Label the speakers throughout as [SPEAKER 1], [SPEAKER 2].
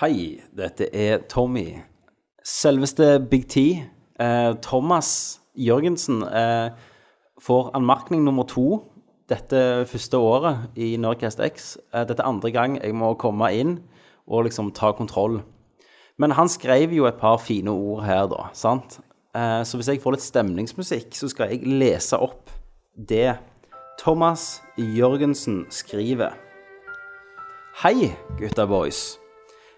[SPEAKER 1] Hei, dette er Tommy. Selveste Big T, eh, Thomas Jørgensen, eh, får anmerkning nummer to dette første året i Nerdcast X. Eh, dette er andre gang jeg må komme inn og liksom ta kontroll. Men han skrev jo et par fine ord her, da. sant? Eh, så hvis jeg får litt stemningsmusikk, så skal jeg lese opp det Thomas Jørgensen skriver. Hei, gutta boys.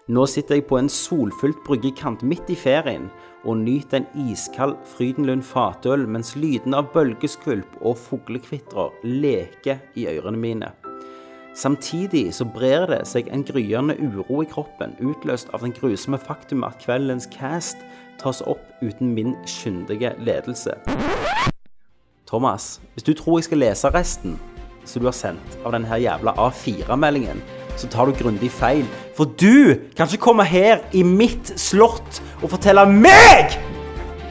[SPEAKER 1] Nå sitter jeg på en solfylt bryggekant midt i ferien og nyter en iskald Frydenlund fatøl mens lyden av bølgeskvulp og fuglekvitrer leker i ørene mine. Samtidig så brer det seg en gryende uro i kroppen, utløst av den grusomme faktum at kveldens cast tas opp uten min skyndige ledelse. Thomas, hvis du tror jeg skal lese resten som du har sendt av denne her jævla A4-meldingen, så tar du grundig feil. For du kan ikke komme her i mitt slott og fortelle meg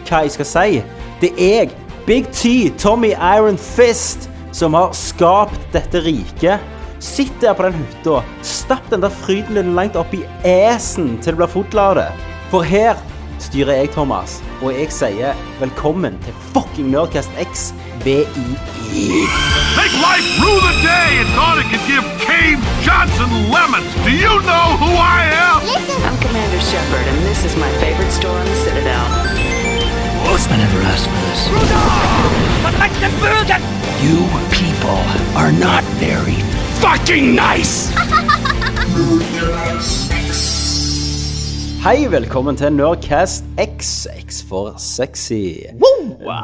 [SPEAKER 1] hva jeg skal si. Det er jeg, Big T, Tommy Iron Fist, som har skapt dette riket. Sitt der på den hytta, stapp den der fryden din langt opp i esen til du blir full av det. For her styrer jeg, Thomas, og jeg sier velkommen til fucking Nerdcast X E. VII.
[SPEAKER 2] Make life rue the day and thought it could give Cave Johnson lemons. Do you know who I am?
[SPEAKER 3] I'm Commander Shepard, and this is my favorite store in the Citadel.
[SPEAKER 4] I never asked for this. You people are not very fucking nice!
[SPEAKER 1] Hei, velkommen til Nerdcast X. X for sexy.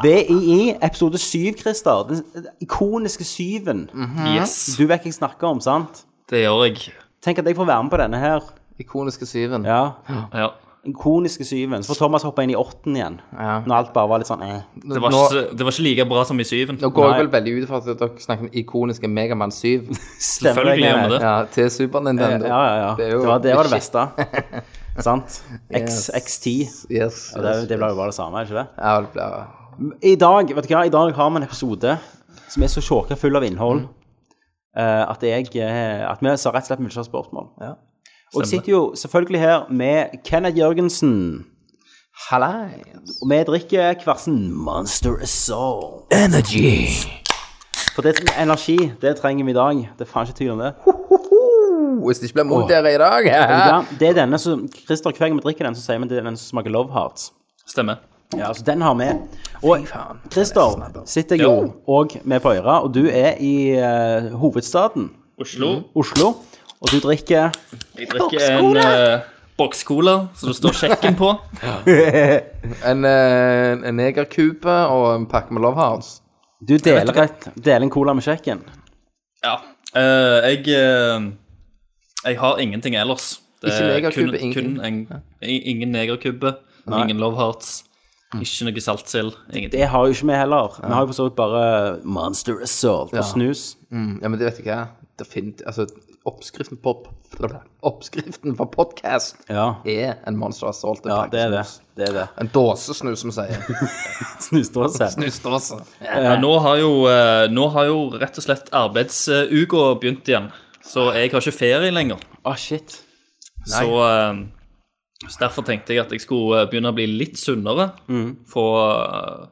[SPEAKER 1] BII episode 7, Christer. Den ikoniske syven.
[SPEAKER 5] Yes,
[SPEAKER 1] Du vet hva jeg snakker om, sant?
[SPEAKER 5] det gjør jeg.
[SPEAKER 1] Tenk at jeg får være med på denne her.
[SPEAKER 6] Ikoniske syven.
[SPEAKER 1] Ja,
[SPEAKER 5] Ja.
[SPEAKER 1] Ikoniske syven. Så får Thomas hoppe inn i åtten igjen.
[SPEAKER 6] Ja.
[SPEAKER 1] Når alt bare var litt sånn eh.
[SPEAKER 5] Det, var
[SPEAKER 6] nå,
[SPEAKER 5] ikke, så- det var ikke like bra som i syven.
[SPEAKER 6] nå går jeg
[SPEAKER 1] Nei.
[SPEAKER 6] vel veldig ut fra at dere snakker om ikoniske Megaman 7
[SPEAKER 1] Stemmer
[SPEAKER 5] Selvfølgelig gjør vi
[SPEAKER 1] Kenneth?
[SPEAKER 5] det.
[SPEAKER 6] ja, til Super Nintendo.
[SPEAKER 1] Ja, ja, ja.
[SPEAKER 6] Det, er
[SPEAKER 1] Det
[SPEAKER 6] jo-
[SPEAKER 1] var det, var det beste. sant? X,
[SPEAKER 6] Yes.
[SPEAKER 1] X10.
[SPEAKER 6] Yes,
[SPEAKER 1] Det,
[SPEAKER 6] yes,
[SPEAKER 1] det blir jo bare det samme, er det ikke det?
[SPEAKER 6] Ja, det blir-
[SPEAKER 1] I dag vet du hva, i dag har vi en episode som er så sjåka full av innhold eh, at, jeg, eh, at vi så rett og slett mye spørsmål. Og jeg sitter jo selvfølgelig her med Kenneth Jørgensen.
[SPEAKER 6] Hallei.
[SPEAKER 1] Og vi drikker hver sin Monster Assault.
[SPEAKER 4] Energy!
[SPEAKER 1] For det som er energi, det trenger vi i dag. Det er faen ikke tvil om det.
[SPEAKER 6] Oh, Hvis det ikke blir mot dere i dag
[SPEAKER 1] Ja, det er denne som Christer, hver gang vi drikker den, så sier vi at det er den som smaker Love Hearts.
[SPEAKER 5] Stemmer.
[SPEAKER 1] Ja, så den har vi. Og Christer sitter jeg jo òg med på øra, og du er i eh, hovedstaden
[SPEAKER 5] Oslo.
[SPEAKER 1] Oslo. Og du drikker
[SPEAKER 5] Jeg drikker en eh, bokscola som det står sjekken på.
[SPEAKER 6] En, eh, en negerkube og en pakke med Love Hearts.
[SPEAKER 1] Du deler, et, deler en cola med kjekken.
[SPEAKER 5] Ja. Eh, jeg eh, Jeg har ingenting ellers. Det
[SPEAKER 6] Ikke
[SPEAKER 5] er
[SPEAKER 6] negerkubbe,
[SPEAKER 5] kun,
[SPEAKER 6] ingen-
[SPEAKER 5] kun en, i- ingen negerkubbe, ingen love hearts,
[SPEAKER 6] Mm.
[SPEAKER 5] ikke noe saltsild, ingenting.
[SPEAKER 1] Det har jo ikke vi heller. Vi har jo for så vidt bare Monster Assault og snus.
[SPEAKER 6] Mm, ja, men det vet jeg hva. Det finner, altså, oppskriften på Oppskriften på podcast
[SPEAKER 1] Ja,
[SPEAKER 6] er en Monster Assault. en
[SPEAKER 1] ja
[SPEAKER 6] pakke
[SPEAKER 1] det er det.
[SPEAKER 6] snus.
[SPEAKER 1] det, er det.
[SPEAKER 6] En dåsesnus, som vi sier.
[SPEAKER 1] Snusdåse.
[SPEAKER 6] Snusdåse.
[SPEAKER 5] Ja, nå, har jo, eh, nå har jo rett og slett arbeidsuka begynt igjen, så jeg har ikke ferie lenger.
[SPEAKER 1] Å, Ah, shit.
[SPEAKER 5] Så, eh, så derfor tenkte jeg at jeg skulle eh, begynne å bli litt sunnere.
[SPEAKER 6] Mm.
[SPEAKER 5] Få, eh,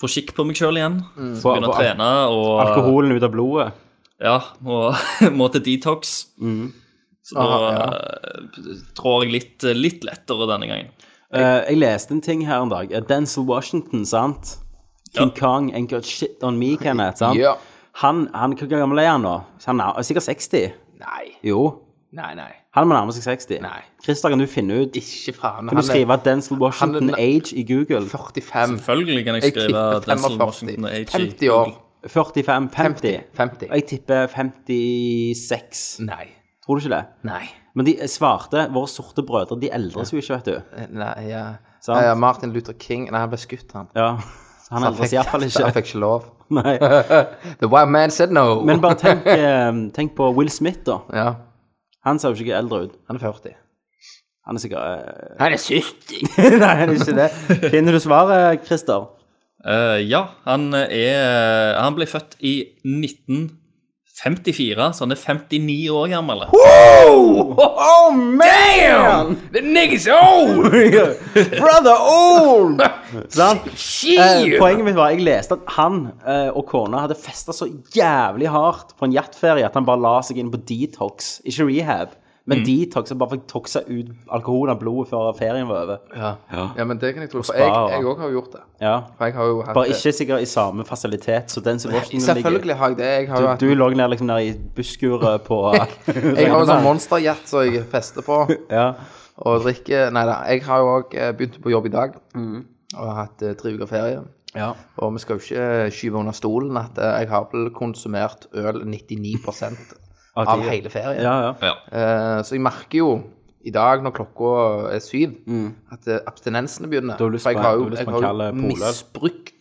[SPEAKER 5] få skikk på meg sjøl igjen.
[SPEAKER 6] Mm.
[SPEAKER 1] Få-
[SPEAKER 5] begynne
[SPEAKER 1] få
[SPEAKER 5] å trene og
[SPEAKER 1] Alkoholen ut av blodet.
[SPEAKER 5] Ja, og må til detox.
[SPEAKER 6] Mm.
[SPEAKER 5] Så da
[SPEAKER 6] Aha,
[SPEAKER 5] eh, trår jeg litt, litt lettere denne gangen.
[SPEAKER 1] Eh, jeg leste en ting her en dag. Eh, Denzel Washington, sant? King
[SPEAKER 5] Ja.
[SPEAKER 1] Kong ain't got shit on me, Kenneth. sant?
[SPEAKER 6] Ja.
[SPEAKER 1] Han, han, Hvor gammel er han nå? Han er sikkert 60.
[SPEAKER 6] Nei.
[SPEAKER 1] Jo.
[SPEAKER 6] Nei, nei.
[SPEAKER 1] Han må nærme seg 60.
[SPEAKER 6] Nei.
[SPEAKER 1] Christer, kan du finne ut
[SPEAKER 6] Ikke faen.
[SPEAKER 1] Kan du skrive Denzel Washington
[SPEAKER 6] han er-
[SPEAKER 1] age i Google?
[SPEAKER 6] 45.
[SPEAKER 5] Selvfølgelig kan jeg
[SPEAKER 6] Jeg
[SPEAKER 5] skrive
[SPEAKER 6] tipper 45.
[SPEAKER 5] Denzel Washington AG.
[SPEAKER 6] 50 år.
[SPEAKER 1] 45? 50?
[SPEAKER 6] 50.
[SPEAKER 1] Jeg tipper 56.
[SPEAKER 6] Nei.
[SPEAKER 1] Tror du ikke det?
[SPEAKER 6] Nei.
[SPEAKER 1] Men de svarte, våre sorte brødre, de eldres jo ikke, vet du.
[SPEAKER 6] Nei, ja.
[SPEAKER 1] Sant?
[SPEAKER 6] Ja, Martin Luther King Nei, han ble skutt, han.
[SPEAKER 1] Ja. Han
[SPEAKER 6] Han
[SPEAKER 1] eldres
[SPEAKER 6] fikk-
[SPEAKER 1] iallfall
[SPEAKER 6] Han
[SPEAKER 1] ikke.
[SPEAKER 6] fikk ikke lov.
[SPEAKER 1] Nei.
[SPEAKER 6] The white man said no.
[SPEAKER 1] Men bare tenk, eh, tenk på Will Smith, da.
[SPEAKER 6] Ja,
[SPEAKER 1] Han ser jo ikke eldre ut.
[SPEAKER 6] han er 40.
[SPEAKER 1] Han er sikkert
[SPEAKER 6] Han er 70!
[SPEAKER 1] eh, Nei, han er ikke det. Finner du svaret, Christer?
[SPEAKER 5] Eh, ja, han er Han ble født i 19 54, så han er 59 år gammel.
[SPEAKER 1] Oh, man!
[SPEAKER 6] The niggas old!
[SPEAKER 1] Brother old! Sant? Eh,
[SPEAKER 6] Shit!
[SPEAKER 1] poenget mitt var jeg leste at han eh, og kona hadde festa så jævlig hardt på en jaktferie at han bare la seg inn på detox. Ikke rehab, men
[SPEAKER 6] Mm.
[SPEAKER 1] detox. Og bare fikk toxa ut alkoholen av blodet før ferien var over.
[SPEAKER 6] Ja. ja, men det kan jeg tro. For jeg
[SPEAKER 1] spare.
[SPEAKER 6] òg har jo gjort det.
[SPEAKER 1] Ja.
[SPEAKER 6] For jeg har jo hatt
[SPEAKER 1] Bare
[SPEAKER 6] det.
[SPEAKER 1] ikke sikkert i samme fasilitet, så den som Washington ligger
[SPEAKER 6] Selvfølgelig har jeg det. Jeg har jo hatt
[SPEAKER 1] Du lå ned liksom nede i busskuret på
[SPEAKER 6] Jeg har jo sånn monsterhjert som jeg fester på
[SPEAKER 1] ja.
[SPEAKER 6] og drikker. Nei da, jeg har jo òg begynt på jobb i dag
[SPEAKER 1] Mm.
[SPEAKER 6] og har hatt eh, tre uker ferie.
[SPEAKER 1] ja.
[SPEAKER 6] Og vi skal jo ikke eh, skyve under stolen at eh, jeg har vel konsumert øl 99 av
[SPEAKER 1] tida.
[SPEAKER 6] hele ferien.
[SPEAKER 1] Ja, ja.
[SPEAKER 6] Eh, Så jeg merker jo i dag når klokka er syv, at eh, abstinensene begynner.
[SPEAKER 1] Mm. har lyst
[SPEAKER 6] For jeg
[SPEAKER 1] på-
[SPEAKER 6] har
[SPEAKER 1] du
[SPEAKER 6] jo,
[SPEAKER 1] har lyst
[SPEAKER 6] jeg
[SPEAKER 1] på en
[SPEAKER 6] har
[SPEAKER 1] kald
[SPEAKER 6] jo
[SPEAKER 1] poløl.
[SPEAKER 6] misbrukt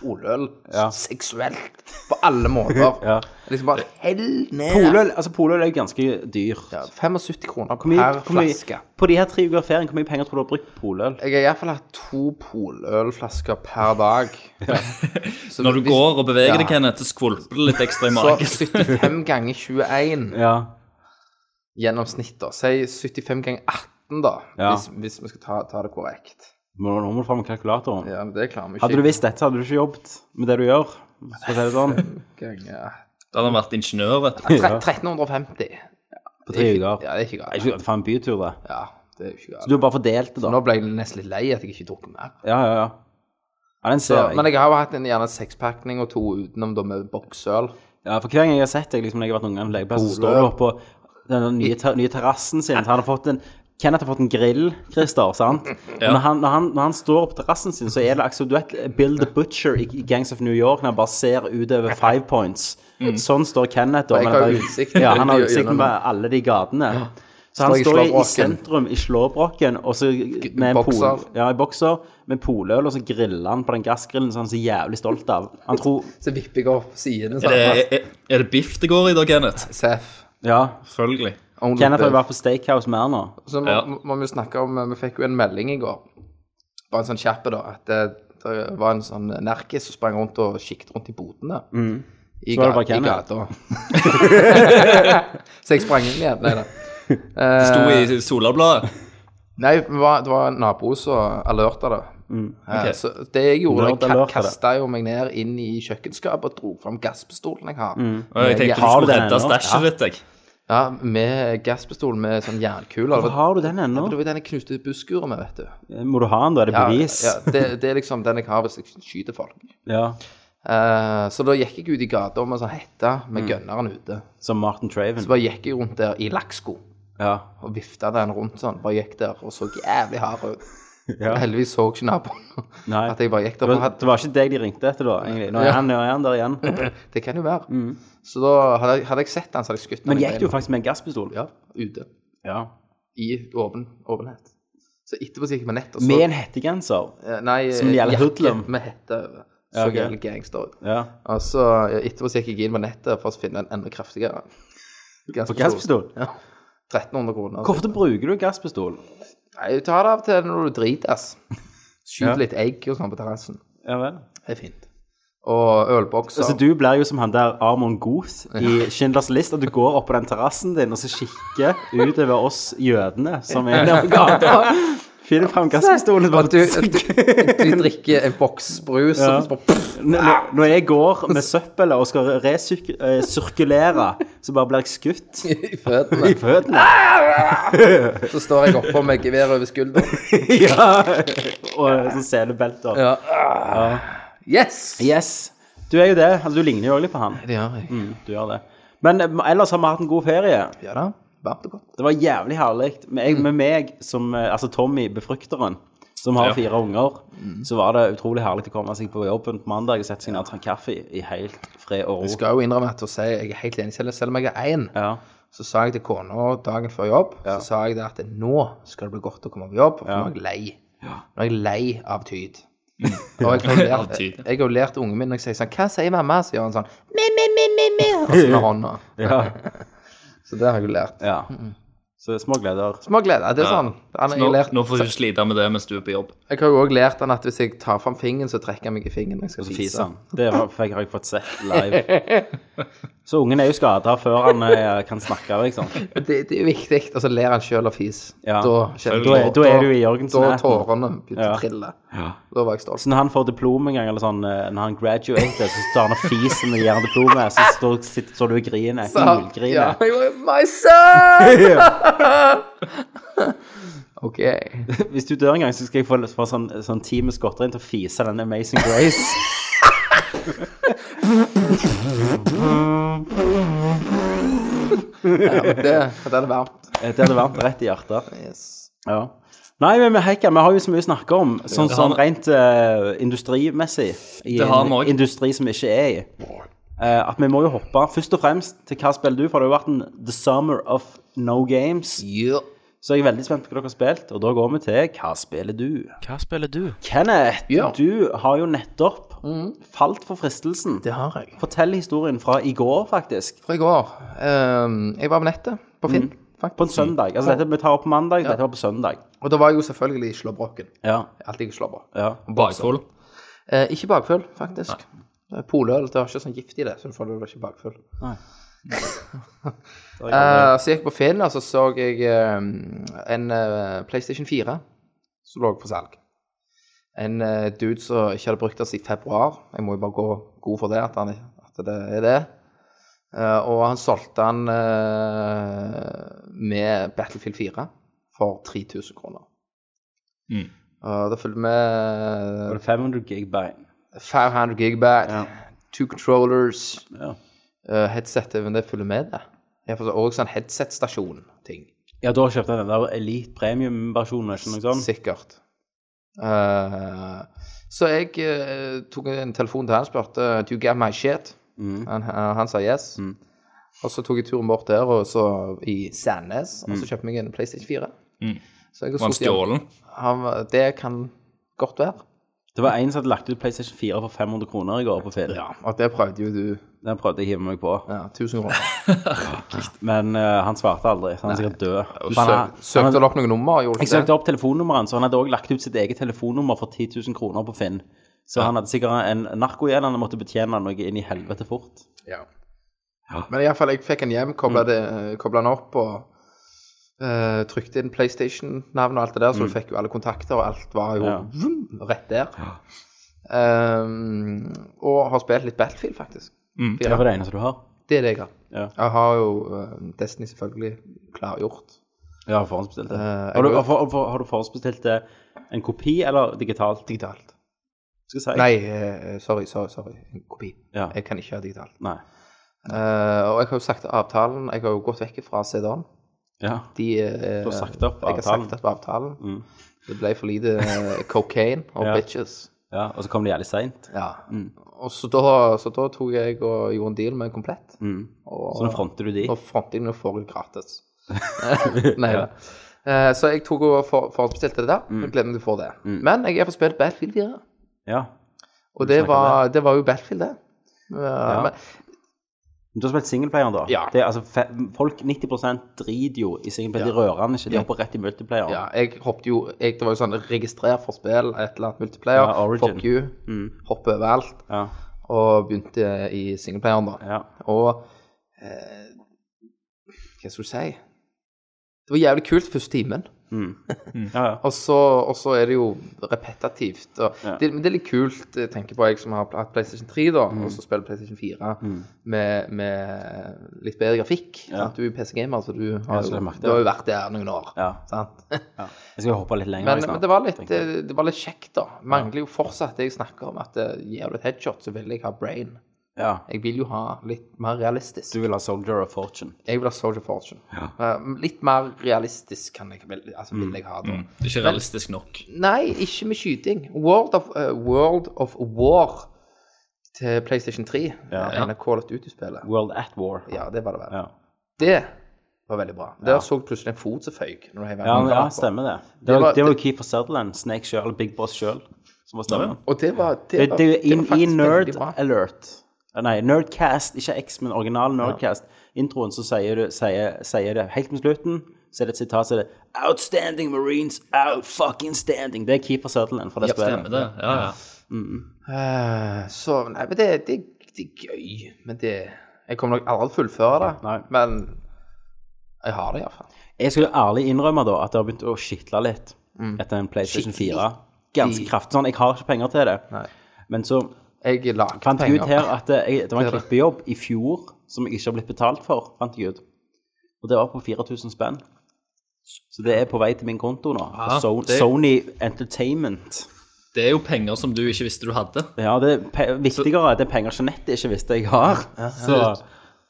[SPEAKER 6] poløl
[SPEAKER 1] Ja.
[SPEAKER 6] seksuelt på alle måter.
[SPEAKER 1] Ja.
[SPEAKER 6] Liksom bare hell ned.
[SPEAKER 1] Poløl altså, poløl er jo ganske dyrt.
[SPEAKER 6] Ja, 75 kroner
[SPEAKER 1] Hvor mye-
[SPEAKER 6] per
[SPEAKER 1] hvor mye-
[SPEAKER 6] flaske.
[SPEAKER 1] På de her tre uker ferien, hvor mye penger tror du du har brukt på poløl?
[SPEAKER 6] Jeg har i hvert fall hatt to polølflasker per dag. Så
[SPEAKER 5] Når du
[SPEAKER 6] hvis-
[SPEAKER 5] går og beveger
[SPEAKER 6] Ja.
[SPEAKER 5] deg, Kenneth, så skvulper det litt ekstra i
[SPEAKER 6] Så
[SPEAKER 5] magen.
[SPEAKER 6] 75 ganger 21
[SPEAKER 1] Ja.
[SPEAKER 6] gjennomsnitt, da. Si 75 ganger 18, da.
[SPEAKER 1] Ja.
[SPEAKER 6] Hvis, hvis vi skal ta, ta det korrekt.
[SPEAKER 1] Må nå må du fram med kalkulatoren.
[SPEAKER 6] Ja, men det klarer vi ikke.
[SPEAKER 1] Hadde du visst dette, hadde du ikke jobbet med det du gjør. For å si det sånn.
[SPEAKER 6] ganger
[SPEAKER 5] Da hadde han vært ingeniør, vet du.
[SPEAKER 1] Ja.
[SPEAKER 6] Tre- 1350.
[SPEAKER 1] På
[SPEAKER 6] Det er
[SPEAKER 1] tre uker.
[SPEAKER 6] ikke- Ja, det er ikke
[SPEAKER 1] Det er
[SPEAKER 6] galt.
[SPEAKER 1] ikke faen bytur, det.
[SPEAKER 6] Ja, det er jo ikke
[SPEAKER 1] Du
[SPEAKER 6] galt.
[SPEAKER 1] har bare fordelt det, da.
[SPEAKER 6] Nå ble jeg nesten litt lei at jeg ikke drukket mer.
[SPEAKER 1] Ja, ja, ja. Ja, den
[SPEAKER 6] Så,
[SPEAKER 1] ser
[SPEAKER 6] men
[SPEAKER 1] jeg.
[SPEAKER 6] jeg har jo hatt en gjerne sekspakning og to utenom da med boksøl.
[SPEAKER 1] Ja, for hver gang jeg har sett deg liksom, når jeg har vært noen på legeplass, så
[SPEAKER 6] Poløl.
[SPEAKER 1] står du oppe på den nye, ter nye terrassen sin. Så han har fått en Kenneth har fått en grill, Christer, sant? Og når han, når, han, når han står på terrassen sin, så er det akkurat du vet Bill the Butcher i i Gangs of New York, når han bare ser utover Five Points. Sånn står Kenneth da.
[SPEAKER 6] Mm. Og jeg
[SPEAKER 1] men
[SPEAKER 6] har
[SPEAKER 1] han har-
[SPEAKER 6] utsikt.
[SPEAKER 1] Ja, han har
[SPEAKER 6] Gjennom-
[SPEAKER 1] utsikt med alle de gatene. Så han
[SPEAKER 6] Står i
[SPEAKER 1] står i, i
[SPEAKER 6] slåbroken.
[SPEAKER 1] sentrum i slåbroken, og så med en pol,
[SPEAKER 6] bokser.
[SPEAKER 1] ja, i bokser, med poløl, og så griller han på den gassgrillen som han er så jævlig stolt av. Han tror
[SPEAKER 6] Så vipper jeg opp sidene
[SPEAKER 5] Er det,
[SPEAKER 6] sånn.
[SPEAKER 5] er, er det biff det går i da, Kenneth?
[SPEAKER 6] Seff.
[SPEAKER 1] Ja.
[SPEAKER 5] Selvfølgelig.
[SPEAKER 6] Only
[SPEAKER 1] Kenneth har
[SPEAKER 6] beef.
[SPEAKER 1] jo vært på Steakhouse mer nå.
[SPEAKER 6] Så må,
[SPEAKER 5] Ja.
[SPEAKER 6] må vi jo snakke om Vi fikk jo en melding i går, bare en sånn kjappe, da, at det, det var en sånn nerkis som sprang rundt og kikket rundt i bodene. I,
[SPEAKER 1] Mm. Så var det bare
[SPEAKER 6] ga- i
[SPEAKER 1] Kenneth.
[SPEAKER 6] gata. så jeg sprang inn igjen. Nei da.
[SPEAKER 5] Det sto i Solabladet.
[SPEAKER 6] Nei, det var, det var en nabo som alerta det. Eh, Så det jeg gjorde,
[SPEAKER 1] Mm. Nerd
[SPEAKER 6] jeg
[SPEAKER 1] alerta
[SPEAKER 6] kasta jo meg ned inn i kjøkkenskapet og dro fram gasspistolen jeg har.
[SPEAKER 1] Mm.
[SPEAKER 5] Og jeg tenkte du
[SPEAKER 1] Har du
[SPEAKER 5] skulle
[SPEAKER 1] den
[SPEAKER 5] redde
[SPEAKER 1] ennå?
[SPEAKER 5] stæsjet ditt, jeg.
[SPEAKER 6] Ja, Med gasspistol med sånn jernkuler.
[SPEAKER 1] Hvorfor har du den ennå?
[SPEAKER 6] Det var den jeg knuste busskuret med, vet du.
[SPEAKER 1] Må du ha den, da? Er det
[SPEAKER 6] Ja,
[SPEAKER 1] bevis?
[SPEAKER 6] ja, det, det er liksom den jeg har hvis jeg skyter folk.
[SPEAKER 1] Ja.
[SPEAKER 6] Eh, så da gikk jeg ut i gata med sånn hette med
[SPEAKER 1] Mm.
[SPEAKER 6] gønneren ute.
[SPEAKER 1] Som Martin Traven.
[SPEAKER 6] Så bare gikk jeg rundt der i lakksko
[SPEAKER 1] Ja.
[SPEAKER 6] og vifta den rundt sånn. Bare gikk der og så jævlig hard ut.
[SPEAKER 1] Ja.
[SPEAKER 6] Heldigvis så ikke naboen
[SPEAKER 1] Nei.
[SPEAKER 6] at jeg bare gikk
[SPEAKER 1] Det
[SPEAKER 6] der. For
[SPEAKER 1] var,
[SPEAKER 6] had-
[SPEAKER 1] det var ikke deg de ringte etter, da? egentlig. Nå er
[SPEAKER 6] Ja.
[SPEAKER 1] han, nå er han der igjen.
[SPEAKER 6] det kan jo være. Så da hadde jeg, hadde jeg sett den, så hadde jeg skutt den.
[SPEAKER 1] Mm. Men
[SPEAKER 6] i
[SPEAKER 1] gikk du
[SPEAKER 6] beina.
[SPEAKER 1] faktisk med en gasspistol?
[SPEAKER 6] Ja, ute.
[SPEAKER 1] Ja.
[SPEAKER 6] I åpen, åpenhet. Så etterpå så gikk jeg med nett og så
[SPEAKER 1] Med en hettegenser?
[SPEAKER 6] Eh, Nei,
[SPEAKER 1] Som en jævla
[SPEAKER 6] jakke
[SPEAKER 1] hoodlum.
[SPEAKER 6] med hette. over. Så
[SPEAKER 1] Ja, ok.
[SPEAKER 6] jævlig gangster ut.
[SPEAKER 1] Ja.
[SPEAKER 6] Og så ja, etterpå så gikk jeg inn på nettet for å finne en enda kraftigere.
[SPEAKER 1] For gasspistol?
[SPEAKER 6] Ja. 1300 kroner. Altså,
[SPEAKER 1] Hvor ofte bruker du gasspistol?
[SPEAKER 6] Nei, du tar det av og til når du drites. Skyt
[SPEAKER 1] Ja.
[SPEAKER 6] litt egg og sånn på terrassen.
[SPEAKER 1] Ja vel.
[SPEAKER 6] Det er fint. Og ølbokser.
[SPEAKER 1] Altså, du blir jo som han der Armon Goth i Schindlers List, at du går opp på den terrassen din og så kikker utover oss jødene som er nede på gata. Finner fram gasspistolen og
[SPEAKER 6] og du,
[SPEAKER 1] bare
[SPEAKER 6] du, du drikker en boks brus,
[SPEAKER 1] Ja.
[SPEAKER 6] og så bare pff,
[SPEAKER 1] N- Når når jeg går med søppelet og skal resirkulere, så bare blir jeg skutt
[SPEAKER 6] i føttene.
[SPEAKER 1] i føttene.
[SPEAKER 6] Så står jeg oppå med gevær over skulderen.
[SPEAKER 1] Ja. Og sånn selebelter.
[SPEAKER 6] Ja. Ah. Yes!
[SPEAKER 1] Yes. Du er jo det. Altså, du ligner jo også litt på han. Mm,
[SPEAKER 6] Det gjør jeg.
[SPEAKER 1] Du gjør det. Men eh, ellers har vi hatt en god ferie.
[SPEAKER 6] Ja da. Varmt og godt.
[SPEAKER 1] Det var jævlig herlig. Med, jeg, med meg, som, eh, altså Tommy, befrukteren, som har
[SPEAKER 5] Ja.
[SPEAKER 1] fire unger, så var det utrolig herlig å komme seg på jobben på mandag og sette seg ned og ta en kaffe i, i helt fred og
[SPEAKER 6] Jeg
[SPEAKER 1] ro.
[SPEAKER 6] skal jo innrømme at å si jeg er helt enig, selv selv om jeg er én.
[SPEAKER 1] Ja.
[SPEAKER 6] Så sa jeg til kona dagen før jobb så sa jeg det at nå skal det bli godt å komme på jobb, for nå er jeg lei. Nå er jeg lei av tyd. Og jeg har jo
[SPEAKER 5] Av
[SPEAKER 6] lært,
[SPEAKER 5] tyd, ja.
[SPEAKER 6] jeg har jo lært ungen min når jeg sier sånn Hva sier mamma? Så gjør han sånn me, me, me, me, me, Og så med hånda.
[SPEAKER 1] Ja.
[SPEAKER 6] Så det har jeg jo lært.
[SPEAKER 1] ja. Så små gleder.
[SPEAKER 6] Små gleder. Det er sånn. Han,
[SPEAKER 5] Nå,
[SPEAKER 6] jeg, lært,
[SPEAKER 5] nå får hun slite med det mens du er på jobb.
[SPEAKER 6] jeg har jo også lært han at hvis jeg tar fram fingeren, så trekker han meg i fingeren når jeg skal
[SPEAKER 1] Fise
[SPEAKER 6] fise.
[SPEAKER 1] han. Det har jeg fått sett live. Så ungen er jo skada før han eh, kan snakke, liksom.
[SPEAKER 6] Det, det er viktig. Og så ler han sjøl og fis.
[SPEAKER 1] Ja.
[SPEAKER 6] Da,
[SPEAKER 1] Da er- da er du i Jørgensen
[SPEAKER 6] Da
[SPEAKER 1] her.
[SPEAKER 6] tårene begynte
[SPEAKER 1] Ja.
[SPEAKER 6] å trille. Da var jeg stolt.
[SPEAKER 1] Så når han får diplom en gang, eller sånn, eh, når han graduater, så står han og fiser når de gir han diplomet, så står, sitter, står du og griner.
[SPEAKER 6] ja,
[SPEAKER 1] Hylgriner.
[SPEAKER 6] jeg var, My son! OK.
[SPEAKER 1] Hvis du dør en gang, så skal jeg få, få sånn, sånn team med skotter inn til å fise den Amazing Grace.
[SPEAKER 6] Det, det er varmt.
[SPEAKER 1] Eh, Det hadde varmt rett i hjertet.
[SPEAKER 6] Yes.
[SPEAKER 1] Ja. Nei, men vi hekker, vi har jo så mye å snakke om, sånn,
[SPEAKER 5] Det har
[SPEAKER 1] sånn
[SPEAKER 5] vi.
[SPEAKER 1] rent eh, industrimessig. I
[SPEAKER 5] Det har vi
[SPEAKER 1] en
[SPEAKER 5] også.
[SPEAKER 1] industri som vi ikke er i. Eh, at vi må jo hoppe først og fremst til hva spiller du, for det har jo vært en The Summer of No Games.
[SPEAKER 6] Yeah.
[SPEAKER 1] Så jeg er veldig spent på hva dere har spilt, og da går vi til Hva spiller du?
[SPEAKER 7] Hva spiller du?
[SPEAKER 1] Kenneth,
[SPEAKER 6] Ja.
[SPEAKER 1] du har jo nettopp falt for fristelsen.
[SPEAKER 6] Det har jeg.
[SPEAKER 1] Fortell historien fra i går, faktisk.
[SPEAKER 6] Fra i går. ehm, jeg var på nettet, Mm. på Finn, faktisk.
[SPEAKER 1] På en søndag. Altså, dette vi tar opp på mandag, dette var på søndag.
[SPEAKER 6] Og da var jeg jo selvfølgelig i slåbroken.
[SPEAKER 1] Ja,
[SPEAKER 6] Alltid i slåbrok.
[SPEAKER 1] ja.
[SPEAKER 5] Bakfull.
[SPEAKER 6] Eh, ikke bakfull, faktisk. Eh, Poløl, det har ikke sånn gift i det, så du får det ikke bakfull.
[SPEAKER 1] Nei.
[SPEAKER 6] Eh, så gikk jeg på Finn, og så så jeg eh, en eh, PlayStation 4 som lå på salg. En eh, dude som ikke hadde brukt den siden februar. Jeg må jo bare gå god for det, at, han, at det er det. Eh, og han solgte den eh, med Battlefield 4 for 3000 kroner.
[SPEAKER 5] Mm.
[SPEAKER 6] Eh, det
[SPEAKER 1] Det
[SPEAKER 6] fulgte eh, med
[SPEAKER 1] var 500 gigabyte.
[SPEAKER 6] 500 gigabyte, two controllers
[SPEAKER 1] Ja.
[SPEAKER 6] uh, headsetet, men det følger med det. Jeg får så- Og sånn headset-stasjon-ting,
[SPEAKER 1] Ja, da kjøpte jeg den der Elite Premium-versjonen, ikke noe sånt?
[SPEAKER 6] sikkert. Eh, så jeg eh, tok en telefon til han og spurte «Do you get my shit?» han, han han sa yes. Og så tok jeg turen bort der, og så i Sandnes, og så kjøpte jeg meg en PlayStation 4. Så jeg har
[SPEAKER 5] Var han
[SPEAKER 6] stått igjen-
[SPEAKER 5] stjålen?
[SPEAKER 6] Han var- Det kan godt være.
[SPEAKER 1] Det var en som hadde lagt ut PlayStation 4 for 500 kroner i går på film.
[SPEAKER 6] Og det prøvde jo du.
[SPEAKER 1] Den prøvde jeg å hive meg på,
[SPEAKER 6] Ja, 1000 kroner.
[SPEAKER 1] men eh, han svarte aldri. Så han er sikkert død.
[SPEAKER 6] Du
[SPEAKER 1] Ah. Men han-
[SPEAKER 6] søk, søkte
[SPEAKER 1] han-
[SPEAKER 6] vel opp noen nummer? Gjorde du
[SPEAKER 1] Jeg
[SPEAKER 6] ikke det?
[SPEAKER 1] søkte opp telefonnummeret, så han hadde også lagt ut sitt eget telefonnummer for 10 000 kroner på Finn. Så han hadde sikkert en narko igjen, han måtte betjene noe inn i helvete fort.
[SPEAKER 6] Ja. Men iallfall, jeg fikk en hjem, kobla den opp og eh, trykte inn PlayStation-navn og alt det der, så du fikk jo alle kontakter, og alt var jo
[SPEAKER 1] Ja.
[SPEAKER 6] vroom, rett der. Ehm, og har spilt litt Battlefield, faktisk.
[SPEAKER 1] Det var det eneste du har.
[SPEAKER 6] Det er det jeg har.
[SPEAKER 1] Ja.
[SPEAKER 6] Jeg har jo eh, Destiny selvfølgelig klargjort.
[SPEAKER 1] Ja, forhåndsbestilt det.
[SPEAKER 6] Eh,
[SPEAKER 1] har, du,
[SPEAKER 6] jeg-
[SPEAKER 1] har, for- for- har du forhåndsbestilt det en kopi eller digitalt?
[SPEAKER 6] Digitalt.
[SPEAKER 1] Skal jeg si?
[SPEAKER 6] Nei, eh, sorry, sorry, sorry. En kopi.
[SPEAKER 1] Ja.
[SPEAKER 6] Jeg kan ikke ha digitalt.
[SPEAKER 1] Nei.
[SPEAKER 6] Eh, og jeg har jo sagt til avtalen Jeg har jo gått vekk fra CD-en.
[SPEAKER 1] Ja.
[SPEAKER 6] De, eh,
[SPEAKER 1] Du har sagt opp
[SPEAKER 6] Jeg har
[SPEAKER 1] avtalen. Mm.
[SPEAKER 6] sagt opp avtalen. Det ble for lite eh, cocaine og
[SPEAKER 1] Ja. Mm.
[SPEAKER 6] bitches.
[SPEAKER 1] ja. Og så kom det jævlig seint.
[SPEAKER 6] Ja. Og så da, så da tok jeg og gjorde en deal med Komplett. Og,
[SPEAKER 1] Så nå fronter du de.
[SPEAKER 6] og frontlinjen får jeg gratis. Nei da. Eh, så jeg tok og for, forhåndsbestilte det der.
[SPEAKER 1] Mm.
[SPEAKER 6] Jeg gleder meg til å få det. Men jeg har fått spilt Battlefield 4.
[SPEAKER 1] Ja.
[SPEAKER 6] Og det
[SPEAKER 1] snakker om
[SPEAKER 6] var, det var jo Battlefield, det. Eh, men,
[SPEAKER 1] Men Du har spilt singleplayer, da.
[SPEAKER 6] Ja.
[SPEAKER 1] Det, er altså, fe- folk 90 driter jo i singleplayer. De rører den ikke. De hopper rett i multiplayer.
[SPEAKER 6] ja, jeg hoppet jo jeg, Det var jo sånn registrer for spill, et eller annet multiplayer.
[SPEAKER 1] Ja, Origin.
[SPEAKER 6] fuck you. Hoppe overalt.
[SPEAKER 1] Mm. Ja.
[SPEAKER 6] og begynte i singleplayeren, da.
[SPEAKER 1] Ja.
[SPEAKER 6] Og eh, Hva skal du si? Det var jævlig kult første timen,
[SPEAKER 1] Mm.
[SPEAKER 6] Mm.
[SPEAKER 1] Ja, ja.
[SPEAKER 6] og så, og så er det jo repetitivt. Og
[SPEAKER 1] Ja.
[SPEAKER 6] det, men det er litt kult, jeg tenker på jeg som har hatt PlayStation 3, da,
[SPEAKER 1] Mm.
[SPEAKER 6] og så spiller PlayStation 4 med, med litt bedre grafikk.
[SPEAKER 1] Ja.
[SPEAKER 6] Sant? Du er PC-gamer, så du
[SPEAKER 1] Ja,
[SPEAKER 6] har,
[SPEAKER 1] så
[SPEAKER 6] jo,
[SPEAKER 1] jeg merker det.
[SPEAKER 6] du har jo vært der noen år.
[SPEAKER 1] Ja.
[SPEAKER 6] Sant?
[SPEAKER 1] Jeg skal hoppe litt lenger.
[SPEAKER 6] Men,
[SPEAKER 1] snart,
[SPEAKER 6] men det, var litt,
[SPEAKER 1] tenker jeg.
[SPEAKER 6] eh, det var litt kjekt, da. Mangler jo fortsatt det jeg snakker om, at eh, gir du et headshot, så vil jeg ha brain.
[SPEAKER 1] ja.
[SPEAKER 6] Jeg vil jo ha litt mer realistisk.
[SPEAKER 1] Du vil ha Soldier of Fortune.
[SPEAKER 6] Jeg vil ha Soldier Fortune. Eh, litt mer realistisk kan jeg, vel- altså, vil
[SPEAKER 1] Mm.
[SPEAKER 6] jeg ha, da.
[SPEAKER 5] Det er ikke realistisk nok.
[SPEAKER 6] Nei, ikke med skyting. World of, eh, World of War til PlayStation 3. Ja,
[SPEAKER 5] Ja.
[SPEAKER 6] ja. Call of Duty-spillet.
[SPEAKER 1] World at War.
[SPEAKER 6] Ja, det var det vel.
[SPEAKER 1] Ja,
[SPEAKER 6] Det var veldig bra. Der så du plutselig en fot som føyk. når du heiv
[SPEAKER 1] ja,
[SPEAKER 6] en
[SPEAKER 1] men, ja
[SPEAKER 6] kamera på.
[SPEAKER 1] stemmer det. Det
[SPEAKER 6] Det
[SPEAKER 1] var,
[SPEAKER 6] var-
[SPEAKER 1] det var jo Keeper Sutherland, Snake sjøl, Big Boss sjøl, som var stemmen.
[SPEAKER 6] Og det var
[SPEAKER 1] Det,
[SPEAKER 6] det, var,
[SPEAKER 1] det, er jo
[SPEAKER 6] var
[SPEAKER 1] inn i
[SPEAKER 6] faktisk
[SPEAKER 1] Nerd
[SPEAKER 6] veldig bra.
[SPEAKER 1] Alert Eh, Nei, Nerdcast, ikke X, men original Nerdcast. Introen så sier, du, sier, sier det helt mot slutten, så er det et sitat så er det Outstanding Marines, out fucking standing. Det er Keeper Sutherland fra det
[SPEAKER 5] Stemmer
[SPEAKER 1] spillet.
[SPEAKER 5] det? Ja, ja.
[SPEAKER 6] Eh, så Nei, men det, det, det er gøy. Men det Jeg kommer nok aldri til å fullføre det,
[SPEAKER 1] Nei.
[SPEAKER 6] men jeg har det Mm. iallfall.
[SPEAKER 1] Jeg skulle ærlig innrømme da at det har begynt å skitle litt etter en PlayStation 4. Ganske kraftig. Sånn, jeg har ikke penger til det.
[SPEAKER 6] Nei.
[SPEAKER 1] Men så
[SPEAKER 6] Jeg lagde
[SPEAKER 1] fant jeg ut her at det, jeg, det var en
[SPEAKER 6] Det er det.
[SPEAKER 1] klippejobb i fjor som jeg ikke har blitt betalt for, fant jeg ut. Og det var på 4000 spenn. Så det er på vei til min konto nå.
[SPEAKER 5] Ah,
[SPEAKER 1] so
[SPEAKER 5] det-
[SPEAKER 1] Sony Entertainment.
[SPEAKER 5] Det er jo penger som du ikke visste du hadde.
[SPEAKER 1] Ja, det er pe viktigere det er penger Jeanette ikke visste jeg har. Så,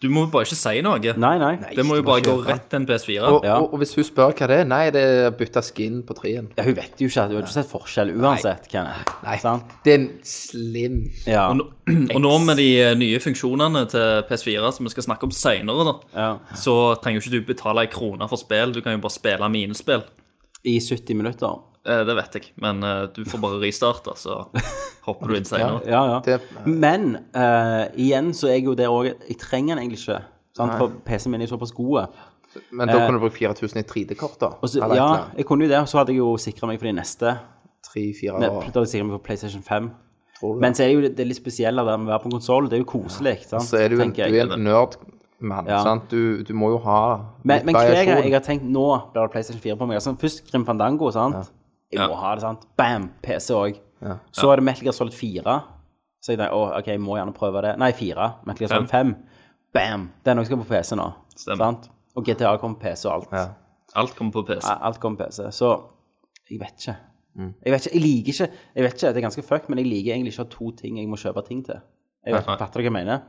[SPEAKER 5] Du må jo bare ikke si noe.
[SPEAKER 1] nei, nei.
[SPEAKER 5] det må jo bare gå rett til en PS4.
[SPEAKER 6] Og,
[SPEAKER 1] Ja.
[SPEAKER 6] og, og hvis hun spør hva det er Nei, det er bytta skin på treen.
[SPEAKER 1] Ja, hun vet jo ikke at hun har ikke sett forskjell uansett. Kenneth. Sant?
[SPEAKER 6] Det er en slim
[SPEAKER 1] Ja.
[SPEAKER 5] Og nå, og nå med de eh, nye funksjonene til PS4 som vi skal snakke om seinere,
[SPEAKER 1] ja.
[SPEAKER 5] så trenger jo ikke du betale ei krone for spill. Du kan jo bare spille mine spill.
[SPEAKER 1] I 70 minutter.
[SPEAKER 5] Eh, Det vet jeg, men eh, du får bare restarte, så hopper du inn seinere.
[SPEAKER 1] Ja, ja.
[SPEAKER 6] Det-
[SPEAKER 1] Men eh, igjen så er jeg jo der òg Jeg trenger den egentlig ikke. Sant? For PC-en min er såpass god.
[SPEAKER 6] Men da kan du bruke 4000 i 3D-kort, da.
[SPEAKER 1] Eh. Og så-
[SPEAKER 6] Eller et
[SPEAKER 1] Ja,
[SPEAKER 6] eller annet.
[SPEAKER 1] jeg kunne jo det, og så hadde jeg jo sikra meg for de neste.
[SPEAKER 6] Tre-fire
[SPEAKER 1] Nei,
[SPEAKER 6] år.
[SPEAKER 1] Da hadde jeg sikret meg for PlayStation 5.
[SPEAKER 6] Tror du det?
[SPEAKER 1] Men så er det jo det litt spesielle der med å være på en konsoll. Det er jo koselig. sant?
[SPEAKER 6] Så er du en,
[SPEAKER 1] tenker
[SPEAKER 6] du
[SPEAKER 1] jeg.
[SPEAKER 6] er en nerdmann,
[SPEAKER 1] Ja.
[SPEAKER 6] sant. Du, du må jo ha
[SPEAKER 1] Men, men
[SPEAKER 6] litt
[SPEAKER 1] hver gang
[SPEAKER 6] variasjon.
[SPEAKER 1] jeg har tenkt nå blir det PlayStation 4 på meg altså, Først Grim Fandango, sant? Jeg må
[SPEAKER 5] Ja.
[SPEAKER 1] ha det, sant? Bam! PC òg. Så er det Metal Gear Solid 4. Så jeg tenkte, å, ok, jeg må gjerne prøve det. Nei, 4. Metal Gear Solid 5. Bam! Den òg skal på PC nå.
[SPEAKER 5] Stemmer.
[SPEAKER 1] Sant? Og GTA kom på PC og alt.
[SPEAKER 6] Ja.
[SPEAKER 5] Alt kommer på PC.
[SPEAKER 1] Ja, Alt kom på PC. Så jeg vet ikke.
[SPEAKER 6] Mm.
[SPEAKER 1] Jeg vet ikke, jeg liker ikke Jeg vet ikke, Det er ganske fucked, men jeg liker egentlig ikke å ha to ting jeg må kjøpe ting til. Jeg vet,
[SPEAKER 5] Nei.
[SPEAKER 1] Fatter du hva jeg mener?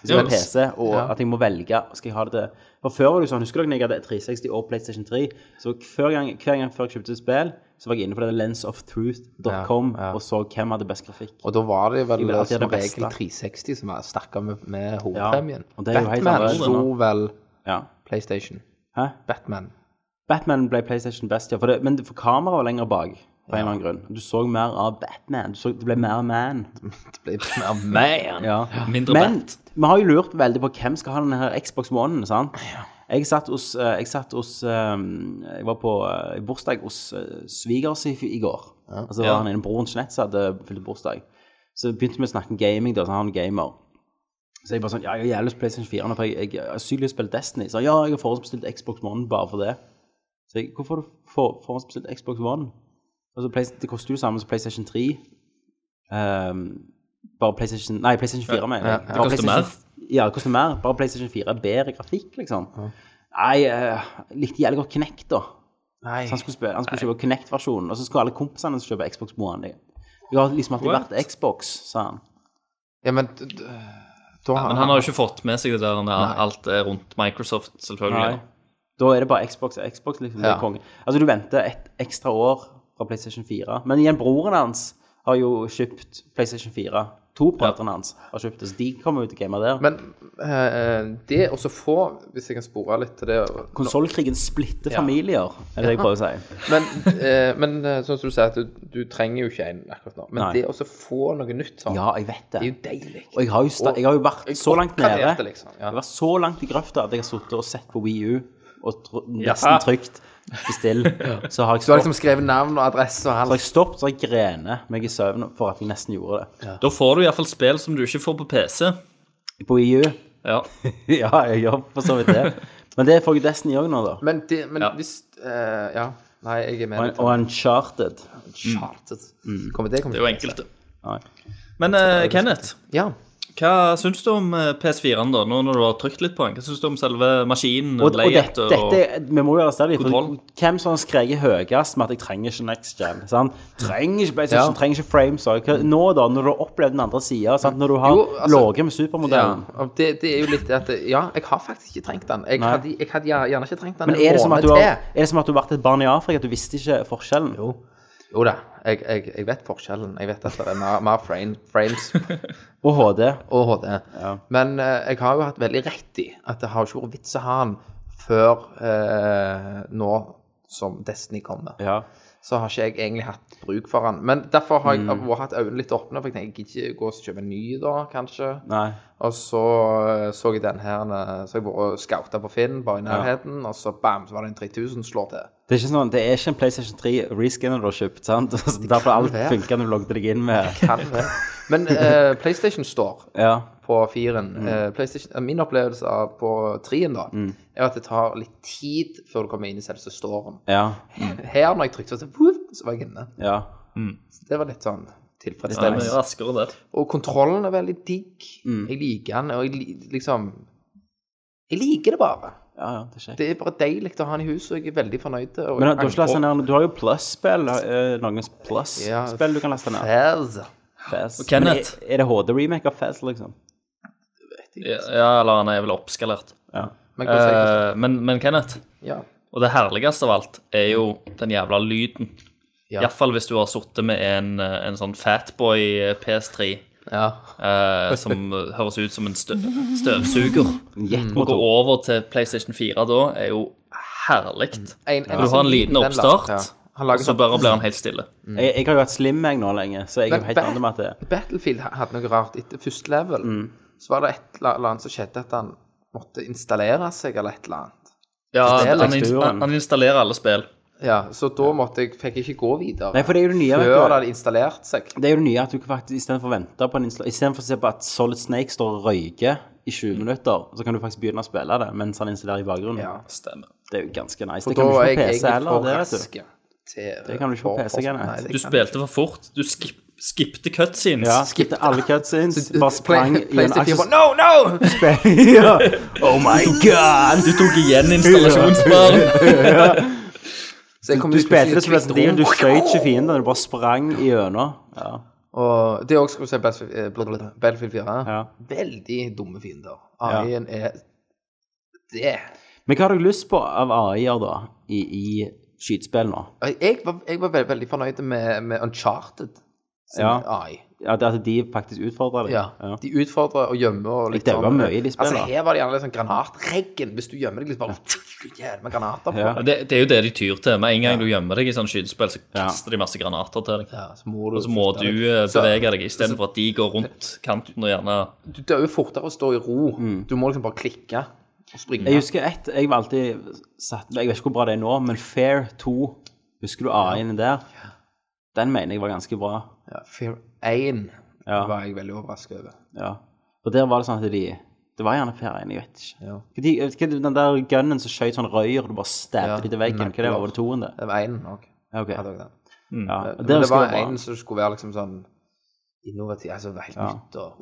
[SPEAKER 1] Hvis jeg har
[SPEAKER 5] Jo,
[SPEAKER 1] PC, og at jeg må velge Skal jeg ha det til For Før var det jo sånn, husker dere når jeg hadde 360 og PlayStation 3? Så hver gang, hver gang før jeg kjøpte spill, så var jeg inne på denne lensoftruth.com
[SPEAKER 6] Ja, ja.
[SPEAKER 1] og så hvem hadde best grafikk.
[SPEAKER 6] Og da var det vel
[SPEAKER 1] Jeg vil alltid ha
[SPEAKER 6] som
[SPEAKER 1] det beste.
[SPEAKER 6] regel 360 som jeg snakka med, med hovedpremien.
[SPEAKER 1] og det er jo helt
[SPEAKER 6] Batman
[SPEAKER 1] annerledes
[SPEAKER 6] slo
[SPEAKER 1] nå.
[SPEAKER 6] vel
[SPEAKER 1] Ja.
[SPEAKER 6] PlayStation.
[SPEAKER 1] Hæ?
[SPEAKER 6] Batman.
[SPEAKER 1] Batman ble PlayStation best, ja. For det, men det- for kameraet var lenger bak. På en eller annen grunn. Du så mer av Batman. Du så, det ble mer man.
[SPEAKER 6] Det ble mer
[SPEAKER 5] Man!
[SPEAKER 1] Ja.
[SPEAKER 5] Mindre
[SPEAKER 1] Men
[SPEAKER 5] bet.
[SPEAKER 1] vi har jo lurt veldig på hvem skal ha denne her Xbox One. sant? Jeg satt hos, eh, jeg, satt hos ehm, jeg var på eh, bursdag hos eh, svigers i, i går. Altså det var
[SPEAKER 5] Ja.
[SPEAKER 1] han ene broren Jeanette som hadde fylt bursdag. Så begynte vi å snakke om gaming, da, så han er gamer. Så jeg bare sånn, ja, jeg har jævlig lyst på PlayStation 4 nå, for jeg, jeg, jeg har sykt lyst til å spille Destiny. Så han, ja, jeg har forhåndsbestilt Xbox One bare for det. Så jeg, hvorfor har du for, forhåndsbestilt Xbox One? Altså, Play- det koster jo samme som PlayStation 3. Ehm, bare PlayStation Nei, PlayStation 4, mener jeg. Bare
[SPEAKER 5] Det koster
[SPEAKER 1] PlayStation- Ja, det koster mer. Bare PlayStation 4 er bedre grafikk, liksom. Nei, eh, litt jævlig godt Kinect, da.
[SPEAKER 6] Nei.
[SPEAKER 1] Så han skulle, spille, han skulle kjøpe Kinect-versjonen, og så skulle alle kompisene hans kjøpe Xbox One. Jeg jeg har liksom alltid
[SPEAKER 5] What?
[SPEAKER 1] vært Xbox, sa han.
[SPEAKER 6] Ja, men d- d- da
[SPEAKER 5] Men han har jo ikke fått med seg det der, han der alt er rundt Microsoft, selvfølgelig.
[SPEAKER 1] Nei. Da er det bare Xbox og Xbox, liksom. Det
[SPEAKER 6] Ja.
[SPEAKER 1] er konge. Altså, du venter et ekstra år fra PlayStation 4. Men igjen, broren hans har jo kjøpt PlayStation 4. To brødrene hans har kjøpt det, så de kommer jo til å game der. Men
[SPEAKER 6] Men eh, det å så få Hvis jeg kan spore litt til det
[SPEAKER 1] konsollkrigen splitter familier, er det jeg prøver å si.
[SPEAKER 6] Men, eh, men eh, sånn som du sier, at du, du trenger jo ikke en akkurat nå. Men
[SPEAKER 1] Nei.
[SPEAKER 6] det å så få noe nytt sånn,
[SPEAKER 1] Ja, jeg vet det.
[SPEAKER 6] det er jo deilig.
[SPEAKER 1] Og jeg har jo, sta jeg har jo vært
[SPEAKER 6] Jeg
[SPEAKER 1] så langt nede.
[SPEAKER 6] oppgraderte liksom, ja.
[SPEAKER 1] Jeg har vært så langt i grøfta at jeg har sittet og sett på Wii U og tro- nesten trygt bestill. Så har jeg
[SPEAKER 6] Du har
[SPEAKER 1] stoppet,
[SPEAKER 6] liksom skrevet navn og adresse og
[SPEAKER 1] så har
[SPEAKER 6] alt.
[SPEAKER 1] jeg, stoppet, så har jeg grenet meg i søvn for at jeg nesten gjorde det.
[SPEAKER 5] Da får du iallfall spill som du ikke får på PC.
[SPEAKER 1] På Wii U
[SPEAKER 5] Ja.
[SPEAKER 1] Ja, jeg gjør for så vidt det. Men det får jeg Destiny òg nå, da.
[SPEAKER 6] Men, det, men
[SPEAKER 5] Ja.
[SPEAKER 6] hvis eh, Ja. Nei, jeg er med.
[SPEAKER 1] Og, og Uncharted.
[SPEAKER 6] Charted.
[SPEAKER 1] Mm.
[SPEAKER 6] Kommer det, kommer
[SPEAKER 5] Det er jo enkelte.
[SPEAKER 1] Nei.
[SPEAKER 5] Men eh, Kenneth,
[SPEAKER 6] Ja.
[SPEAKER 5] hva syns du om eh, PS4-en, da? Nå når du har trykt litt på den, hva syns du om selve maskinen?
[SPEAKER 1] Og, og
[SPEAKER 5] layoutet
[SPEAKER 1] dette, dette Vi må jo arrestere dem.
[SPEAKER 5] Kontroll.
[SPEAKER 1] for Hvem som har skreket høyest med at 'jeg trenger ikke next gen'? Sant? Trenger ikke PlayStation,
[SPEAKER 6] Ja.
[SPEAKER 1] trenger ikke frames. og hva- Nå, da, når du har opplevd den andre sida, når du har
[SPEAKER 6] Jo, altså-
[SPEAKER 1] ligget med
[SPEAKER 6] ja.
[SPEAKER 1] supermodellen
[SPEAKER 6] og Det, det er jo litt det at Ja, jeg har faktisk ikke trengt den. Jeg
[SPEAKER 1] Nei.
[SPEAKER 6] hadde, jeg hadde gjerne ikke trengt den.
[SPEAKER 1] Men
[SPEAKER 6] en
[SPEAKER 1] er det, som at
[SPEAKER 6] måned
[SPEAKER 1] du har,
[SPEAKER 6] til.
[SPEAKER 1] er det som at du har vært et barn i Afrika, at du visste ikke forskjellen?
[SPEAKER 6] Jo, jo da. Jeg, jeg, jeg vet forskjellen. Jeg vet at det er mer, mer frame, frames
[SPEAKER 1] Og HD.
[SPEAKER 6] og HD. Men eh, jeg har jo hatt veldig rett i at det har ikke vært vits å ha den før eh, nå som Destiny kommer.
[SPEAKER 1] Ja.
[SPEAKER 6] Så har ikke jeg egentlig hatt bruk for den. Men derfor har jeg vært- hatt øynene litt åpne. For jeg tenker, jeg gidder ikke gå og kjøpe en ny da, kanskje.
[SPEAKER 1] Nei.
[SPEAKER 6] Og så eh, så jeg den her eh, Så jeg bare skauta på Finn, bare i nærheten, og så bam, så var det en 3000 slår til.
[SPEAKER 1] Det er ikke sånn, det er ikke en PlayStation 3 reskinner du har kjøpt, sant? Så Derfor alt
[SPEAKER 6] være.
[SPEAKER 1] funka når du logget deg inn med
[SPEAKER 6] Kan det. Men eh, PlayStation Store
[SPEAKER 1] Ja.
[SPEAKER 6] på firen. Eh, PlayStation- eh, min opplevelse av på trien da, er at det tar litt tid før du kommer inn i selve storyen.
[SPEAKER 1] Ja.
[SPEAKER 6] Her når jeg trykte, så, whoop, så var jeg inne.
[SPEAKER 1] ja.
[SPEAKER 6] Så det var litt sånn
[SPEAKER 5] Det er
[SPEAKER 6] tilfredsstillende.
[SPEAKER 5] mye raskere der.
[SPEAKER 6] Og kontrollen er veldig digg. Jeg liker den, og jeg li- liksom Jeg liker det bare.
[SPEAKER 1] Ja, ja, det er kjekt.
[SPEAKER 6] Det er bare deilig å ha den i huset, og jeg er veldig fornøyd. Og
[SPEAKER 1] Men
[SPEAKER 6] jeg
[SPEAKER 1] du har, ikke lastet
[SPEAKER 6] angrer-
[SPEAKER 1] ned, du har jo Plus-spill. eh, Noen Plus-spill du kan laste ned.
[SPEAKER 6] Fez.
[SPEAKER 1] Fez.
[SPEAKER 5] Og Kenneth.
[SPEAKER 1] Men Er er det HD-remake av Fez, liksom?
[SPEAKER 5] Ja, ja, eller han er vel oppskalert.
[SPEAKER 1] Ja.
[SPEAKER 6] Men hva sier du?
[SPEAKER 5] Eh, men, men Kenneth,
[SPEAKER 6] Ja.
[SPEAKER 5] og det herligste av alt er jo den jævla lyden.
[SPEAKER 6] Ja.
[SPEAKER 5] Iallfall hvis du har sittet med en, eh, en sånn Fatboy PS3
[SPEAKER 6] ja.
[SPEAKER 5] eh, som eh, høres ut som en stø støvsuger.
[SPEAKER 6] Mm.
[SPEAKER 5] Å gå
[SPEAKER 1] Jetmotor.
[SPEAKER 5] over til PlayStation 4 da er jo herlig.
[SPEAKER 6] En-
[SPEAKER 5] Du har en liten
[SPEAKER 6] den la-
[SPEAKER 5] oppstart,
[SPEAKER 6] ja. Han
[SPEAKER 5] og
[SPEAKER 6] lager
[SPEAKER 5] så
[SPEAKER 6] sånn-
[SPEAKER 5] bare blir han helt stille.
[SPEAKER 6] Mm.
[SPEAKER 1] Jeg, jeg har jo hatt slim meg nå lenge, så jeg er jo helt
[SPEAKER 6] Ba-
[SPEAKER 1] vant med at det
[SPEAKER 6] Battlefield ha- hadde noe rart. Etter første level
[SPEAKER 1] Mm.
[SPEAKER 6] så var det et eller annet som skjedde at han måtte installere seg, eller et eller annet.
[SPEAKER 5] Ja,
[SPEAKER 6] Spillet,
[SPEAKER 5] han, inst-
[SPEAKER 1] teksturen.
[SPEAKER 5] han, han installerer alle spill.
[SPEAKER 6] Ja, Så da måtte jeg, fikk jeg ikke gå videre
[SPEAKER 1] Nei, for det er jo det nye, vet
[SPEAKER 6] før
[SPEAKER 1] du.
[SPEAKER 6] det hadde installert seg.
[SPEAKER 1] Det er jo det nye at du kan faktisk istedenfor å vente på en install- Istedenfor å se på at Solid Snake står og røyker i 20 minutter, så kan du faktisk begynne å spille det mens han installerer i bakgrunnen.
[SPEAKER 6] Mm. Ja.
[SPEAKER 5] Stemmer.
[SPEAKER 1] Det er jo ganske nice.
[SPEAKER 6] For
[SPEAKER 1] Det kan du
[SPEAKER 6] da
[SPEAKER 1] ikke
[SPEAKER 6] er jeg
[SPEAKER 1] på PC
[SPEAKER 6] egentlig
[SPEAKER 1] heller,
[SPEAKER 6] for
[SPEAKER 1] det, vet du.
[SPEAKER 6] rask til
[SPEAKER 1] Det kan du ikke på
[SPEAKER 6] for-
[SPEAKER 1] PC,
[SPEAKER 6] for-
[SPEAKER 1] Kenneth.
[SPEAKER 6] Nei, det
[SPEAKER 5] Du
[SPEAKER 6] kan jeg
[SPEAKER 5] spilte for fort. Du skip, skipte cutscenes.
[SPEAKER 1] Ja, skipte alle cutscenes,
[SPEAKER 6] ikke.
[SPEAKER 1] bare sprang i en
[SPEAKER 6] PlayStation 4
[SPEAKER 1] aksjes...
[SPEAKER 6] bare, No, no!
[SPEAKER 1] ja. Oh my god!
[SPEAKER 5] Du tok igjen installasjonsbarn.
[SPEAKER 6] Så jeg kom
[SPEAKER 1] Du
[SPEAKER 6] ut plutselig
[SPEAKER 1] spilte det som
[SPEAKER 6] i et
[SPEAKER 1] Resident Evil, du
[SPEAKER 6] kvitt rom,
[SPEAKER 1] skjøt ikke fienden, du bare sprang gjennom. Ja.
[SPEAKER 6] Og det er også, skal vi se, Battlefield- eh, blablabla, Battlefield 4.
[SPEAKER 1] Ja.
[SPEAKER 6] Veldig dumme fiender. AI-en er det.
[SPEAKER 1] Men hva har du lyst på av AI-er, da, i, i skytespill nå?
[SPEAKER 6] Og Jeg var, jeg var veldig, veldig fornøyd med, med Uncharted sin
[SPEAKER 1] Ja.
[SPEAKER 6] AI.
[SPEAKER 1] Ja, det At de faktisk utfordrer deg?
[SPEAKER 6] Ja. De utfordrer og gjemmer og litt
[SPEAKER 1] Det var mye i de spillene.
[SPEAKER 6] Altså, her var det gjerne litt sånn granatregn. Hvis du gjemmer deg litt, bare jævla granater på.
[SPEAKER 1] Ja.
[SPEAKER 5] Ja, Det, det er jo det de tyr til. Med en gang du gjemmer deg i sånn skytespill, så
[SPEAKER 1] Ja.
[SPEAKER 5] kaster de masse granater til deg.
[SPEAKER 6] Ja, så må du,
[SPEAKER 5] Og så må du eh, bevege deg istedenfor at de går rundt kanten og gjerne
[SPEAKER 6] Du dør jo fortere å stå i ro. Du må liksom bare klikke og springe.
[SPEAKER 1] Mm. Jeg husker ett Jeg var alltid satt Jeg vet ikke hvor bra det er nå, men Fair 2 Husker du AI-en der? Den mener jeg var ganske bra.
[SPEAKER 6] Ja, Fear 1
[SPEAKER 1] Ja.
[SPEAKER 6] var jeg veldig overrasket over.
[SPEAKER 1] Ja. Og der var det sånn at de Det var gjerne Fair 1, jeg vet ikke.
[SPEAKER 6] Ja.
[SPEAKER 1] Hva De, hva de- den der gunnen som skjøt sånn røyer, og du bare stabbet
[SPEAKER 6] Ja,
[SPEAKER 1] de til veggen. Hva det var, var det toen, det?
[SPEAKER 6] Det var 1 òg.
[SPEAKER 1] Ja, ok.
[SPEAKER 6] hadde også den.
[SPEAKER 1] Ja. og
[SPEAKER 6] Men
[SPEAKER 1] Der
[SPEAKER 6] det
[SPEAKER 1] husker
[SPEAKER 6] var
[SPEAKER 1] jeg var
[SPEAKER 6] en
[SPEAKER 1] bra.
[SPEAKER 6] som skulle være liksom sånn innovativ, altså helt nytt og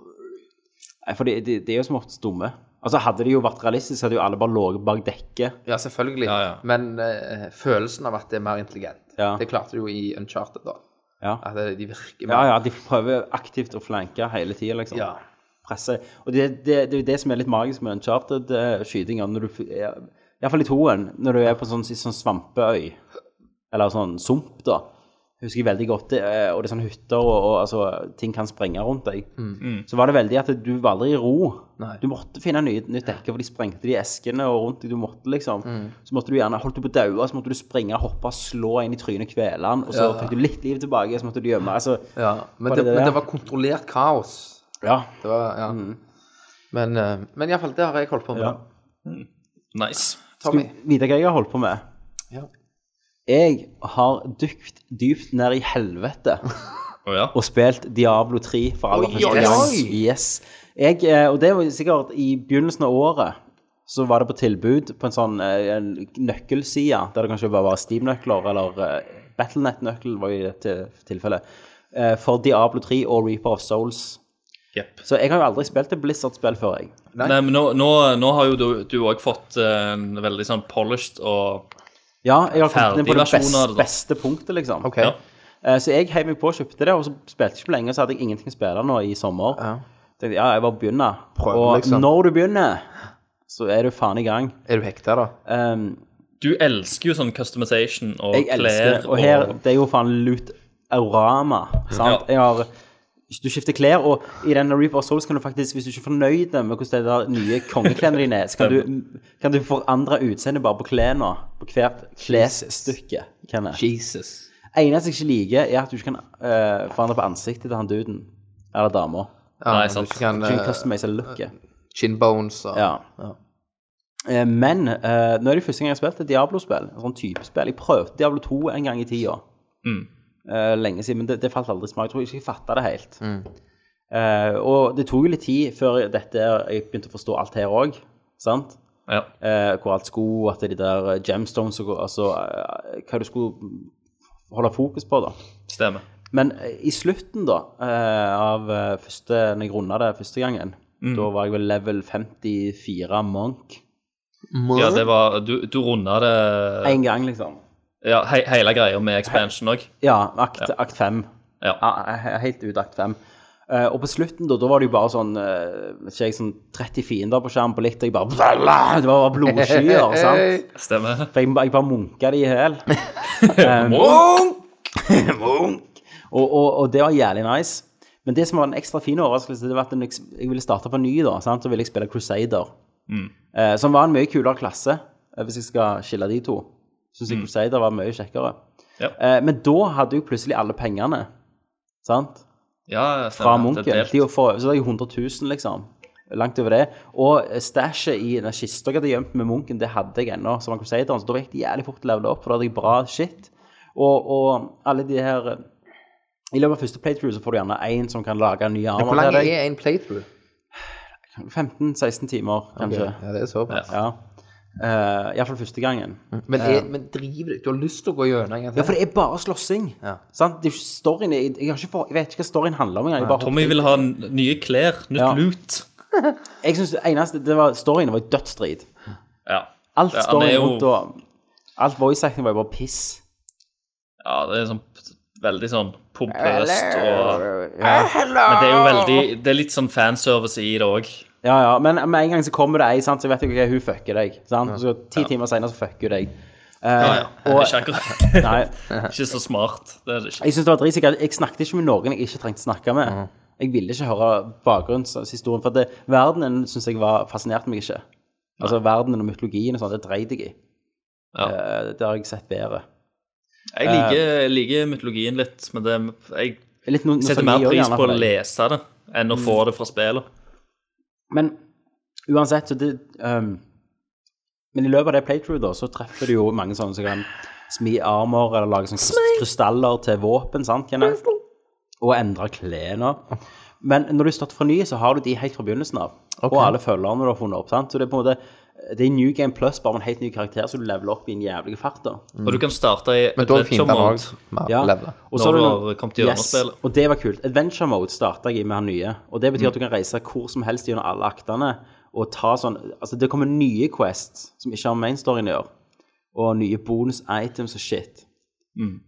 [SPEAKER 1] Nei, For de, de, de er jo som oftest dumme. Altså Hadde de jo vært realistiske, hadde jo alle bare ligget bak dekket.
[SPEAKER 6] Ja, selvfølgelig.
[SPEAKER 5] Ja, ja.
[SPEAKER 6] Men eh, følelsen av at det er mer intelligent,
[SPEAKER 1] Ja.
[SPEAKER 6] det klarte du jo i Uncharted, da.
[SPEAKER 1] Ja.
[SPEAKER 6] At det, de
[SPEAKER 1] ja,
[SPEAKER 6] virker mer
[SPEAKER 1] ja, de prøver aktivt å flanke hele tida, liksom.
[SPEAKER 6] Ja.
[SPEAKER 1] presse. Og det, det, det er jo det som er litt magisk med Uncharted-skytinga. Iallfall i toen, når du er på sånn, sånn svampeøy, eller sånn sump, da. Husker jeg veldig godt, det, eh, og det er sånne hytter, og, og altså, ting kan sprenge rundt deg. Så var det veldig at du var aldri i ro.
[SPEAKER 6] Mm. Nei.
[SPEAKER 1] Du måtte finne nye, nytt dekke, for de sprengte de eskene og rundt deg. Du måtte liksom.
[SPEAKER 6] Mm.
[SPEAKER 1] Så måtte du gjerne, holdt du på å daue, så måtte du springe, hoppe, slå inn i trynet, kvele han, og så fikk du litt liv tilbake, så måtte du gjemme. Altså,
[SPEAKER 6] Ja, men,
[SPEAKER 1] Var det
[SPEAKER 6] det,
[SPEAKER 1] det
[SPEAKER 6] men
[SPEAKER 1] der?
[SPEAKER 6] det var kontrollert kaos.
[SPEAKER 1] ja.
[SPEAKER 6] Det var, ja. Men, uh, men iallfall, det har jeg holdt på med.
[SPEAKER 1] Ja.
[SPEAKER 6] da.
[SPEAKER 5] Nice.
[SPEAKER 1] Skal
[SPEAKER 6] Tommy.
[SPEAKER 1] du vite hva jeg har holdt på med?
[SPEAKER 6] Ja.
[SPEAKER 1] Jeg har dykt dypt ned i helvete
[SPEAKER 5] Å ja.
[SPEAKER 1] og spilt Diablo 3 for aller
[SPEAKER 6] Oi,
[SPEAKER 1] første
[SPEAKER 6] oi,
[SPEAKER 1] gang.
[SPEAKER 6] oi.
[SPEAKER 1] Yes. Jeg, eh, og det var sikkert i begynnelsen av året, så var det på tilbud på en sånn eh, en nøkkelside, der det kanskje bare var Steam-nøkler, eller eh, Battlenet-nøkkel var jo i dette tilfellet, eh, for Diablo 3 og Reaper of Souls.
[SPEAKER 5] Jepp.
[SPEAKER 1] Så jeg har jo aldri spilt et Blizzard-spill før, jeg.
[SPEAKER 5] Nei. men nå, nå, nå har jo du- du òg fått eh, en veldig sånn polished og
[SPEAKER 1] Ja, jeg har kommet
[SPEAKER 5] Ferdig
[SPEAKER 1] inn på det
[SPEAKER 5] versjon av
[SPEAKER 1] beste,
[SPEAKER 5] det, da.
[SPEAKER 1] beste punktet, liksom.
[SPEAKER 6] Ok.
[SPEAKER 5] Ja.
[SPEAKER 1] Eh, Så jeg heiv meg på og kjøpte det, og så spilte jeg ikke på lenge, og så hadde jeg ingenting å spille nå i sommer.
[SPEAKER 6] Ja.
[SPEAKER 1] Tenkte, ja, jeg bare begynner.
[SPEAKER 6] Prøv,
[SPEAKER 1] og
[SPEAKER 6] liksom.
[SPEAKER 1] når du begynner, så er du faen i gang.
[SPEAKER 6] Er du hekta, da?
[SPEAKER 1] Um,
[SPEAKER 5] Du elsker jo sånn customization og
[SPEAKER 1] jeg elsker
[SPEAKER 5] klær
[SPEAKER 1] det. Og her, det er jo faen loot aurama, sant?
[SPEAKER 5] Ja.
[SPEAKER 1] Jeg har du skifter klær, og i den Reaper of Souls kan du faktisk, hvis du ikke er fornøyd med hvordan det der nye kongeklærne dine er, så kan du, kan du forandre utseendet bare på klærne, på hvert klesstykke. Kenneth.
[SPEAKER 6] Jesus.
[SPEAKER 1] eneste jeg ikke liker, er at du ikke kan eh, forandre på ansiktet til han duden. Eller dama. Du
[SPEAKER 6] Ja,
[SPEAKER 5] Nei,
[SPEAKER 6] du
[SPEAKER 5] sant.
[SPEAKER 6] ikke Kan,
[SPEAKER 1] kan ikke
[SPEAKER 6] uh,
[SPEAKER 1] customize looket.
[SPEAKER 6] chin bones og
[SPEAKER 1] Ja. Eh, men eh, nå er det første gang jeg har spilt et Diablo-spill. En sånn type spill. Jeg prøvde Diablo 2 en gang i tida. Eh, lenge siden, men det, det falt aldri i smak. Jeg tror ikke jeg fatta det helt. Eh, og det tok jo litt tid før dette, jeg begynte å forstå alt her òg, sant?
[SPEAKER 5] Ja.
[SPEAKER 1] eh, hvor alt skulle, at de der gemstones og altså, eh, hva du skulle holde fokus på, da.
[SPEAKER 5] Stemmer.
[SPEAKER 1] Men eh, i slutten, da, eh, av eh, første, når jeg runda det første gangen, da var jeg vel level 54 Monk.
[SPEAKER 5] Ja, det var Du, du runda det
[SPEAKER 1] Én gang, liksom.
[SPEAKER 5] Ja, he, hele greia med expansion òg.
[SPEAKER 1] Ja, akt, akt 5.
[SPEAKER 5] Ja.
[SPEAKER 1] Ja, he- helt ut akt 5. Eh, og på slutten, da, da var det jo bare sånn eh, vet ikke jeg, sånn 30 fiender på skjermen på likt, og jeg bare Det var bare blodskyer, sant?
[SPEAKER 5] Stemmer.
[SPEAKER 1] For jeg, jeg bare munka de i hjel. Um, Og, og, og det var jævlig nice. Men det som var en ekstra fin overraskelse, det var at jeg, jeg ville starte på ny, da, sant? så ville jeg spille Crusader. Eh, som var en mye kulere klasse, eh, hvis jeg skal skille de to. Syns jeg Crusader var mye kjekkere.
[SPEAKER 5] Ja.
[SPEAKER 1] Eh, men da hadde jeg plutselig alle pengene, sant?
[SPEAKER 5] Ja,
[SPEAKER 1] fra
[SPEAKER 5] stemmer. Det
[SPEAKER 1] munken.
[SPEAKER 5] er
[SPEAKER 1] De
[SPEAKER 5] delt.
[SPEAKER 1] var for, så var jeg 100 000, liksom. Langt over det. Og stæsjet i den kista jeg hadde gjemt med munken, det hadde jeg ennå, som var crusaderen, så da gikk det jævlig fort å levele opp, for da hadde jeg bra shit. Og, og alle de her I løpet av første playthrough så får du gjerne én som kan lage en ny
[SPEAKER 6] Hvor
[SPEAKER 1] armer
[SPEAKER 6] lang
[SPEAKER 1] til deg.
[SPEAKER 6] er en playthrough?
[SPEAKER 1] 15-16 timer, kanskje.
[SPEAKER 6] Ja, det er såpass.
[SPEAKER 1] Ja. Uh, Iallfall første gangen.
[SPEAKER 6] Men, er, men driver du? Du har lyst til å gå gjennom en gang
[SPEAKER 1] Ja,
[SPEAKER 6] til?
[SPEAKER 1] for det er bare slåssing.
[SPEAKER 6] Ja.
[SPEAKER 1] Sant? Det er jo ikke storyen jeg, jeg, har ikke for, jeg vet ikke hva storyen handler om engang. jeg bare
[SPEAKER 5] Tommy vil ha n- nye klær, nytt
[SPEAKER 1] Ja.
[SPEAKER 5] lut.
[SPEAKER 1] Jeg synes det eneste det var, Storyen var jo dødsdrit.
[SPEAKER 5] Ja.
[SPEAKER 1] Alt
[SPEAKER 5] Ja, han
[SPEAKER 1] storyen
[SPEAKER 5] er jo-
[SPEAKER 1] rundt og Alt voice acting var jo bare piss.
[SPEAKER 5] ja, det er sånn veldig sånn pompøst og Men det er jo veldig Det er litt sånn fanservice i det òg.
[SPEAKER 1] Ja, ja, men med en gang så kommer det ei, sant, så vet jeg ok, hun fucker deg. Sant? Så ti timer senere så fucker hun deg. Eh, og-
[SPEAKER 5] Ikke akkurat
[SPEAKER 1] nei,
[SPEAKER 5] Ikke så smart. Det er det ikke.
[SPEAKER 1] jeg synes det var dritsikkert. Jeg snakket ikke med noen jeg ikke trengte snakke med. Jeg ville ikke høre bakgrunnshistorien, for det, verdenen synes jeg var, fascinerte meg ikke. Altså verdenen og mytologien og sånt, det dreide jeg i.
[SPEAKER 5] Ja.
[SPEAKER 1] Eh, det har jeg sett bedre.
[SPEAKER 5] Jeg liker, jeg liker mytologien litt, men det, jeg
[SPEAKER 1] Litt no
[SPEAKER 5] setter
[SPEAKER 1] nostalgi
[SPEAKER 5] mer
[SPEAKER 1] også
[SPEAKER 5] pris
[SPEAKER 1] gjerne
[SPEAKER 5] på
[SPEAKER 1] for
[SPEAKER 5] å
[SPEAKER 1] deg. Mm.
[SPEAKER 5] lese det enn å få det fra spillet.
[SPEAKER 1] Men uansett, så det ehm, Men i løpet av det playthrough, da, så treffer du jo mange sånne som kan smi armer eller lage sånne krys- krystaller til våpen, sant, Kenneth? Og endre klærne. Men når du starter fra ny, så har du de helt fra begynnelsen av. Og alle følgerne du har funnet opp. sant? Så det er på en måte det er New Game Plus, bare med en helt ny karakter, så du leveler opp i en jævlig fart. da.
[SPEAKER 5] Og du kan starte i
[SPEAKER 6] Men da er det fint han
[SPEAKER 5] adventure mode.
[SPEAKER 6] òg
[SPEAKER 1] Ja.
[SPEAKER 6] lever.
[SPEAKER 1] Og
[SPEAKER 5] Når
[SPEAKER 1] har
[SPEAKER 5] du
[SPEAKER 1] noen-
[SPEAKER 5] har kommet gjennom spillet.
[SPEAKER 1] Og det var kult. Adventure mode starta jeg i med han nye. Og det betyr at du kan reise hvor som helst gjennom alle aktene og ta sånn Altså, det kommer nye quests som ikke har med main storyen å gjøre. Og nye bonus items og shit.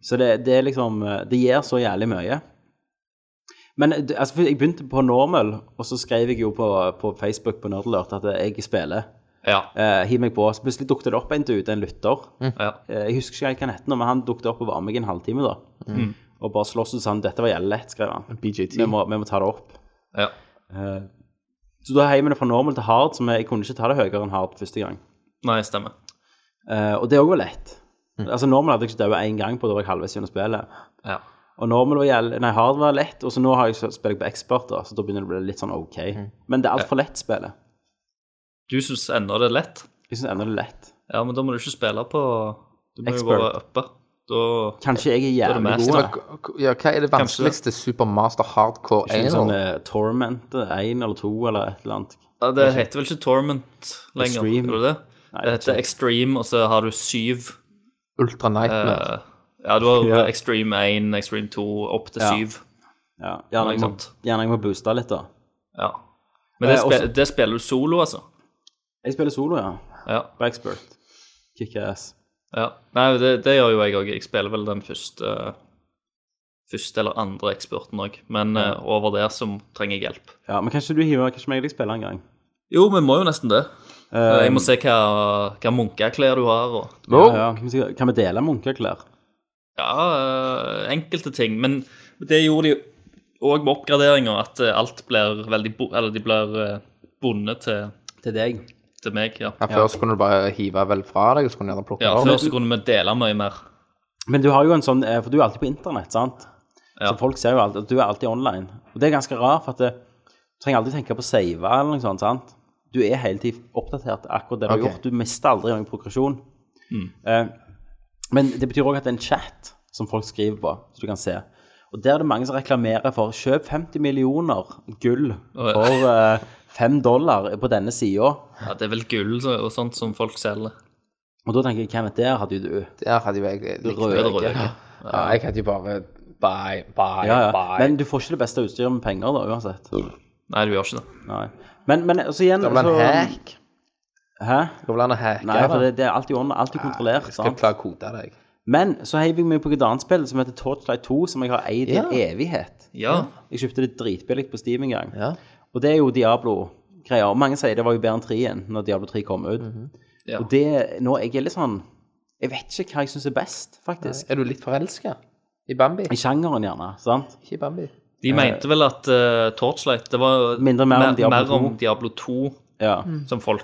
[SPEAKER 1] Så det, det er liksom eh, Det gir så jævlig mye. Men eh, det- altså, for jeg begynte på normal, og så skrev jeg jo på, på Facebook på Nerdlert at jeg spiller.
[SPEAKER 5] Ja.
[SPEAKER 1] Eh, Hiv meg på. Så plutselig dukket det opp en dude, en lytter.
[SPEAKER 5] ja.
[SPEAKER 1] Eh, Jeg husker ikke helt hva han het nå, men han dukket opp og var med meg i en halvtime da.
[SPEAKER 5] Mm.
[SPEAKER 1] Og bare slåss og sa han, dette var jævlig lett, skrev han.
[SPEAKER 6] BJT.
[SPEAKER 1] Vi må, vi må ta det opp.
[SPEAKER 5] ja.
[SPEAKER 1] Så da heier vi det fra normal til hard, som jeg, jeg kunne ikke ta det høyere enn hard første gang.
[SPEAKER 5] Nei, stemmer.
[SPEAKER 1] Eh, og det også var lett.
[SPEAKER 5] Mm.
[SPEAKER 1] Altså normal hadde jeg ikke dødd en gang på, da var jeg halvveis gjennom spillet.
[SPEAKER 5] Ja.
[SPEAKER 1] Og normal var jævlig, nei, hard var lett, og så nå har jeg så- spiller jeg på expert da, så da begynner det å bli litt sånn ok.
[SPEAKER 5] Mm.
[SPEAKER 1] Men det er alt for lett spillet.
[SPEAKER 5] Du syns ennå det er lett?
[SPEAKER 1] Jeg synes enda det er lett.
[SPEAKER 5] Ja, men da må du ikke spille på Du må jo
[SPEAKER 1] Expert.
[SPEAKER 5] være oppe. Da
[SPEAKER 1] Kanskje jeg er
[SPEAKER 5] er det
[SPEAKER 1] jævlig
[SPEAKER 5] mest,
[SPEAKER 1] god.
[SPEAKER 5] da.
[SPEAKER 1] da.
[SPEAKER 6] Ja, hva er det vanskeligste supermaster hardcore
[SPEAKER 1] Ikke sånn
[SPEAKER 6] anal?
[SPEAKER 1] eh, Torment, en eller to, eller et eller annet.
[SPEAKER 5] ja, Det heter vel ikke Torment lenger?
[SPEAKER 1] Extreme.
[SPEAKER 5] Gjør det det?
[SPEAKER 1] Nei,
[SPEAKER 5] det
[SPEAKER 1] jeg vet
[SPEAKER 5] heter Extreme, og så har du syv.
[SPEAKER 6] Ultra nightmare.
[SPEAKER 5] eh, ja, du har
[SPEAKER 1] Ja.
[SPEAKER 5] Extreme 1, Extreme 2, opp til
[SPEAKER 1] Ja.
[SPEAKER 5] syv.
[SPEAKER 1] Ja, gjerne, jeg må,
[SPEAKER 5] Noe sånt.
[SPEAKER 1] gjerne jeg må booste litt, da.
[SPEAKER 5] Ja. Men det,
[SPEAKER 1] Eh,
[SPEAKER 5] spe,
[SPEAKER 1] også-
[SPEAKER 5] det spiller du solo, altså?
[SPEAKER 1] Jeg spiller solo, ja.
[SPEAKER 5] Ja.
[SPEAKER 1] På Expert. Kickass.
[SPEAKER 5] ja. Nei, det, det gjør jo jeg òg. Jeg spiller vel den første eh, Første eller andre eksperten òg, men eh, over der så trenger jeg hjelp.
[SPEAKER 1] Ja, men kanskje du hiver Kanskje meg og deg spiller en gang?
[SPEAKER 5] Jo, vi må jo nesten det.
[SPEAKER 1] Eh,
[SPEAKER 5] jeg må se hva, hva munkeklær du har, og
[SPEAKER 1] ja, ja. Kan vi- Kan vi dele munkeklær?
[SPEAKER 5] Ja, eh, enkelte ting. Men det gjorde de òg med oppgraderinger, at eh, alt blir veldig bo Eller de blir eh, bundet til,
[SPEAKER 1] Til deg.
[SPEAKER 5] til meg. Ja.
[SPEAKER 6] Ja, først kunne du bare hive vel fra deg, og så kunne du gjerne plukke
[SPEAKER 5] ja,
[SPEAKER 6] det
[SPEAKER 5] Før
[SPEAKER 6] opp.
[SPEAKER 5] så kunne vi dele mye mer.
[SPEAKER 1] Men du har jo en sånn eh, For du er alltid på internett, sant?
[SPEAKER 5] Ja.
[SPEAKER 1] Så folk ser jo alltid at du er alltid online. Og det er ganske rart, for at det, du trenger aldri tenke på å save eller noe sånt, sant? Du er hele tiden oppdatert til akkurat det du har
[SPEAKER 6] Ok.
[SPEAKER 1] gjort. Du mister aldri noen progresjon.
[SPEAKER 5] Mm.
[SPEAKER 1] Eh, men det betyr òg at det er en chat som folk skriver på, så du kan se. Og Og der er det mange som reklamerer for kjøp 50 millioner gull
[SPEAKER 5] Å, ja.
[SPEAKER 1] for eh, 5 dollar på denne sida.
[SPEAKER 5] Ja, det er vel gull så- og sånt som folk selger.
[SPEAKER 1] Og da tenker jeg, hvem er det? Hadde jo du?
[SPEAKER 6] Der hadde jo jeg likt
[SPEAKER 1] Røde,
[SPEAKER 6] begge.
[SPEAKER 5] røde.
[SPEAKER 6] Ja, jeg hadde jo bare Bye, bye,
[SPEAKER 1] Ja, ja.
[SPEAKER 6] bye.
[SPEAKER 1] Men du får ikke det beste utstyret med penger, da, uansett.
[SPEAKER 5] Nei, du gjør ikke det.
[SPEAKER 1] Nei. Men, men så igjen
[SPEAKER 6] det var en
[SPEAKER 1] så-
[SPEAKER 6] hack.
[SPEAKER 1] Hæ?
[SPEAKER 6] Det var en hack.
[SPEAKER 1] Nei, for det, det er alltid under, alltid kontrollert.
[SPEAKER 6] Skal jeg
[SPEAKER 1] sant?
[SPEAKER 6] klare å kode deg?
[SPEAKER 1] Men så heiv jeg meg på et annet spill som heter Torchlight 2, som jeg har eid i
[SPEAKER 6] Ja.
[SPEAKER 1] evighet.
[SPEAKER 5] Ja.
[SPEAKER 1] Jeg kjøpte det dritbillig på Steam en gang.
[SPEAKER 6] Ja.
[SPEAKER 1] Og det er jo Diablo-greier. Og mange sier det var jo bedre enn 3-en når Diablo 3 kom ut.
[SPEAKER 6] Mhm.
[SPEAKER 5] Ja.
[SPEAKER 1] Og det, nå jeg er litt sånn Jeg vet ikke hva jeg syns er best, faktisk.
[SPEAKER 6] Er du litt forelska? I Bambi?
[SPEAKER 1] I sjangeren, gjerne. sant?
[SPEAKER 6] Ikke i Bambi.
[SPEAKER 5] De mente vel at eh, Torchlight Det var
[SPEAKER 1] Mindre mer om
[SPEAKER 5] mer,
[SPEAKER 1] Diablo
[SPEAKER 5] mer om
[SPEAKER 1] 2.
[SPEAKER 5] Diablo 2,
[SPEAKER 1] Ja.
[SPEAKER 6] Mm.
[SPEAKER 5] som folk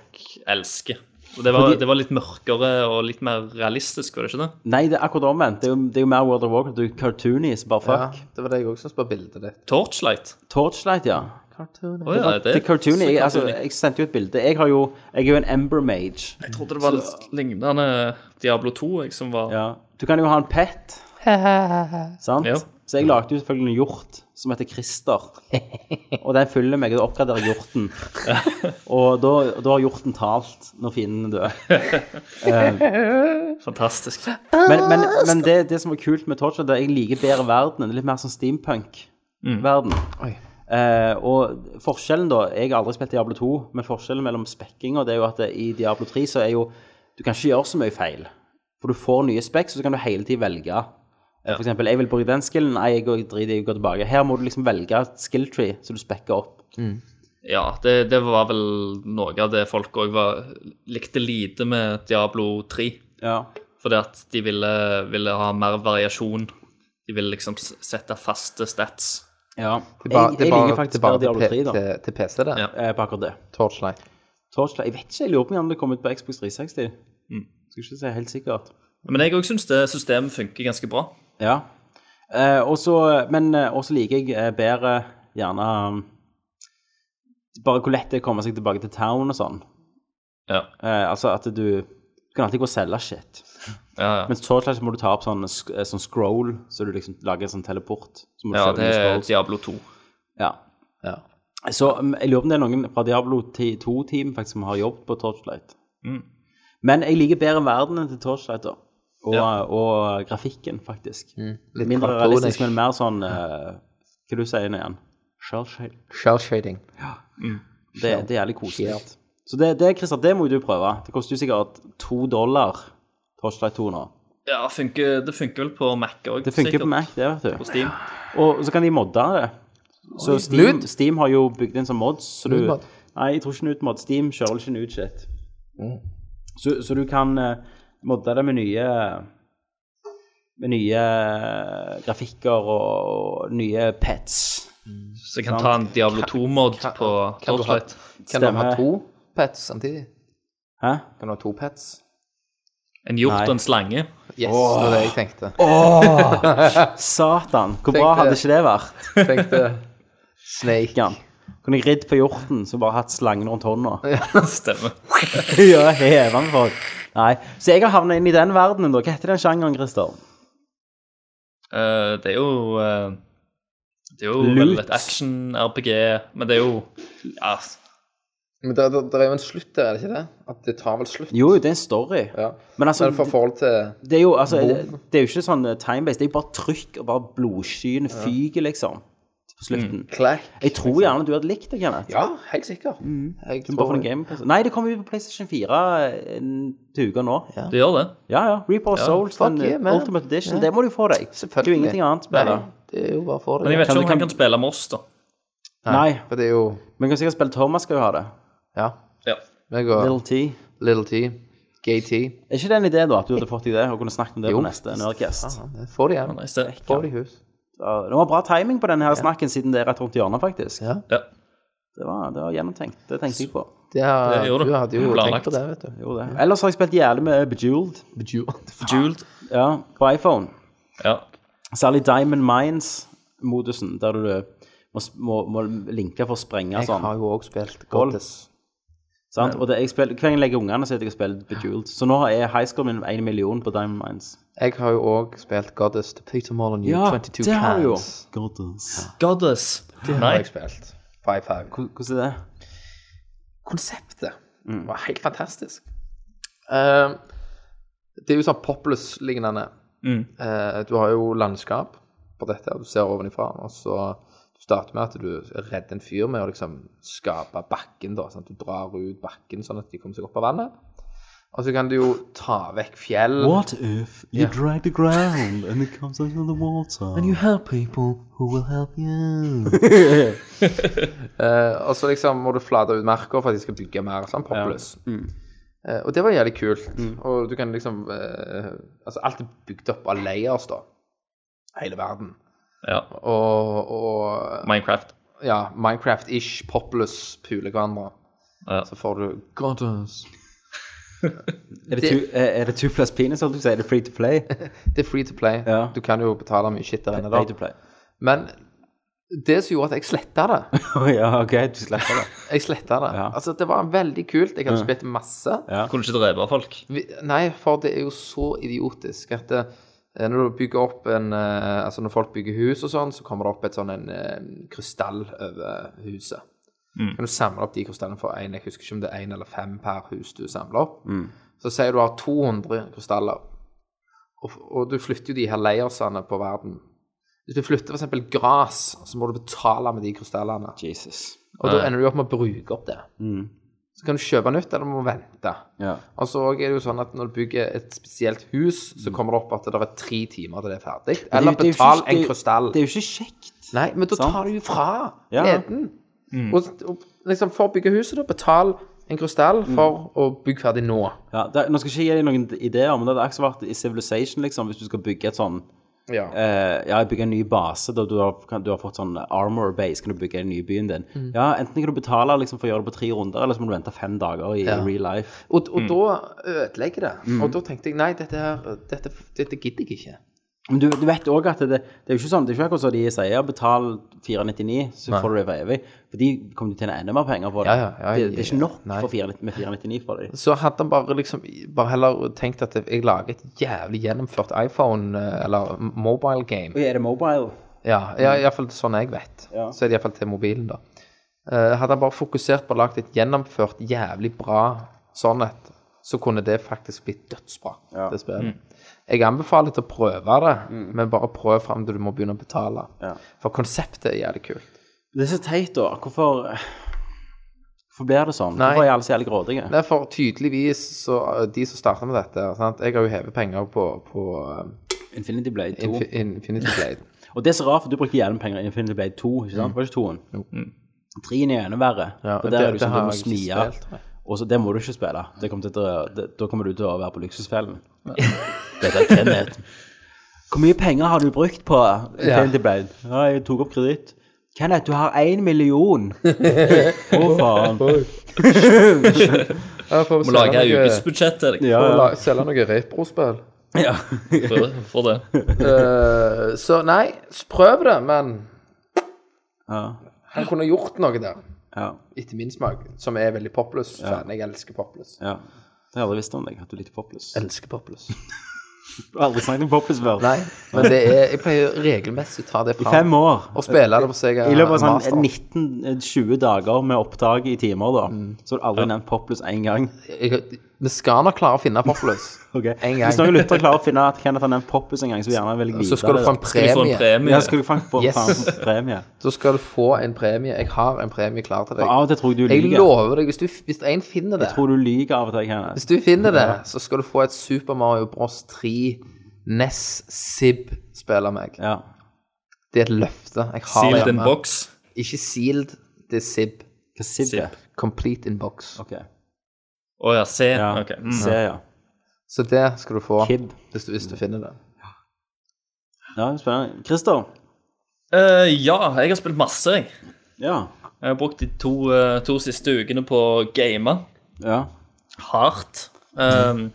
[SPEAKER 5] elsker. Og det var, det var litt mørkere og litt mer realistisk, var det ikke det?
[SPEAKER 1] Nei, det er akkurat omvendt. Det er jo, det er jo mer World of Warcraft. Du er cartoony, så bare
[SPEAKER 6] Ja,
[SPEAKER 1] fuck.
[SPEAKER 6] det var det jeg òg syntes på bildet ditt.
[SPEAKER 5] Torchlight?
[SPEAKER 1] Torchlight, ja.
[SPEAKER 6] Cartoon.
[SPEAKER 5] Å ja, det
[SPEAKER 1] Det er cartoony. Jeg, altså,
[SPEAKER 5] cartoony.
[SPEAKER 1] jeg sendte jo et bilde. Jeg har jo Jeg er jo en Ember Mage.
[SPEAKER 5] Jeg trodde det var litt lignende Diablo 2, jeg, som var
[SPEAKER 1] Ja. Du kan jo ha en pet. sant?
[SPEAKER 5] Ja.
[SPEAKER 1] Så jeg lagde jo selvfølgelig en hjort som heter Christer. Og den følger meg og oppgraderer hjorten. Og da, da har hjorten talt når fienden dør.
[SPEAKER 5] fantastisk.
[SPEAKER 1] Men, men, men det, det som var kult med Torture, det er at jeg liker bedre verdenen. Litt mer sånn steampunk-verden.
[SPEAKER 6] Oi.
[SPEAKER 1] Eh, og forskjellen, da Jeg har aldri spilt Diablo 2, men forskjellen mellom spekkinga er jo at det, i Diablo 3 så er jo Du kan ikke gjøre så mye feil. For du får nye spekk, så kan du hele tiden velge. Eh, For eksempel, jeg vil bruke den skillen, nei, jeg går, driter i å gå tilbake. Her må du liksom velge et skill tree, så du spekker opp.
[SPEAKER 5] Ja, det, det var vel noe av det folk òg likte lite med Diablo 3.
[SPEAKER 1] Ja.
[SPEAKER 5] Fordi at de ville, ville ha mer variasjon. De ville liksom s- sette faste stats.
[SPEAKER 1] ja.
[SPEAKER 6] Det er bare-
[SPEAKER 1] jeg,
[SPEAKER 6] det er
[SPEAKER 1] jeg
[SPEAKER 6] bare-
[SPEAKER 1] liker
[SPEAKER 6] det
[SPEAKER 1] faktisk
[SPEAKER 6] er bare
[SPEAKER 1] bare Diablo
[SPEAKER 6] til
[SPEAKER 1] 3, da.
[SPEAKER 6] P- Til, til PC, det.
[SPEAKER 5] Ja.
[SPEAKER 1] Eh, på akkurat det.
[SPEAKER 6] Torchlight.
[SPEAKER 1] Torchlight Jeg vet ikke, jeg lurer på om det kom ut på Xbox 360.
[SPEAKER 5] Mm.
[SPEAKER 1] Skal ikke si helt sikkert.
[SPEAKER 5] Men jeg òg syns det systemet funker ganske bra.
[SPEAKER 1] Ja. Eh, og så- men eh, også liker jeg eh, bedre gjerne um, Bare hvor lett det er å komme seg tilbake til town og sånn.
[SPEAKER 5] Ja,
[SPEAKER 1] Eh, altså at du Du kan alltid gå og selge shit.
[SPEAKER 5] ja, ja.
[SPEAKER 1] Mens Torchlight så må du ta opp sånn, sk- eh, sånn scroll, så du liksom lager en sånn teleport. Så må du
[SPEAKER 5] ja
[SPEAKER 1] kjøpe
[SPEAKER 5] det
[SPEAKER 1] nye
[SPEAKER 5] er
[SPEAKER 1] scrolls.
[SPEAKER 5] Diablo 2.
[SPEAKER 1] ja.
[SPEAKER 6] Ja.
[SPEAKER 1] Så mm, jeg lurer på om det er noen fra Diablo 2-team faktisk som har jobbet på Torchlight. Men jeg liker bedre verdenen til Torchlight, da. Og,
[SPEAKER 5] Ja.
[SPEAKER 1] og eh, grafikken, faktisk.
[SPEAKER 6] Litt
[SPEAKER 1] Mindre
[SPEAKER 6] cartoonish.
[SPEAKER 1] realistisk, men mer sånn eh, Hva du sier du igjen? Shellshade.
[SPEAKER 6] Shell shading.
[SPEAKER 1] Det, det er jævlig koselig. Så det, det, Christer, det må jo du prøve. Det koster jo sikkert to dollar. Torchlight 2 nå.
[SPEAKER 5] Ja, funker, det funker vel på Mac òg.
[SPEAKER 1] Det funker på Mac, det, vet du.
[SPEAKER 5] På Steam.
[SPEAKER 1] Og så kan de modde det. Så Steam,
[SPEAKER 6] Nude?
[SPEAKER 1] Steam har jo bygd en sånn mod, så du
[SPEAKER 6] Nude-mod?
[SPEAKER 1] Nei, jeg tror ikke Nudemod. Steam kjører vel ikke nude shit.
[SPEAKER 6] Mm.
[SPEAKER 1] Så, så du kan eh, modde det med nye med nye eh, grafikker og, og nye pets.
[SPEAKER 5] Så jeg kan ta en Diablo 2-mod på
[SPEAKER 6] Kan du ha,
[SPEAKER 5] Torchlight.
[SPEAKER 6] kan du ha
[SPEAKER 1] Stemmer.
[SPEAKER 6] to pets samtidig?
[SPEAKER 1] Hæ?
[SPEAKER 6] Kan du ha to pets?
[SPEAKER 5] En hjort
[SPEAKER 1] Nei.
[SPEAKER 5] og en slange.
[SPEAKER 6] Yes, det var det jeg tenkte.
[SPEAKER 1] Satan, hvor
[SPEAKER 6] Tenkte-
[SPEAKER 1] bra hadde ikke det vært?
[SPEAKER 6] tenkte Snake.
[SPEAKER 1] Jan. Kunne jeg ridd på hjorten, så bare hatt slangen rundt hånda.
[SPEAKER 5] Stemmer.
[SPEAKER 1] ja, hever den for. Nei. Så jeg har havna inn i den verdenen, da. Hva heter den sjangeren, Christer?
[SPEAKER 5] Eh, det er jo eh, Det er jo
[SPEAKER 1] Loot.
[SPEAKER 5] vel et action-RPG, men det er jo ja,
[SPEAKER 6] Men det, det, det er jo en slutt der, er det ikke det? At det tar vel slutt?
[SPEAKER 1] Jo, det er en story.
[SPEAKER 6] Ja.
[SPEAKER 1] Men altså
[SPEAKER 6] Men for forhold til
[SPEAKER 1] Det er jo, altså,
[SPEAKER 6] Vov.
[SPEAKER 1] det er jo ikke sånn eh, time-based, det er jo bare trykk og bare blodskyene fyker, liksom, på slutten.
[SPEAKER 6] Clack
[SPEAKER 1] Jeg tror gjerne du hadde likt det, Kenneth. Mm.
[SPEAKER 6] Mm. Ja, helt sikkert. Jeg
[SPEAKER 1] Bare for
[SPEAKER 6] tror
[SPEAKER 1] en gamepass. Nei, det kommer jo på PlayStation 4 en til uka nå. Ja,
[SPEAKER 5] det gjør det.
[SPEAKER 1] ja. Reaper of Souls,
[SPEAKER 6] fuck
[SPEAKER 1] den eh,
[SPEAKER 6] yeah, man.
[SPEAKER 1] Ultimate Edition, det må du få deg. Det er jo
[SPEAKER 6] Selvfølgelig.
[SPEAKER 1] ingenting annet
[SPEAKER 6] Nei,
[SPEAKER 1] spiller.
[SPEAKER 6] det er jo bare for
[SPEAKER 5] Men
[SPEAKER 6] det.
[SPEAKER 5] jeg vet
[SPEAKER 1] Kan
[SPEAKER 5] ikke
[SPEAKER 1] du-
[SPEAKER 5] om
[SPEAKER 1] kan-
[SPEAKER 5] han kan spille med oss, da.
[SPEAKER 1] Nei,
[SPEAKER 6] For det er jo
[SPEAKER 1] men kan sikkert spille Thomas skal jo ha det.
[SPEAKER 6] Ja.
[SPEAKER 5] Ja.
[SPEAKER 6] Meg og
[SPEAKER 1] Little T.
[SPEAKER 6] Little T. Gay T.
[SPEAKER 1] Er ikke det en idé, da, at du hadde fått deg det, og kunne snakket om det
[SPEAKER 6] Jo.
[SPEAKER 1] på neste Nerdcast?
[SPEAKER 6] Ja, det får de igjen.
[SPEAKER 5] Nice, det.
[SPEAKER 6] Får de hus.
[SPEAKER 1] Ja, Det var bra timing på denne her snakken, siden det er rett rundt hjørnet, faktisk.
[SPEAKER 6] Ja.
[SPEAKER 5] Ja.
[SPEAKER 1] Det var, det var gjennomtenkt. Det tenkte jeg på.
[SPEAKER 6] Det har,
[SPEAKER 5] Det gjorde
[SPEAKER 6] du
[SPEAKER 5] du.
[SPEAKER 6] hadde jo
[SPEAKER 5] Planlagt.
[SPEAKER 6] tenkt på det, vet du.
[SPEAKER 1] Jo, det. Ellers har jeg spilt jævlig med Bejeweled.
[SPEAKER 5] Jeweled.
[SPEAKER 1] Ja, på iPhone.
[SPEAKER 5] Ja.
[SPEAKER 1] Særlig Diamond Mines-modusen, der du eh, må, må, må linke for å sprenge
[SPEAKER 6] Jeg
[SPEAKER 1] sånn.
[SPEAKER 6] har jo òg spilt Goddess.
[SPEAKER 1] Sant? Og det, jeg spiller, hver gang jeg legger ungene, så heter jeg og spiller Bejeweled. Så nå er highscoren min 1 million på Diamond Mines.
[SPEAKER 6] Jeg har jo òg spilt Goddess to Peter Molyneux,
[SPEAKER 1] Ja,
[SPEAKER 6] 22
[SPEAKER 1] det har du jo.
[SPEAKER 6] Cans.
[SPEAKER 5] Goddess. Nei,
[SPEAKER 6] har jeg spilt. Five Five.
[SPEAKER 1] Hvor- Hvordan er det?
[SPEAKER 6] konseptet var helt fantastisk. Eh, det er jo sånn Poplus-lignende.
[SPEAKER 5] Mm.
[SPEAKER 6] Eh, du har jo landskap på dette, du ser ovenifra, og så du starter med at du redder en fyr med å liksom skape bakken, da, sånn at du drar ut bakken sånn at de kommer seg opp av vannet. Og så kan du jo ta vekk fjell.
[SPEAKER 7] What if you drag the ground and it comes under the water? And you help people who will help you.
[SPEAKER 6] Eh, og så liksom må du flate ut merker for at de skal bygge mer sånn popløs.
[SPEAKER 1] Mm.
[SPEAKER 6] Eh, og det var jævlig kult. Og du kan liksom eh, Altså, alt er bygd opp av layers, da. Hele verden.
[SPEAKER 5] Ja.
[SPEAKER 6] Og, og
[SPEAKER 5] Minecraft.
[SPEAKER 6] ja, Minecraft-ish, popløs puler hverandre.
[SPEAKER 5] Ja.
[SPEAKER 6] Så får du Goddess.
[SPEAKER 1] Er det, two, er er det two plus penis, holdt jeg på å si? Er det free to play?
[SPEAKER 6] Det er free to play.
[SPEAKER 1] Ja.
[SPEAKER 6] Du kan jo betale mye shit der inne,
[SPEAKER 1] Free to
[SPEAKER 6] da.
[SPEAKER 1] play.
[SPEAKER 6] Men det som gjorde at jeg sletta det
[SPEAKER 1] Å Oh, ja, OK, du slipper det.
[SPEAKER 6] Jeg sletta det.
[SPEAKER 1] Ja.
[SPEAKER 6] Altså, det var veldig kult. Jeg hadde spilt masse.
[SPEAKER 5] Kunne ikke drepe folk.
[SPEAKER 6] Vi- Nei, for det er jo så idiotisk at det, eh, når du bygger opp en eh, Altså når folk bygger hus og sånn, så kommer det opp et sånn en eh, krystall over huset. Kan du samle opp de krystallene for én? Jeg husker ikke om det er én eller fem per hus du samler opp. Så sier du har 200 krystaller, og, og du flytter jo de her layersene på verden. Hvis du flytter f.eks. gress, så må du betale med de krystallene.
[SPEAKER 1] Jesus.
[SPEAKER 6] Og da ender du opp med å bruke opp det. Så kan du kjøpe nytt, eller du må vente.
[SPEAKER 1] Ja.
[SPEAKER 6] Og så er det jo sånn at når du bygger et spesielt hus, så kommer det opp at det er tre timer til det er ferdig. Eller
[SPEAKER 1] Mm. det er jo
[SPEAKER 6] betal
[SPEAKER 1] ikke-
[SPEAKER 6] en
[SPEAKER 1] det-
[SPEAKER 6] krystall.
[SPEAKER 1] Det er jo ikke kjekt.
[SPEAKER 6] Nei, men da
[SPEAKER 1] Sant.
[SPEAKER 6] tar du jo fra
[SPEAKER 1] Ja. Mm.
[SPEAKER 6] gleden. Og, og liksom for å bygge huset, da, betal en krystall
[SPEAKER 1] Mm.
[SPEAKER 6] for å bygge ferdig nå.
[SPEAKER 1] Ja, det, er- nå skal jeg ikke gi deg noen ideer, men det hadde akkurat vært i Civilization, liksom, hvis du skal bygge et sånn
[SPEAKER 6] Ja.
[SPEAKER 1] eh, Ja, bygge en ny base, da du har, kan, du har fått sånn armor base, kan du bygge den nye byen din.
[SPEAKER 6] Mm.
[SPEAKER 1] Ja, enten kan du betale liksom, for å gjøre det på tre runder, eller så må du vente fem dager i
[SPEAKER 6] Ja.
[SPEAKER 1] real life.
[SPEAKER 6] Og, og da ødelegger det.
[SPEAKER 1] Mm.
[SPEAKER 6] Og da tenkte jeg nei, dette her, dette, dette gidder jeg ikke.
[SPEAKER 1] Men du, du vet òg at det, det er jo ikke sånn, det er ikke akkurat som de sier ja, betal 499, så får du det for evig. For de kommer til å tjene enda mer penger på det.
[SPEAKER 6] Ja, ja, ja,
[SPEAKER 1] det, det er ikke nok
[SPEAKER 6] nei.
[SPEAKER 1] for 4, med 499 for dem.
[SPEAKER 6] Så hadde han bare liksom bare heller tenkt at jeg lager et jævlig gjennomført iPhone eh, eller mobile game.
[SPEAKER 1] Oi, er det mobile?
[SPEAKER 6] Ja, ja iallfall sånn jeg vet.
[SPEAKER 1] Mm. Ja.
[SPEAKER 6] Så er det iallfall til mobilen, da. Eh, hadde han bare fokusert på å lage et gjennomført, jævlig bra sånn et, så kunne det faktisk blitt dødsbra, det
[SPEAKER 1] Mm.
[SPEAKER 6] spillet. Jeg anbefaler til å prøve det, men bare prøv fram til du må begynne å betale.
[SPEAKER 1] Ja.
[SPEAKER 6] For konseptet er jævlig kult.
[SPEAKER 1] Det er så teit, da. Hvorfor Hvorfor blir det sånn?
[SPEAKER 6] Nei.
[SPEAKER 1] Hvorfor er alle så jævlig grådige?
[SPEAKER 6] Nei, for tydeligvis så eh, De som starter med dette sant? Jeg har jo hevet penger på, på eh,
[SPEAKER 1] Infinity Blade 2.
[SPEAKER 6] Infi Infinity Blade.
[SPEAKER 1] og det er så rart, for du brukte gjerne penger i Infinity Blade 2, ikke sant? Var det ikke toen? Jo. Treen er enda verre. for der er det sånn at du må smie. Og så, det må du ikke spille. Det kommer til å, det, da kommer du til å være på luksusfellen. Dette er Kenneth. Hvor mye penger har du brukt på Infinity Blade? Ja, jeg tok opp kreditt. Kenneth, du har én million! Å, faen.
[SPEAKER 5] Må lage ukesbudsjett til deg.
[SPEAKER 1] Ja, ja.
[SPEAKER 6] Selge noe reprospill.
[SPEAKER 1] ja.
[SPEAKER 5] For, for det.
[SPEAKER 6] Eh, så nei, s- prøv det, men
[SPEAKER 1] ja.
[SPEAKER 6] han kunne gjort noe der,
[SPEAKER 1] ja.
[SPEAKER 6] etter min smak, som er veldig popløs. Fan, Jeg elsker popløs.
[SPEAKER 1] ja. Det har jeg aldri visst om deg, at du liker popløs.
[SPEAKER 6] Elsker popløs.
[SPEAKER 1] Du har aldri snakket om popløs før.
[SPEAKER 6] Nei, men det er, jeg pleier regelmessig å ta det
[SPEAKER 1] I fem
[SPEAKER 6] fram
[SPEAKER 1] år.
[SPEAKER 6] og spille det på seg
[SPEAKER 1] I løpet av sånn 19-20 dager med opptak i timer, da,
[SPEAKER 6] Mm.
[SPEAKER 1] så har du aldri nevnt popløs én gang.
[SPEAKER 6] Vi skal nok klare å finne popløs.
[SPEAKER 1] Ok.
[SPEAKER 6] En gang.
[SPEAKER 1] Hvis noen lytter klarer å finne at Kenneth har nevnt popløs en gang, så vil jeg gjerne vil jeg
[SPEAKER 6] Og
[SPEAKER 1] vite
[SPEAKER 6] så skal du få en
[SPEAKER 5] Skal du få en
[SPEAKER 6] premie.
[SPEAKER 1] Ja,
[SPEAKER 5] premie?
[SPEAKER 1] skal du faen få
[SPEAKER 6] Yes.
[SPEAKER 1] faen få premie?
[SPEAKER 6] Så skal du få en premie. Jeg har en premie klar til
[SPEAKER 1] For av
[SPEAKER 6] deg.
[SPEAKER 1] og til tror jeg du
[SPEAKER 6] Jeg
[SPEAKER 1] lyver.
[SPEAKER 6] lover deg, hvis, du, hvis en finner det
[SPEAKER 1] Jeg tror du lyver av og til, Kenneth.
[SPEAKER 6] Hvis du finner det, så skal du få et Super Mario Bros. E 3 NES Sib-spill av meg.
[SPEAKER 1] Ja.
[SPEAKER 6] Det er et løfte. Jeg har det
[SPEAKER 5] Sealed in
[SPEAKER 6] hjemme.
[SPEAKER 5] box.
[SPEAKER 6] Ikke sealed, det er SIB.
[SPEAKER 1] Hva sier
[SPEAKER 5] Sipp.
[SPEAKER 1] du?
[SPEAKER 6] Complete in box.
[SPEAKER 1] Ok.
[SPEAKER 5] Å ja, se.
[SPEAKER 1] Ja.
[SPEAKER 5] Ok. Mm.
[SPEAKER 1] Se, ja.
[SPEAKER 6] Så det skal du få
[SPEAKER 1] Kib.
[SPEAKER 6] hvis du, hvis du finner det.
[SPEAKER 1] Ja, spennende. Christer?
[SPEAKER 5] Eh, ja, jeg har spilt masse, jeg.
[SPEAKER 1] Ja.
[SPEAKER 5] Jeg har brukt de to, eh, to siste ukene på å game
[SPEAKER 1] Ja.
[SPEAKER 5] hardt. Um,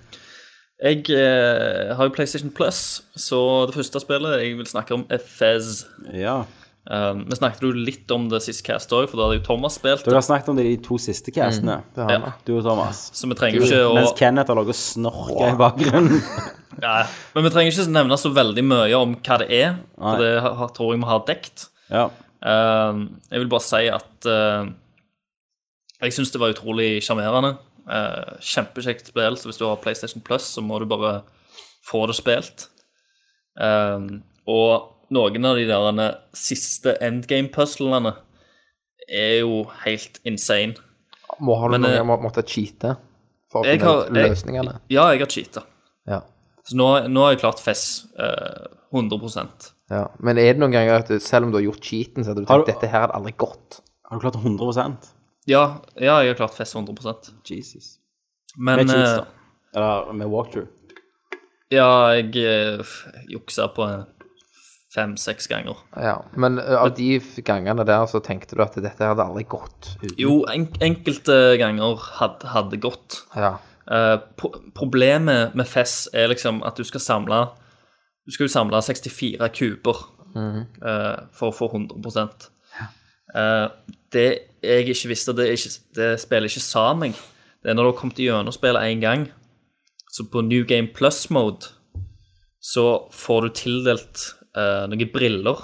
[SPEAKER 5] jeg eh, har jo PlayStation Plus, så det første spillet jeg vil snakke om, er Fez.
[SPEAKER 1] Ja.
[SPEAKER 5] Um, vi snakket jo litt om det sist cast òg, for da hadde jo Thomas spilt.
[SPEAKER 1] Dere har snakket om det i de to
[SPEAKER 6] Mm.
[SPEAKER 1] siste castene,
[SPEAKER 5] Ja,
[SPEAKER 1] du og Thomas.
[SPEAKER 5] så vi trenger ikke å
[SPEAKER 1] Mens Kenneth har ligget og snorka i bakgrunnen.
[SPEAKER 5] Nei, Men vi trenger ikke nevne så veldig mye om hva det er, for det har- har- tror jeg vi har dekt.
[SPEAKER 1] Ja.
[SPEAKER 5] Ehm, jeg vil bare si at eh, jeg syns det var utrolig sjarmerende. Uh, Kjempekjekt spill, så hvis du har PlayStation Plus, så må du bare få det spilt. Ehm, og noen av de der siste endgame-puzzlene er jo helt insane.
[SPEAKER 6] Må ha
[SPEAKER 5] Men,
[SPEAKER 6] noen
[SPEAKER 5] eh,
[SPEAKER 6] ganger må, måtte cheate for å
[SPEAKER 5] Jeg
[SPEAKER 6] finne
[SPEAKER 5] har-
[SPEAKER 6] ut
[SPEAKER 5] jeg-
[SPEAKER 6] løsningene.
[SPEAKER 5] Ja, jeg har cheata.
[SPEAKER 6] Ja.
[SPEAKER 5] Så nå, nå har jeg klart FES eh, 100
[SPEAKER 6] Ja. Men er det noen ganger at du, selv om du har gjort cheaten, så hadde du
[SPEAKER 1] Har
[SPEAKER 6] tenkt
[SPEAKER 1] du-
[SPEAKER 6] dette her hadde aldri gått?
[SPEAKER 1] Har du klart 100
[SPEAKER 5] Ja, ja jeg har klart FES 100
[SPEAKER 1] Jesus.
[SPEAKER 5] Men
[SPEAKER 1] Med cheats, da.
[SPEAKER 5] eh,
[SPEAKER 1] Eller med walkthrough.
[SPEAKER 5] ja, jeg eh, f- juksa på fem-seks ganger.
[SPEAKER 6] Ja. Men eh, av de f- gangene der så tenkte du at dette her hadde aldri gått? uten-
[SPEAKER 5] Jo, en enkelte ganger hadde, hadde gått.
[SPEAKER 6] Ja.
[SPEAKER 5] Eh, pro problemet med FES er liksom at du skal samle Du skal jo samle 64 kuber eh, for å få 100 Eh, Det jeg ikke visste, det, er ikke, det spiller ikke sammen. Det er når du har kommet gjennom spillet én gang, så på New Game Plus-mode så får du tildelt eh, noen briller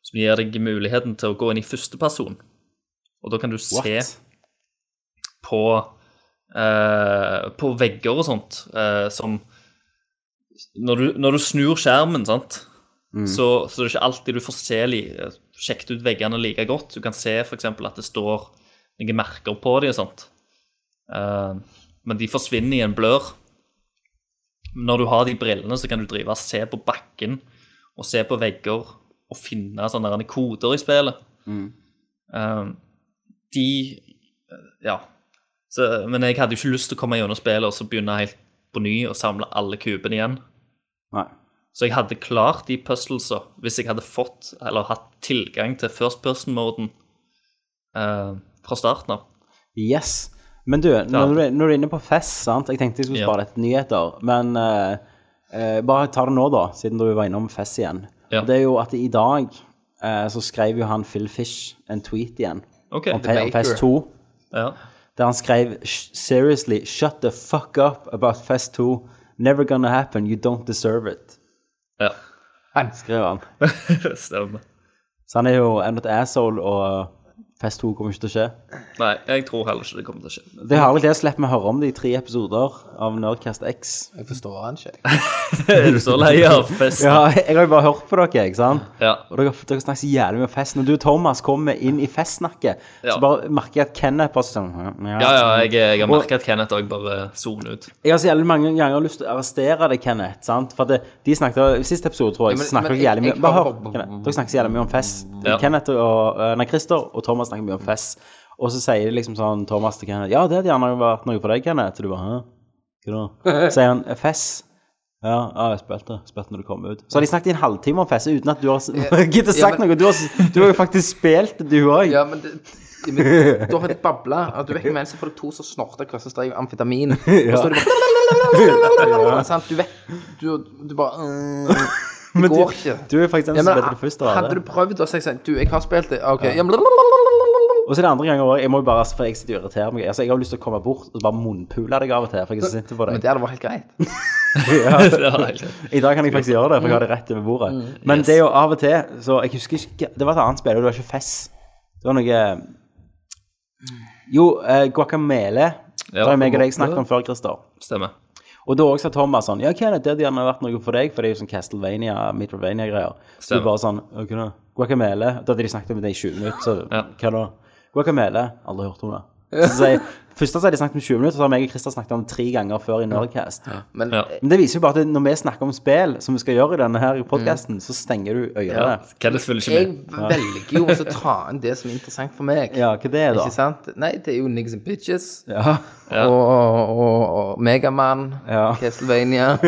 [SPEAKER 5] som gir deg muligheten til å gå inn i førsteperson. Og da kan du se
[SPEAKER 1] What?
[SPEAKER 5] på eh, på vegger og sånt, eh, som når du, når du snur skjermen, sant, så, så er det ikke alltid du får se li, sjekket ut veggene like godt. Du kan se f.eks. at det står noen merker på dem og sånt. Eh, men de forsvinner i en blør. Når du har de brillene, så kan du drive og se på bakken og se på vegger og finne sånne der koder i spillet. Eh, de Ja. Så, men jeg hadde jo ikke lyst til å komme gjennom spillet og så begynne helt på ny og samle alle kubene igjen.
[SPEAKER 1] Nei.
[SPEAKER 5] Så jeg hadde klart de puzzlesa hvis jeg hadde fått eller hatt tilgang til first person-moden eh, fra starten av.
[SPEAKER 1] Yes. Men du, når du, når du er inne på fest, sant Jeg tenkte jeg skulle
[SPEAKER 5] Ja.
[SPEAKER 1] spare etter nyheter, men eh, eh, bare ta det nå, da, siden du var innom fest igjen.
[SPEAKER 5] Ja.
[SPEAKER 1] Og Det er jo at i dag eh, så skrev jo han Phil Fish en tweet igjen
[SPEAKER 5] OK.
[SPEAKER 1] om, fe- om
[SPEAKER 6] Baker.
[SPEAKER 1] Fest 2,
[SPEAKER 5] Ja.
[SPEAKER 1] der han skrev "Sh- Seriously, shut the fuck up about Fest 2. Never gonna happen. You don't deserve it.
[SPEAKER 5] ja.
[SPEAKER 1] Skrev han.
[SPEAKER 5] Stemmer.
[SPEAKER 1] Så han er jo en asshole, og Fest 2 kommer ikke til å skje.
[SPEAKER 5] Nei, jeg tror heller ikke det kommer til å skje.
[SPEAKER 1] Det er herlig det å slippe å høre om det i tre episoder av Nerdcast X.
[SPEAKER 6] Jeg forstår han ikke.
[SPEAKER 5] Er du så lei av fest?
[SPEAKER 1] Ja, jeg har jo bare hørt på dere, ikke sant?
[SPEAKER 5] Ja.
[SPEAKER 1] Og dere, dere snakker så jævlig mye om fest. Når du, Thomas, kommer inn i festsnakket, så
[SPEAKER 5] Ja.
[SPEAKER 1] bare merker jeg at Kenneth bare sånn ja.
[SPEAKER 5] Ja, ja, jeg, jeg har merket at Kenneth òg bare soner ut.
[SPEAKER 1] Jeg har så jævlig mange ganger lyst til å arrestere deg, Kenneth. sant? For at det, de snakket, I siste episode, tror jeg,
[SPEAKER 6] Ja, men-
[SPEAKER 1] så snakket
[SPEAKER 6] men
[SPEAKER 1] dere jævlig
[SPEAKER 6] jeg-
[SPEAKER 1] mye
[SPEAKER 6] jeg
[SPEAKER 1] Bare
[SPEAKER 6] har-
[SPEAKER 1] hør, Kenneth. Dere snakker så jævlig mye om fest.
[SPEAKER 5] Ja.
[SPEAKER 1] Kenneth og, eh, nei, Christer og Thomas snakker mye om fest. Og så sier de liksom sånn Thomas til Kenneth Ja, det hadde gjerne vært noe for deg, Kenneth. Og du bare Hæ? Hva da? Så Sier han "Eh, fest. Ja, ja, jeg spilte spilte når du kom ut. Så har de snakket i en halvtime om fest uten at du har s- giddet å
[SPEAKER 6] ja,
[SPEAKER 1] sagt
[SPEAKER 6] men-
[SPEAKER 1] noe. Du har, s- du har jo faktisk spilt, det, du òg.
[SPEAKER 6] Ja, men, det, men da har de babla. og Du vet ikke, men så får du to som snorter hver sin strek amfetamin. Og så er det bare Sant? Du vet Du, du bare øh, Det går ikke.
[SPEAKER 1] Du er faktisk den
[SPEAKER 6] Ja,
[SPEAKER 1] som
[SPEAKER 6] men,
[SPEAKER 1] spilte det først. av alle.
[SPEAKER 6] hadde du prøvd å si sånn Du, jeg har spilt det. OK. Ja, men,
[SPEAKER 1] Og så er det andre ganger også, Jeg må jo bare, altså, for jeg sitter og irriterer meg. Altså, jeg har lyst til å komme bort og bare munnpule deg av og til. For jeg er så sint på
[SPEAKER 6] men
[SPEAKER 1] deg.
[SPEAKER 6] det hadde vært helt greit.
[SPEAKER 5] Det er helt-
[SPEAKER 1] I dag kan jeg faktisk gjøre det, for jeg har det rett over bordet. Men det er jo av og til så Jeg husker ikke Det var et annet spill, og det var ikke Fess. Det var noe Jo, eh, guacamele. Det har jeg og deg snakket om før, Christer.
[SPEAKER 5] Stemmer.
[SPEAKER 1] Og da også sa Thomas sånn Ja, Kenneth, det hadde gjerne vært noe for deg, for det er jo sånn Castlevania, Mitrovania-greier. Så
[SPEAKER 5] Stemmer.
[SPEAKER 1] du bare sånn «Ja, Hva da? Guacamele. Da hadde de snakket om det i 20 minutter, så
[SPEAKER 5] Ja.
[SPEAKER 1] hva da? Guacamele. Aldri hørt om det. Så sier jeg- Først så hadde de snakket om 20 minutter, så har meg og Christer snakket om det tre ganger før i Nerdcast.
[SPEAKER 6] Men
[SPEAKER 5] Ja.
[SPEAKER 1] Men det viser jo bare at når vi snakker om spill, som vi skal gjøre i denne her podcasten,
[SPEAKER 5] Mm.
[SPEAKER 1] så stenger du øynene.
[SPEAKER 5] Kenneth følger ikke
[SPEAKER 6] jeg
[SPEAKER 5] med.
[SPEAKER 6] velger jo også å ta inn det som er interessant for meg.
[SPEAKER 1] Ja, hva det er da?
[SPEAKER 6] Ikke sant? Nei, det er jo Niggas and Bitches
[SPEAKER 1] Ja.
[SPEAKER 6] og, og, og Megaman,
[SPEAKER 1] Ja.
[SPEAKER 6] Castlevania,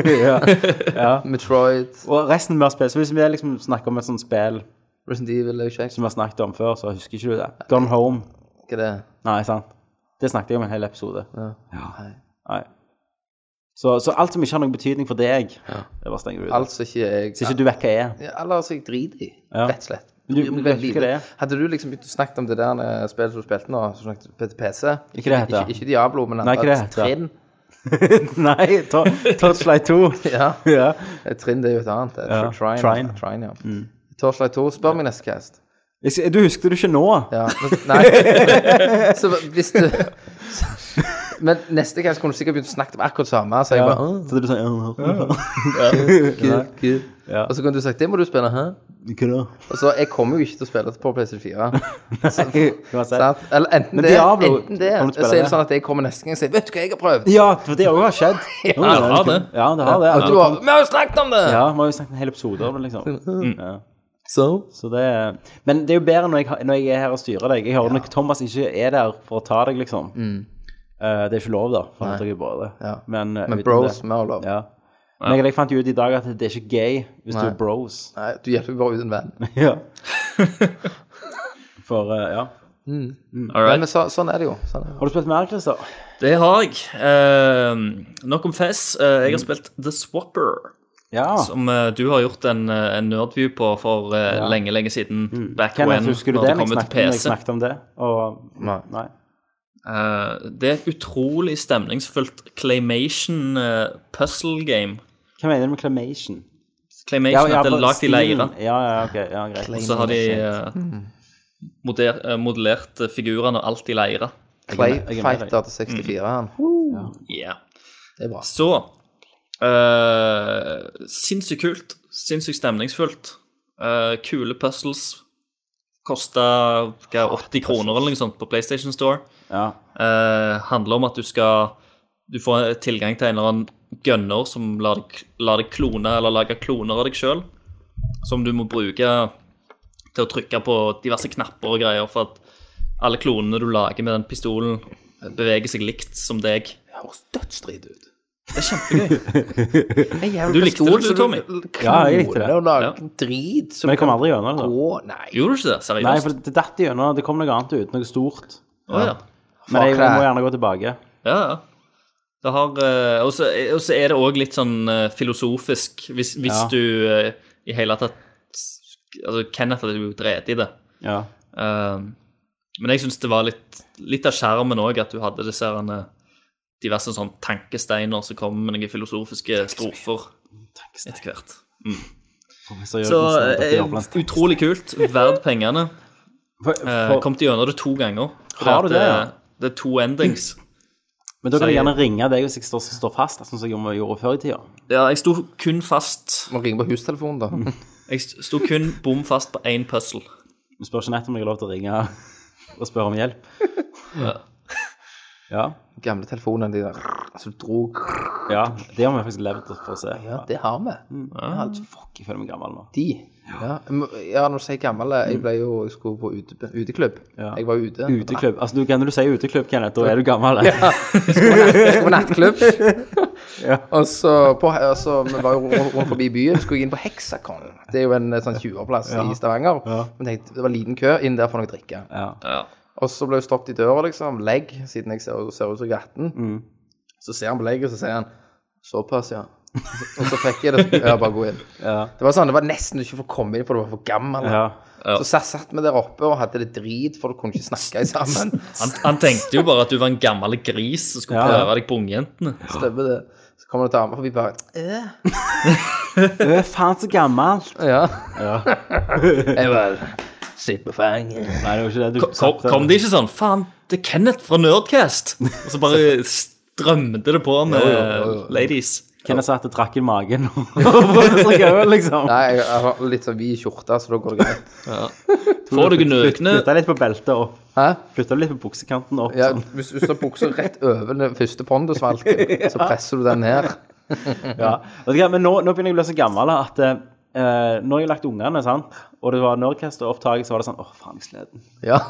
[SPEAKER 1] ja.
[SPEAKER 6] Metroid,
[SPEAKER 1] Og resten vi har spilt, så hvis vi liksom snakker om et sånt spill
[SPEAKER 6] Resident Evil, er jo ikke jeg
[SPEAKER 1] som vi har snakket om før, så husker ikke du det. Gone Home.
[SPEAKER 6] husker det.
[SPEAKER 1] Nei, sant. Det snakket jeg om en hel episode.
[SPEAKER 6] Nei.
[SPEAKER 1] Nei. Så, så alt som ikke har noen betydning for deg, det bare stenger du ut.
[SPEAKER 6] Altså ikke jeg
[SPEAKER 1] Så ikke du vet hva jeg er.
[SPEAKER 6] Ja, Eller altså, jeg driter i,
[SPEAKER 1] Ja.
[SPEAKER 6] rett og slett.
[SPEAKER 1] Du,
[SPEAKER 6] bryr meg
[SPEAKER 1] vet
[SPEAKER 6] veldig
[SPEAKER 1] ikke hva det
[SPEAKER 6] lite.
[SPEAKER 1] er.
[SPEAKER 6] Hadde du liksom begynt å snakke om det der eh, spillet som du spilte nå, som du snakket på PC
[SPEAKER 1] Ikke det heter.
[SPEAKER 6] Ikke, ikke Diablo, men
[SPEAKER 1] Nei, ikke det
[SPEAKER 6] et
[SPEAKER 1] heter.
[SPEAKER 6] trinn.
[SPEAKER 1] Nei, to, Torchlight 2.
[SPEAKER 6] Ja,
[SPEAKER 1] ja.
[SPEAKER 6] et trinn det er jo et annet. Et
[SPEAKER 1] Ja,
[SPEAKER 6] Trine.
[SPEAKER 1] Trine. Mm.
[SPEAKER 6] Trine, ja. Torchlight 2, spør meg neste cast.
[SPEAKER 1] Jeg s- Du husker det ikke nå?
[SPEAKER 6] Ja, men, nei. Så hvis du så- Men neste gang så kunne du sikkert begynt å snakke om akkurat samme. Så jeg bare, «Åh,
[SPEAKER 1] Så du sier ja,
[SPEAKER 6] kult, kult».
[SPEAKER 1] Ja.
[SPEAKER 6] Og så kunne du sagt det må du spille, hæ?
[SPEAKER 1] Ikke da?
[SPEAKER 6] Og så Altså, jeg kommer jo ikke til å spille det på PlayStation 4.
[SPEAKER 1] Uansett.
[SPEAKER 6] Sant? Eller enten
[SPEAKER 1] Men
[SPEAKER 6] det,
[SPEAKER 1] Diablo,
[SPEAKER 6] enten det
[SPEAKER 1] kan du
[SPEAKER 6] Så
[SPEAKER 1] spille
[SPEAKER 6] er det
[SPEAKER 1] det?
[SPEAKER 6] sånn at jeg kommer neste gang og sier 'Vet du hva, jeg har prøvd'.
[SPEAKER 1] Ja, for det òg har skjedd. Ja,
[SPEAKER 5] det har det.
[SPEAKER 1] Ja, det har det.
[SPEAKER 6] Og du har 'Vi har jo snakket om det!'
[SPEAKER 1] Ja, vi har jo snakket en hel episode om det, liksom. Ja.
[SPEAKER 6] Sånn, øh. Så
[SPEAKER 1] Så det er, men det er jo bedre når jeg, har- når jeg er her og styrer deg. Jeg hører når Thomas ikke er der for å ta deg, liksom. Eh, det er ikke lov, da. For at dere er bare det.
[SPEAKER 6] Mm. Ja.
[SPEAKER 1] Men, eh,
[SPEAKER 6] Men
[SPEAKER 1] uten
[SPEAKER 6] bros,
[SPEAKER 1] det-
[SPEAKER 6] vi har lov.
[SPEAKER 1] Ja. Men jeg, jeg fant jo ut i dag at det er ikke gay hvis du
[SPEAKER 6] Nei.
[SPEAKER 1] er bros.
[SPEAKER 6] Nei, du hjelper bare uten venn.
[SPEAKER 1] Ja. For, eh, ja.
[SPEAKER 5] All
[SPEAKER 6] Men
[SPEAKER 5] right.
[SPEAKER 6] så, sånn er det jo. Sånn er det.
[SPEAKER 1] Har du spilt mer, Christer?
[SPEAKER 5] Det har jeg. Eh, nok om Fess. Eh, jeg har spilt The Swapper.
[SPEAKER 1] Ja.
[SPEAKER 5] Som eh, du har gjort en, eh, en nerdview på for eh, lenge, lenge siden. Back
[SPEAKER 1] Mm. Kenneth,
[SPEAKER 5] when,
[SPEAKER 1] husker du
[SPEAKER 5] når
[SPEAKER 1] det
[SPEAKER 5] det
[SPEAKER 1] når jeg,
[SPEAKER 5] kommer
[SPEAKER 1] snakket,
[SPEAKER 5] til
[SPEAKER 1] når jeg
[SPEAKER 5] PC.
[SPEAKER 1] snakket om det? Og,
[SPEAKER 6] Nei.
[SPEAKER 1] nei.
[SPEAKER 5] Eh, det er et utrolig stemningsfullt claymation eh, puzzle game.
[SPEAKER 1] Hva mener du med clamation?
[SPEAKER 5] Claymation at det
[SPEAKER 1] for
[SPEAKER 5] er lagd i
[SPEAKER 1] stilen.
[SPEAKER 5] leire.
[SPEAKER 1] Ja, ja, ok. Ja, greit.
[SPEAKER 5] Og så har de eh, moder, eh, modellert eh, figurene og alt i leire.
[SPEAKER 6] Clay
[SPEAKER 1] jeg er med deg. Mm.
[SPEAKER 6] Fighter til 64, han.
[SPEAKER 5] Yeah.
[SPEAKER 6] Det er bra.
[SPEAKER 5] Så eh, Sinnssykt kult. Sinnssykt stemningsfullt. Eh, kule puzzles. Kosta 80 kroner eller noe sånt på PlayStation Store.
[SPEAKER 1] Ja.
[SPEAKER 5] Eh, handler om at du skal Du får tilgang til en eller annen gunner som lar deg, lar deg klone eller lage kloner av deg sjøl. Som du må bruke til å trykke på diverse knapper og greier, for at alle klonene du lager med den pistolen, beveger seg likt som deg.
[SPEAKER 6] Høres dødsdrit ut.
[SPEAKER 5] Du likte det, du, Tommy.
[SPEAKER 1] Ja, jeg likte det.
[SPEAKER 6] Og lage
[SPEAKER 5] Ja.
[SPEAKER 6] drit som
[SPEAKER 1] Men jeg kom aldri gjennom det.
[SPEAKER 6] gå Nei.
[SPEAKER 5] Gjorde du ikke det? Seriøst?
[SPEAKER 1] Nei, for det datt igjennom. Det kom noe annet ut, noe stort.
[SPEAKER 5] Å, ja.
[SPEAKER 1] Men jeg,
[SPEAKER 6] Fuck
[SPEAKER 1] jeg må
[SPEAKER 6] det.
[SPEAKER 1] gjerne gå tilbake.
[SPEAKER 5] Ja, ja. Det har eh, Og så og så er det òg litt sånn eh, filosofisk, hvis, hvis
[SPEAKER 1] Ja.
[SPEAKER 5] du eh, i hele tatt Altså, Kenneth hadde jo drept i det.
[SPEAKER 1] Ja.
[SPEAKER 5] Eh, men jeg syns det var litt, litt av skjermen òg, at du hadde disse herne diverse sånn tankesteiner som kom med noen filosofiske strofer etter hvert.
[SPEAKER 1] Professor
[SPEAKER 5] Så
[SPEAKER 1] Jørgensen, Dr.
[SPEAKER 5] eh,
[SPEAKER 1] Jørpelands tekst.
[SPEAKER 5] utrolig kult. Verd pengene.
[SPEAKER 1] For-
[SPEAKER 5] Eh,
[SPEAKER 1] for-
[SPEAKER 5] kom til gjennom det to ganger. For
[SPEAKER 1] Har du
[SPEAKER 5] at,
[SPEAKER 1] det,
[SPEAKER 5] eh,
[SPEAKER 1] ja?
[SPEAKER 5] Det er to endings.
[SPEAKER 1] Men da kan
[SPEAKER 5] så
[SPEAKER 1] jeg
[SPEAKER 5] jeg-
[SPEAKER 1] gjerne ringe deg hvis jeg står, står fast, sånn som jeg gjorde- gjorde før i tida.
[SPEAKER 5] Ja, jeg sto kun fast
[SPEAKER 6] Må ringe på hustelefonen,
[SPEAKER 1] Mm.
[SPEAKER 6] da.
[SPEAKER 5] Jeg st- sto kun bom fast på én puzzle.
[SPEAKER 1] Du spør ikke nett om jeg har lov til å ringe og spørre om hjelp. Ja.
[SPEAKER 6] Gamle telefonen, de der som dro
[SPEAKER 1] ja. Det har vi faktisk levd for å se.
[SPEAKER 6] Ja, det har vi.
[SPEAKER 1] Mm. Fuck, jeg føler meg gammel nå.
[SPEAKER 6] De. Ja, jeg må- ja når du sier gammel eh, Jeg ble jo jeg skulle på ute, uteklubb.
[SPEAKER 1] Mm. Ja.
[SPEAKER 6] Jeg var ute.
[SPEAKER 1] Uteklubb. Altså, du, når du sier uteklubb, Kenneth, da er du gammel.
[SPEAKER 6] Jeg var på nattklubb. Og så, på, og så Vi var jo rundt rundt forbi byen, skulle jeg inn på Hexacon. Det er jo en eh, sånn 20-plass i Stavanger. Men tenkte, det var liten kø inn der for noe å drikke.
[SPEAKER 5] Ja.
[SPEAKER 6] Og så ble jeg stoppet i døra, liksom. Legg, siden jeg ser, ser ut som jeg er 18.
[SPEAKER 1] Mm.
[SPEAKER 6] Så ser han på legget, så sier han såpass, ja. Og så fikk jeg det. Ja, bare gå inn. Det var sånn, det var nesten du ikke fikk komme inn, for du var for gammel.
[SPEAKER 1] Ja.
[SPEAKER 6] Så satt, satt vi der oppe og hadde det drit, for du kunne ikke snakke sammen.
[SPEAKER 5] Han, han tenkte jo bare at du var en gammel gris som skulle
[SPEAKER 1] Ja, ja.
[SPEAKER 5] prøve deg på ungjentene.
[SPEAKER 6] Stemmer det. Så kommer det damer forbi bare «Øh,
[SPEAKER 1] Du er faen så gammel.
[SPEAKER 6] Ja. jeg bare Sitt på fanget.
[SPEAKER 1] Nei, det var ikke det du
[SPEAKER 5] Kom, kom det ikke sånn 'Faen, det er Kenneth fra Nerdcast'? Og så bare strømte det på med ladies.
[SPEAKER 1] Kenneth sa at det trakk i magen. så gøy, liksom.
[SPEAKER 6] Nei, jeg jeg har litt sånn vid skjorte, så da går det greit.
[SPEAKER 5] Får du nøkne
[SPEAKER 1] Flytta litt på beltet opp.
[SPEAKER 6] Hæ?
[SPEAKER 1] Flytta litt på buksekanten opp.
[SPEAKER 6] Ja,
[SPEAKER 1] Sånn.
[SPEAKER 6] hvis hvis du har buksa rett over den første pondosvalken, så presser du den ned.
[SPEAKER 1] Ja. Vet du hva, men nå, nå begynner jeg å bli så gammel at eh, nå har jeg lagt ungene, sant? og det var Nordcast-opptaket, så var det sånn Åh, faen, jeg sled den.
[SPEAKER 6] Ja.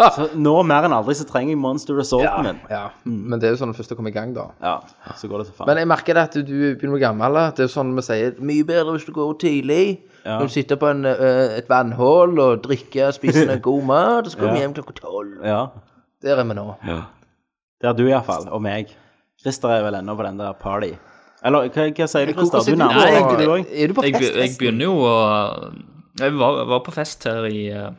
[SPEAKER 6] Ah.
[SPEAKER 1] Så nå mer enn aldri så trenger jeg Monster Resorten min.
[SPEAKER 6] Ja, men det er jo sånn det første kom i gang, da.
[SPEAKER 1] Ja, så går det til faen.
[SPEAKER 6] Men jeg merker det at du begynner å bli gammel. Det er jo sånn vi sier mye bedre hvis du går tidlig. Når du sitter på en, eh, et vannhull og drikker, spiser en god mat, og så kommer du hjem klokka tolv.
[SPEAKER 1] Ja.
[SPEAKER 6] Der er vi nå.
[SPEAKER 1] Det er du iallfall, og meg. Christer er vel ennå på den der party. Eller hva, hva sier du,
[SPEAKER 6] Hvordan
[SPEAKER 1] Christer? Du
[SPEAKER 6] er
[SPEAKER 1] nærmer deg egentlig, du
[SPEAKER 6] du på,
[SPEAKER 1] òg.
[SPEAKER 6] er du på
[SPEAKER 5] jeg, be-
[SPEAKER 6] fest?
[SPEAKER 5] jeg begynner jo å Jeg var, var på fest her i, eh,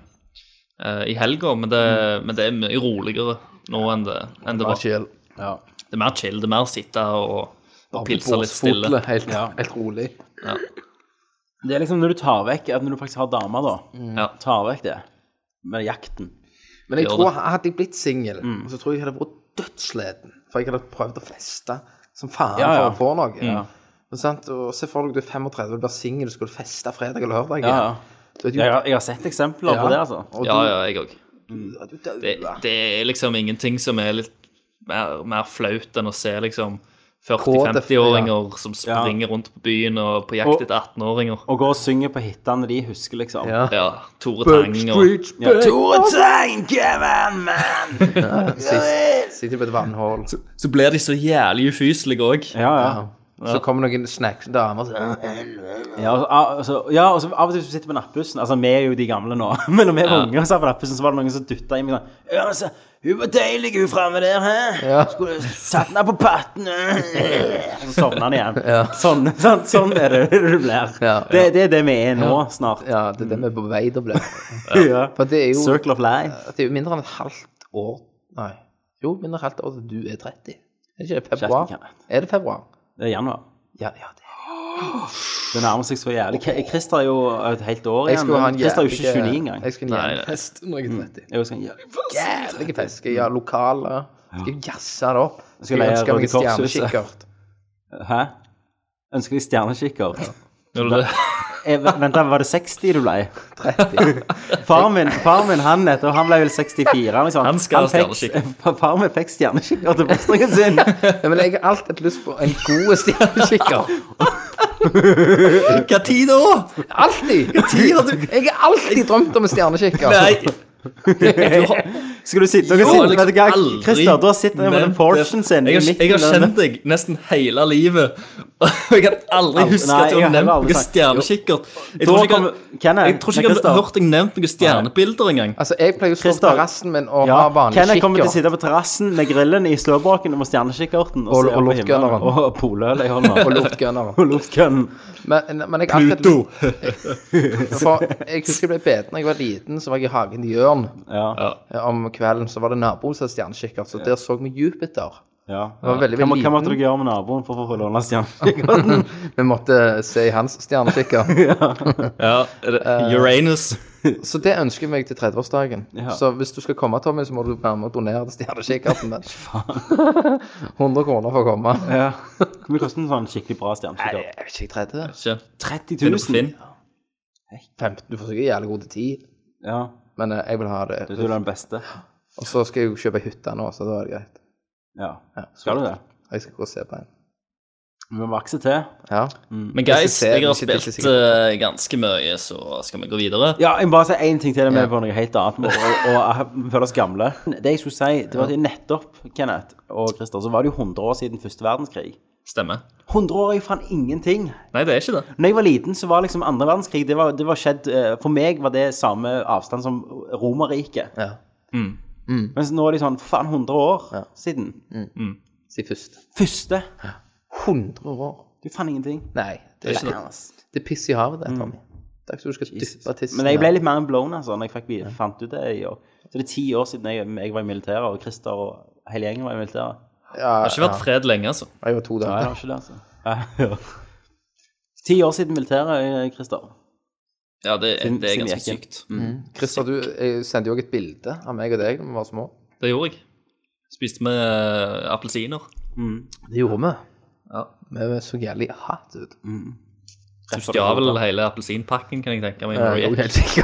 [SPEAKER 5] eh, i helga, men det, men det er mye roligere nå enn det, enn det var.
[SPEAKER 6] Chill.
[SPEAKER 1] Ja.
[SPEAKER 5] Det er mer chill. Det er mer å sitte og, og pilse litt stille.
[SPEAKER 6] Båsfotle, Helt, helt rolig.
[SPEAKER 1] Det er liksom når du tar vekk Når du faktisk har damer, da.
[SPEAKER 5] Ja.
[SPEAKER 1] Tar vekk det med jakten.
[SPEAKER 6] Men jeg
[SPEAKER 5] Gjør
[SPEAKER 6] tror hadde jeg blitt singel, så tror jeg jeg hadde vært dødssliten. For jeg hadde prøvd å feste som faen
[SPEAKER 1] Ja, ja.
[SPEAKER 6] for å få noe. Men sant? Og se for deg du er 35 og blir singel, skal du feste fredag eller lørdag.
[SPEAKER 1] Ja, ja.
[SPEAKER 6] Du er jo
[SPEAKER 1] Jeg har, jeg har sett eksempler på
[SPEAKER 6] Ja.
[SPEAKER 1] det, altså.
[SPEAKER 6] Og
[SPEAKER 5] Ja,
[SPEAKER 6] du-
[SPEAKER 5] ja, jeg òg.
[SPEAKER 6] du dør.
[SPEAKER 5] Det, det er liksom ingenting som er litt mer, mer flaut enn å se liksom
[SPEAKER 6] Kåte,
[SPEAKER 5] 40-50-åringer som springer rundt på byen og på jakt
[SPEAKER 1] Og-
[SPEAKER 5] etter 18-åringer.
[SPEAKER 1] Og går og synger på hitene de husker, liksom.
[SPEAKER 6] Ja.
[SPEAKER 5] Ja, Tore Tang og
[SPEAKER 6] Street
[SPEAKER 1] Ja,
[SPEAKER 6] Bang.
[SPEAKER 1] Tore Tang, come on, man!
[SPEAKER 6] Sist- Sitter på et vannhull. Så,
[SPEAKER 5] Så blir de så jævlig ufyselige òg.
[SPEAKER 1] Ja, ja.
[SPEAKER 6] så kommer noen snacks damer og sier
[SPEAKER 1] Ja, og så- altså, ja, og så av og til hvis du sitter på nattbussen Altså, vi er jo de gamle nå, men når vi var
[SPEAKER 5] Ja.
[SPEAKER 1] unge og satt på nattbussen, så var det noen som dytta inn meg sånn «Ja, altså, Hun var deilig, hun framme der, hæ? Skulle satt henne på patten øh». Og så sovna han igjen. Sånn, sånn, sånn er det du blir.
[SPEAKER 6] Ja.
[SPEAKER 1] Det, det er det vi er nå, snart. Ja.
[SPEAKER 6] Ja, det er det vi er på vei til å bli. For det er jo,
[SPEAKER 1] Circle of life.
[SPEAKER 6] det er jo mindre enn et halvt år Nei. Jo, mindre enn et halvt år til du er 30. Er det ikke det februar?
[SPEAKER 1] Kjeften, Kenneth.
[SPEAKER 6] Er det februar?
[SPEAKER 1] Det er januar.
[SPEAKER 6] Ja, ja, det er
[SPEAKER 1] Det nærmer seg så jævlig. K- Christer er jo et helt år
[SPEAKER 6] Jeg
[SPEAKER 1] igjen.
[SPEAKER 6] skulle ha en
[SPEAKER 1] men Christer er jo ikke
[SPEAKER 6] jævlig- eh,
[SPEAKER 1] 29 engang.
[SPEAKER 6] Jeg skulle ha en
[SPEAKER 5] Nei,
[SPEAKER 6] jævlig fest når jeg er 30.
[SPEAKER 1] Jeg skal, ja.
[SPEAKER 6] Jævlig fest. Skal jeg ha lokale Skal jeg jazze det opp? Skal
[SPEAKER 1] leie
[SPEAKER 6] jeg ønske meg en
[SPEAKER 1] Røde Kors-huset.
[SPEAKER 6] stjernekikkert?
[SPEAKER 1] Hæ? Ønsker deg stjernekikkert?
[SPEAKER 5] Ja,
[SPEAKER 1] Eh, Vent, da, var det 60 du ble?
[SPEAKER 6] 30.
[SPEAKER 1] Faren min, faren min han nettopp, han ble vel 64, liksom.
[SPEAKER 5] Han skal ha
[SPEAKER 1] fikk- Faren min fikk stjerneskikker til bursdagen sin.
[SPEAKER 6] Nei, men jeg har alltid hatt lyst på en god stjernekikker.
[SPEAKER 5] Hva tid da?
[SPEAKER 6] Alltid! Jeg har alltid drømt om en stjernekikker.
[SPEAKER 5] Nei,
[SPEAKER 1] Skal du sitte og
[SPEAKER 5] Jo,
[SPEAKER 1] sitte,
[SPEAKER 5] liksom
[SPEAKER 1] vet du hva,
[SPEAKER 5] aldri
[SPEAKER 1] Christer, du har sittet med den
[SPEAKER 5] nevnt
[SPEAKER 1] Porschen
[SPEAKER 5] det.
[SPEAKER 1] sin i
[SPEAKER 5] Jeg har,
[SPEAKER 1] midten
[SPEAKER 5] jeg har
[SPEAKER 1] av den-
[SPEAKER 5] kjent deg nesten hele livet, og jeg kan aldri
[SPEAKER 1] Aldri-
[SPEAKER 5] huske
[SPEAKER 1] nei,
[SPEAKER 5] at
[SPEAKER 1] jeg
[SPEAKER 5] du
[SPEAKER 1] har
[SPEAKER 5] har nevnt
[SPEAKER 1] heller aldri
[SPEAKER 5] noe
[SPEAKER 1] sagt-
[SPEAKER 5] stjernekikkert. Jeg
[SPEAKER 1] Da
[SPEAKER 5] tror ikke
[SPEAKER 1] kommer-
[SPEAKER 5] jeg-
[SPEAKER 1] Kenneth,
[SPEAKER 5] jeg tror ikke jeg
[SPEAKER 1] Christer.
[SPEAKER 5] har hørt deg nevnt noen stjernebilder engang.
[SPEAKER 6] Altså, jeg pleier å stå på
[SPEAKER 1] Christer.
[SPEAKER 6] terrassen min og ha
[SPEAKER 1] Ja,
[SPEAKER 6] vanlig
[SPEAKER 1] Kenneth kommer til å
[SPEAKER 6] kikker.
[SPEAKER 1] sitte på terrassen med grillen i slåbroken og stjernekikkerten. se
[SPEAKER 6] Og- og
[SPEAKER 1] opp på himmelen.
[SPEAKER 6] luftgunneren.
[SPEAKER 1] Og poløl i hånda.
[SPEAKER 6] Og luftgunner.
[SPEAKER 1] Og luftgunnen.
[SPEAKER 6] Men, men jeg har alltid For jeg husker jeg ble beten da jeg var liten, så var jeg i hagen i Jørn. Eh,
[SPEAKER 1] Ja,
[SPEAKER 6] Om kvelden så var det naboen som hadde stjernekikkert, så der så vi Jupiter.
[SPEAKER 1] ja.
[SPEAKER 6] Det var veldig,
[SPEAKER 1] Hva, må-
[SPEAKER 6] veldig
[SPEAKER 1] hva måtte
[SPEAKER 6] liten.
[SPEAKER 1] dere gjøre med naboen for å få låne stjernekikkerten?
[SPEAKER 6] Vi måtte se i hans stjernekikker.
[SPEAKER 5] Ja, er det eh, Uranus.
[SPEAKER 6] Så det ønsker jeg meg til 30-årsdagen.
[SPEAKER 1] Ja.
[SPEAKER 6] Så hvis du skal komme, Tommy, så må du være med og donere til stjernekikkerten din. 100 kroner for å komme.
[SPEAKER 1] Ja. Hvor mye koster en sånn skikkelig bra
[SPEAKER 6] Nei,
[SPEAKER 1] stjernekikkert?
[SPEAKER 6] jeg vet ikke, jeg tredje det.
[SPEAKER 5] Ikke.
[SPEAKER 1] 30
[SPEAKER 5] Finn opp
[SPEAKER 1] 000?
[SPEAKER 5] Finn.
[SPEAKER 6] 15, du får sikkert jævlig god til 10,
[SPEAKER 1] Ja,
[SPEAKER 6] men eh, jeg vil ha det.
[SPEAKER 1] det tror jeg er den beste.
[SPEAKER 6] Og så skal jeg jo kjøpe hytte nå, så da er det greit.
[SPEAKER 1] Ja. Skal du det?
[SPEAKER 6] Jeg skal gå og se på en.
[SPEAKER 1] Vi må vokse til.
[SPEAKER 6] Ja.
[SPEAKER 1] Mm.
[SPEAKER 5] Men guys,
[SPEAKER 6] ser den,
[SPEAKER 5] jeg har
[SPEAKER 6] ikke- ikke
[SPEAKER 5] spilt
[SPEAKER 6] sikkert.
[SPEAKER 5] eh, ganske mye, så skal vi gå videre.
[SPEAKER 1] Ja, jeg må bare si én ting til det med
[SPEAKER 6] Ja.
[SPEAKER 1] på noe helt annet, og, og, og vi føler oss gamle. Det jeg skulle si, det var at nettopp, Kenneth og Christer, så var det jo 100 år siden første verdenskrig.
[SPEAKER 5] Stemmer.
[SPEAKER 1] 100 år er jo faen ingenting.
[SPEAKER 5] Nei, det er ikke det.
[SPEAKER 1] Når jeg var liten, så var liksom andre verdenskrig det var, det var skjedd, eh, For meg var det samme avstand som Romerriket.
[SPEAKER 6] Ja.
[SPEAKER 1] Mens nå er det sånn faen 100 år siden.
[SPEAKER 6] Si først.
[SPEAKER 1] Første.
[SPEAKER 6] 100 år.
[SPEAKER 1] Det er faen ingenting.
[SPEAKER 6] Nei, det er, det er piss i havet, det, Tommy. Det er ikke så du skal dyppe tissen.
[SPEAKER 1] Mm. Men jeg ble litt mer blown altså, når jeg fikk, vi- fant ut det. i år. Så det er ti år siden jeg, jeg var i militæret, og Christer og hele gjengen var i militæret.
[SPEAKER 6] ja,
[SPEAKER 5] Det har ikke vært fred lenge, altså.
[SPEAKER 6] ja, jeg var to
[SPEAKER 1] Nei, jeg
[SPEAKER 6] dager.
[SPEAKER 1] har ikke det, altså. Ja. Ti år siden militæret, eh, Christer.
[SPEAKER 5] Ja, det, er-
[SPEAKER 1] Siden-
[SPEAKER 5] det er
[SPEAKER 1] siden
[SPEAKER 5] ganske
[SPEAKER 1] jeg gikk.
[SPEAKER 5] sykt.
[SPEAKER 6] Christer, du jeg sendte jo også et bilde av meg og deg da vi var små.
[SPEAKER 5] Det gjorde jeg. Spiste med eh, appelsiner.
[SPEAKER 6] Det gjorde vi.
[SPEAKER 5] Ja.
[SPEAKER 6] Vi så jævlig hatt ut.
[SPEAKER 5] Mm, Du stjal vel hele appelsinpakken, kan jeg tenke meg.
[SPEAKER 6] Ja,
[SPEAKER 5] når du
[SPEAKER 6] jeg
[SPEAKER 5] gikk.
[SPEAKER 6] er helt sikker.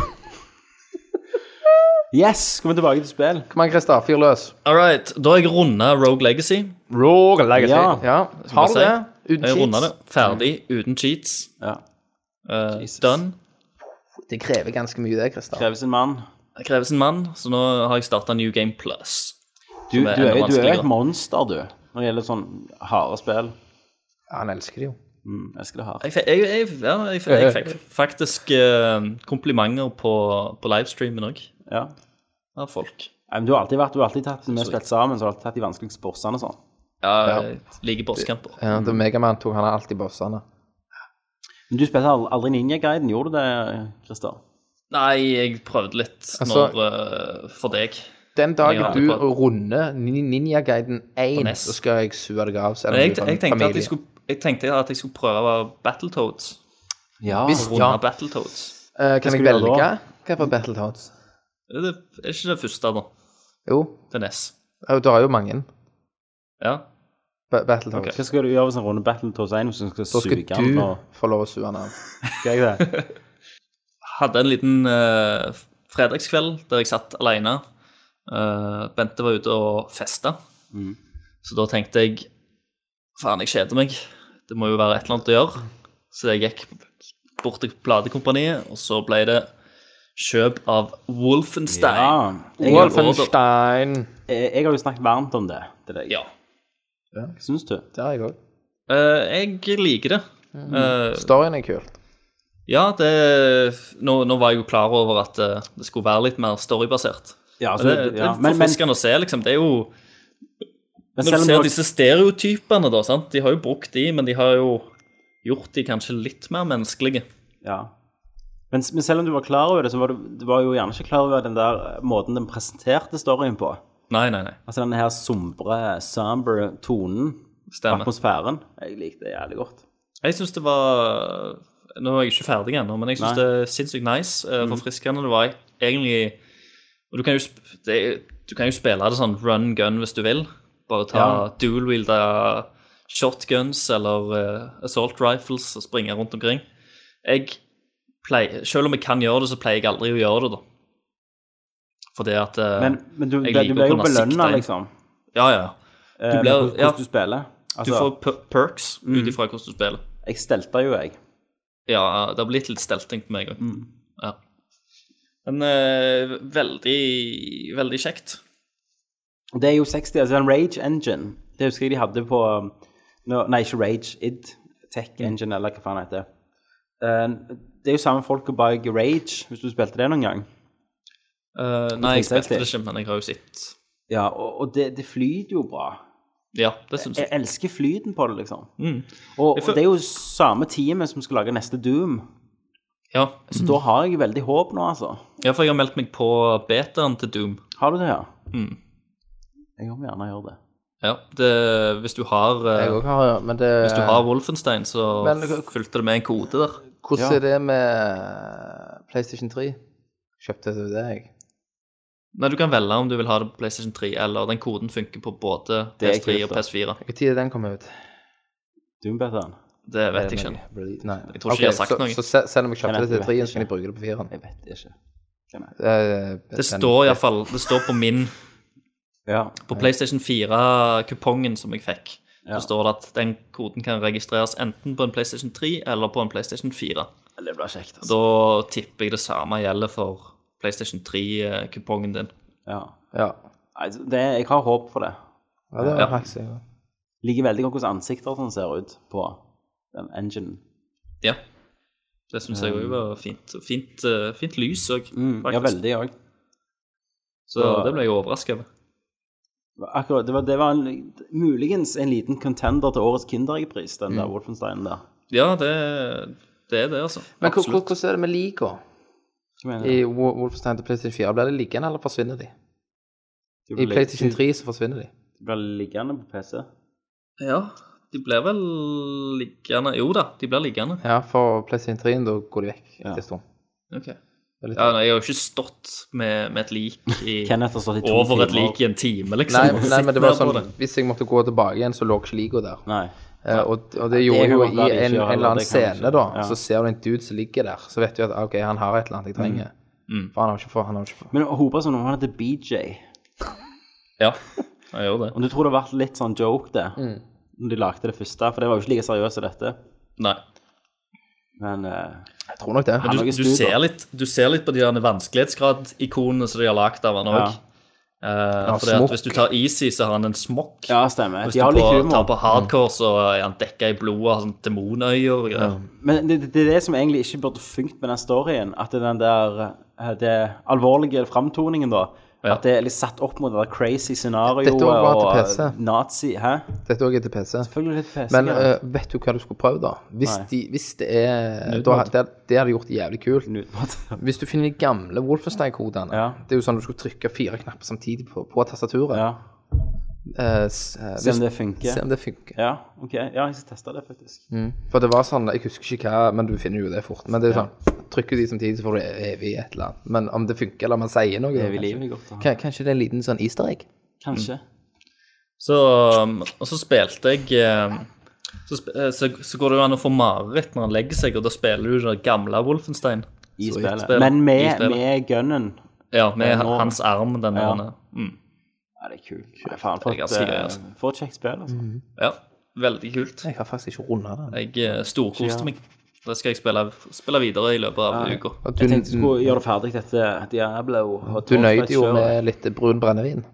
[SPEAKER 1] Yes, kommer tilbake til spill.
[SPEAKER 6] Kom an, Christer. Fyr løs.
[SPEAKER 5] All right, da har jeg runda Rogue Legacy.
[SPEAKER 6] Roar legger
[SPEAKER 1] Ja.
[SPEAKER 6] Ja. Har du
[SPEAKER 5] jeg
[SPEAKER 6] det?
[SPEAKER 5] si.
[SPEAKER 6] Uten
[SPEAKER 5] Jeg runda det.
[SPEAKER 6] cheats?
[SPEAKER 5] Ferdig, uten cheats.
[SPEAKER 1] Ja.
[SPEAKER 5] Eh,
[SPEAKER 1] Jesus.
[SPEAKER 5] done.
[SPEAKER 6] Det krever ganske mye, det, Christer.
[SPEAKER 1] Kreves en mann.
[SPEAKER 5] Det kreves en mann, så nå har jeg starta New Game Plus.
[SPEAKER 1] Du,
[SPEAKER 5] Som
[SPEAKER 1] du,
[SPEAKER 5] er
[SPEAKER 1] er, du
[SPEAKER 5] enda
[SPEAKER 1] er jo et
[SPEAKER 5] vanskeligere.
[SPEAKER 1] monster, du, når det gjelder sånn harde spill.
[SPEAKER 6] Han elsker det jo.
[SPEAKER 1] Mm, jeg elsker det hardt.
[SPEAKER 5] Jeg, fe- jeg, jeg, ja, jeg, fe- jeg fikk faktisk eh, komplimenter på, på livestreamen òg,
[SPEAKER 1] Ja.
[SPEAKER 5] av folk.
[SPEAKER 1] Nei, Men du har alltid vært, du har alltid tatt, vi har spilt sammen, så har du alltid tatt de vanskeligste bossene og sånn.
[SPEAKER 5] Ja, jeg liker bosskamper.
[SPEAKER 6] Ja, da Megaman tok han alltid bossene.
[SPEAKER 1] Men du spilte al- aldri Ninja Guiden, gjorde du det, Christer?
[SPEAKER 5] Nei, jeg prøvde litt
[SPEAKER 6] Altså-
[SPEAKER 5] når, eh, for deg.
[SPEAKER 6] Den dagen
[SPEAKER 5] Ja.
[SPEAKER 6] du runder Nin- Ninja Guiden 1,
[SPEAKER 5] NES.
[SPEAKER 6] så skal jeg sue deg av. selv om
[SPEAKER 5] Men E jeg,
[SPEAKER 6] du er fra
[SPEAKER 5] jeg, tenkte at
[SPEAKER 6] familie.
[SPEAKER 5] jeg, skulle, jeg tenkte at jeg skulle prøve Battletoads.
[SPEAKER 1] Ja.
[SPEAKER 6] Hvis-
[SPEAKER 5] Runde
[SPEAKER 6] Ja.
[SPEAKER 5] Battletoads.
[SPEAKER 6] Eh, Kan
[SPEAKER 1] skulle
[SPEAKER 6] jeg
[SPEAKER 1] du gjøre
[SPEAKER 6] velge
[SPEAKER 1] da?
[SPEAKER 6] hva for Battletoads?
[SPEAKER 5] Er det er ikke det første, da?
[SPEAKER 6] Jo,
[SPEAKER 5] Til NES.
[SPEAKER 6] eh, du har jo mange
[SPEAKER 5] E Ja.
[SPEAKER 6] Ba- Battletoads.
[SPEAKER 1] Hva skal du gjøre hvis en runde Battletoads 1 hvis en skal
[SPEAKER 6] Så skal
[SPEAKER 1] suge den?
[SPEAKER 6] du
[SPEAKER 1] og-
[SPEAKER 6] få lov å sue han av.
[SPEAKER 1] Skal jeg det?
[SPEAKER 5] Hadde en liten eh, fredagskveld der jeg satt alene. Eh, Bente var ute og festa.
[SPEAKER 1] Mm.
[SPEAKER 5] Så da tenkte jeg faen, jeg kjeder meg. Det må jo være et eller annet å gjøre. Så jeg gikk bort til platekompaniet, og så ble det kjøp av Wolfenstein.
[SPEAKER 1] Ja. Jeg,
[SPEAKER 6] Wolfenstein.
[SPEAKER 1] jeg, jeg har jo snakket varmt om det til deg.
[SPEAKER 5] Ja.
[SPEAKER 1] Hva syns du?
[SPEAKER 6] Det har jeg òg.
[SPEAKER 5] Eh, jeg liker det. Eh,
[SPEAKER 6] Storyen er kul.
[SPEAKER 5] ja, det nå, nå var jeg jo klar over at eh, det skulle være litt mer storybasert.
[SPEAKER 1] Ja, altså,
[SPEAKER 5] det, det
[SPEAKER 1] ja.
[SPEAKER 5] er
[SPEAKER 1] Men, men,
[SPEAKER 5] forfriskende å se, liksom. Det er jo
[SPEAKER 1] men
[SPEAKER 5] Når
[SPEAKER 1] selv
[SPEAKER 5] du
[SPEAKER 1] om
[SPEAKER 5] ser
[SPEAKER 1] det var-
[SPEAKER 5] disse stereotypene, da, sant? de har jo brukt de, men de har jo gjort de kanskje litt mer menneskelige.
[SPEAKER 1] Ja. Men, men selv om du var klar over det, så var du, du var jo gjerne ikke klar over den der eh, måten den presenterte storyen på.
[SPEAKER 5] Nei, nei, nei.
[SPEAKER 1] Altså denne her sombre, sombre tonen,
[SPEAKER 5] Stemmer.
[SPEAKER 1] atmosfæren. Jeg likte det jævlig godt.
[SPEAKER 5] Jeg syns det var Nå er jeg ikke ferdig ennå, men jeg syns
[SPEAKER 1] Nei. Mm.
[SPEAKER 5] det er sinnssykt nice. eh, Forfriskende. Det var egentlig Og du kan jo, sp- det, er- du kan jo spille det sånn run gun hvis du vil. Bare ta
[SPEAKER 1] Ja.
[SPEAKER 5] dual-wielda shotguns eller eh, assault rifles og springe rundt omkring. Jeg pleier, Selv om jeg kan gjøre det, så pleier jeg aldri å gjøre det, da. Fordi at eh,
[SPEAKER 1] Men, men du,
[SPEAKER 5] jeg
[SPEAKER 1] du,
[SPEAKER 5] liker å
[SPEAKER 1] ble jo
[SPEAKER 5] kunne sikte
[SPEAKER 1] belønna,
[SPEAKER 5] inn.
[SPEAKER 1] liksom.
[SPEAKER 5] Ja, ja.
[SPEAKER 1] eh, med
[SPEAKER 5] blir-
[SPEAKER 1] hvordan-
[SPEAKER 5] ja.
[SPEAKER 1] hvordan du spiller.
[SPEAKER 5] Du
[SPEAKER 1] Altså, Mm.
[SPEAKER 5] får per perks ut ifra hvordan du spiller.
[SPEAKER 1] jeg stelta jo, jeg.
[SPEAKER 5] Ja, det har blitt litt stelting på meg òg.
[SPEAKER 1] Mm.
[SPEAKER 5] Ja. Men eh, veldig, veldig kjekt.
[SPEAKER 1] Og Det er jo 60, altså en Rage Engine. Det husker jeg de hadde på um, nå- Nei, ikke Rage, id. Tech
[SPEAKER 5] Mm.
[SPEAKER 1] Engine, eller hva faen det heter. Eh, det er jo samme folka bak Rage, hvis du spilte det noen gang.
[SPEAKER 5] Eh, nei, jeg
[SPEAKER 1] tenkte jeg
[SPEAKER 5] spilte det
[SPEAKER 1] til.
[SPEAKER 5] ikke, men jeg har jo sett
[SPEAKER 1] Ja, og, og det, det flyter jo bra.
[SPEAKER 5] Ja, det syns
[SPEAKER 1] Jeg
[SPEAKER 5] jeg.
[SPEAKER 1] elsker flyten på det, liksom.
[SPEAKER 5] Mm.
[SPEAKER 1] Og, og
[SPEAKER 5] føl-
[SPEAKER 1] det er jo samme teamet som skal lage neste Doom.
[SPEAKER 5] Ja.
[SPEAKER 1] Så da har jeg veldig håp nå, altså.
[SPEAKER 5] ja, for jeg har meldt meg på betaen til Doom.
[SPEAKER 1] Har du det, ja? Jeg må gjerne gjøre det.
[SPEAKER 5] Ja, det, Hvis du har eh,
[SPEAKER 6] Jeg òg har men det
[SPEAKER 5] Hvis du har Wolfenstein, så
[SPEAKER 6] Men-
[SPEAKER 5] fulgte det med en kode der.
[SPEAKER 6] Hvordan
[SPEAKER 1] Ja.
[SPEAKER 6] er det med PlayStation 3? Kjøpte du det, jeg?
[SPEAKER 5] Nei, Du kan velge om du vil ha det på PlayStation 3, eller den koden funker på både
[SPEAKER 1] Det er
[SPEAKER 5] PS3 og
[SPEAKER 1] kult, da.
[SPEAKER 5] PS4.
[SPEAKER 6] Når tid er den kommet ut? Eh,
[SPEAKER 1] Doom-betaen.
[SPEAKER 5] Det vet jeg ikke. ennå.
[SPEAKER 6] Nei.
[SPEAKER 5] Jeg tror ikke jeg har sagt
[SPEAKER 6] så,
[SPEAKER 5] noe.
[SPEAKER 6] Så se- selv om jeg
[SPEAKER 1] Nei,
[SPEAKER 6] kjøpte det til
[SPEAKER 1] jeg vet
[SPEAKER 6] 3, så kan
[SPEAKER 1] ikke.
[SPEAKER 6] jeg bruke det på Eh, 4?
[SPEAKER 1] Jeg vet ikke.
[SPEAKER 6] Det,
[SPEAKER 5] Det står iallfall Det står på min
[SPEAKER 1] Ja.
[SPEAKER 5] På PlayStation 4-kupongen som jeg fikk,
[SPEAKER 1] Ja.
[SPEAKER 5] så står det at den koden kan registreres enten på en PlayStation 3 eller på en PlayStation 4.
[SPEAKER 1] Det blir kjekt, altså.
[SPEAKER 5] Da tipper jeg det samme gjelder for PlayStation 3-kupongen din.
[SPEAKER 1] Ja.
[SPEAKER 6] Ja.
[SPEAKER 1] Nei, Det, jeg har håp for det.
[SPEAKER 6] ja, det
[SPEAKER 5] Ja.
[SPEAKER 6] var faktisk jeg.
[SPEAKER 1] Liker veldig godt hvordan ansikter sånn ser ut på den enginen.
[SPEAKER 5] Ja. Det syns jeg òg var fint. Fint, eh, fint lys òg,
[SPEAKER 6] Mm,
[SPEAKER 1] Ja, veldig òg.
[SPEAKER 5] Så det ble jeg overraska over.
[SPEAKER 1] Akkurat. Det var, det var en, muligens en liten contender til årets Kinderegg-pris, den der Wolfensteinen der.
[SPEAKER 5] Ja, det, det er det, altså.
[SPEAKER 6] Men hvor- hvor-
[SPEAKER 5] Absolutt.
[SPEAKER 6] hvordan er det med liga
[SPEAKER 1] Hva mener
[SPEAKER 6] i
[SPEAKER 1] du?
[SPEAKER 6] Wo- Wolfenstein til PlayStation 4? Blir det liggende, eller forsvinner de?
[SPEAKER 1] Det
[SPEAKER 6] I
[SPEAKER 1] blir-
[SPEAKER 6] PlayStation 3 så forsvinner de.
[SPEAKER 1] det Blir liggende på PC.
[SPEAKER 5] Ja, de blir vel liggende Jo da, de blir liggende.
[SPEAKER 6] Ja, for PlayStation 3 da går de vekk etter en stund.
[SPEAKER 5] Ok.
[SPEAKER 6] Det er litt-
[SPEAKER 5] Ja, nei, jeg har jo ikke stått med, med et lik i
[SPEAKER 1] Kenneth har stått i to
[SPEAKER 5] over et
[SPEAKER 1] timer.
[SPEAKER 5] lik i en time, liksom.
[SPEAKER 6] Nei,
[SPEAKER 5] og
[SPEAKER 6] nei, men det
[SPEAKER 5] sitter
[SPEAKER 6] var
[SPEAKER 5] der på
[SPEAKER 6] sånn Hvis jeg måtte gå tilbake igjen, så lå ikke liga der.
[SPEAKER 1] Nei.
[SPEAKER 6] Eh, og, og det gjorde
[SPEAKER 1] kan
[SPEAKER 6] jo
[SPEAKER 1] godt være
[SPEAKER 6] i
[SPEAKER 1] det ikke
[SPEAKER 6] en, en
[SPEAKER 1] gjør
[SPEAKER 6] eller annen
[SPEAKER 1] heller, det kan
[SPEAKER 6] scene,
[SPEAKER 1] det
[SPEAKER 6] da.
[SPEAKER 1] ikke. Ja.
[SPEAKER 6] Så ser du en dude som ligger der, så vet du at OK, han har et eller annet jeg trenger.
[SPEAKER 1] Mm.
[SPEAKER 6] For han har ikke fått han har ikke fått-
[SPEAKER 1] Men hovedpersonen han heter BJ.
[SPEAKER 5] Ja, jeg gjorde det.
[SPEAKER 1] Om du tror det har vært litt sånn joke, det,
[SPEAKER 6] Mm.
[SPEAKER 1] når de lagde det første, for det var jo ikke like seriøst som dette.
[SPEAKER 5] Nei.
[SPEAKER 1] Men eh,
[SPEAKER 6] Jeg tror nok det.
[SPEAKER 1] Han
[SPEAKER 5] Du,
[SPEAKER 1] lager
[SPEAKER 5] du,
[SPEAKER 1] studier.
[SPEAKER 5] ser litt, du ser litt på de der vanskelighetsgrad-ikonene som de har lagd av han òg.
[SPEAKER 1] ja.
[SPEAKER 6] smokk.
[SPEAKER 5] Eh, hvis du tar Easy, så har han en smokk.
[SPEAKER 1] ja, stemmer.
[SPEAKER 5] Hvis
[SPEAKER 1] De
[SPEAKER 5] du
[SPEAKER 1] har litt
[SPEAKER 5] på, tar
[SPEAKER 1] humor.
[SPEAKER 5] på
[SPEAKER 1] Mm.
[SPEAKER 5] hardcore, så er han dekka i blodet av sånn demonøyer og greier.
[SPEAKER 1] Men det, det er det som egentlig ikke burde funket med den storyen. At det er den der eh, det alvorlige framtoningen, da,
[SPEAKER 5] Ja.
[SPEAKER 1] At det er litt satt opp mot det der crazy scenarioet
[SPEAKER 6] Dette også var til PC.
[SPEAKER 1] og nazi Hæ?
[SPEAKER 6] Dette òg er til PC.
[SPEAKER 1] Selvfølgelig litt PC.
[SPEAKER 6] Men
[SPEAKER 1] ja.
[SPEAKER 6] eh, vet du hva du skulle prøvd, da? Hvis,
[SPEAKER 1] Nei.
[SPEAKER 6] de, hvis det er da, det, det hadde gjort det jævlig kult.
[SPEAKER 1] Nudemat.
[SPEAKER 6] Hvis du finner de gamle Wolfenstein-kodene
[SPEAKER 1] Ja.
[SPEAKER 6] Det er jo sånn du skulle trykke fire knapper samtidig på, på tastaturet.
[SPEAKER 1] ja.
[SPEAKER 6] Eh, s- eh,
[SPEAKER 1] Se om
[SPEAKER 6] hvis-
[SPEAKER 1] det funker.
[SPEAKER 6] Se om det funker.
[SPEAKER 1] ja, ok. Ja, jeg skal teste det, faktisk.
[SPEAKER 6] For det var sånn, jeg husker ikke hva, men du finner jo det fort. Men det er jo sånn, trykker de samtidig, så får du evig et eller annet. Men om det funker, eller om man sier noe
[SPEAKER 1] Evig
[SPEAKER 6] kanskje.
[SPEAKER 1] liv liksom. er godt å ha.
[SPEAKER 6] Kan- Kanskje det er en liten sånn easter egg?
[SPEAKER 1] Kanskje.
[SPEAKER 5] Så, um, og så spilte jeg eh, så, sp- eh, så, så går det jo an å få mareritt når han legger seg, og da spiller du det gamle Wolfenstein.
[SPEAKER 1] I
[SPEAKER 5] Så
[SPEAKER 1] spillet.
[SPEAKER 5] spillet.
[SPEAKER 1] Men
[SPEAKER 5] I
[SPEAKER 1] med,
[SPEAKER 5] spillet.
[SPEAKER 1] med gunnen.
[SPEAKER 5] Ja, med
[SPEAKER 1] Eh, nå-
[SPEAKER 5] hans arm, den
[SPEAKER 1] Ja.
[SPEAKER 5] der. Mm.
[SPEAKER 1] Ja, det er kult. Nei, faen, for
[SPEAKER 5] Det er
[SPEAKER 1] et,
[SPEAKER 5] ganske gøy,
[SPEAKER 1] eh,
[SPEAKER 5] altså.
[SPEAKER 1] for et kjekt spill, altså.
[SPEAKER 6] Mm.
[SPEAKER 5] Ja, veldig kult.
[SPEAKER 6] Jeg har faktisk ikke rundet den.
[SPEAKER 5] Jeg eh, storkoste meg. Det skal jeg spille, spille videre i løpet av uka.
[SPEAKER 1] Jeg
[SPEAKER 6] Og
[SPEAKER 1] tenkte jeg
[SPEAKER 6] Du,
[SPEAKER 1] skulle gjøre det ferdig, dette Diablo. og
[SPEAKER 6] du nøyde jo
[SPEAKER 1] Torchlight-kjøret.
[SPEAKER 6] med litt brun brennevin.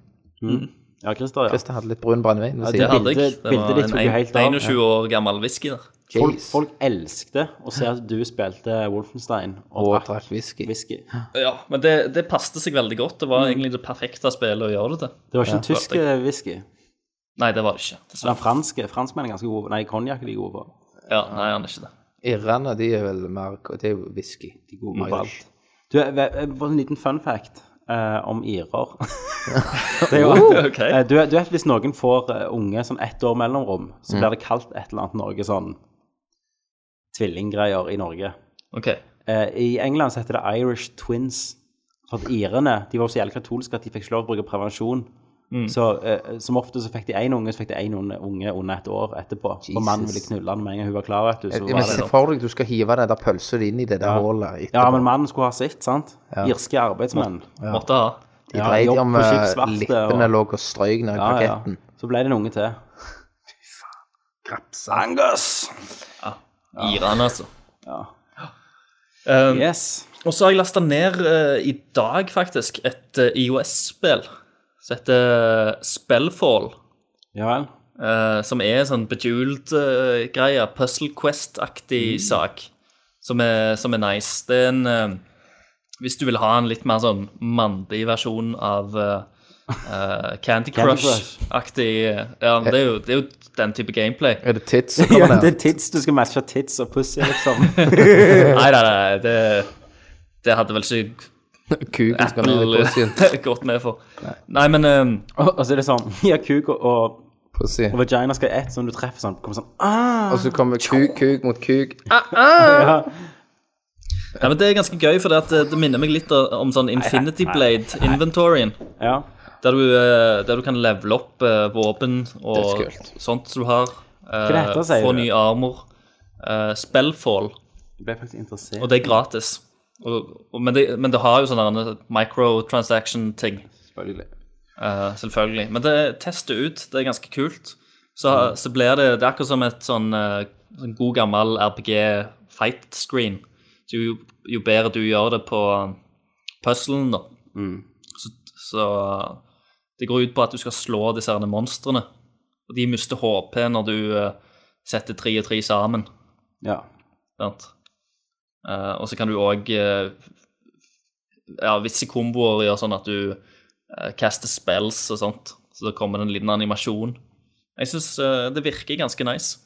[SPEAKER 1] Mm. Ja, Christer, ja.
[SPEAKER 6] Christer hadde litt brun brennevin. ved
[SPEAKER 1] Ja,
[SPEAKER 5] Det
[SPEAKER 6] siden.
[SPEAKER 5] hadde jeg.
[SPEAKER 1] Bildet-
[SPEAKER 5] Det
[SPEAKER 1] bildet
[SPEAKER 5] var
[SPEAKER 1] ditt
[SPEAKER 5] en
[SPEAKER 1] tok jo helt av.
[SPEAKER 5] 21 år gammel whisky der.
[SPEAKER 1] Folk,
[SPEAKER 6] Jeez.
[SPEAKER 1] folk elskte å se at du spilte Wolfenstein og
[SPEAKER 6] Og
[SPEAKER 1] drakk
[SPEAKER 6] drakk whisky.
[SPEAKER 1] whisky.
[SPEAKER 5] Ja, men det, det passte seg veldig godt. Det var egentlig det perfekte spillet å gjøre det til.
[SPEAKER 1] Det var ikke en tysk
[SPEAKER 5] følte
[SPEAKER 1] eh, whisky.
[SPEAKER 5] Nei, det var det ikke.
[SPEAKER 1] Den
[SPEAKER 5] Dessverre.
[SPEAKER 1] franske. Franskmenn er ganske gode på Nei, konjakk er de gode på.
[SPEAKER 5] Ja, nei, han er ikke det.
[SPEAKER 6] Irrene, de er vel mer Det er jo whisky. De gode
[SPEAKER 1] på alt.
[SPEAKER 6] Irish.
[SPEAKER 1] Du, eh, eh, bare en liten fun fact eh, om irer. det er
[SPEAKER 6] Oh,
[SPEAKER 1] jo
[SPEAKER 5] Ok.
[SPEAKER 1] Eh, Du, du vet hvis noen får eh, unge sånn ett år mellomrom,
[SPEAKER 6] Mm.
[SPEAKER 1] så blir det kalt et eller annet Norge sånn tvillinggreier i Norge.
[SPEAKER 5] Ok.
[SPEAKER 1] Eh, I England så heter det Irish Twins. For at irene de var jo så jævlig katolske at de fikk ikke lov å bruke prevensjon.
[SPEAKER 6] Mm.
[SPEAKER 1] Så eh, som ofte så fikk de én unge, så fikk de én unge under et år etterpå. For mannen ville knulle han med en gang hun var klar, vet du. Så
[SPEAKER 6] Jeg må
[SPEAKER 1] var
[SPEAKER 6] se
[SPEAKER 1] det.
[SPEAKER 6] for deg du skal hive den der pølsen inn i det der hullet etterpå.
[SPEAKER 1] Ja, men mannen skulle ha sitt, sant? Irske arbeidsmenn.
[SPEAKER 5] Måtte ha.
[SPEAKER 6] de
[SPEAKER 1] ja,
[SPEAKER 6] dreide
[SPEAKER 1] jobb
[SPEAKER 6] om
[SPEAKER 1] på
[SPEAKER 6] eh,
[SPEAKER 1] skipsverftet, og-
[SPEAKER 6] lippene lå og strøyk ned i
[SPEAKER 1] Ja, ja.
[SPEAKER 6] paketten.
[SPEAKER 1] Så ble det en unge til.
[SPEAKER 5] Irene, altså.
[SPEAKER 1] Ja.
[SPEAKER 5] Um,
[SPEAKER 1] Yes.
[SPEAKER 5] Og så har jeg lasta ned eh, i dag, faktisk, et eh, IOS-spill som heter eh, Spellfall.
[SPEAKER 1] Ja vel.
[SPEAKER 5] eh, som er en sånn bejeweled-greie, Puzzle Quest-aktig sak, som er, som er nice. Det er en eh, Hvis du vil ha en litt mer sånn mandig versjon av eh, eh, Candy
[SPEAKER 1] Candy
[SPEAKER 5] Crush-aktig eh, Ja, det er, jo, det er jo den type gameplay.
[SPEAKER 6] Er det tits som kommer
[SPEAKER 1] Ja, det
[SPEAKER 6] ned?
[SPEAKER 1] er tits du skal matche tits og pussy, liksom.
[SPEAKER 5] Nei, nei, nei, det, det hadde vel ikke
[SPEAKER 6] Kuken skal ned i pussyen.
[SPEAKER 5] Apple gått med for. Nei, men eh,
[SPEAKER 1] Og, og så er det sånn Ja, kuk og, og,
[SPEAKER 6] Pussy.
[SPEAKER 1] og vagina skal i ett, sånn du treffer sånn. Kommer sånn ah!
[SPEAKER 6] Og så kommer kuk, kuk mot kuk.
[SPEAKER 5] Ja, men Det er ganske gøy, for det, at eh, det minner meg litt om sånn Infinity Blade-inventoryen.
[SPEAKER 1] Ja.
[SPEAKER 5] Der, du, eh, der du kan levele opp eh, våpen og
[SPEAKER 6] Dødskult.
[SPEAKER 5] sånt som du har. eh,
[SPEAKER 1] Hva heter det, sier
[SPEAKER 5] Få
[SPEAKER 1] du?
[SPEAKER 5] ny armor. eh, Spellfall.
[SPEAKER 1] Jeg ble faktisk interessert.
[SPEAKER 5] Og det er gratis. Og, og, men, det, men det har jo sånne microtransaction-ting.
[SPEAKER 6] Selvfølgelig.
[SPEAKER 5] Eh, selvfølgelig. Men det test det ut. Det er ganske kult. Så, så blir det Det er akkurat som et sånn eh, sånn god gammel RPG-fight-screen. Så jo, jo bedre du gjør det på eh, puzzlen, da, så, så eh, Det går ut på at du skal slå disse herne monstrene. Og de mister HP når du eh, setter tre og tre sammen.
[SPEAKER 1] Ja.
[SPEAKER 5] Sant? Eh, og så kan du òg Ja, visse komboer gjør sånn at du eh, kaster spells og sånt. Så da kommer det en liten animasjon. Jeg syns det virker ganske nice.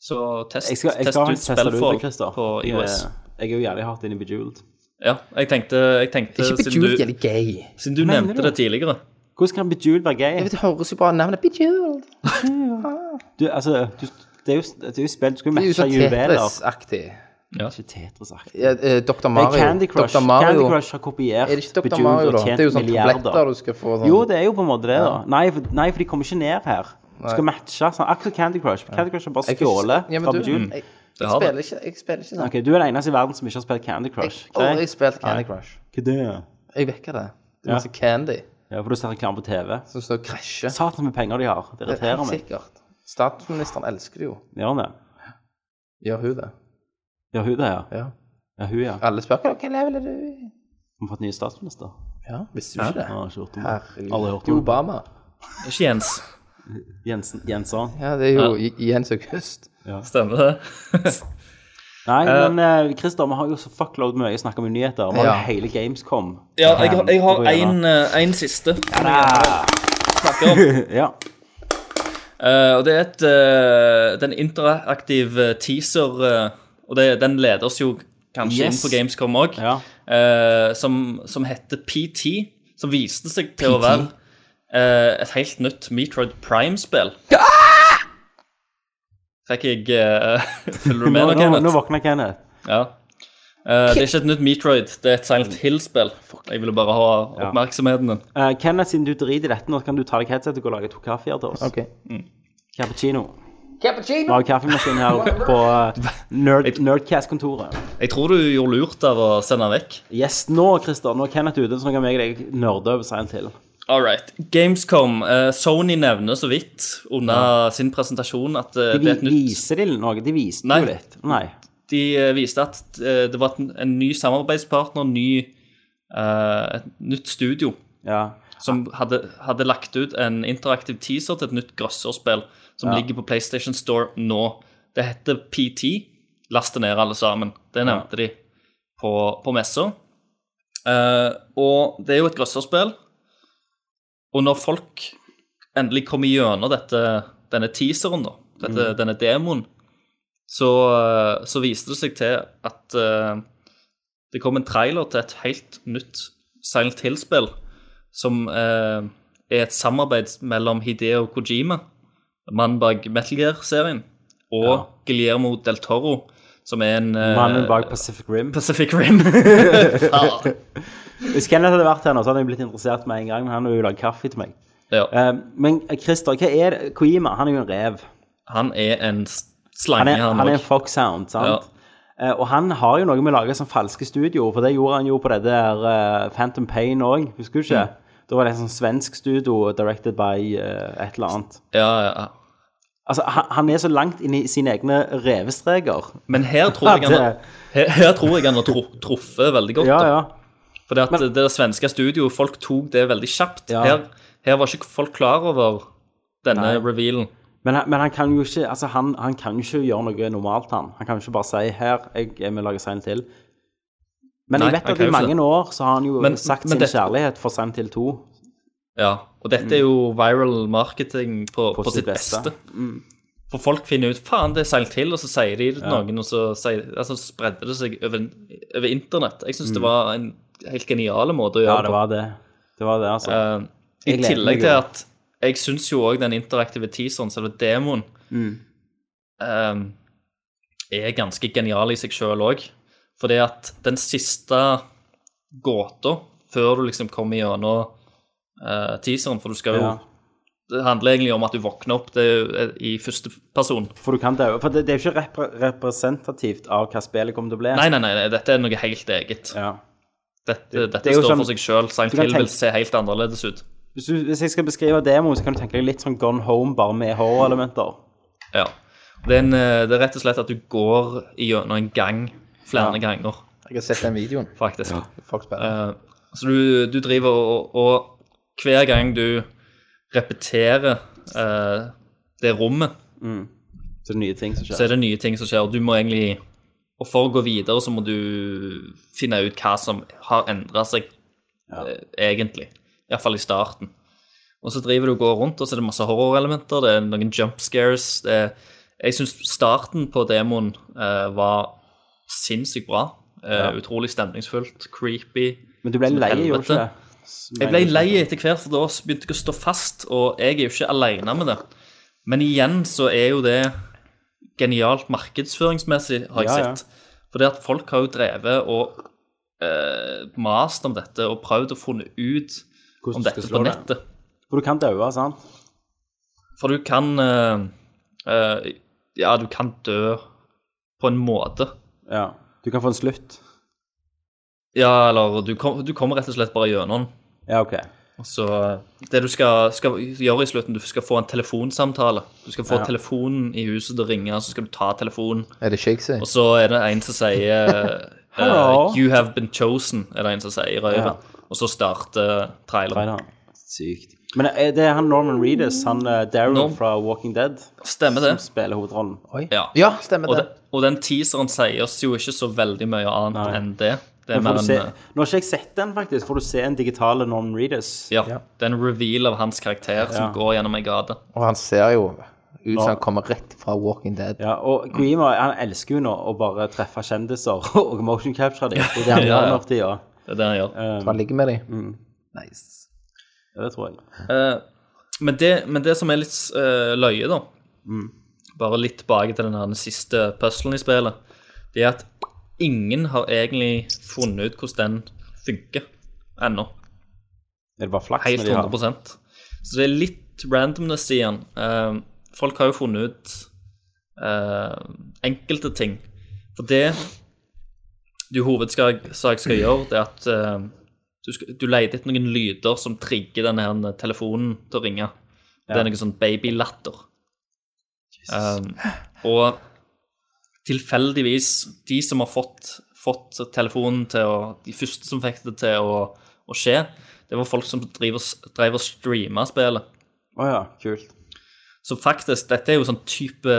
[SPEAKER 5] Så test,
[SPEAKER 1] Jeg skal, jeg skal
[SPEAKER 5] test
[SPEAKER 1] faktisk teste
[SPEAKER 5] ut
[SPEAKER 1] det ut,
[SPEAKER 5] spillform
[SPEAKER 1] Christer.
[SPEAKER 5] på
[SPEAKER 1] Jeg- eh,
[SPEAKER 5] IOS.
[SPEAKER 1] Jeg er jo jævlig hardt inne i Bejeweled.
[SPEAKER 5] Ja, jeg tenkte, jeg tenkte
[SPEAKER 6] Ikke
[SPEAKER 5] siden
[SPEAKER 6] bejeweled
[SPEAKER 5] du,
[SPEAKER 6] gjelder gay.
[SPEAKER 5] siden du nevnte det tidligere
[SPEAKER 1] Hvordan kan Bejeweled være gay?
[SPEAKER 6] Jeg vet, det høres jo bare navnet bejeweled.
[SPEAKER 1] Du, altså, du, det er jo, det er jo spill, du skal jo
[SPEAKER 6] Det er jo
[SPEAKER 1] matche
[SPEAKER 6] sånn
[SPEAKER 1] juveler.
[SPEAKER 6] Tetris-aktig.
[SPEAKER 1] Ikke Tetris-aktig.
[SPEAKER 6] Ja, eh, Dr.
[SPEAKER 1] Det er
[SPEAKER 6] Mario.
[SPEAKER 1] Candy Crush.
[SPEAKER 6] Dr. Mario.
[SPEAKER 1] Candy Crush har kopiert
[SPEAKER 6] Er det ikke Dr.
[SPEAKER 1] Bejeweled
[SPEAKER 6] Mario,
[SPEAKER 1] og
[SPEAKER 6] da?
[SPEAKER 1] tjent
[SPEAKER 6] Det er jo sånn
[SPEAKER 1] milliarder.
[SPEAKER 6] tabletter du skal få sånn.
[SPEAKER 1] Jo, det er jo på en måte det, da. Nei, for, nei, for de kommer ikke ned her. Du skal matche. Sånn, akkurat som Candy Crush. Candy Crush har bare
[SPEAKER 6] Jeg kan ikke-
[SPEAKER 1] stjålet
[SPEAKER 6] Ja, men
[SPEAKER 1] fra
[SPEAKER 6] du,
[SPEAKER 1] Bejeweled.
[SPEAKER 6] jeg,
[SPEAKER 5] Det
[SPEAKER 6] jeg
[SPEAKER 5] har det.
[SPEAKER 6] spiller ikke, jeg spiller ikke sånn.
[SPEAKER 1] Ok, Du er den eneste i verden som ikke har spilt Candy Crush.
[SPEAKER 6] Jeg har
[SPEAKER 1] Greit?
[SPEAKER 6] aldri spilt Candy Crush.
[SPEAKER 1] Hva det er?
[SPEAKER 6] Jeg vekker det. Det er
[SPEAKER 1] Ja.
[SPEAKER 6] masse candy
[SPEAKER 1] Ja, for du ser reklame på TV.
[SPEAKER 6] som står og krasjer.
[SPEAKER 1] Satan med penger de har. Det
[SPEAKER 6] Det
[SPEAKER 1] irriterer
[SPEAKER 6] er helt
[SPEAKER 1] meg.
[SPEAKER 6] sikkert. Statsministeren elsker det jo.
[SPEAKER 1] Gjør han det?
[SPEAKER 6] Gjør hun det?
[SPEAKER 1] Gjør hun det, ja?
[SPEAKER 6] Ja.
[SPEAKER 1] Ja, hun, ja.
[SPEAKER 6] Alle spør hva hva level er du i?
[SPEAKER 1] Hun har fått ny statsminister.
[SPEAKER 6] Ja, visste du ikke
[SPEAKER 1] Jeg
[SPEAKER 6] det?
[SPEAKER 1] har ikke hørt om det. Aldri hørt om
[SPEAKER 6] Herregud.
[SPEAKER 1] det.
[SPEAKER 6] Obama.
[SPEAKER 5] Ikke Jens.
[SPEAKER 1] Jensen. Jensen.
[SPEAKER 6] Ja, det er jo Jens August.
[SPEAKER 5] Stemmer det?
[SPEAKER 1] Nei,
[SPEAKER 5] Eh,
[SPEAKER 1] men eh, Christer, vi har jo så fuckload mye snakk om nyheter. Vi har
[SPEAKER 6] Ja.
[SPEAKER 1] jo hele Gamescom.
[SPEAKER 5] Ja, jeg, har- jeg har
[SPEAKER 1] På hjørnet.
[SPEAKER 5] en, eh, en siste. som jeg gjerne vil snakke om.
[SPEAKER 1] Ja.
[SPEAKER 5] Eh, og det er et, eh, det er en interaktiv eh, teaser, eh, og det, den leder oss jo kanskje
[SPEAKER 1] Yes.
[SPEAKER 5] inn på Gamescom òg,
[SPEAKER 1] Ja.
[SPEAKER 5] som, som heter PT. Som viste seg til å være eh, et helt nytt Metroid Prime-spill.
[SPEAKER 1] Ah!
[SPEAKER 5] Fikk jeg uh, Følger du
[SPEAKER 1] Nå,
[SPEAKER 5] med nå,
[SPEAKER 1] nå, nå
[SPEAKER 5] Kenneth?
[SPEAKER 1] våkner Kenneth.
[SPEAKER 5] Ja. Eh, det er ikke et nytt Metroid, det er et Silent
[SPEAKER 1] Mm.
[SPEAKER 5] Hill-spill. Jeg ville bare ha oppmerksomheten din.
[SPEAKER 1] Eh, Kenneth, siden du driter i dette nå, så kan du ta deg headsetet og gå og lage to kaffer til oss.
[SPEAKER 6] Ok.
[SPEAKER 5] Mm.
[SPEAKER 1] Cappuccino. Vi har jo kaffemaskin her oppe på eh, Nerd, Nerdcast-kontoret.
[SPEAKER 5] Jeg tror du gjorde lurt av å sende den vekk.
[SPEAKER 1] Yes, nå, Christer. Nå er Kenneth ute, så nå kan jeg og deg nerde over seg en til.
[SPEAKER 5] All right. Gamescom. eh, Sony nevner så vidt under sin presentasjon at eh,
[SPEAKER 1] De
[SPEAKER 5] det er et
[SPEAKER 1] vi-
[SPEAKER 5] nytt
[SPEAKER 1] viser de noe? De viste
[SPEAKER 5] Nei.
[SPEAKER 1] jo litt. Nei.
[SPEAKER 5] De eh, viste at eh, det var en, en ny samarbeidspartner, ny, eh, et nytt studio,
[SPEAKER 1] Ja.
[SPEAKER 5] som hadde, hadde lagt ut en interaktiv teaser til et nytt grøsserspill som ligger på PlayStation Store nå. Det heter PT. Last det ned, alle sammen. Det nevnte de på, på messa. Eh, og det er jo et grøsserspill. Og når folk endelig kommer gjennom dette, denne teaseren, da, dette, denne demoen, så, eh, så viste det seg til at eh, det kom en trailer til et helt nytt Silent Hill-spill, som eh, er et samarbeid mellom Hideo Kojima, mannen bak Metal Gear-serien, og Guillermo del Toro, som er en eh,
[SPEAKER 1] Mannen bak Pacific Rim.
[SPEAKER 5] Pacific Rim. Faen.
[SPEAKER 1] Hvis Kenneth hadde vært her nå, så hadde jeg blitt interessert med en gang. Men han har jo lagd kaffe til meg.
[SPEAKER 5] ja.
[SPEAKER 1] Eh, men Christer, hva er det? Koima, han er jo en rev.
[SPEAKER 5] Han er en s-
[SPEAKER 1] Han
[SPEAKER 5] slange,
[SPEAKER 1] er,
[SPEAKER 5] han
[SPEAKER 1] han er en
[SPEAKER 5] òg.
[SPEAKER 1] foxhound, sant? Eh, og han har jo noe med å lage sånn falske studioer, for det gjorde han jo på det der eh, Phantom Pain òg, husker du ikke?
[SPEAKER 5] Mm.
[SPEAKER 1] Da var det en sånn svensk studio directed by eh, et eller annet.
[SPEAKER 5] Ja, ja, ja.
[SPEAKER 1] Altså, han, han er så langt inn i sine egne revestreker.
[SPEAKER 5] Men her tror jeg han,
[SPEAKER 1] Ja, det-
[SPEAKER 5] her, her tror jeg han har tru- truffet veldig godt.
[SPEAKER 1] Ja,
[SPEAKER 5] da.
[SPEAKER 1] ja.
[SPEAKER 5] For det, at det svenske studioet, folk tok det veldig kjapt.
[SPEAKER 1] Ja.
[SPEAKER 5] Her, her var ikke folk klar over denne
[SPEAKER 1] Nei.
[SPEAKER 5] revealen.
[SPEAKER 1] Men, han- men han kan jo ikke altså han, han kan jo ikke gjøre noe normalt, han. Han kan jo ikke bare si 'her, jeg er med å lage Silent Hill'. Men
[SPEAKER 5] Nei,
[SPEAKER 1] jeg vet
[SPEAKER 5] han
[SPEAKER 1] at
[SPEAKER 5] kan
[SPEAKER 1] i
[SPEAKER 5] jo ikke
[SPEAKER 1] mange
[SPEAKER 5] det.
[SPEAKER 1] år så har han jo
[SPEAKER 5] Men-
[SPEAKER 1] sagt
[SPEAKER 5] men
[SPEAKER 1] sin
[SPEAKER 5] dette-
[SPEAKER 1] kjærlighet for Silent Hill 2.
[SPEAKER 5] Ja, og dette er jo viral marketing på, på, sitt beste.
[SPEAKER 1] Mm.
[SPEAKER 5] For folk finner ut faen, det er seilt til, og så sier de det til noen, og så, sier, altså, spredde det seg over, over internett. Jeg syns det var en helt genial måte å gjøre
[SPEAKER 1] Mm. Ja, det var det. Det var det, altså.
[SPEAKER 5] Eh, I
[SPEAKER 1] Jeg gleder meg
[SPEAKER 5] tillegg til
[SPEAKER 1] jo.
[SPEAKER 5] at jeg syns jo òg den interaktive teaseren, selve demoen,
[SPEAKER 1] Mm.
[SPEAKER 5] eh, er ganske genial i seg sjøl òg. Fordi at den siste gåta før du liksom kommer gjennom eh, teaseren, for du skal jo
[SPEAKER 1] Ja.
[SPEAKER 5] Det handler egentlig om at du våkner opp det er jo, eh, i første person.
[SPEAKER 1] For du kan dø. For det, det er jo ikke repre representativt av hva spillet kommer til å bli.
[SPEAKER 5] Nei, nei, nei, nei, dette er noe helt eget.
[SPEAKER 1] Ja.
[SPEAKER 5] Dette, dette
[SPEAKER 1] det er jo
[SPEAKER 5] står
[SPEAKER 1] sånn-
[SPEAKER 5] for seg sjøl. Silent
[SPEAKER 1] Du kan
[SPEAKER 5] Hill vil
[SPEAKER 1] tenke-
[SPEAKER 5] se helt annerledes ut.
[SPEAKER 1] Hvis, du, hvis jeg skal beskrive demoen, så kan du tenke deg litt sånn Gone Home, bare med horrorelementer.
[SPEAKER 5] Ja. Det er, en, eh, det er rett og slett at du går gjennom en gang flere ganger,
[SPEAKER 6] Jeg har sett den videoen.
[SPEAKER 5] faktisk.
[SPEAKER 6] Folk spiller.
[SPEAKER 5] Eh, så du, du driver og, og hver gang du repeterer eh, det rommet,
[SPEAKER 1] Så det er nye ting som
[SPEAKER 5] så
[SPEAKER 1] skjer.
[SPEAKER 5] er det nye ting som skjer. og Du må egentlig Og for å gå videre, så må du finne ut hva som har endra seg, eh, egentlig. Iallfall i starten. Og så driver du og går rundt, og så er det masse horrorelementer, det er noen jump scares. Det er, jeg syns starten på demoen eh, var sinnssykt bra. Eh, Utrolig stemningsfullt, creepy.
[SPEAKER 1] Men du ble
[SPEAKER 5] som et
[SPEAKER 1] lei, gjorde du
[SPEAKER 5] helvete.
[SPEAKER 1] ikke det?
[SPEAKER 5] Jeg ble lei etter hvert, for da begynte jeg å stå fast, og jeg er jo ikke alene med det. Men igjen så er jo det genialt markedsføringsmessig, har jeg
[SPEAKER 1] Ja, ja.
[SPEAKER 5] sett. For det at folk har jo drevet og eh, mast om dette og prøvd å funne ut
[SPEAKER 1] Hvordan
[SPEAKER 5] om
[SPEAKER 1] du skal
[SPEAKER 5] dette
[SPEAKER 1] slå
[SPEAKER 5] på
[SPEAKER 1] det.
[SPEAKER 5] nettet.
[SPEAKER 1] For du kan dø, sant?
[SPEAKER 5] For du kan eh, eh, Ja, du kan dø på en måte.
[SPEAKER 1] Ja. Du kan få en slutt.
[SPEAKER 5] Ja, eller du, kom, du kommer rett og slett bare gjennom.
[SPEAKER 1] Ja, OK.
[SPEAKER 5] Så det du skal, skal gjøre i slutten, du skal få en telefonsamtale. Du skal få telefonen i huset til å ringe, så skal du ta telefonen.
[SPEAKER 6] Er det Shakespeare?
[SPEAKER 5] Og så er det en som sier eh,
[SPEAKER 1] Hallo.
[SPEAKER 5] You have been chosen, er det en som sier i røven. Og så starter traileren.
[SPEAKER 1] Traileren. Sykt. Men er det er han Norman Reedus, han eh, Daryl
[SPEAKER 5] Norm-
[SPEAKER 1] fra Walking Dead,
[SPEAKER 5] Stemmer det.
[SPEAKER 1] som spiller hovedrollen?
[SPEAKER 6] Oi.
[SPEAKER 5] Ja.
[SPEAKER 6] ja, stemmer
[SPEAKER 5] Og,
[SPEAKER 6] det.
[SPEAKER 5] de, og den teaseren sier oss jo ikke så veldig mye annet
[SPEAKER 1] Nei.
[SPEAKER 5] enn det. Det er
[SPEAKER 1] Men får
[SPEAKER 5] mer
[SPEAKER 1] du se,
[SPEAKER 5] en, eh,
[SPEAKER 1] nå har ikke jeg sett den, faktisk. Får du se en digital Norman Reedus?
[SPEAKER 5] ja, det er en reveal av hans karakter som går gjennom ei gate.
[SPEAKER 6] Og han ser jo ut som han kommer rett fra Walking Dead.
[SPEAKER 1] Ja, og
[SPEAKER 5] Mm.
[SPEAKER 1] Kojima han elsker jo nå å bare treffe kjendiser og motion capture dem. Det er det han
[SPEAKER 5] Ja,
[SPEAKER 1] gjør
[SPEAKER 5] ja.
[SPEAKER 1] nå for tida.
[SPEAKER 5] Det er det han gjør.
[SPEAKER 6] Så han ligger med dem.
[SPEAKER 5] Mm.
[SPEAKER 6] Nice.
[SPEAKER 1] Ja, Det tror jeg.
[SPEAKER 5] Eh, men, det, men det som er litt eh, løye, da Bare litt tilbake til den her siste puzzlen i spillet. Det er at ingen har egentlig funnet ut hvordan den funker ennå.
[SPEAKER 1] Er det bare flaks?
[SPEAKER 5] Helt
[SPEAKER 1] med de har?
[SPEAKER 5] 100 Så det er litt randomness i den. Eh, folk har jo funnet ut eh, enkelte ting. For det du i hovedsak sak skal gjøre, det er at eh, du, skal, du leter etter noen lyder som trigger denne her telefonen til å ringe. Det er noe sånn babylatter. Um, og tilfeldigvis, de som har fått, fått telefonen til å De første som fikk det til å, å skje, det var folk som driver, drev og streama spillet.
[SPEAKER 1] Å ja, kult.
[SPEAKER 5] Så faktisk, dette er jo sånn type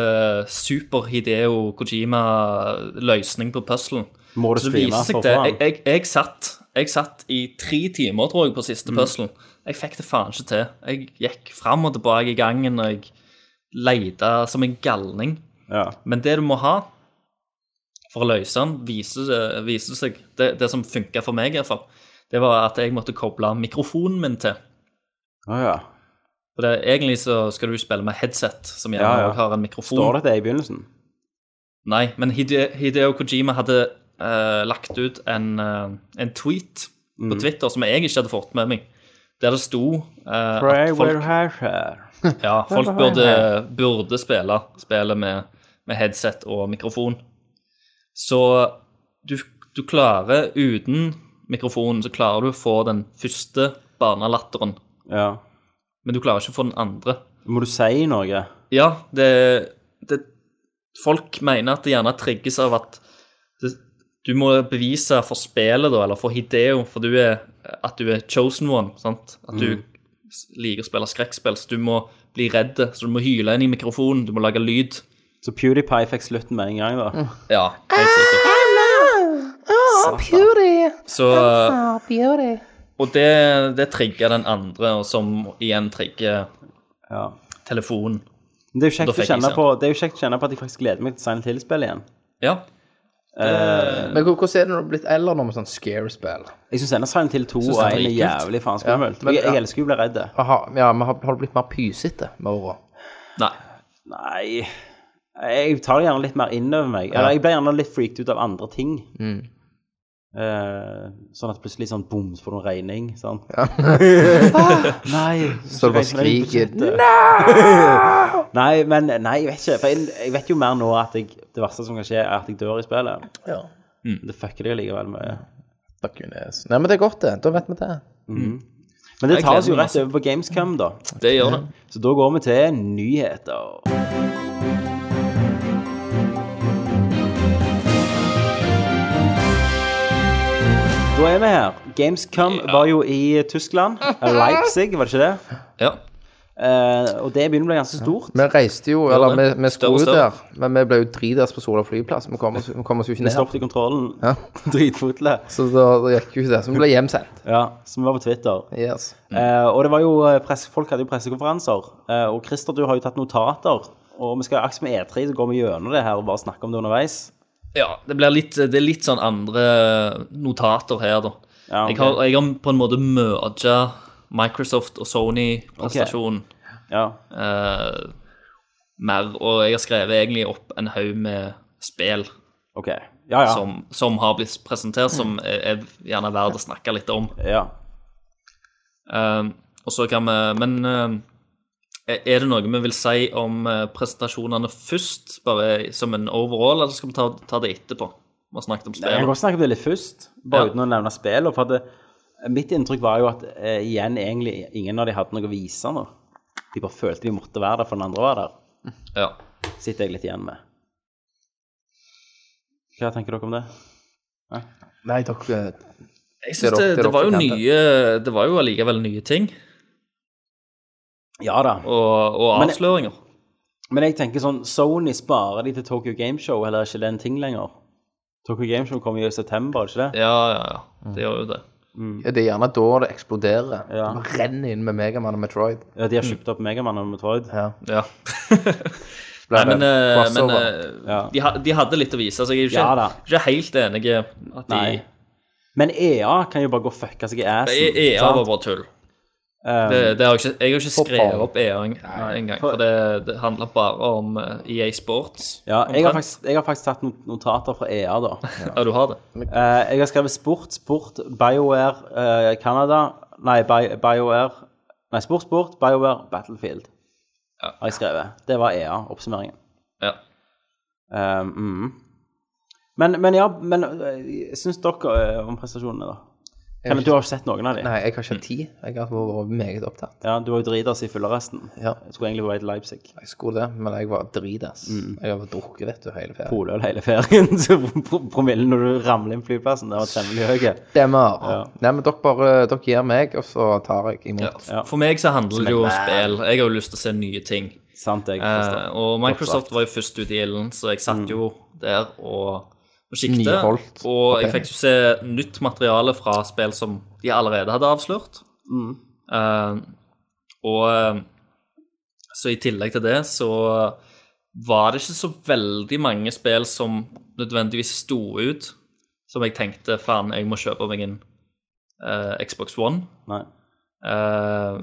[SPEAKER 5] super Hideo Kojima-løsning på puzzlen.
[SPEAKER 1] Må du
[SPEAKER 5] Så det
[SPEAKER 1] streame
[SPEAKER 5] viser seg
[SPEAKER 1] for å
[SPEAKER 5] det.
[SPEAKER 1] få
[SPEAKER 5] Jeg,
[SPEAKER 1] den?
[SPEAKER 5] jeg, jeg, satt, jeg satt i tre timer, tror jeg, på
[SPEAKER 1] Mm.
[SPEAKER 5] siste puzzlen. Jeg fikk det faen ikke til. Jeg gikk fram og tilbake i gangen, og jeg leita som en galning.
[SPEAKER 1] Ja.
[SPEAKER 5] Men det du må ha for å løse den, viser, det- viser seg det, det som funka for meg, i hvert fall, det var at jeg måtte koble mikrofonen min til.
[SPEAKER 1] Å ja.
[SPEAKER 5] For det, egentlig så skal du spille med headset, som gjerne
[SPEAKER 1] Ja, ja.
[SPEAKER 5] også har en mikrofon.
[SPEAKER 1] Står dette i begynnelsen?
[SPEAKER 5] Nei, men Hide- Hideo Kojima hadde eh, lagt ut en, eh, en tweet
[SPEAKER 1] Mm.
[SPEAKER 5] på Twitter som jeg ikke hadde fått med meg, der det sto eh,
[SPEAKER 1] Pray
[SPEAKER 5] at
[SPEAKER 1] we're
[SPEAKER 5] folk,
[SPEAKER 1] here.
[SPEAKER 5] ja, folk burde, burde spille spillet med, med headset og mikrofon. Så du, du klarer, uten mikrofonen, så klarer du å få den første barnelatteren,
[SPEAKER 1] Ja.
[SPEAKER 5] men du klarer ikke å få den andre.
[SPEAKER 1] Må du si noe?
[SPEAKER 5] Ja, det, det Folk mener at det gjerne trigges av at det, du må bevise for spillet, da, eller for Hideo, for du er, at du er chosen one. sant? At du s- liker å spille skrekkspill, så du må bli redd. Så du må hyle inn i mikrofonen, du må lage lyd.
[SPEAKER 1] Så PewDiePie fikk slutten med en gang, da.
[SPEAKER 5] Ja, helt sikkert. Så, og det, det trigger den andre, og som igjen trigger
[SPEAKER 1] Ja.
[SPEAKER 5] telefonen.
[SPEAKER 1] Men det er jo
[SPEAKER 5] Da
[SPEAKER 1] kjekt å
[SPEAKER 5] fikk jeg
[SPEAKER 1] kjenne
[SPEAKER 5] se.
[SPEAKER 1] på Det er jo kjekt å kjenne på at jeg faktisk gleder meg til Silent Hill-spill igjen.
[SPEAKER 5] Ja.
[SPEAKER 6] Men hvor- hvordan er det når du er blitt eldre nå med sånn scare-spill?
[SPEAKER 1] Jeg syns ennå Silent Hill 2 og
[SPEAKER 5] Synes det er
[SPEAKER 1] 1 er
[SPEAKER 5] dritkult.
[SPEAKER 1] jævlig faen skummelt.
[SPEAKER 6] Ja, men-
[SPEAKER 1] Jeg, jeg
[SPEAKER 6] ja.
[SPEAKER 1] elsker jo å bli redd.
[SPEAKER 6] Aha, ja, men har, har du blitt mer pysete med åra?
[SPEAKER 5] Nei.
[SPEAKER 1] Nei Jeg tar det gjerne litt mer inn over meg. Eller jeg blir gjerne litt freaked ut av andre ting.
[SPEAKER 6] Mm.
[SPEAKER 1] Eh, sånn at plutselig sånn bom, så får du en regning. Sånn. ah, nei.
[SPEAKER 6] Så du bare skriker,
[SPEAKER 1] Nei, men nei, jeg vet ikke. For jeg, jeg vet jo mer nå at jeg, det verste som kan skje, er at jeg dør i spillet.
[SPEAKER 6] Ja.
[SPEAKER 1] Det fucker deg likevel mye.
[SPEAKER 6] Fuck you, Nes. Nei, men det er godt, det. Da vet vi det.
[SPEAKER 1] Men det
[SPEAKER 5] Jeg
[SPEAKER 1] tar oss jo
[SPEAKER 5] gleder meg
[SPEAKER 1] rett over på Gamescom, da.
[SPEAKER 5] Det gjør det.
[SPEAKER 1] Så da går vi til nyheter. Da er vi her. Gamescom var jo i Tyskland. Eller Leipzig, var det ikke det?
[SPEAKER 5] Ja.
[SPEAKER 1] Eh, og det begynner å bli ganske stort.
[SPEAKER 6] Vi reiste jo, eller
[SPEAKER 5] det.
[SPEAKER 6] vi, vi
[SPEAKER 5] Større og
[SPEAKER 6] skulle
[SPEAKER 5] større.
[SPEAKER 6] der, men vi ble jo dritings på Sola flyplass. Vi kom oss, vi kom oss jo ikke
[SPEAKER 1] Vi
[SPEAKER 6] ned.
[SPEAKER 1] stoppet i kontrollen.
[SPEAKER 6] Ja.
[SPEAKER 1] Dritfotle.
[SPEAKER 6] Så da, da gikk jo ikke det. Så vi ble hjemsendt.
[SPEAKER 1] Ja, som var på Twitter.
[SPEAKER 6] Yes.
[SPEAKER 1] Eh, og det var jo eh, press, folk hadde jo pressekonferanser. Eh, og Christer, du har jo tatt notater. Og vi skal akse med E3, så går vi gjennom det her og bare snakker om det underveis.
[SPEAKER 5] Ja, det, blir litt, det er litt sånn andre notater her, da.
[SPEAKER 1] Ja, ok.
[SPEAKER 5] jeg, har, jeg har på en måte merga Microsoft og Sony-prestasjonen
[SPEAKER 1] Ja.
[SPEAKER 5] eh, mer, og jeg har skrevet egentlig opp en haug med spill
[SPEAKER 1] OK. Ja, Mm. ja.
[SPEAKER 5] som, som har blitt presentert, som er, er gjerne verdt å snakke litt om.
[SPEAKER 1] ja.
[SPEAKER 5] Eh, og så kan vi Men eh, er det noe vi vil si om eh, presentasjonene først, bare som en overall, eller skal vi ta, ta det etterpå? Vi har snakket om
[SPEAKER 1] Jeg kan
[SPEAKER 5] spill.
[SPEAKER 1] godt snakke om det litt først, bare
[SPEAKER 5] Ja.
[SPEAKER 1] uten å nevne spillet. For at det, mitt inntrykk var jo at eh, igjen egentlig ingen av de hadde noe å vise nå. De bare følte de måtte være der, for den andre var der.
[SPEAKER 5] Ja.
[SPEAKER 1] Sitter jeg litt igjen med. Hva tenker dere om det?
[SPEAKER 6] Nei, dere
[SPEAKER 5] Jeg
[SPEAKER 6] Det
[SPEAKER 5] synes
[SPEAKER 6] er
[SPEAKER 5] det,
[SPEAKER 6] opp- det er
[SPEAKER 5] det
[SPEAKER 6] opp
[SPEAKER 5] var jo
[SPEAKER 6] til
[SPEAKER 5] nye Det var jo allikevel nye ting.
[SPEAKER 1] Ja da.
[SPEAKER 5] og, og
[SPEAKER 1] Men-
[SPEAKER 5] avsløringer.
[SPEAKER 1] Men jeg tenker sånn, Sony sparer de til Tokyo Game Show, eller er ikke det en ting lenger? Tokyo Game Show kommer jo i september, er det ikke det?
[SPEAKER 5] Ja, ja,
[SPEAKER 6] Mm.
[SPEAKER 5] ja. Det gjør jo det.
[SPEAKER 6] Ja, det er gjerne da det eksploderer.
[SPEAKER 1] Ja.
[SPEAKER 6] Man renner inn med Megaman og Metroid.
[SPEAKER 1] Ja, De har
[SPEAKER 5] Mm.
[SPEAKER 1] kjøpt opp Megaman og Metroid.
[SPEAKER 5] Ja.
[SPEAKER 6] Blir
[SPEAKER 5] Nei, men,
[SPEAKER 6] det
[SPEAKER 5] eh, men
[SPEAKER 6] crossover.
[SPEAKER 5] eh,
[SPEAKER 1] Ja.
[SPEAKER 5] de, ha- de hadde litt å vise, så jeg er jo ikke,
[SPEAKER 1] Ja da.
[SPEAKER 5] ikke helt enig i at de
[SPEAKER 1] Nei. Men EA kan jo bare gå og fucke seg i assen.
[SPEAKER 5] E- EA
[SPEAKER 1] sant?
[SPEAKER 5] var bare tull.
[SPEAKER 1] Eh,
[SPEAKER 5] Det, det har jeg, ikke, jeg har ikke skrevet
[SPEAKER 6] faen.
[SPEAKER 5] opp EA engang, en gang, for det, det handler bare om eh, EA Sports.
[SPEAKER 1] ja, jeg, har
[SPEAKER 5] omtrent.
[SPEAKER 1] faktisk, jeg har faktisk tatt not- notater fra EA, da.
[SPEAKER 5] Ja, du har det.
[SPEAKER 1] Eh, jeg har skrevet sport, sport, BioWare, eh, Canada Nei, Bi- BioWare Nei, sport, sport, BioWare, Battlefield.
[SPEAKER 5] Ja.
[SPEAKER 1] Har jeg skrevet. Det var EA, oppsummeringen.
[SPEAKER 5] Ja.
[SPEAKER 1] Eh, mm. men, men ja, men eh, syns dere eh, om prestasjonene, da?
[SPEAKER 6] Jeg har
[SPEAKER 1] Kenneth, du har ikke sett noen av dem?
[SPEAKER 6] Nei, jeg har ikke hatt tid. Jeg har vært meget opptatt.
[SPEAKER 1] Ja, du har jo driti oss i fylleresten.
[SPEAKER 6] Ja.
[SPEAKER 1] Jeg skulle egentlig på vei til Leipzig.
[SPEAKER 6] Jeg skulle det, men jeg var dritas.
[SPEAKER 5] Mm.
[SPEAKER 6] Jeg har drukket, vet du, hele ferien.
[SPEAKER 1] poløl hele ferien. Så pro- promillen når du ramler inn flyplassen, den var temmelig høy.
[SPEAKER 6] Stemmer. Nei, men dere bare dere gir meg, og så tar jeg
[SPEAKER 5] Ja.
[SPEAKER 6] imot.
[SPEAKER 5] For meg så handler det jo om spill. Jeg har jo lyst til å se nye ting.
[SPEAKER 1] Sant, jeg
[SPEAKER 5] Eh,
[SPEAKER 1] forstår.
[SPEAKER 5] og Microsoft var jo først ute i ilden, så jeg satt jo der og, og siktet.
[SPEAKER 6] Nyholdt.
[SPEAKER 5] Og jeg fikk jo se nytt materiale fra spill som de allerede hadde avslørt. Eh, og eh, så i tillegg til det så var det ikke så veldig mange spill som nødvendigvis sto ut, som jeg tenkte faen, jeg må kjøpe meg en eh, Xbox One.
[SPEAKER 1] Nei.
[SPEAKER 5] Eh,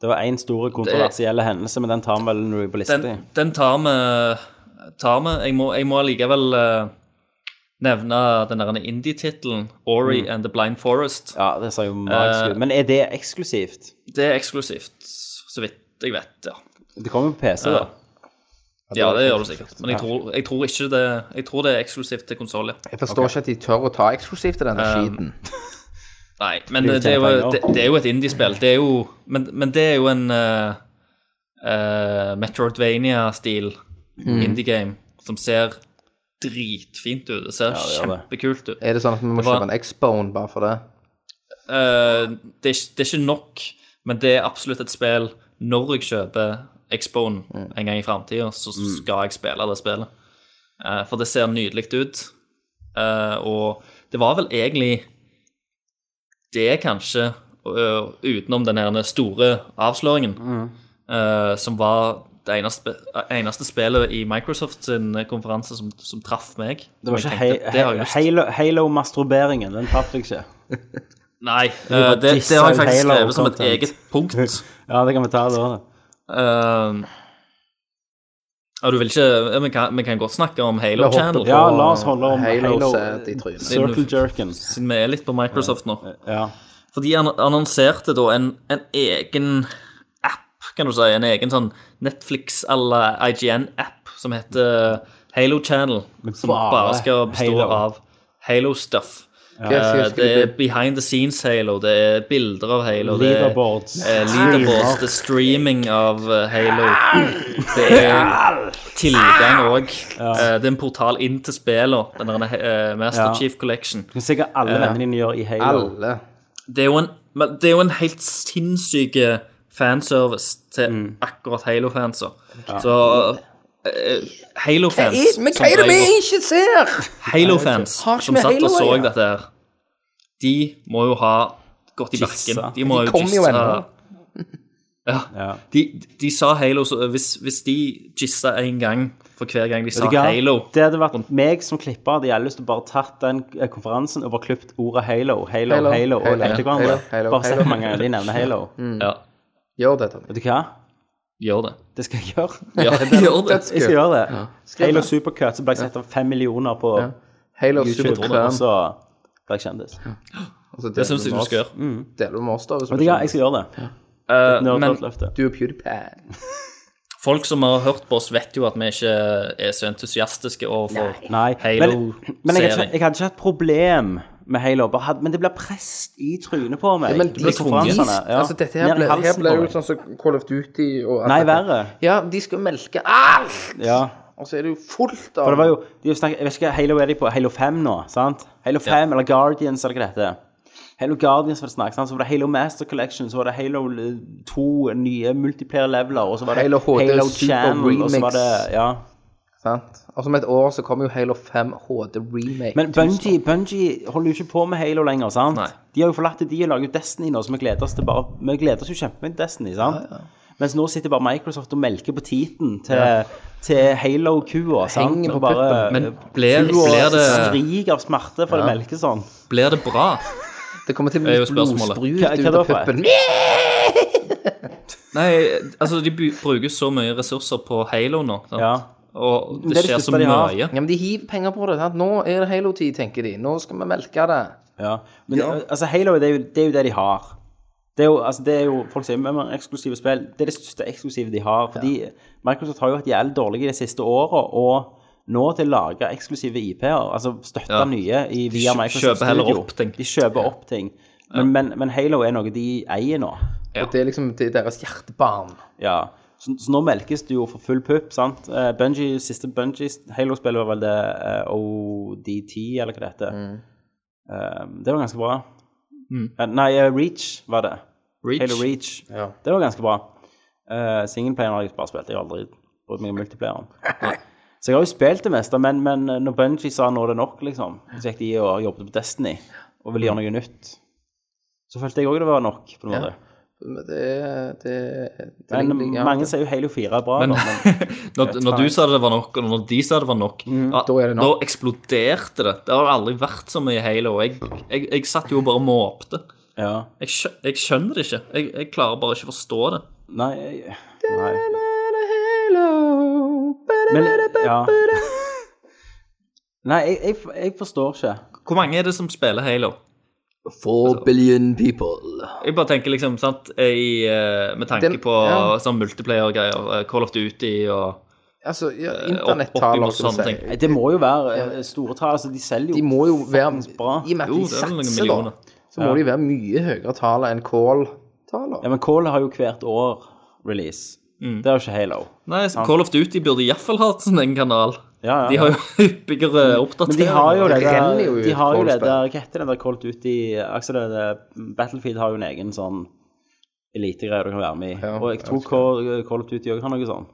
[SPEAKER 1] Det var én stor kontroversiell hendelse, men den tar vi vel når vi er på lista.
[SPEAKER 5] den, den tar vi tar vi. Jeg, må, jeg må allikevel eh, nevne den der indie-tittelen Ori and the Blind Forest.
[SPEAKER 1] Ja, det ser jo
[SPEAKER 5] Eh,
[SPEAKER 1] magisk ut. Men er det eksklusivt?
[SPEAKER 5] Det er eksklusivt, så vidt jeg vet, ja.
[SPEAKER 1] Det kommer på PC, da.
[SPEAKER 5] Ja, det gjør det sikkert. Men jeg tror, jeg tror ikke det Jeg tror det er eksklusivt til konsoll, ja.
[SPEAKER 6] Jeg forstår ikke at de tør å ta eksklusivt til denne
[SPEAKER 5] Um,
[SPEAKER 6] skiten.
[SPEAKER 5] Nei, men det er jo, det, det er jo et indie-spill. Det er jo men, men det er jo en eh, eh, Metroidvania-stil indie-game som ser dritfint ut. Det ser kjempekult ut.
[SPEAKER 6] Er det sånn at vi må
[SPEAKER 5] Det var-
[SPEAKER 6] kjøpe en X-Bone bare for det?
[SPEAKER 5] Eh, det, er, ikke- det er ikke nok, men det er absolutt et spill når jeg kjøper Xbone
[SPEAKER 1] Mm.
[SPEAKER 5] en gang i framtida, så skal jeg spille det spillet. Eh, for det ser nydelig ut. Eh, og det var vel egentlig det, kanskje, ø- utenom den her store avsløringen,
[SPEAKER 1] Mm.
[SPEAKER 5] eh, som var det eneste, eneste spillet i Microsoft sin konferanse som, som traff meg.
[SPEAKER 1] Det var
[SPEAKER 5] Jeg
[SPEAKER 1] ikke
[SPEAKER 5] tenkte,
[SPEAKER 1] Halo-
[SPEAKER 5] det har jeg lyst til.
[SPEAKER 1] Halo- Halo-masturberingen. Den traff deg ikke.
[SPEAKER 5] Nei, eh, det, det har jeg faktisk
[SPEAKER 1] Halo
[SPEAKER 5] skrevet som et
[SPEAKER 1] content.
[SPEAKER 5] eget punkt.
[SPEAKER 1] Ja, det kan vi ta da. da.
[SPEAKER 5] Ehm, ja, du vil ikke Vi kan, vi kan godt snakke om Halo
[SPEAKER 6] Vi hopper
[SPEAKER 5] Channel,
[SPEAKER 6] på-
[SPEAKER 1] Ja, la oss holde om
[SPEAKER 6] Halo
[SPEAKER 1] Halo,
[SPEAKER 6] set i trynet.
[SPEAKER 1] Circle Jerken.
[SPEAKER 5] siden vi er litt på Microsoft nå.
[SPEAKER 1] Ja.
[SPEAKER 5] For de ann- annonserte da en, en egen app, kan du si. En egen sånn Netflix eller IGN-app som heter Halo Channel. Som
[SPEAKER 1] bare
[SPEAKER 5] bare skal bestå
[SPEAKER 1] Halo.
[SPEAKER 5] av Halo-stuff.
[SPEAKER 6] Jeg husker-
[SPEAKER 5] Eh,
[SPEAKER 6] husker
[SPEAKER 5] det er
[SPEAKER 6] det-
[SPEAKER 5] behind the scenes Halo, det er bilder av Halo, det er
[SPEAKER 1] Leaderboards.
[SPEAKER 5] eh, leaderboards, det er streaming av eh, Halo. Det er tilgang òg. Det er en portal inn til spillene, den der eh, Master
[SPEAKER 1] Ja.
[SPEAKER 5] Chief Collection.
[SPEAKER 1] Det er sikkert alle vennene dine gjør i Halo.
[SPEAKER 6] Alle.
[SPEAKER 5] Det er jo en, men det er jo en helt sinnssyk eh, fanservice til akkurat Halo-fanser. Så eh, Halo-fans
[SPEAKER 6] Men
[SPEAKER 5] som
[SPEAKER 6] hva er det vi
[SPEAKER 5] drev og-
[SPEAKER 6] ikke ser?
[SPEAKER 5] Halo-fans
[SPEAKER 6] Har ikke
[SPEAKER 5] som
[SPEAKER 6] med
[SPEAKER 5] satt og
[SPEAKER 6] Halo å
[SPEAKER 5] så
[SPEAKER 6] gjøre.
[SPEAKER 5] dette her, de må jo ha gått i bakken. De må
[SPEAKER 6] De
[SPEAKER 5] jo
[SPEAKER 6] kom jo
[SPEAKER 5] gissa.
[SPEAKER 6] ennå.
[SPEAKER 5] Ja.
[SPEAKER 1] Ja.
[SPEAKER 5] De, de sa Halo så hvis, hvis de gissa én gang for hver gang de sa
[SPEAKER 1] Vet du hva?
[SPEAKER 5] Halo
[SPEAKER 1] Det hadde vært meg som klippa. De hadde lyst til å bare tatt den eh, konferansen og bare klippet ordet Halo, Halo, Halo,
[SPEAKER 6] Halo,
[SPEAKER 1] og
[SPEAKER 6] Halo,
[SPEAKER 1] etter hverandre.
[SPEAKER 6] Halo, Halo,
[SPEAKER 1] bare sett
[SPEAKER 6] Halo.
[SPEAKER 1] mange ganger de nevner Halo.
[SPEAKER 5] Ja,
[SPEAKER 6] Gjør det, Tommy.
[SPEAKER 1] Vet du hva?
[SPEAKER 5] gjør det.
[SPEAKER 1] Det skal jeg gjøre.
[SPEAKER 5] Ja, gjør det.
[SPEAKER 1] Jeg skal gjøre det. Halo Supercut, så ble jeg sett av fem millioner på
[SPEAKER 6] Halo
[SPEAKER 1] YouTube, og
[SPEAKER 6] Supercram.
[SPEAKER 1] så ble jeg kjendis. Vet
[SPEAKER 5] Det syns jeg du skal gjøre.
[SPEAKER 6] Deler du med oss, da? Hvis
[SPEAKER 1] du hva, jeg
[SPEAKER 6] ikke-
[SPEAKER 1] skal gjøre Mm. det. Nå
[SPEAKER 5] Eh,
[SPEAKER 1] har jeg
[SPEAKER 5] men
[SPEAKER 1] tatt løftet.
[SPEAKER 6] Du er PewDiePie.
[SPEAKER 5] folk som har hørt på oss, vet jo at vi ikke er så entusiastiske overfor
[SPEAKER 1] Nei. Men, men jeg, hadde ikke,
[SPEAKER 5] Halo-serien.
[SPEAKER 1] jeg hadde ikke hatt problem med Halo, bare hadde, men det ble press i trynet på meg.
[SPEAKER 6] Men
[SPEAKER 1] Det
[SPEAKER 6] de
[SPEAKER 1] ble
[SPEAKER 6] tvunget.
[SPEAKER 1] konferansene, sånn ja.
[SPEAKER 6] Altså, dette her
[SPEAKER 1] Ned i
[SPEAKER 6] ble, her
[SPEAKER 1] halsen
[SPEAKER 6] ble
[SPEAKER 1] på
[SPEAKER 6] jo
[SPEAKER 1] meg.
[SPEAKER 6] sånn som Call of Duty og alt
[SPEAKER 1] Nei,
[SPEAKER 6] dette.
[SPEAKER 1] verre.
[SPEAKER 6] Ja, de skal melke alt!
[SPEAKER 1] Ja.
[SPEAKER 6] Og så er det jo fullt av
[SPEAKER 1] For det var jo de har snakket, Jeg vet ikke hva Halo er de på? Halo 5 nå, sant? Halo 5 eller Guardians eller hva det heter. Halo Guardians var det snakk, sant? så var det Halo Master Collection, så var det Halo eh, 2 nye multiplayer-leveler, og så var det
[SPEAKER 6] Halo HD Super
[SPEAKER 1] Channel, og så var det,
[SPEAKER 6] Remix.
[SPEAKER 1] ja.
[SPEAKER 6] Sant? Og som et år så kommer jo Halo 5 HD remake.
[SPEAKER 1] Men Bungie, Bungie holder jo ikke på med Halo lenger, sant?
[SPEAKER 5] Nei.
[SPEAKER 1] De har jo forlatt det, de og lager jo Destiny nå, så vi gleder oss til bare Vi gleder oss jo kjempemye til Destiny, sant? Mens nå sitter bare Microsoft og melker på titen til, til Halo-kua, sant?
[SPEAKER 6] Henger på
[SPEAKER 1] Og bare
[SPEAKER 5] Men blir, blir,
[SPEAKER 1] Kua
[SPEAKER 5] det,
[SPEAKER 1] skriker av smerte for det melker sånn.
[SPEAKER 5] blir det bra?
[SPEAKER 6] Det kommer til å
[SPEAKER 5] Det er
[SPEAKER 6] bli
[SPEAKER 5] jo spørsmålet.
[SPEAKER 6] blodsprut
[SPEAKER 1] Hva- hva
[SPEAKER 6] ut
[SPEAKER 1] da
[SPEAKER 6] av
[SPEAKER 1] for?
[SPEAKER 6] puppen.
[SPEAKER 5] Nei, altså de bu- bruker så mye ressurser på Halo nå, sant?
[SPEAKER 1] Ja.
[SPEAKER 5] og
[SPEAKER 1] Det er
[SPEAKER 5] det
[SPEAKER 1] det
[SPEAKER 5] skjer
[SPEAKER 1] siste
[SPEAKER 5] så
[SPEAKER 1] de har.
[SPEAKER 5] mye.
[SPEAKER 6] Ja, men de hiver penger på det. Sant? Nå er det Halo-tid, tenker de. Nå skal vi melke det.
[SPEAKER 1] ja. Men altså, Halo det er, jo, det er jo det de har. Det er jo, altså, det er jo Folk sier men men eksklusive spill. Det er det største eksklusive de har. Fordi Microsoft har jo vært jævlig dårlige de siste åra. Og nå til å lage eksklusive IP-er, altså støtte
[SPEAKER 5] Ja.
[SPEAKER 1] nye i, via
[SPEAKER 5] kjø-
[SPEAKER 1] Microsoft
[SPEAKER 5] kjøper heller
[SPEAKER 1] Studio.
[SPEAKER 5] opp ting.
[SPEAKER 1] De kjøper opp ting. Men, men, men Halo er noe de eier nå.
[SPEAKER 5] Ja.
[SPEAKER 6] Og det er liksom det er deres hjertebarn.
[SPEAKER 1] Ja. Så, så nå melkes det jo for full pupp, sant. Eh, Bungie, siste Bungie Halo-spillet var vel det eh, ODT, eller hva det heter.
[SPEAKER 6] Mm.
[SPEAKER 1] Eh, det var ganske bra. Eh, nei, eh, Reach var det. Halo Reach. Det var ganske bra. Uh, Singleplayeren har jeg bare spilt. Jeg har aldri brukt meg om multiplayeren. Så jeg har jo spilt det meste, men, men eh, når Bungie sa 'nå er det nok', liksom, så gikk de og jobbet på Destiny og ville gjøre noe nytt. Så følte jeg òg det var nok, på en måte.
[SPEAKER 6] Men det er det, det er
[SPEAKER 1] Men
[SPEAKER 6] egentlig- ja,
[SPEAKER 1] mange
[SPEAKER 6] det-
[SPEAKER 1] sier jo Halo 4 er bra,
[SPEAKER 5] Men-
[SPEAKER 1] da, men
[SPEAKER 5] Når, når du sa det var nok, og når de sa det var nok, ja,
[SPEAKER 6] Mm, da er det nok.
[SPEAKER 5] da eksploderte det. Det har aldri vært så mye Halo. Jeg, jeg, jeg satt jo og bare og måpte.
[SPEAKER 1] ja.
[SPEAKER 5] Jeg, skjø, jeg skjønner det ikke. Jeg, jeg klarer bare ikke å forstå det.
[SPEAKER 1] Nei, jeg- nei. Men ja. Nei, jeg, jeg, jeg forstår ikke.
[SPEAKER 5] Hvor mange er det som spiller Halo? Altså,
[SPEAKER 6] Four billion people.
[SPEAKER 5] Jeg bare tenker liksom, sant, i, eh, med tanke
[SPEAKER 6] Den-
[SPEAKER 5] på
[SPEAKER 6] ja.
[SPEAKER 5] sånn multiplayer-greier, eh, Call of Duty og
[SPEAKER 6] Altså, ja,
[SPEAKER 5] Eh, opp-
[SPEAKER 6] internettaler,
[SPEAKER 5] oppimot
[SPEAKER 6] skal vi
[SPEAKER 5] sånne ting.
[SPEAKER 6] si.
[SPEAKER 1] Nei, Det må jo være eh, store tall. Altså, de selger jo
[SPEAKER 6] De må jo være
[SPEAKER 1] fuckings bra.
[SPEAKER 6] I og med at
[SPEAKER 5] Jo,
[SPEAKER 6] de
[SPEAKER 5] det er vel noen
[SPEAKER 6] satser, da,
[SPEAKER 5] millioner.
[SPEAKER 6] så må de være mye høyere taler enn Call-taler.
[SPEAKER 1] Ja, men Call har jo hvert år release.
[SPEAKER 5] Mm.
[SPEAKER 1] Det er jo ikke Halo.
[SPEAKER 5] Nei, så Call of Duty burde iallfall hatt sånn en kanal.
[SPEAKER 1] Ja, ja,
[SPEAKER 5] De har jo
[SPEAKER 1] Men de
[SPEAKER 5] hyppigere oppdateringer.
[SPEAKER 1] har jo det
[SPEAKER 6] Det renner jo
[SPEAKER 1] der,
[SPEAKER 6] ut
[SPEAKER 1] de har jo det
[SPEAKER 6] Call-spill.
[SPEAKER 1] der Hva heter det der Cold Duty Aksel, altså det der, Battlefield har jo en egen sånn elitegreie du kan være med i.
[SPEAKER 6] Ja,
[SPEAKER 1] og jeg
[SPEAKER 6] jeg
[SPEAKER 1] tror
[SPEAKER 6] vet
[SPEAKER 1] Call, Call of Duty òg har noe sånn.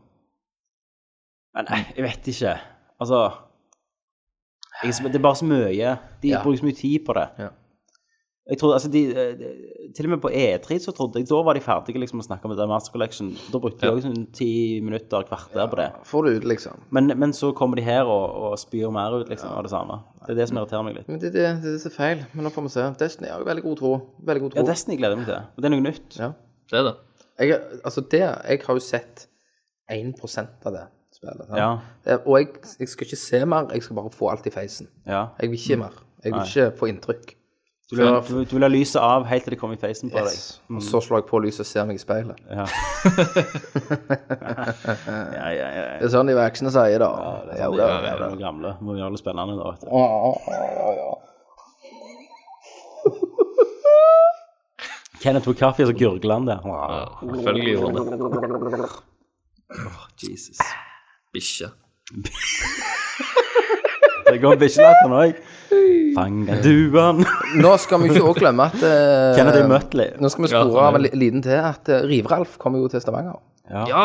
[SPEAKER 1] Men nei, jeg vet ikke. Altså jeg, er så- Det er bare så mye. De
[SPEAKER 6] Ja.
[SPEAKER 1] bruker så mye tid på det.
[SPEAKER 6] Ja.
[SPEAKER 1] Jeg trodde, altså de, eh, Til og med på E3 så trodde jeg da var de ferdige liksom, å snakke om det der Master Collection. Da brukte de òg sånn ti minutter, kvarter på det.
[SPEAKER 6] Får det ut, liksom.
[SPEAKER 1] Men, men så kommer de her og, og spyr mer ut liksom, av det samme. Det er det som irriterer meg litt.
[SPEAKER 6] Men det, det, det, er så feil. Men nå får vi se. Destiny har jo veldig god tro. Veldig god
[SPEAKER 1] Ja,
[SPEAKER 6] tro.
[SPEAKER 1] Destiny gleder jeg meg til. Og det er noe nytt.
[SPEAKER 6] Ja.
[SPEAKER 5] Det er det.
[SPEAKER 6] Jeg, altså det, jeg har jo sett 1 av det spillet. sant?
[SPEAKER 1] Ja.
[SPEAKER 6] Eh, Og jeg, jeg skal ikke se mer, jeg skal bare få alt i feisen.
[SPEAKER 1] Ja.
[SPEAKER 6] Jeg vil ikke mer. Jeg vil ikke få inntrykk.
[SPEAKER 1] Du, vil, du, du vil ha lyset av helt til det kommer i facen på
[SPEAKER 6] Yes. Og så slår jeg på lyset og ser meg i speilet.
[SPEAKER 1] deg. Ja, ja, ja.
[SPEAKER 6] Det er sånn de voksne sier, da. Ja,
[SPEAKER 1] Det
[SPEAKER 6] da,
[SPEAKER 1] er sånn
[SPEAKER 6] ja, Ah, da.
[SPEAKER 1] noe gamle. Må gjøre det spennende da, vet du. Kenneth tok kaffe, og så gurgler han der. Wow.
[SPEAKER 5] Selvfølgelig gjorde det.
[SPEAKER 1] Jesus.
[SPEAKER 5] Bikkje.
[SPEAKER 1] Det går bikkjelatter òg. Fanger du han?
[SPEAKER 6] Nå skal vi ikke også glemme at eh,
[SPEAKER 1] Kenneth er møtelig.
[SPEAKER 6] Nå skal vi
[SPEAKER 5] Ja,
[SPEAKER 6] spore
[SPEAKER 5] sånn
[SPEAKER 6] av
[SPEAKER 5] er
[SPEAKER 6] en li- liten til at eh, Rivralf kommer jo til Stavanger.
[SPEAKER 5] Ja.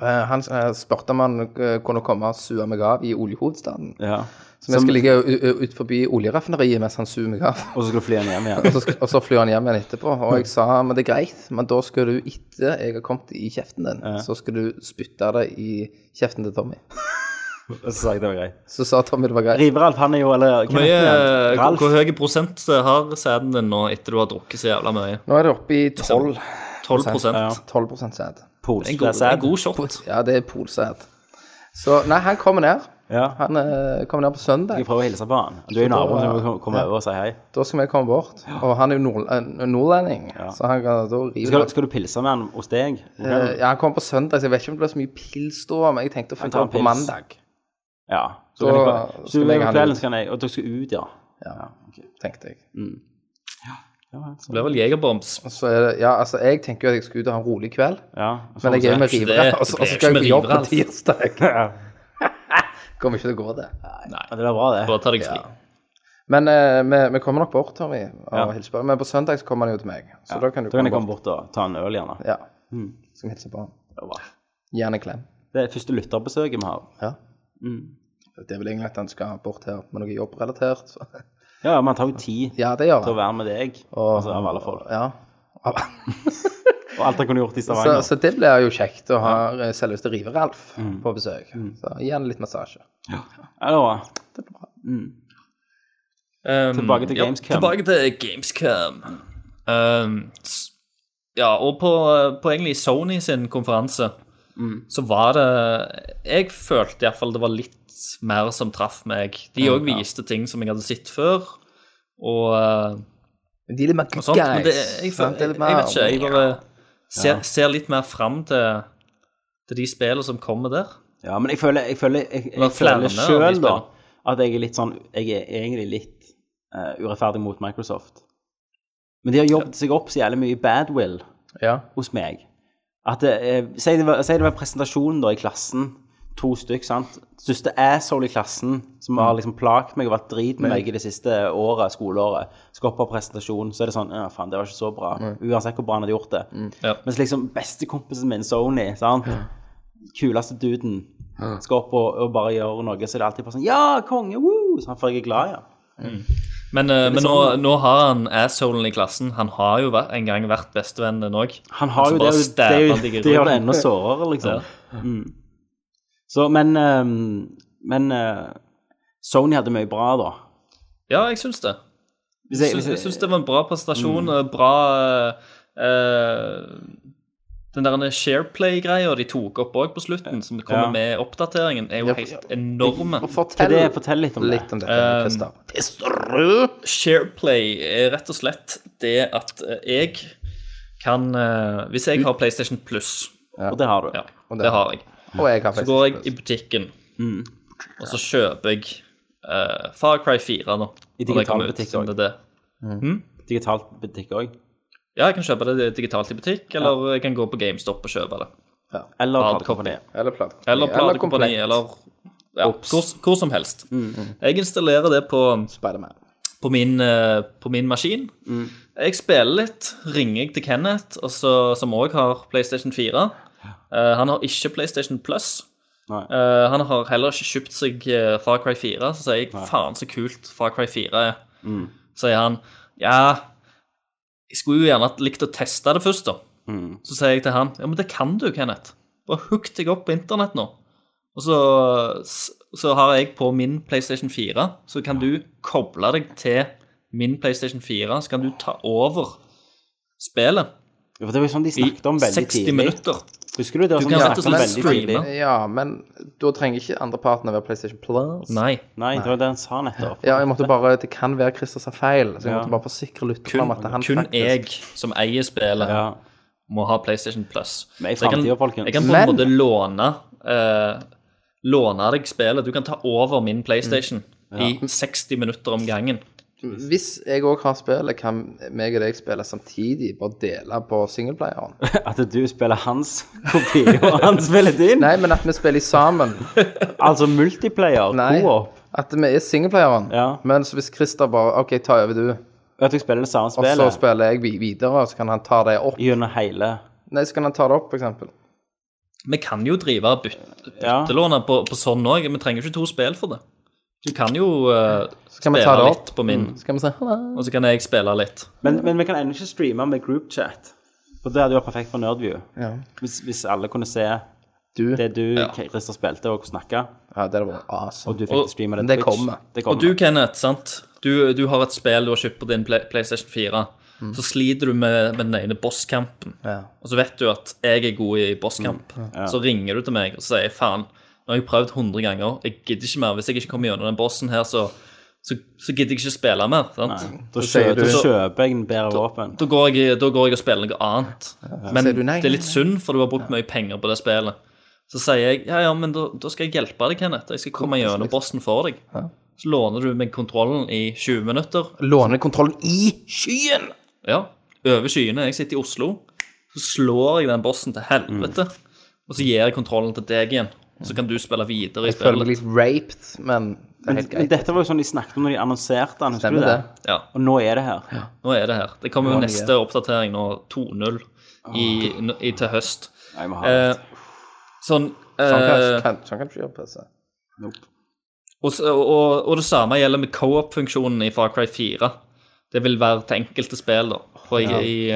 [SPEAKER 6] Eh, han eh, spurte om han eh, kunne komme og sue meg av i oljehovedstaden.
[SPEAKER 1] Ja.
[SPEAKER 6] Så vi skal ligge u- u- ut forbi oljeraffineriet mens han suger meg av.
[SPEAKER 1] Og så skal du fly han hjem
[SPEAKER 6] Og
[SPEAKER 1] igjen.
[SPEAKER 6] så, sk- og så flyr han hjem igjen etterpå. Og jeg sa men det er greit, men da skal du etter jeg har kommet i kjeften din, så skal du spytte det i kjeften til Tommy.
[SPEAKER 1] Og så sa jeg det var greit.
[SPEAKER 6] Så sa Tommy det var greit.
[SPEAKER 1] Riveralf, han er jo Eller
[SPEAKER 5] Hvor, mye,
[SPEAKER 1] heter han?
[SPEAKER 5] hvor, hvor høy prosent har sæden din nå etter du har drukket så jævla mye?
[SPEAKER 6] Nå er det oppe i 12,
[SPEAKER 5] 12 prosent.
[SPEAKER 1] Ja.
[SPEAKER 6] 12 sæd.
[SPEAKER 5] Det er en god, det er en god shot.
[SPEAKER 6] Ja, det er polsæd. Så nei, han kommer ned.
[SPEAKER 1] Ja.
[SPEAKER 6] Han eh, kommer ned på søndag.
[SPEAKER 1] Jeg prøver å hilse på han. Du er jo naboen, så du må komme over og si hei.
[SPEAKER 6] Da skal vi komme bort. Og han er jo nord, en- en nordlending, så han kan da rive
[SPEAKER 1] Skal, skal du pilse med han hos deg?
[SPEAKER 6] Eh, Ja, han kommer på søndag, så jeg vet ikke om det blir så mye pils da, men jeg tenkte å få
[SPEAKER 1] tar
[SPEAKER 6] ta
[SPEAKER 1] pils.
[SPEAKER 6] på mandag.
[SPEAKER 1] Ja. Så kan
[SPEAKER 6] Da
[SPEAKER 1] jeg, så
[SPEAKER 6] skal
[SPEAKER 1] du
[SPEAKER 6] jeg
[SPEAKER 1] er
[SPEAKER 6] ha
[SPEAKER 1] på
[SPEAKER 6] han
[SPEAKER 1] kvelden,
[SPEAKER 6] ut.
[SPEAKER 1] så kan jeg Og dere skal ut, ja.
[SPEAKER 6] Ja, tenkte jeg.
[SPEAKER 5] Det blir vel jegerbombs.
[SPEAKER 6] Så er det, ja, altså, jeg tenker jo at jeg skal ut og ha en rolig kveld.
[SPEAKER 1] ja. så-
[SPEAKER 6] Men jeg er jo med
[SPEAKER 5] Det-
[SPEAKER 6] rivere, og så
[SPEAKER 5] det
[SPEAKER 6] og så
[SPEAKER 5] er ikke
[SPEAKER 6] skal jeg
[SPEAKER 5] med
[SPEAKER 6] på jobb
[SPEAKER 5] rivere,
[SPEAKER 6] på
[SPEAKER 5] altså.
[SPEAKER 6] tirsdag. Kommer ikke til å gå, det.
[SPEAKER 1] Ja, det blir bra, det.
[SPEAKER 5] Bare ta deg fri.
[SPEAKER 6] Men eh, vi, vi kommer nok bort, Tommy, og
[SPEAKER 1] Ja.
[SPEAKER 6] hilser på deg. Men på søndag så kommer han jo til meg. Så da kan du
[SPEAKER 1] Da kan jeg komme bort og ta en øl, gjerne.
[SPEAKER 6] Ja. Skal vi hilse på han. Gi han en klem.
[SPEAKER 1] Det er første lytterbesøket vi har.
[SPEAKER 6] Ja. Det er vel egentlig at han skal bort her med noe jobbrelatert. så-
[SPEAKER 1] Ja, ja, man tar jo tid
[SPEAKER 6] Ja, det gjør
[SPEAKER 1] til å
[SPEAKER 6] han.
[SPEAKER 1] være med deg,
[SPEAKER 6] Og-
[SPEAKER 1] altså av alle folk.
[SPEAKER 6] Ja.
[SPEAKER 1] Og alt han Mm. kunne gjort i
[SPEAKER 6] Så,
[SPEAKER 1] Stavanger.
[SPEAKER 6] så det blir jo kjekt å ha eh, selveste Rive-Ralf på besøk. Så gi han litt massasje.
[SPEAKER 1] Ja, det Mm. var
[SPEAKER 5] Um,
[SPEAKER 1] Tilbake til Gamescom.
[SPEAKER 5] Ja, tilbake til Gamescom. Um, s- ja, og på, på egentlig Sony sin konferanse
[SPEAKER 1] Mm.
[SPEAKER 5] så var det Jeg følte iallfall det var litt mer som traff meg. De òg viste ting som jeg hadde sett før. Og, uh,
[SPEAKER 6] Men de er litt mer
[SPEAKER 5] og sånt. Men det, jeg,
[SPEAKER 6] sant?
[SPEAKER 5] føl-
[SPEAKER 6] Det er litt
[SPEAKER 5] jeg, jeg vet ikke.
[SPEAKER 6] mer-
[SPEAKER 5] Jeg bare ser, ser litt mer fram til, til de spillene som kommer der.
[SPEAKER 1] Ja, men jeg føler, jeg føler, jeg,
[SPEAKER 5] var
[SPEAKER 1] jeg føler
[SPEAKER 5] flere av de
[SPEAKER 1] selv da
[SPEAKER 5] spillene.
[SPEAKER 1] at jeg er litt sånn Jeg er egentlig litt eh, urettferdig mot Microsoft. Men de har jobbet seg opp så jævlig mye badwill
[SPEAKER 6] Ja.
[SPEAKER 1] hos meg. At det, eh, si, det var, si det var en presentasjon da i klassen, to stykk, sant. Største asshole i klassen som
[SPEAKER 5] Mm.
[SPEAKER 1] har liksom plaget meg og vært drit med meg i det siste året, skoleåret. Skal opp på presentasjon, så er det sånn Ja, faen, det var ikke så bra. Uansett hvor bra han hadde gjort det.
[SPEAKER 5] Ja.
[SPEAKER 1] Mens liksom bestekompisen min, Sony, sant? kuleste duden, skal opp og, og bare gjøre noe, så er det alltid bare sånn Ja, konge! Woo! Sånn, for jeg er glad, ja.
[SPEAKER 5] Men, uh, men nå, nå har han assholen i klassen. Han har jo vært, en gang vært bestevennen òg.
[SPEAKER 1] Han har jo det, og det, er jo- det gjør det enda sårere, liksom.
[SPEAKER 5] Ja.
[SPEAKER 1] Mm. Så, men ehm, Men eh, Sony hadde mye bra, da.
[SPEAKER 5] Ja, jeg syns det.
[SPEAKER 1] Hvis jeg,
[SPEAKER 5] Jeg syns, jeg
[SPEAKER 1] hvis
[SPEAKER 5] syns
[SPEAKER 1] jeg,
[SPEAKER 5] det var en bra prestasjon. eh, Bra eh, Den der Shareplay-greia de tok opp òg på slutten, som kommer
[SPEAKER 1] Ja.
[SPEAKER 5] med oppdateringen, er jo helt enorme.
[SPEAKER 1] hva
[SPEAKER 6] Og
[SPEAKER 1] er
[SPEAKER 6] Fortell
[SPEAKER 1] det, fortell litt om
[SPEAKER 6] litt
[SPEAKER 1] det. Um,
[SPEAKER 6] om dette, Christer.
[SPEAKER 5] Shareplay er rett og slett det at eh, jeg kan eh, Hvis jeg har PlayStation Plus,
[SPEAKER 1] Og det har du.
[SPEAKER 5] ja,
[SPEAKER 6] Og det-
[SPEAKER 5] det har jeg.
[SPEAKER 6] Og jeg har
[SPEAKER 5] Så går jeg
[SPEAKER 6] faktisk
[SPEAKER 5] i butikken,
[SPEAKER 1] Mm.
[SPEAKER 5] og så kjøper jeg eh, Far Cry 4 nå.
[SPEAKER 1] I
[SPEAKER 5] når det
[SPEAKER 1] digital
[SPEAKER 5] kommer ut,
[SPEAKER 1] butikk
[SPEAKER 5] siden
[SPEAKER 1] også.
[SPEAKER 5] det er det.
[SPEAKER 1] Digitalt butikk òg.
[SPEAKER 5] Ja, jeg kan kjøpe det digitalt i butikk, eller jeg kan gå på GameStop og kjøpe det.
[SPEAKER 1] Eller
[SPEAKER 5] Hard
[SPEAKER 1] platekompani.
[SPEAKER 6] Eller platekompani.
[SPEAKER 5] Eller platekompani,
[SPEAKER 6] komplett
[SPEAKER 5] eller ja, hvor, hvor som helst.
[SPEAKER 1] Mm,
[SPEAKER 5] Jeg installerer det på,
[SPEAKER 6] Spiderman.
[SPEAKER 5] på, min, eh, på min maskin. Jeg spiller litt, ringer jeg til Kenneth, og så- som òg har PlayStation 4. Eh, han har ikke PlayStation Plus.
[SPEAKER 1] Nei.
[SPEAKER 5] Eh, han har heller ikke kjøpt seg eh, Far Cry 4. Så sier jeg 'faen, så kult Far Cry 4 er'. Sier han 'ja, jeg skulle jo gjerne hatt likt å teste det først', da. Så sier jeg til han 'ja, men det kan du, Kenneth'. Bare hook deg opp på internett nå. Og så, så har jeg på min PlayStation 4, så kan du koble deg til min PlayStation 4, så kan du ta over spillet
[SPEAKER 1] For det var jo sånn de
[SPEAKER 5] i
[SPEAKER 1] snakket om veldig
[SPEAKER 5] 60
[SPEAKER 1] tidlig.
[SPEAKER 5] minutter.
[SPEAKER 1] Husker du det? var
[SPEAKER 5] Du
[SPEAKER 1] Sånn
[SPEAKER 5] kan
[SPEAKER 1] de
[SPEAKER 5] rett og
[SPEAKER 1] snakket om
[SPEAKER 5] slett
[SPEAKER 1] veldig tidlig.
[SPEAKER 5] streame.
[SPEAKER 6] Ja, men da trenger ikke andreparten å være PlayStation Plus.
[SPEAKER 5] Nei.
[SPEAKER 1] Nei, det var det han sa nettopp.
[SPEAKER 6] Ja, jeg måtte bare, Det kan være Christer sa feil, så jeg
[SPEAKER 1] Ja.
[SPEAKER 6] måtte bare forsikre lytterne om
[SPEAKER 5] Kun,
[SPEAKER 6] at han
[SPEAKER 5] kun
[SPEAKER 6] faktisk
[SPEAKER 5] jeg som eier spillet,
[SPEAKER 1] Ja.
[SPEAKER 5] må ha PlayStation Plus.
[SPEAKER 1] Men i
[SPEAKER 5] Så jeg kan-
[SPEAKER 1] fremtiden, folkens.
[SPEAKER 5] Jeg kan på
[SPEAKER 6] Men-
[SPEAKER 5] en måte låne eh, Låne deg spillet. Du kan ta over min PlayStation
[SPEAKER 1] Mm.
[SPEAKER 5] i 60 minutter om gangen.
[SPEAKER 6] Hvis jeg òg har spillet, kan meg og deg spille samtidig, bare dele på singleplayeren.
[SPEAKER 1] At du spiller hans kopi, og han spiller din.
[SPEAKER 6] Nei, men at vi spiller sammen.
[SPEAKER 1] Altså multiplayer,
[SPEAKER 6] Nei,
[SPEAKER 1] co-op.
[SPEAKER 6] at vi er singleplayeren.
[SPEAKER 1] Ja.
[SPEAKER 6] Men så hvis Christer bare OK, ta over du,
[SPEAKER 1] At du spiller det samme
[SPEAKER 6] og så
[SPEAKER 1] spillet
[SPEAKER 6] spiller jeg vi- videre, og så kan han ta det opp.
[SPEAKER 1] gjennom hele
[SPEAKER 6] Nei, så kan han ta det opp, for eksempel.
[SPEAKER 5] Vi kan jo drive byt,
[SPEAKER 1] Ja.
[SPEAKER 5] byttelåner på, på sånn òg. Vi trenger ikke to spill for det. Du kan jo eh,
[SPEAKER 6] Så kan vi ta
[SPEAKER 5] spille
[SPEAKER 6] det
[SPEAKER 5] litt
[SPEAKER 6] opp, Mm.
[SPEAKER 5] på min,
[SPEAKER 6] så kan vi si hallo.
[SPEAKER 5] og så kan jeg spille litt.
[SPEAKER 1] Men, men vi kan ennå ikke streame med groupchat. For det hadde jo vært perfekt for Nerdview.
[SPEAKER 6] Ja.
[SPEAKER 1] Hvis, hvis alle kunne se
[SPEAKER 6] Du.
[SPEAKER 1] det du, Christer, spilte og snakka,
[SPEAKER 6] Ja, det hadde vært awesome.
[SPEAKER 1] og du fikk
[SPEAKER 5] Og-
[SPEAKER 1] streame det
[SPEAKER 6] men det
[SPEAKER 1] på Twitch.
[SPEAKER 6] kommer.
[SPEAKER 1] Det
[SPEAKER 5] Og
[SPEAKER 1] kommer.
[SPEAKER 5] du, Kenneth, sant? Du, du har et spill du har kjøpt på din Play- PlayStation 4. Så sliter du med, med den ene bosskampen.
[SPEAKER 6] Mm. Ja. Mm.
[SPEAKER 5] Og så vet du at jeg er god i bosskamp. Så ringer du til meg og sier faen, nå har jeg prøvd 100 ganger. Jeg gidder ikke mer. Hvis jeg ikke kommer gjennom den bossen her, så, så, så gidder jeg ikke spille mer. sant?
[SPEAKER 1] da
[SPEAKER 6] sier
[SPEAKER 1] kjøper,
[SPEAKER 6] du-
[SPEAKER 1] da kjøper jeg en bedre våpen.
[SPEAKER 5] Da går, jeg, da går jeg og spiller noe annet. Men
[SPEAKER 6] sier du nei,
[SPEAKER 5] det er
[SPEAKER 6] nei,
[SPEAKER 5] litt synd, for du har brukt mye penger på det spillet. Så sier jeg ja, ja, men da, da skal jeg hjelpe deg, Kenneth. Jeg skal komme gjennom bossen for deg. Så låner du meg kontrollen i 20 minutter.
[SPEAKER 6] Låne kontrollen i skyen!
[SPEAKER 5] Ja, over skyene. Jeg sitter i Oslo. Så slår jeg den bossen til helvete, og så gir jeg kontrollen til deg igjen. Så kan du spille videre i
[SPEAKER 6] Jeg føler meg litt
[SPEAKER 5] spillet.
[SPEAKER 6] raped, men Det er helt
[SPEAKER 1] Men
[SPEAKER 6] greit.
[SPEAKER 1] dette var jo sånn de snakket om når de annonserte den, husker du
[SPEAKER 6] Stemmer
[SPEAKER 1] det?
[SPEAKER 6] det.
[SPEAKER 5] Ja,
[SPEAKER 1] Og nå er det her.
[SPEAKER 5] nå er det her. Det kommer jo
[SPEAKER 6] Nå er Ah. det
[SPEAKER 5] neste oppdatering nå, 2.0, i, i, til høst.
[SPEAKER 1] Jeg må ha det.
[SPEAKER 5] Eh, sånn
[SPEAKER 6] Sånn kan-
[SPEAKER 5] eh,
[SPEAKER 6] kan sånn kan du ikke gjøre på PC.
[SPEAKER 5] Og, s- og, og det samme gjelder med co-op-funksjonen i Far Cry 4. Det vil være til enkelte spill, da. For i,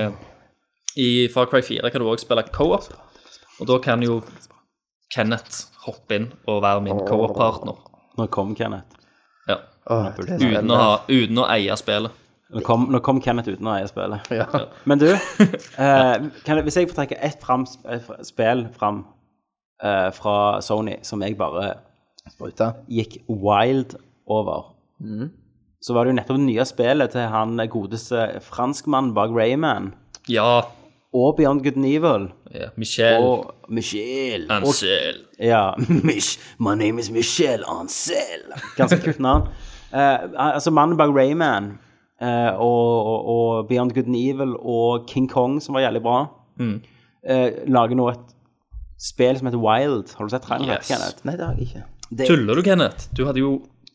[SPEAKER 5] i, i Far Cry 4 kan du òg spille co-op, og da kan jo Kenneth hoppe inn og være min co-op-partner.
[SPEAKER 1] Nå kom Kenneth.
[SPEAKER 5] Ja.
[SPEAKER 6] Åh, det er
[SPEAKER 5] Uten, å
[SPEAKER 6] spennende.
[SPEAKER 5] ha, uten å eie spillet.
[SPEAKER 1] Nå kom, nå kom Kenneth uten å eie spillet.
[SPEAKER 6] Ja.
[SPEAKER 1] Men du, eh, kan, jeg- hvis jeg får trekke ett fram, eh, fra- spill fram eh, fra Sony som jeg bare
[SPEAKER 6] Bruta.
[SPEAKER 1] gikk wild over, så var det jo nettopp det nye spillet til han godeste franskmannen bak Rayman,
[SPEAKER 5] Ja.
[SPEAKER 1] og Beyond Good and Evil,
[SPEAKER 5] ja. Michelle
[SPEAKER 1] og Michelle. og
[SPEAKER 5] Ansel.
[SPEAKER 1] Ja. Mich, my name is Michelle Ansel. Ganske kult navn. Eh, altså mannen bak Rayman eh, og, og, og Beyond Good and Evil og King Kong, som var jævlig bra,
[SPEAKER 5] Mm.
[SPEAKER 1] eh, lager nå et spill som heter Wild. Har du sett traileren?
[SPEAKER 5] Yes.
[SPEAKER 1] Kenneth?
[SPEAKER 6] Nei, det har jeg ikke.
[SPEAKER 5] Tuller du, Kenneth? Du hadde jo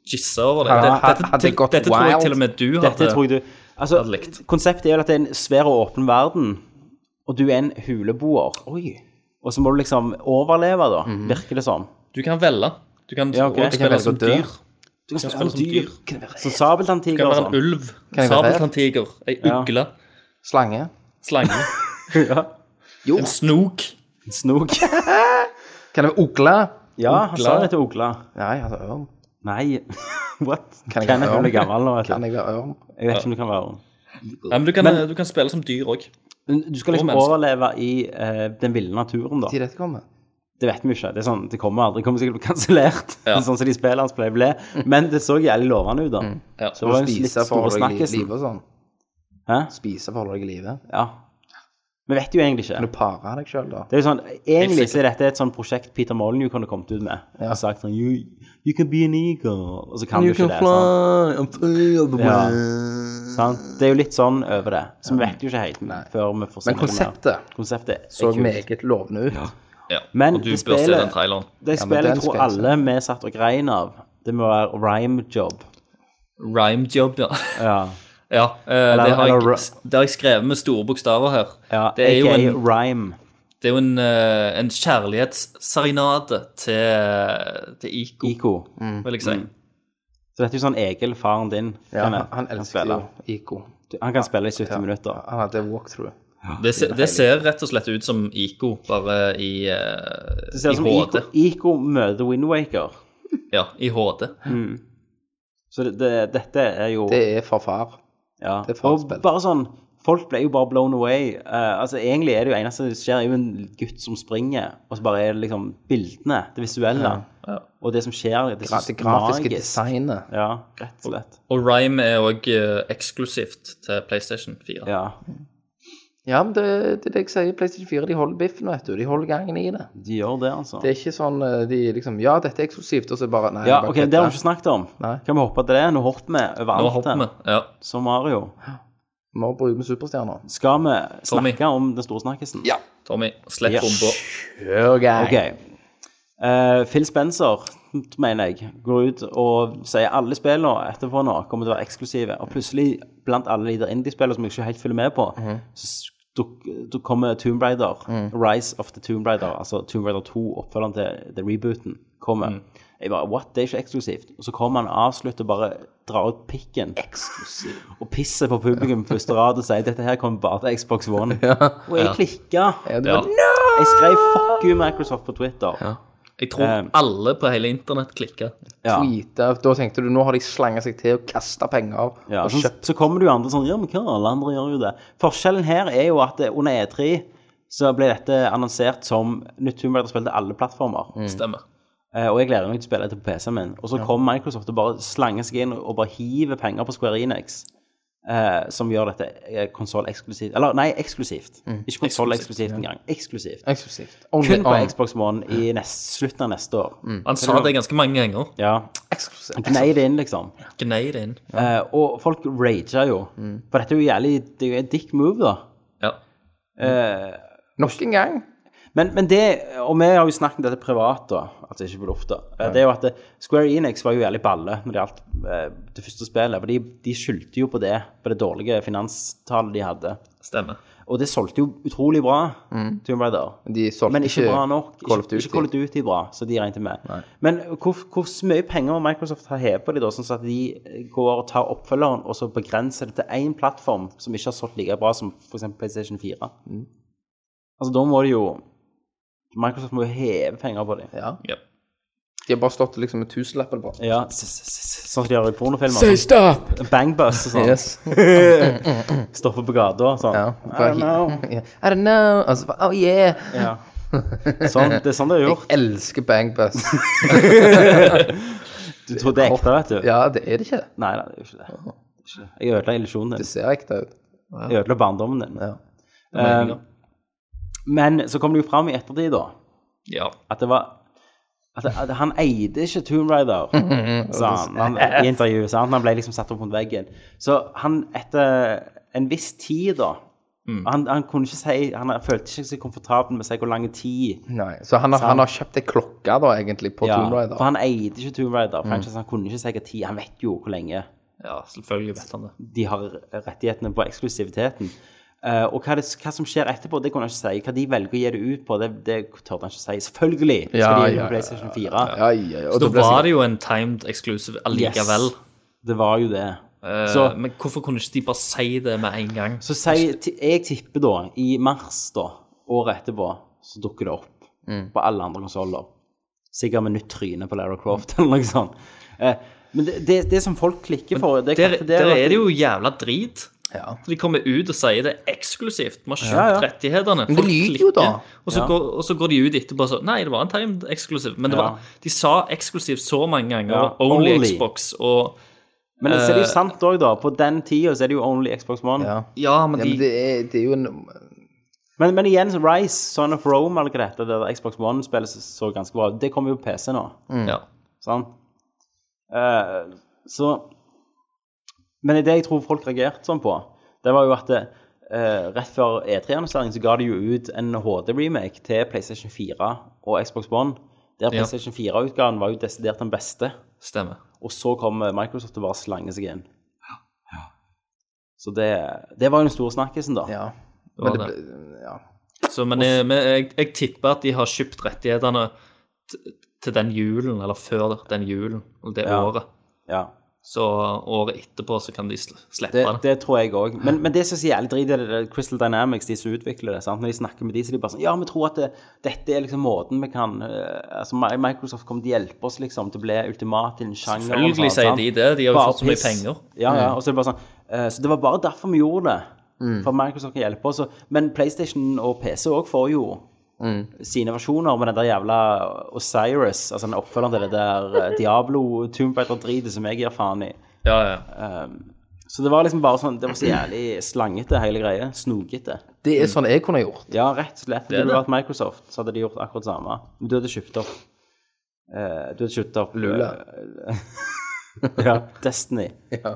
[SPEAKER 5] gissa over det.
[SPEAKER 6] Hadde-
[SPEAKER 5] Dette, dette,
[SPEAKER 6] hadde
[SPEAKER 5] til-
[SPEAKER 6] gått
[SPEAKER 5] dette tror jeg
[SPEAKER 6] wild.
[SPEAKER 5] til og med du
[SPEAKER 1] Dette
[SPEAKER 5] hadde.
[SPEAKER 1] tror jeg du Altså,
[SPEAKER 5] eh, hadde likt.
[SPEAKER 1] konseptet er jo at det er en svær og åpen verden, og du er en huleboer. Og så må du liksom overleve, da, virker det som.
[SPEAKER 5] Mhm. Du kan velge. Du kan
[SPEAKER 1] Ja, ok.
[SPEAKER 5] også
[SPEAKER 1] Jeg
[SPEAKER 6] kan
[SPEAKER 5] spille
[SPEAKER 6] velge
[SPEAKER 5] som
[SPEAKER 6] å dø.
[SPEAKER 5] dyr.
[SPEAKER 1] Du kan
[SPEAKER 5] spille
[SPEAKER 1] spille
[SPEAKER 5] som dyr.
[SPEAKER 1] dyr. Som sabeltanntiger
[SPEAKER 5] kan
[SPEAKER 1] og
[SPEAKER 5] være en
[SPEAKER 1] sånn.
[SPEAKER 5] ulv,
[SPEAKER 6] jeg være rev?
[SPEAKER 5] sabeltanntiger, ei ugle,
[SPEAKER 6] Slange.
[SPEAKER 5] slange,
[SPEAKER 1] Ja.
[SPEAKER 5] en snok.
[SPEAKER 1] Snok.
[SPEAKER 6] Kan det være ugle?
[SPEAKER 1] Ja, han sa det til Ogla.
[SPEAKER 6] Nei, altså ørn.
[SPEAKER 1] Nei, what?
[SPEAKER 6] Kan jeg
[SPEAKER 1] Kenneth
[SPEAKER 6] være
[SPEAKER 1] blir
[SPEAKER 6] ørn?
[SPEAKER 1] gammel nå, vet
[SPEAKER 6] Kan
[SPEAKER 1] du.
[SPEAKER 6] jeg være ørn?
[SPEAKER 1] Jeg vet ikke om du kan være ørn.
[SPEAKER 5] Ja, men du, kan, eh,
[SPEAKER 1] Men-
[SPEAKER 5] du kan spille som dyr òg.
[SPEAKER 1] Men Du skal liksom
[SPEAKER 5] Og menneske.
[SPEAKER 1] overleve i eh, den ville naturen, da.
[SPEAKER 6] Tid dette kommer?
[SPEAKER 1] Det vet vi jo ikke. Det er sånn, det kommer aldri. Det kommer sikkert til å bli kansellert,
[SPEAKER 5] Ja.
[SPEAKER 1] sånn som de spillene som ble- ble. Men det så jævlig lovende ut, da.
[SPEAKER 5] Ja.
[SPEAKER 1] Det var jo litt
[SPEAKER 6] Mm. Spise for
[SPEAKER 1] store
[SPEAKER 6] å holde deg i li-
[SPEAKER 1] snakkisen.
[SPEAKER 6] live og sånn.
[SPEAKER 1] Hæ?
[SPEAKER 6] Spise for å holde deg i live.
[SPEAKER 1] Ja. Vi vet jo egentlig
[SPEAKER 6] Kan
[SPEAKER 1] ikke.
[SPEAKER 6] du pare deg sjøl, da?
[SPEAKER 1] Det er jo sånn, Egentlig
[SPEAKER 5] Helt sikkert.
[SPEAKER 1] så er dette et sånt prosjekt Peter Molyneux kunne kommet ut med. Og sagt sånn you, you can be an eagle. Og så kan du ikke det. sant?
[SPEAKER 7] I'm free of the
[SPEAKER 1] Ja.
[SPEAKER 7] wind.
[SPEAKER 1] Sant? Det er jo litt sånn over det. Så vi vet jo ikke helt før vi får se
[SPEAKER 6] Men konseptet
[SPEAKER 1] Konseptet er
[SPEAKER 6] så
[SPEAKER 1] kult.
[SPEAKER 6] meget lovende ut.
[SPEAKER 5] Ja.
[SPEAKER 1] Men
[SPEAKER 5] og du
[SPEAKER 1] det
[SPEAKER 5] bør se
[SPEAKER 1] spillet-
[SPEAKER 5] den traileren.
[SPEAKER 1] Det
[SPEAKER 6] Ja, men
[SPEAKER 1] spillet jeg
[SPEAKER 6] den
[SPEAKER 1] tror
[SPEAKER 6] skal jeg se.
[SPEAKER 1] alle vi satt og grein av, det må være rhyme job.
[SPEAKER 5] Rhymejob, ja.
[SPEAKER 1] Ja.
[SPEAKER 5] ja eh,
[SPEAKER 1] Eller-
[SPEAKER 5] det, har jeg,
[SPEAKER 1] eller ra-
[SPEAKER 5] det har jeg skrevet med store bokstaver her.
[SPEAKER 1] ja
[SPEAKER 5] det, er jo
[SPEAKER 1] AKA
[SPEAKER 5] en,
[SPEAKER 1] rhyme.
[SPEAKER 5] det er jo en, eh, en kjærlighetsserenade eh, til, til Iko,
[SPEAKER 1] Iko.
[SPEAKER 6] Mm.
[SPEAKER 1] Mm.
[SPEAKER 5] vil jeg si.
[SPEAKER 1] Så dette er jo sånn Egil, faren din,
[SPEAKER 6] Ja,
[SPEAKER 1] kan,
[SPEAKER 6] han, han elsker jo
[SPEAKER 1] spille.
[SPEAKER 6] Ico.
[SPEAKER 1] Han kan spille i 70 minutter.
[SPEAKER 6] Han hadde walkthrough.
[SPEAKER 5] Det, se, det ser rett og slett ut som Iko, bare i, eh,
[SPEAKER 1] Det ser
[SPEAKER 5] i
[SPEAKER 1] ut som
[SPEAKER 5] HD.
[SPEAKER 1] Iko, Iko møter Windwaker.
[SPEAKER 5] Ja, i HD.
[SPEAKER 1] Så det, det, dette er jo
[SPEAKER 6] Det er for far.
[SPEAKER 1] ja.
[SPEAKER 6] det er
[SPEAKER 1] Og
[SPEAKER 6] farspill.
[SPEAKER 1] bare sånn Folk ble jo bare blown away. Eh, altså Egentlig er det jo eneste som skjer, er jo en gutt som springer, og så bare er det liksom bildene, det visuelle, og det som skjer. Det, er så
[SPEAKER 6] Det grafiske
[SPEAKER 1] magisk.
[SPEAKER 6] designet.
[SPEAKER 1] Ja, rett og slett.
[SPEAKER 5] Og Rhyme er òg eksklusivt til PlayStation 4.
[SPEAKER 1] Ja.
[SPEAKER 6] Ja, men det, det er det jeg sier. PlayStation 4 de holder biffen, vet du. De holder gangen i det.
[SPEAKER 1] De gjør det, altså.
[SPEAKER 6] Det er ikke sånn eh, de liksom Ja, dette er eksklusivt, og så bare Nei,
[SPEAKER 1] ja,
[SPEAKER 6] bare
[SPEAKER 1] ok, Det har vi ikke snakket om.
[SPEAKER 6] Nei.
[SPEAKER 1] Kan vi hoppe til det? Nå hopper vi
[SPEAKER 5] Nå
[SPEAKER 1] overalt.
[SPEAKER 5] hopper vi. Ja.
[SPEAKER 1] Som Mario.
[SPEAKER 6] Må bruke med superstjerner.
[SPEAKER 1] Skal vi
[SPEAKER 5] Tommy.
[SPEAKER 1] snakke om den store snakkisen? Ja.
[SPEAKER 5] Tommy, slipp
[SPEAKER 1] Ja.
[SPEAKER 5] bomba.
[SPEAKER 1] Ok. Eh, Phil Spencer, mener jeg, går ut og sier alle spillene etterpå nå kommer til å være eksklusive. Og plutselig, blant alle de der indie-spillene som jeg ikke helt følger med på, så s- duk- duk- kommer Tomb Raider, Rise of the Tomb Raider, altså Tomb Raider 2, oppfølgeren til The Rebooten, kommer. Jeg bare, what, det er ikke eksklusivt. Og så kommer han avslutt og bare drar ut pikken. Og pisser på publikum på første rad og sier, dette her kommer bare til Xbox One. Og jeg klikket.
[SPEAKER 5] Ja.
[SPEAKER 1] Jeg skrev 'fuck you Microsoft' på Twitter.
[SPEAKER 5] Jeg tror
[SPEAKER 1] Eh.
[SPEAKER 5] alle på hele internett klikker.
[SPEAKER 1] Ja.
[SPEAKER 6] Tweeta. Da tenkte du nå har de slanga seg til og kasta penger.
[SPEAKER 1] Ja,
[SPEAKER 6] og
[SPEAKER 1] så,
[SPEAKER 6] kjøpt.
[SPEAKER 1] så kommer det jo andre sånn Ja, men hva? Alle andre gjør jo det. Forskjellen her er jo at eh, under E3 så ble dette annonsert som nytt Tomb Raider-spill til alle plattformer.
[SPEAKER 5] Stemmer.
[SPEAKER 1] Eh, Og jeg gleder meg til å spille dette på PC-en min. Og så kom Microsoft og bare slanger seg inn og bare hiver penger på Square Enix. Eh, som gjør dette konsolleksklusivt. Eller nei, eksklusivt. Ikke konsolleksklusivt engang. Eksklusivt.
[SPEAKER 6] Eksklusivt. Only
[SPEAKER 1] Kun på
[SPEAKER 6] on.
[SPEAKER 1] Xbox One i nest, slutten av neste år.
[SPEAKER 5] Han sa det ganske mange ganger.
[SPEAKER 1] Ja.
[SPEAKER 6] Eksklusivt.
[SPEAKER 1] Gnei det inn, liksom.
[SPEAKER 5] Gnei det inn.
[SPEAKER 1] Eh, og folk rager jo. For dette er jo jævlig Det er jo en dick move, da.
[SPEAKER 5] Ja.
[SPEAKER 6] Nok en gang.
[SPEAKER 1] Men, men det, og vi har jo snakket om dette privat, da, altså ikke på lufta, eh, det er jo at det, Square Enix var jo jævlig balle når det gjaldt eh, det første spillet. For de, de skyldte jo på det, på det dårlige finanstallet de hadde.
[SPEAKER 5] Stemmer.
[SPEAKER 1] Og det solgte jo utrolig bra, Tomb Raider.
[SPEAKER 6] De solgte
[SPEAKER 1] men ikke,
[SPEAKER 6] ikke
[SPEAKER 1] bra nok.
[SPEAKER 6] Call of
[SPEAKER 1] ikke,
[SPEAKER 6] Duty.
[SPEAKER 1] ikke Call of Duty bra, så de regnet med. Men hvor, hvor mye penger må Microsoft ha hevet på de da, sånn at de går og tar oppfølgeren og så begrenser det til én plattform som ikke har solgt like bra som f.eks. PlayStation 4?
[SPEAKER 6] Mm.
[SPEAKER 1] Altså, da må de jo Microsoft må jo heve penger på dem. Ja.
[SPEAKER 5] Ja.
[SPEAKER 6] De har bare stått liksom med tusenlapper på.
[SPEAKER 1] s- s- s- sånn som de gjør i pornofilmer. Say stop! Bangbus og sånn. Stopper på gata og sånn.
[SPEAKER 6] Ja,
[SPEAKER 1] I don't know.
[SPEAKER 6] Ja. I don't know. Og så bare, oh yeah.
[SPEAKER 1] Ja. Sånn, det er sånn det er gjort.
[SPEAKER 6] Jeg elsker Bang Bus.
[SPEAKER 1] Du tror det er ekte, vet du.
[SPEAKER 6] ja, det er det ikke.
[SPEAKER 1] Nei, nei, det er jo ikke det. Det er ikke det. Jeg ødela illusjonen
[SPEAKER 6] Det
[SPEAKER 1] din.
[SPEAKER 6] ser ekte ut.
[SPEAKER 1] Jeg ødela barndommen din.
[SPEAKER 6] Ja.
[SPEAKER 1] Eh, men så kom det jo fram i ettertid, da,
[SPEAKER 5] Ja.
[SPEAKER 1] at det var at, at han eide ikke Tomb Raider, sa han, han i intervjuet. sant? han ble liksom satt opp mot veggen. Så han, etter en viss tid, da han, han kunne ikke si Han følte ikke seg komfortabel med å si hvor lang tid
[SPEAKER 6] Nei, så han har, han har kjøpt ei klokke da, egentlig, på
[SPEAKER 1] ja,
[SPEAKER 6] Tomb Raider.
[SPEAKER 1] For han eide ikke Tomb Raider. franchise, Han kunne ikke si hva tid Han vet jo hvor lenge
[SPEAKER 5] ja, selvfølgelig vet han det.
[SPEAKER 1] de har rettighetene på eksklusiviteten. Eh, og hva, det, hva som skjer etterpå, det kunne han ikke si. Hva de velger å gi det ut på, det, det tør han ikke si. Selvfølgelig skal
[SPEAKER 6] Ja,
[SPEAKER 1] de gi det
[SPEAKER 6] ja,
[SPEAKER 1] på PlayStation 4.
[SPEAKER 6] Ja, ja, ja. Og
[SPEAKER 5] Da
[SPEAKER 6] det ble
[SPEAKER 5] var
[SPEAKER 6] sikkert-
[SPEAKER 5] det jo en timed exclusive allikevel.
[SPEAKER 1] Yes. Det var jo det.
[SPEAKER 5] Eh,
[SPEAKER 1] så,
[SPEAKER 5] Men hvorfor kunne ikke de bare si det med en gang?
[SPEAKER 1] så si, ti- jeg tipper da, i mars da, året etterpå, så dukker det opp
[SPEAKER 6] Mm.
[SPEAKER 1] på alle andre konsoller. Sikkert med nytt tryne på Lara Croft eller noe sånt. Eh, men det, det, det som folk klikker for det
[SPEAKER 5] Der,
[SPEAKER 1] det
[SPEAKER 5] der
[SPEAKER 1] at-
[SPEAKER 5] er det jo jævla drit.
[SPEAKER 6] Ja.
[SPEAKER 5] For De kommer ut og sier det eksklusivt. Vi har kjøpt
[SPEAKER 1] Ja, ja.
[SPEAKER 5] rettighetene.
[SPEAKER 6] Men det
[SPEAKER 5] Folk
[SPEAKER 6] lyver jo
[SPEAKER 5] klikker,
[SPEAKER 6] da.
[SPEAKER 5] Og så, går, og så går de ut etterpå og så Nei, det var en timed eksklusiv. Men det
[SPEAKER 1] Ja.
[SPEAKER 5] var, de sa eksklusivt så mange ganger.
[SPEAKER 1] Ja,
[SPEAKER 5] Only,
[SPEAKER 1] only.
[SPEAKER 5] Xbox og
[SPEAKER 1] Men så er det jo sant òg, da. På den tida så er det jo only Xbox One.
[SPEAKER 6] eh, Ja.
[SPEAKER 5] Ja, men
[SPEAKER 6] ja,
[SPEAKER 5] de
[SPEAKER 6] men det er, det er jo en
[SPEAKER 1] Men, men igjen, så Rise, Son of Rome eller hva det heter, det der Xbox One-spillet som så ganske bra ut, det kommer jo på PC nå.
[SPEAKER 6] mm.
[SPEAKER 5] ja.
[SPEAKER 1] Sant? Eh, så Men det jeg tror folk reagerte sånn på, det var jo at det, eh, rett før E3-annonseringen så ga de jo ut en HD-remake til PlayStation 4 og Xbox One. Der
[SPEAKER 5] Ja.
[SPEAKER 1] PlayStation 4-utgaven var jo desidert den beste.
[SPEAKER 5] Stemmer.
[SPEAKER 1] Og så kom eh, Microsoft og bare slange seg inn. Så det, det var jo den store snakkisen, da.
[SPEAKER 6] Ja.
[SPEAKER 5] Det var
[SPEAKER 6] Men det
[SPEAKER 5] det.
[SPEAKER 6] ble- ja.
[SPEAKER 5] Så, men jeg, men jeg, jeg tipper at de har kjøpt rettighetene t- til den julen, eller før den julen, eller det
[SPEAKER 1] Ja.
[SPEAKER 5] året.
[SPEAKER 1] Ja.
[SPEAKER 5] Så året etterpå så kan de sl- slippe
[SPEAKER 1] Det,
[SPEAKER 5] det.
[SPEAKER 1] det tror jeg òg. Men, men det som sier jævlig drit, er det der Crystal Dynamics, de som utvikler det. sant? Når de snakker med de, så er de bare sånn Ja, vi tror at det, dette er liksom måten vi kan eh, Altså, Mi- Microsoft kommer til å hjelpe oss liksom til å bli ultimat i en sjanger. og
[SPEAKER 5] Selvfølgelig
[SPEAKER 1] sånn,
[SPEAKER 5] sier
[SPEAKER 1] sant?
[SPEAKER 5] de det. De har jo
[SPEAKER 1] Bare
[SPEAKER 5] fått så mye
[SPEAKER 1] piss.
[SPEAKER 5] penger.
[SPEAKER 1] Ja, ja. Og så er det bare sånn eh, Så det var bare derfor vi gjorde det. For at Microsoft kan hjelpe oss. og- Men PlayStation og PC òg får jo sine versjoner med den der jævla Osiris, altså den oppfølgeren til det der eh, Diablo Tomb Raider-dritet som jeg gir faen i.
[SPEAKER 5] Ja, ja.
[SPEAKER 1] Så det var liksom bare sånn, det var så jævlig slangete hele greia. Snokete.
[SPEAKER 6] Det er sånn jeg kunne gjort.
[SPEAKER 1] Ja, rett og slett.
[SPEAKER 5] er
[SPEAKER 1] Hadde det
[SPEAKER 5] det.
[SPEAKER 1] vært Microsoft, så hadde de gjort akkurat samme. Men du hadde kjøpt opp eh, Du hadde kjøpt opp
[SPEAKER 6] Lula.
[SPEAKER 1] eh, ja, Destiny.
[SPEAKER 6] Ja.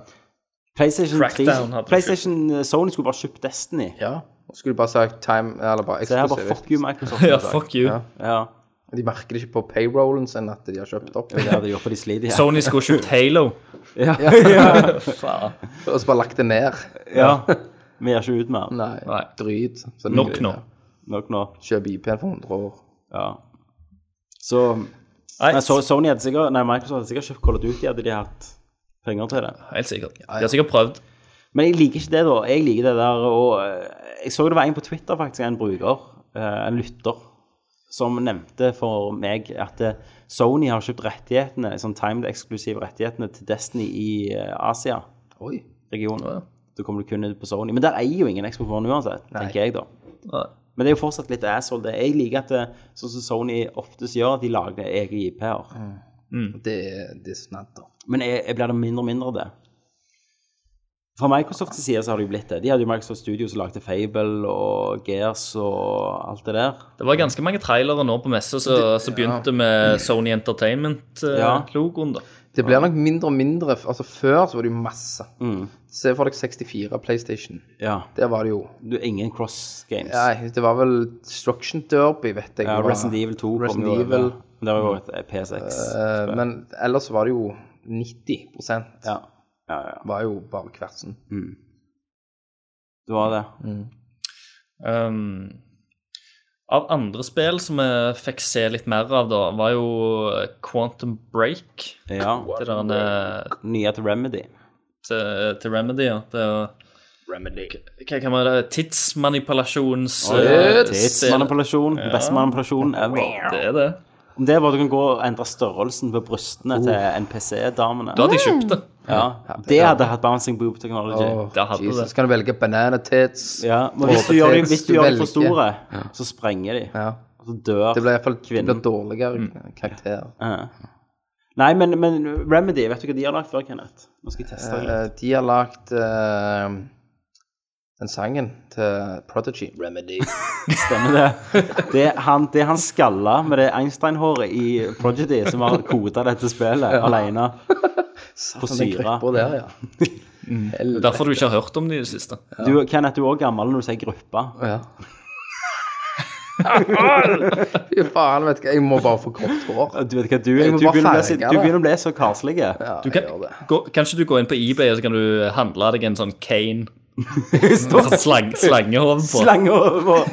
[SPEAKER 1] PlayStation 3
[SPEAKER 5] Crackdown hadde
[SPEAKER 1] PlayStation eh, Sony skulle bare kjøpt Destiny.
[SPEAKER 6] ja. Og Skulle bare sagt time Eller bare
[SPEAKER 1] Det her bare
[SPEAKER 6] eksklusivt.
[SPEAKER 1] fuck you, Microsoft.
[SPEAKER 5] ja
[SPEAKER 1] i dag.
[SPEAKER 5] fuck you.
[SPEAKER 6] Ja.
[SPEAKER 1] Ja,
[SPEAKER 6] De merker det ikke på payrollen sin at de har kjøpt opp.
[SPEAKER 1] det hadde de gjort for de sliter igjen.
[SPEAKER 5] Sony skulle kjøpt Halo. Faen.
[SPEAKER 6] Og så bare lagt det ned.
[SPEAKER 1] Ja. Vi gjør ikke ut mer.
[SPEAKER 6] Nei,
[SPEAKER 5] Nei.
[SPEAKER 6] dryt. Så det-
[SPEAKER 5] Nok nå.
[SPEAKER 1] Nok nå.
[SPEAKER 6] Kjøp IP-en for 100 år.
[SPEAKER 1] Ja. Så
[SPEAKER 5] Nei,
[SPEAKER 1] nei, so- Sony hadde sikkert Nei, Microsoft hadde sikkert kjøpt Call of Duty, hadde de hatt penger til det.
[SPEAKER 5] helt sikkert. De har sikkert prøvd.
[SPEAKER 1] Men jeg liker ikke det, da. Jeg liker det der og eh, Jeg så det var en på Twitter, faktisk, en bruker, eh, en lytter, som nevnte for meg at eh, Sony har kjøpt rettighetene, sånn timed-eksklusive rettighetene til Destiny i eh, Asia-regionen.
[SPEAKER 6] Oi.
[SPEAKER 1] Da kommer det kun ut på Sony. Men der eier jo ingen Xbox One uansett, tenker jeg, da.
[SPEAKER 5] Nei.
[SPEAKER 1] Men det er jo fortsatt litt asshole, det. Jeg liker at eh, sånn som Sony oftest gjør, at de lager egne IP-er.
[SPEAKER 6] Det, er- det er snadder.
[SPEAKER 1] Men jeg, jeg blir det mindre og mindre av det. Fra Microsofts side så har det jo blitt det. De hadde jo Microsoft Studio som lagde Fable og Gears og alt det der.
[SPEAKER 5] Det var ganske mange trailere nå på messa som begynte med Sony
[SPEAKER 1] Ja.
[SPEAKER 5] Entertainment-logoen, da.
[SPEAKER 6] Det blir nok mindre og mindre. Altså Før så var det jo masse.
[SPEAKER 1] Mm.
[SPEAKER 6] Se for deg 64 PlayStation.
[SPEAKER 1] Ja.
[SPEAKER 6] Der var det jo
[SPEAKER 1] Du, ingen cross games.
[SPEAKER 6] Nei, det var vel Destruction Derby, vet jeg.
[SPEAKER 1] ja,
[SPEAKER 6] det var.
[SPEAKER 1] Resident Evil 2 kom
[SPEAKER 6] Resident
[SPEAKER 1] jo over.
[SPEAKER 6] Evil.
[SPEAKER 1] Men Det var jo et PSX.
[SPEAKER 6] Eh, men ellers var det jo 90
[SPEAKER 1] ja. ja, ja.
[SPEAKER 6] var jo bare kvertsen.
[SPEAKER 1] Det var det.
[SPEAKER 5] Um, av andre spill som vi fikk se litt mer av, da, var jo eh, Quantum Break.
[SPEAKER 1] Ja.
[SPEAKER 5] Det der eh,
[SPEAKER 1] Nye til Remedy.
[SPEAKER 5] til, til Remedy. Ja. Det, Remedy. Hva kan man det? Tidsmanipulasjons... eh,
[SPEAKER 1] Tidsmanipulasjon. Beste manipulasjon ever.
[SPEAKER 5] Det er det.
[SPEAKER 1] Om det var at du kan gå og endre størrelsen på brystene til
[SPEAKER 6] Oh.
[SPEAKER 1] NPC-damene.
[SPEAKER 5] Da hadde jeg kjøpt det.
[SPEAKER 1] Ja, det hadde hatt bouncing boob technology.
[SPEAKER 6] Åh,
[SPEAKER 5] Det hadde
[SPEAKER 6] Jesus,
[SPEAKER 5] det.
[SPEAKER 6] kan du velge banana tits?
[SPEAKER 1] Ja, men hvis du
[SPEAKER 6] Overtits,
[SPEAKER 1] gjør dem hvis du gjør dem for
[SPEAKER 6] velger.
[SPEAKER 1] store, så sprenger de.
[SPEAKER 6] Ja.
[SPEAKER 1] Og så dør
[SPEAKER 6] Det ble i hvert fall det
[SPEAKER 1] kvinnen. Mm.
[SPEAKER 6] ble dårligere karakter.
[SPEAKER 1] Nei, men, men Remedy, vet du hva de har lagd før, Kenneth? Nå skal jeg teste det.
[SPEAKER 6] Eh, de har lagt eh, den sangen til Prodigy. Remedy.
[SPEAKER 1] Stemmer det. Det er han, det er han skalla med det Einstein-håret i Prodigy som har koda dette spillet alene. På syre. Mm.
[SPEAKER 6] Gruppa der, ja. Helvete.
[SPEAKER 5] Derfor du ikke har hørt om det i det siste.
[SPEAKER 1] Du, Kenneth, du er òg gammel når du sier gruppe.
[SPEAKER 6] Ja. Fy faen, vet du hva, jeg må bare få grått hår.
[SPEAKER 1] Du vet hva, du,
[SPEAKER 6] Jeg må
[SPEAKER 1] du,
[SPEAKER 6] bare
[SPEAKER 1] begynner, å bli, så-
[SPEAKER 6] farge det.
[SPEAKER 1] du begynner å bli så karslig.
[SPEAKER 5] Du kan, gå, kanskje du går inn på eBay og så kan du handle deg en sånn cane. Med sånn slang, slangehov på.
[SPEAKER 1] Slange over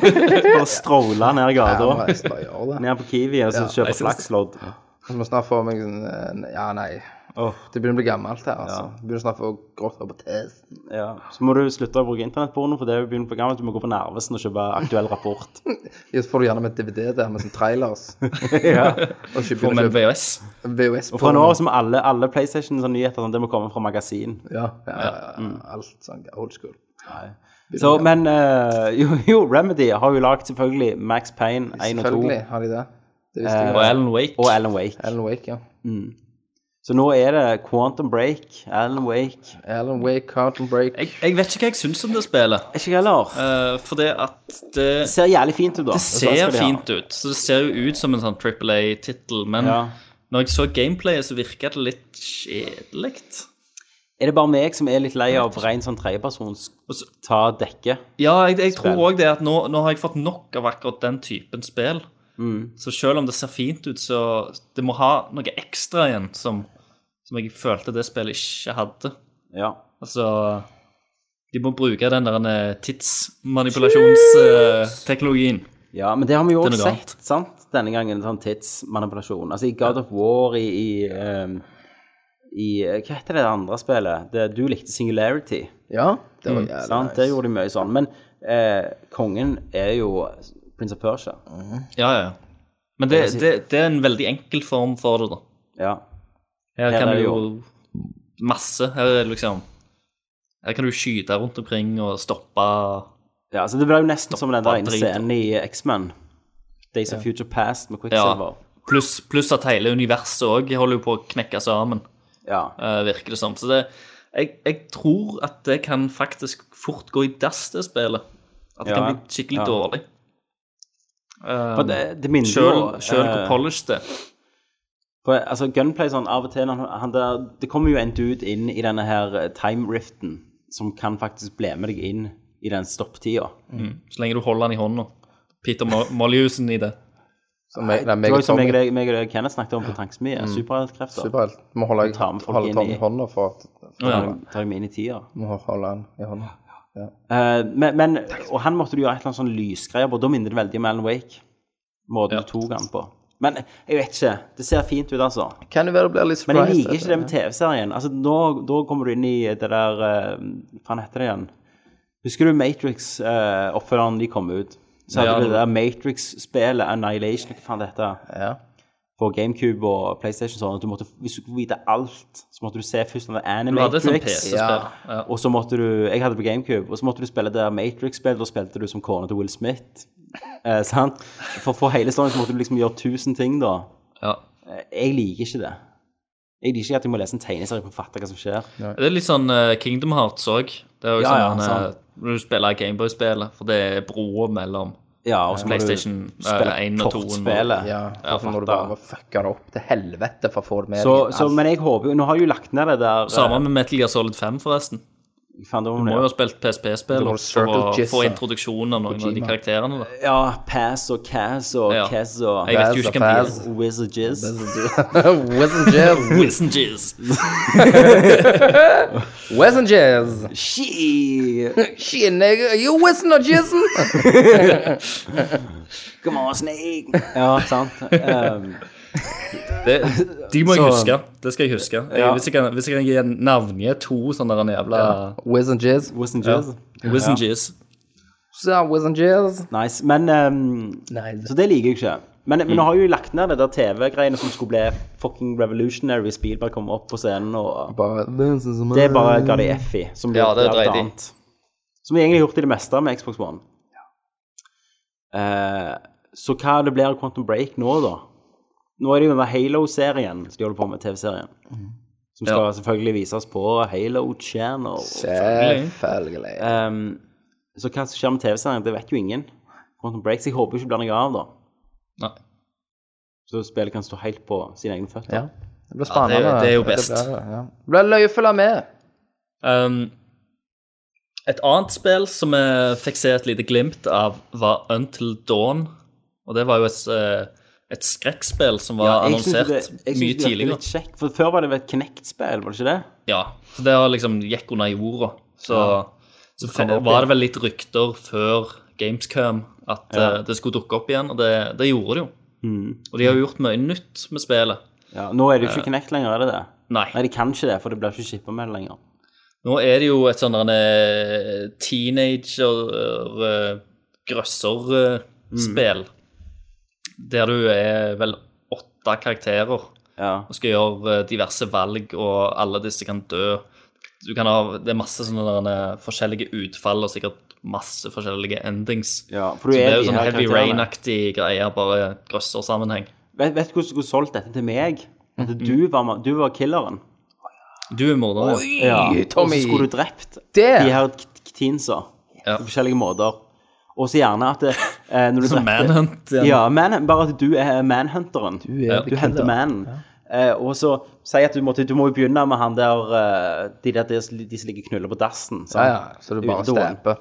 [SPEAKER 1] og stråle ned
[SPEAKER 6] Jeg må
[SPEAKER 1] gata.
[SPEAKER 6] nesten bare gjøre det.
[SPEAKER 1] Ned på Kiwi og så kjøpe
[SPEAKER 5] jeg synes-
[SPEAKER 1] flakslodd.
[SPEAKER 6] Jeg må snart få meg en- Ja, nei. Det begynner å bli gammelt her, altså. Jeg Begynner snart å få grått hår på testen.
[SPEAKER 1] Ja. Så må du slutte å bruke internettporno, for det er jo begynt på gammelt. Du må gå på Nervesen og kjøpe aktuell rapport.
[SPEAKER 6] Ja, Så får du gjerne med DVD der, med sånn trailers. Og ikke
[SPEAKER 5] På
[SPEAKER 6] begynner
[SPEAKER 5] med
[SPEAKER 6] å
[SPEAKER 5] VHS.
[SPEAKER 6] kjøpe VHS
[SPEAKER 1] Og fra nå
[SPEAKER 6] på-
[SPEAKER 1] av så må alle, alle PlayStation-nyheter sånn, det må komme fra magasin.
[SPEAKER 6] Ja, ja, ja, ja. Alt sånn old school.
[SPEAKER 1] Mm. Så, men eh, jo, jo, Remedy har jo lagd selvfølgelig Max Payne 1 og 2
[SPEAKER 6] Selvfølgelig har de det. Det visste jeg.
[SPEAKER 5] Og Alan Wake.
[SPEAKER 1] og Alan Wake.
[SPEAKER 6] Alan Wake, ja.
[SPEAKER 1] Så nå er det Quantum Break, Alan Wake
[SPEAKER 6] Alan Wake, Carton Break.
[SPEAKER 5] Jeg, jeg vet ikke hva jeg syns om det spillet.
[SPEAKER 1] Ikke jeg heller.
[SPEAKER 5] eh, for det at det
[SPEAKER 1] Det sånn ser jævlig fint ut, da.
[SPEAKER 5] Det ser fint ut. Så det ser jo ut som en sånn Triple A-tittel, men
[SPEAKER 1] Ja.
[SPEAKER 5] når jeg så gameplayet, så virka det litt kjedelig.
[SPEAKER 1] Er det bare meg som er litt lei av ren sånn tredjepersons
[SPEAKER 5] Og så-
[SPEAKER 1] ta dekke?
[SPEAKER 5] Ja, jeg, jeg tror
[SPEAKER 1] Spill.
[SPEAKER 5] òg det at nå, nå har jeg fått nok av akkurat den typen spill.
[SPEAKER 1] Mm.
[SPEAKER 5] Så selv om det ser fint ut, så det må ha noe ekstra igjen som, som jeg følte det spillet ikke hadde.
[SPEAKER 1] Ja.
[SPEAKER 5] Altså De må bruke den der eh, tidsmanipulasjonsteknologien.
[SPEAKER 1] Ja, men det har vi jo
[SPEAKER 5] Det
[SPEAKER 1] også
[SPEAKER 5] er noe annet.
[SPEAKER 1] sett, sant? Denne gangen, sånn tidsmanipulasjon. Altså, i God of War, i, i, ehm, i eh, Hva heter det andre spillet? Det, du likte Singularity,
[SPEAKER 6] Ja, det var jævlig
[SPEAKER 1] Mm, sant? Det gjorde de mye sånn. Men eh, kongen er jo prins av Persia.
[SPEAKER 5] Ja, ja. Men det, det, det er en veldig enkel form for det, da.
[SPEAKER 1] Ja.
[SPEAKER 5] Her,
[SPEAKER 1] Her er
[SPEAKER 5] kan
[SPEAKER 1] det
[SPEAKER 5] du jo masse. Her er det liksom Her kan du skyte rundt omkring og stoppe
[SPEAKER 1] ja, så det ble jo nesten som den der ene
[SPEAKER 5] drit.
[SPEAKER 1] scenen i X-Men. Days of Future Past med
[SPEAKER 5] Ja.
[SPEAKER 1] Quicksilver.
[SPEAKER 5] Pluss pluss at hele universet òg holder jo på å knekke sammen,
[SPEAKER 1] Ja.
[SPEAKER 5] eh, virker det som. Så det, jeg, jeg tror at det kan faktisk fort gå i dass, det spillet. At det
[SPEAKER 1] Ja.
[SPEAKER 5] kan bli skikkelig
[SPEAKER 1] Ja.
[SPEAKER 5] dårlig. Um,
[SPEAKER 1] For det, det minner jo
[SPEAKER 5] Sjøl sjøl hvor
[SPEAKER 1] eh,
[SPEAKER 5] polished det er.
[SPEAKER 1] For altså, Gunplay sånn, av og til han, han der, Det kommer jo en dude inn i denne her eh, time riften som kan faktisk bli med deg inn i den stopptida.
[SPEAKER 5] Mm. Så lenge du holder den i hånda. Peter Mo- Molyneuxen i det.
[SPEAKER 6] Som jeg, nei,
[SPEAKER 1] Det
[SPEAKER 6] meg
[SPEAKER 1] var
[SPEAKER 6] og
[SPEAKER 1] jo som
[SPEAKER 6] Tommy
[SPEAKER 1] jeg, jeg, jeg og Kenneth snakket om på Tankesmie. Superheltkrefter.
[SPEAKER 6] superhelt. Må holde,
[SPEAKER 1] Ta med folk
[SPEAKER 6] holde
[SPEAKER 1] inn
[SPEAKER 6] Tom
[SPEAKER 1] i-
[SPEAKER 6] i hånda for at for
[SPEAKER 5] Å, ja.
[SPEAKER 6] at-
[SPEAKER 1] Tar jeg meg inn i tida.
[SPEAKER 6] Må holde han i hånda. Ja.
[SPEAKER 1] Eh, men, men, og han måtte du gjøre et eller annet sånn lysgreier på. Da minner det veldig om Alan Wake. Måten du tok han på. Men jeg vet ikke. Det ser fint ut, altså.
[SPEAKER 6] Kan jo være det blir litt
[SPEAKER 1] Men
[SPEAKER 6] surprised.
[SPEAKER 1] jeg liker ikke
[SPEAKER 6] vet
[SPEAKER 1] det med TV-serien. Altså, nå, Da kommer du inn i det der eh, Hva faen heter det igjen? Husker du Matrix-oppfølgeren de kom ut? Så hadde
[SPEAKER 5] Ja,
[SPEAKER 1] du
[SPEAKER 5] det
[SPEAKER 1] det der Matrix-spelet, Annihilation, hva faen det heter,
[SPEAKER 6] du. Ja.
[SPEAKER 1] på GameCube og PlayStation sånn at du måtte, hvis du skulle vite alt, så måtte du se først om det er
[SPEAKER 5] Du hadde et sånt
[SPEAKER 1] Animatrix.
[SPEAKER 5] sånn PC-spill.
[SPEAKER 6] Ja.
[SPEAKER 5] Ja.
[SPEAKER 1] Og så måtte du Jeg hadde det på GameCube, og så måtte du spille det der Matrix-spillet. Da spilte du som kona til Will Smith. Eh, sant? For å få hele storyen så måtte du liksom gjøre tusen ting, da.
[SPEAKER 5] Ja.
[SPEAKER 1] Eh, Jeg liker ikke det. Jeg liker ikke at jeg må lese en tegneserie for å fatte hva som skjer.
[SPEAKER 5] Det er litt sånn eh, Kingdom Hearts òg. Det er jo
[SPEAKER 1] Ja, ja,
[SPEAKER 5] sånn eh,
[SPEAKER 1] sant.
[SPEAKER 5] når du spiller Gameboy-spillet, for det er broa mellom
[SPEAKER 1] Ja, og så må du
[SPEAKER 5] PlayStation, eh, en
[SPEAKER 1] spille
[SPEAKER 5] og toen og-
[SPEAKER 1] kortspillet.
[SPEAKER 6] Ja,
[SPEAKER 5] Ja,
[SPEAKER 6] Hvorfor må du
[SPEAKER 5] fatter.
[SPEAKER 6] bare fucke det opp til helvete for å få det med
[SPEAKER 1] Så,
[SPEAKER 6] deg?
[SPEAKER 1] så, men jeg håper jo Nå har jeg jo lagt ned det der eh,
[SPEAKER 5] Samme med Metal Gear Solid 5, forresten.
[SPEAKER 1] faen, det var
[SPEAKER 5] Du må
[SPEAKER 1] det.
[SPEAKER 5] jo ha spilt PSP-spill
[SPEAKER 6] Du må
[SPEAKER 5] og-
[SPEAKER 6] circle
[SPEAKER 5] for å
[SPEAKER 6] jizz,
[SPEAKER 5] få
[SPEAKER 6] ja.
[SPEAKER 5] introduksjon av noen av de
[SPEAKER 6] Kojima.
[SPEAKER 5] karakterene. Da.
[SPEAKER 1] Ja, Pass og Cass og
[SPEAKER 5] Ja.
[SPEAKER 1] Cass og
[SPEAKER 5] Jeg vet jo ikke hvem de er.
[SPEAKER 6] Faz.
[SPEAKER 1] Wizards.
[SPEAKER 6] Wiz and Jizz.
[SPEAKER 5] Wiz and Jizz.
[SPEAKER 6] Wiz and Jizz.
[SPEAKER 1] She!
[SPEAKER 6] Shit, nigga, are you whizzing or jizzing?
[SPEAKER 1] Come on, snake! Ja, sant. Um,
[SPEAKER 5] Det- De må jeg
[SPEAKER 1] Så-
[SPEAKER 5] huske. Det skal jeg huske. Jeg,
[SPEAKER 1] Ja.
[SPEAKER 5] hvis, jeg kan, hvis jeg kan gi en navngi to sånne der jævla
[SPEAKER 6] Wiz Uh, and Jizz.
[SPEAKER 1] Wiz and Jizz.
[SPEAKER 5] Wiz and Jizz.
[SPEAKER 6] Så, Wiz and Jizz.
[SPEAKER 1] Nice. Men um,
[SPEAKER 6] Nice.
[SPEAKER 1] Så det liker jeg ikke. Men, men nå
[SPEAKER 5] Mm.
[SPEAKER 1] har jeg jo lagt ned det der TV-greiene som skulle bli fucking revolutionary. Spielberg kom opp på scenen og
[SPEAKER 6] Bare,
[SPEAKER 1] Det bare ga de F i. Som de
[SPEAKER 5] Ja, det
[SPEAKER 1] gjorde alt
[SPEAKER 5] dreit de.
[SPEAKER 1] annet. Som de egentlig har gjort i det meste med Xbox One. Eh, så hva det blir av Quantum Break nå, da? Nå er det jo denne Halo-serien som de holder på med, TV-serien. Som skal
[SPEAKER 5] Ja.
[SPEAKER 1] selvfølgelig vises på Halo Channel.
[SPEAKER 6] Selvfølgelig.
[SPEAKER 1] Ehm, så hva som skjer med TV-serien, det vet jo ingen. Quantum Break, så jeg håper ikke det blir noe av, da.
[SPEAKER 5] Nei.
[SPEAKER 1] Så spillet kan stå helt på sine egne føtter.
[SPEAKER 6] Ja. Det blir spennende.
[SPEAKER 5] Ja, det er- det er jo best.
[SPEAKER 6] Det blir, ja. det blir løye å følge med.
[SPEAKER 5] Um, et annet spill som vi fikk se et lite glimt av, var Until Dawn. Og det var jo et, eh, et skrekkspill som var
[SPEAKER 1] jeg synes
[SPEAKER 5] annonsert
[SPEAKER 1] det- jeg synes
[SPEAKER 5] mye
[SPEAKER 1] det virker
[SPEAKER 5] tidligere.
[SPEAKER 1] litt kjekt, for før var det vel et Knect-spill, var det ikke det?
[SPEAKER 5] Ja, så det har liksom gikk under jorda. Så, så
[SPEAKER 1] kom det opp igjen.
[SPEAKER 5] var det vel litt rykter før Gamescom at eh, det skulle dukke opp igjen, og det, det gjorde det jo. Og de har jo gjort mye nytt med spillet.
[SPEAKER 1] Mm. Ja, nå er det jo ikke Knect lenger, er det det?
[SPEAKER 5] Nei.
[SPEAKER 1] Nei, de kan ikke det, for det blir ikke shippa med det lenger.
[SPEAKER 5] Nå er det jo et sånn der, eh,
[SPEAKER 1] Mm.
[SPEAKER 5] teenager grøsser-spill. eh, Der du er vel åtte karakterer
[SPEAKER 1] Ja.
[SPEAKER 5] og skal gjøre eh, diverse valg, og alle disse kan dø. Du kan ha, det er masse sånne der, eh, forskjellige utfall og sikkert masse forskjellige endings.
[SPEAKER 1] ja for
[SPEAKER 5] Så
[SPEAKER 1] du
[SPEAKER 5] det
[SPEAKER 1] er,
[SPEAKER 5] er jo
[SPEAKER 1] de
[SPEAKER 5] sånn
[SPEAKER 1] her
[SPEAKER 5] Heavy
[SPEAKER 1] karakterene.
[SPEAKER 5] Rain-aktig greier, bare grøsser-sammenheng.
[SPEAKER 1] Vet vet du hvordan du skulle solgt dette til meg? At du var, du var killeren.
[SPEAKER 5] Du er morder, ja.
[SPEAKER 1] Ja.
[SPEAKER 6] Tommy.
[SPEAKER 1] Og så skulle du drept
[SPEAKER 6] Det.
[SPEAKER 1] de her k- k- teensa
[SPEAKER 5] Ja.
[SPEAKER 1] på forskjellige måter. Og så gjerne at det, eh, når du
[SPEAKER 5] Som manhunt.
[SPEAKER 1] ja, man, Bare at du er manhunteren. Du,
[SPEAKER 6] er the
[SPEAKER 1] henter
[SPEAKER 6] killer.
[SPEAKER 1] mannen. Eh, og så si at du, måtte, du må jo begynne med han der eh, De der de, som- de som ligger og knuller på dassen. sant?
[SPEAKER 6] Ja, ja. Så du bare
[SPEAKER 1] Utedoen.
[SPEAKER 6] stamper.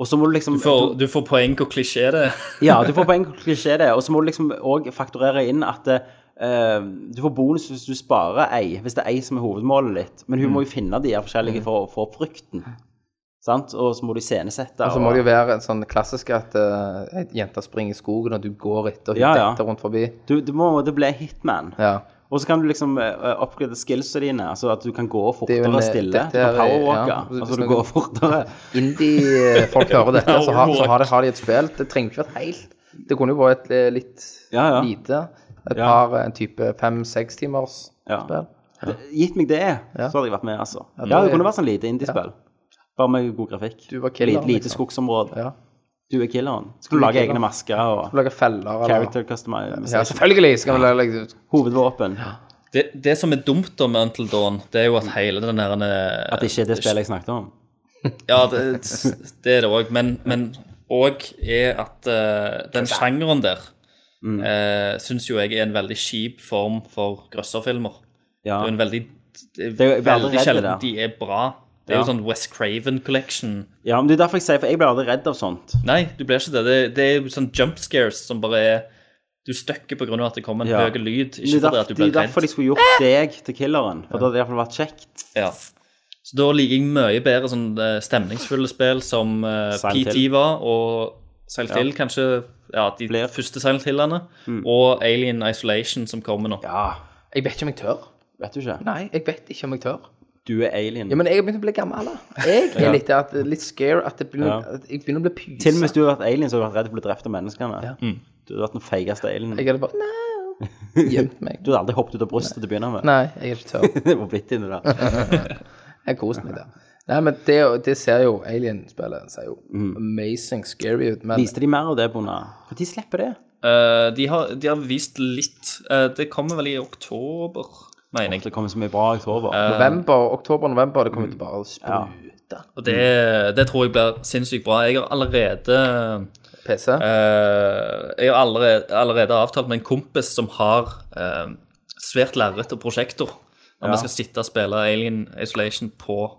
[SPEAKER 1] Og så må du liksom
[SPEAKER 5] Du får, du får poeng hvor klisjé det er.
[SPEAKER 1] ja, du får på en klisjé det. Og så må du liksom òg fakturere inn at eh, du får bonus hvis du sparer ei, hvis det er ei som er hovedmålet ditt. Men hun
[SPEAKER 6] Mm.
[SPEAKER 1] må jo finne de her forskjellige for å få opp frykten. Sant? Og så må du iscenesette.
[SPEAKER 6] Og så må det jo være en sånn klassisk at uh, ei jente springer i skogen, og du går etter og
[SPEAKER 1] Ja,
[SPEAKER 6] ja,
[SPEAKER 1] ja.
[SPEAKER 6] rundt forbi.
[SPEAKER 1] Du, du må det blir hitman.
[SPEAKER 6] Ja.
[SPEAKER 1] Og så kan du liksom uh, oppgradere skillsene dine, altså at du kan gå
[SPEAKER 6] Det er
[SPEAKER 1] fortere
[SPEAKER 6] jo en- eh,
[SPEAKER 1] stille.
[SPEAKER 6] dette
[SPEAKER 1] Du kan
[SPEAKER 6] er-
[SPEAKER 1] powerwalke.
[SPEAKER 6] ja.
[SPEAKER 1] Altså du går fortere.
[SPEAKER 6] Indie-folk hører dette, så har, så har, de, har de et spill. Det trenger ikke vært helt. Det kunne jo vært et eh, litt
[SPEAKER 1] Ja, ja.
[SPEAKER 6] lite. Et
[SPEAKER 1] Ja.
[SPEAKER 6] par eh, en type fem-seks timers
[SPEAKER 1] Ja.
[SPEAKER 6] spill.
[SPEAKER 1] Gitt meg det,
[SPEAKER 6] Ja.
[SPEAKER 1] så hadde jeg vært med, altså. Ja,
[SPEAKER 6] det
[SPEAKER 1] det
[SPEAKER 6] er-
[SPEAKER 1] kunne vært sånn lite indiespill. Bare med god grafikk.
[SPEAKER 6] Du var
[SPEAKER 1] Lite,
[SPEAKER 6] killeren,
[SPEAKER 1] lite
[SPEAKER 6] liksom.
[SPEAKER 1] skogsområde.
[SPEAKER 6] Ja.
[SPEAKER 1] Du er killeren. Skal
[SPEAKER 6] Du
[SPEAKER 1] du
[SPEAKER 6] er
[SPEAKER 1] lage
[SPEAKER 6] killeren.
[SPEAKER 1] egne masker og
[SPEAKER 6] Lage feller eller
[SPEAKER 1] Character
[SPEAKER 6] Ja,
[SPEAKER 1] customization.
[SPEAKER 6] selvfølgelig! Så kan vi lage liksom,
[SPEAKER 1] Hovedvåpen.
[SPEAKER 5] Det, det som er dumt da med Until Dawn, det er jo at hele den der eh,
[SPEAKER 1] At det ikke er det spillet jeg snakket om.
[SPEAKER 5] Ja, det, det er det òg, men, men òg er at eh, den sjangeren der
[SPEAKER 1] Mm.
[SPEAKER 5] uh, syns jo jeg er en veldig kjip form for grøsserfilmer.
[SPEAKER 1] Ja.
[SPEAKER 5] Det er jo en veldig det er
[SPEAKER 1] Det er jo- jeg blir aldri
[SPEAKER 5] veldig
[SPEAKER 1] redd i det.
[SPEAKER 5] sjelden de er bra. Det er
[SPEAKER 1] Ja.
[SPEAKER 5] jo sånn West Craven Collection.
[SPEAKER 1] ja, men det er derfor jeg sier For jeg blir aldri redd av sånt.
[SPEAKER 5] Nei, du blir ikke det. Det, det er jo sånn jump scares som bare er Du støkker på grunn av at det kommer en
[SPEAKER 1] Ja.
[SPEAKER 5] høy lyd,
[SPEAKER 1] Det er
[SPEAKER 5] ikke fordi
[SPEAKER 1] derfor,
[SPEAKER 5] at du
[SPEAKER 1] det
[SPEAKER 5] blir
[SPEAKER 1] er derfor de
[SPEAKER 5] redd.
[SPEAKER 1] skulle gjort deg til killeren. For da hadde det iallfall vært kjekt.
[SPEAKER 5] Ja. Så da liker jeg mye bedre sånn eh, stemningsfulle spill som eh,
[SPEAKER 1] Silent
[SPEAKER 5] PT
[SPEAKER 1] Hill.
[SPEAKER 5] var, og Silent Hill, kanskje ja, de
[SPEAKER 1] Flere. Mm.
[SPEAKER 5] første Silent Hillene, og Alien Isolation som kommer nå.
[SPEAKER 1] Ja,
[SPEAKER 6] Jeg vet ikke om jeg tør.
[SPEAKER 1] vet du ikke.
[SPEAKER 6] Nei, jeg vet ikke om jeg tør.
[SPEAKER 1] Du er alien.
[SPEAKER 6] Ja, men jeg har begynt å bli gammel. da. Jeg er litt, at, litt scare at, det begynner,
[SPEAKER 1] Ja.
[SPEAKER 6] at jeg begynner å bli pysa.
[SPEAKER 1] Til og med hvis du hadde vært alien, så hadde du vært redd for å bli drept av menneskene. Du hadde vært den feigeste alienen.
[SPEAKER 6] Mm. Jeg hadde bare Nei. Gjemt meg.
[SPEAKER 1] Du hadde aldri hoppet ut av brystet til å begynne med.
[SPEAKER 6] Nei, jeg er ikke tørr.
[SPEAKER 1] det var blitt inni der.
[SPEAKER 6] Jeg koser meg der. Nei, men det, det ser jo Alien-spillet ser jo
[SPEAKER 1] Mm.
[SPEAKER 6] amazing scary ut, men
[SPEAKER 1] Viste de mer av det, Bona? Når slipper det?
[SPEAKER 5] Eh, de, har, de har vist litt. Eh, det kommer vel i oktober, mener jeg.
[SPEAKER 1] Det kommer så mye bra i oktober.
[SPEAKER 5] Eh,
[SPEAKER 6] november, oktober-november, det kommer
[SPEAKER 1] Mm.
[SPEAKER 6] til å bare sprute.
[SPEAKER 5] Og det, det tror jeg blir sinnssykt bra. Jeg har allerede
[SPEAKER 6] PC.
[SPEAKER 5] Eh, jeg har allerede, allerede avtalt med en kompis som har eh, svært lerret og prosjektor. Når vi skal sitte og spille Alien Isolation på
[SPEAKER 1] Har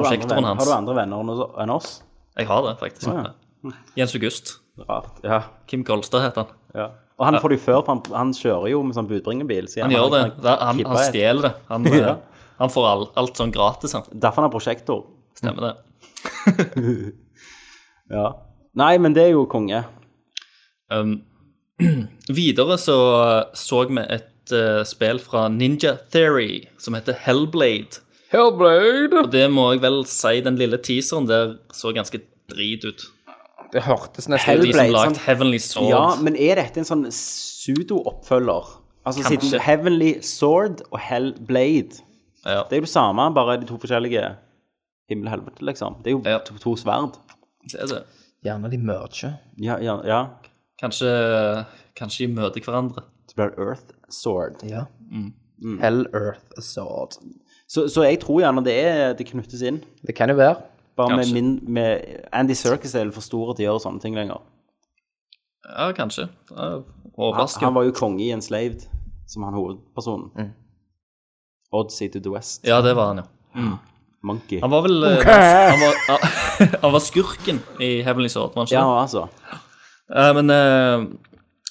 [SPEAKER 1] du, andre
[SPEAKER 5] prosjektoren
[SPEAKER 1] venner, har
[SPEAKER 5] hans.
[SPEAKER 1] du andre venner enn- enn oss?
[SPEAKER 5] Jeg har det, faktisk. Jens August.
[SPEAKER 1] Rart. Ja.
[SPEAKER 5] Kim Kolstad heter han.
[SPEAKER 1] ja. Og han får det jo før, for han, han kjører jo med sånn budbringerbil. så
[SPEAKER 5] Han gjør det.
[SPEAKER 1] kan
[SPEAKER 5] Han, han,
[SPEAKER 1] kippe
[SPEAKER 5] han
[SPEAKER 1] et.
[SPEAKER 5] stjeler det. Han, eh,
[SPEAKER 1] Ja.
[SPEAKER 5] han får all, alt sånn gratis, han.
[SPEAKER 1] Derfor han har prosjektor.
[SPEAKER 5] Stemmer det.
[SPEAKER 1] Ja. Nei, men det er jo konge.
[SPEAKER 5] Um, videre så eh, så vi et eh, spill fra Ninja Theory som heter Hellblade.
[SPEAKER 6] Hellblade!
[SPEAKER 5] Og det må jeg vel si, den lille teaseren der så ganske drit ut.
[SPEAKER 6] Det hørtes nesten
[SPEAKER 5] Det er jo de
[SPEAKER 1] Hellblade,
[SPEAKER 5] som lagde
[SPEAKER 1] sant?
[SPEAKER 5] Heavenly Sword.
[SPEAKER 1] Ja, men er dette en sånn pseudo-oppfølger? Altså
[SPEAKER 5] Kanskje.
[SPEAKER 1] siden Heavenly Sword og Hellblade
[SPEAKER 5] Ja.
[SPEAKER 1] Det er jo det samme, bare de to forskjellige himmel og helvete, liksom. Det er jo
[SPEAKER 5] Ja.
[SPEAKER 1] to, to sverd.
[SPEAKER 5] Det er det.
[SPEAKER 6] Gjerne de merger.
[SPEAKER 1] Ja, ja, ja.
[SPEAKER 5] Kanskje, kanskje de møter hverandre.
[SPEAKER 1] Så blir det Earth Sword.
[SPEAKER 6] Ja.
[SPEAKER 1] Mm.
[SPEAKER 6] Hell Earth Sword.
[SPEAKER 1] Så, så jeg tror gjerne det er det knyttes inn.
[SPEAKER 6] Det kan jo være.
[SPEAKER 1] Bare med,
[SPEAKER 5] Kanskje.
[SPEAKER 1] min, med Andy Circus er for store til å gjøre sånne ting lenger.
[SPEAKER 5] Ja, kanskje. Ja,
[SPEAKER 1] Han,
[SPEAKER 5] Overrasker.
[SPEAKER 1] han var jo konge i Enslaved, som han hovedpersonen. Odyssey to the West.
[SPEAKER 5] Mm. Ja, det var han, ja.
[SPEAKER 1] Monkey.
[SPEAKER 5] Han var vel eh, han, var, han var skurken i Heavenly Sword, var han
[SPEAKER 1] Ja,
[SPEAKER 5] ikke? det?
[SPEAKER 1] altså.
[SPEAKER 5] Eh, men eh,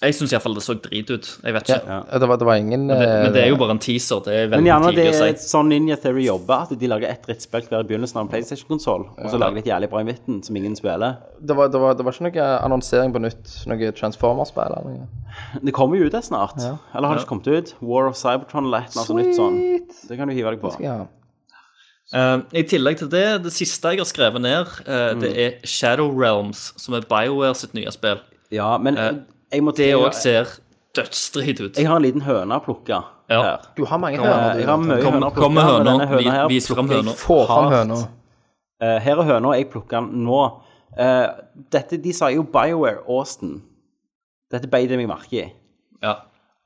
[SPEAKER 5] jeg syns iallfall det så drit ut. Jeg vet ikke.
[SPEAKER 1] Ja.
[SPEAKER 6] Eh, Det var, det var ingen
[SPEAKER 5] Men, det, men det er jo
[SPEAKER 6] eh,
[SPEAKER 5] bare en teaser. Det er
[SPEAKER 1] Men
[SPEAKER 5] veldig
[SPEAKER 1] gjerne det
[SPEAKER 5] tidlig å
[SPEAKER 1] er
[SPEAKER 5] si.
[SPEAKER 1] sånn Ninja Theory jobber, at de lager ett drittspill hver i begynnelsen av en PlayStation-konsoll, og så lager de et jævlig bra i midten som ingen spiller.
[SPEAKER 6] eh, det, var, det, var, det var ikke noe annonsering på nytt, noe Transformers-spill eller noe.
[SPEAKER 1] Det kommer jo ut det snart. Eller har det ikke kommet ut? War of Cybertron eller et eller annet nytt sånn. Det kan du hive deg på.
[SPEAKER 6] Ja.
[SPEAKER 5] Eh, I tillegg til det, det siste jeg har skrevet ned, eh,
[SPEAKER 1] Mm.
[SPEAKER 5] det er Shadow Realms, som er BioWare sitt nye spill.
[SPEAKER 1] Ja, men
[SPEAKER 5] Eh,
[SPEAKER 1] jeg må
[SPEAKER 5] Det
[SPEAKER 1] til-
[SPEAKER 5] òg ser dødsdrit ut.
[SPEAKER 1] Jeg har en liten høne å plukke
[SPEAKER 5] Ja.
[SPEAKER 1] her.
[SPEAKER 6] Du har mange
[SPEAKER 1] Eh,
[SPEAKER 6] høner.
[SPEAKER 1] Jeg har mye
[SPEAKER 5] Kom-
[SPEAKER 1] høner å plukke.
[SPEAKER 5] kom med
[SPEAKER 1] men
[SPEAKER 5] høner.
[SPEAKER 1] denne høna
[SPEAKER 5] Vi-
[SPEAKER 1] her
[SPEAKER 5] vis frem
[SPEAKER 1] plukker jeg
[SPEAKER 5] høner.
[SPEAKER 6] Få fram
[SPEAKER 1] hardt.
[SPEAKER 6] høna.
[SPEAKER 1] Eh, Her er høna, jeg plukker den nå. Eh, Dette, De sa jo BioWare Austin. Dette beit jeg meg merke i.
[SPEAKER 5] Ja.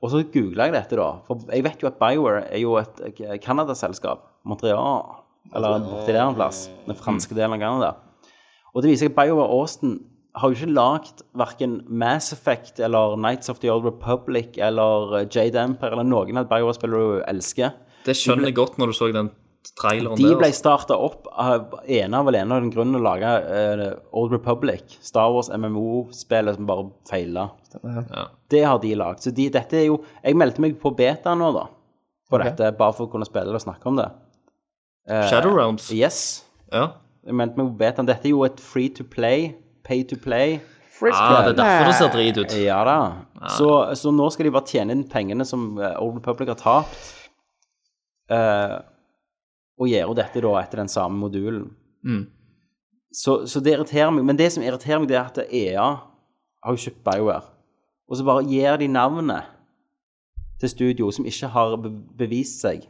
[SPEAKER 1] Og så googla jeg dette, da. For jeg vet jo at BioWare er jo et eh, Canada-selskap. Montreal. Eller borti der en plass. Den franske delen av Canada. Og det viser seg at BioWare Austin har jo ikke lagd verken Mass Effect eller Nights of the Old Republic eller eh, Jade Empire eller noen av BioWare-spillere du elsker.
[SPEAKER 5] Det skjønner jeg godt når du så den traileren
[SPEAKER 1] De
[SPEAKER 5] der. altså.
[SPEAKER 1] ble starta opp av ene av alene av den grunnen å lage eh, Old Republic, Star Wars MMO-spillet som bare feila.
[SPEAKER 5] Ja.
[SPEAKER 1] Det har de lagd. Så de, dette er jo Jeg meldte meg på beta nå, da. På
[SPEAKER 6] Ok.
[SPEAKER 1] dette, bare for å kunne spille og snakke om det.
[SPEAKER 5] Shadow Realms.
[SPEAKER 1] Yes.
[SPEAKER 5] Ja.
[SPEAKER 1] Jeg meldte meg på betaen. Dette er jo et free to play, pay to play.
[SPEAKER 5] Ah, det er derfor det ser drit ut.
[SPEAKER 1] Ja da. Så, så nå skal de bare tjene inn pengene som eh, Old Republic har tapt, eh, og gjøre dette da etter den samme modulen. Så, så det irriterer meg. Men det som irriterer meg, det er at EA har jo kjøpt BioWare, og så bare gir de navnet til studio som ikke har be bevist seg.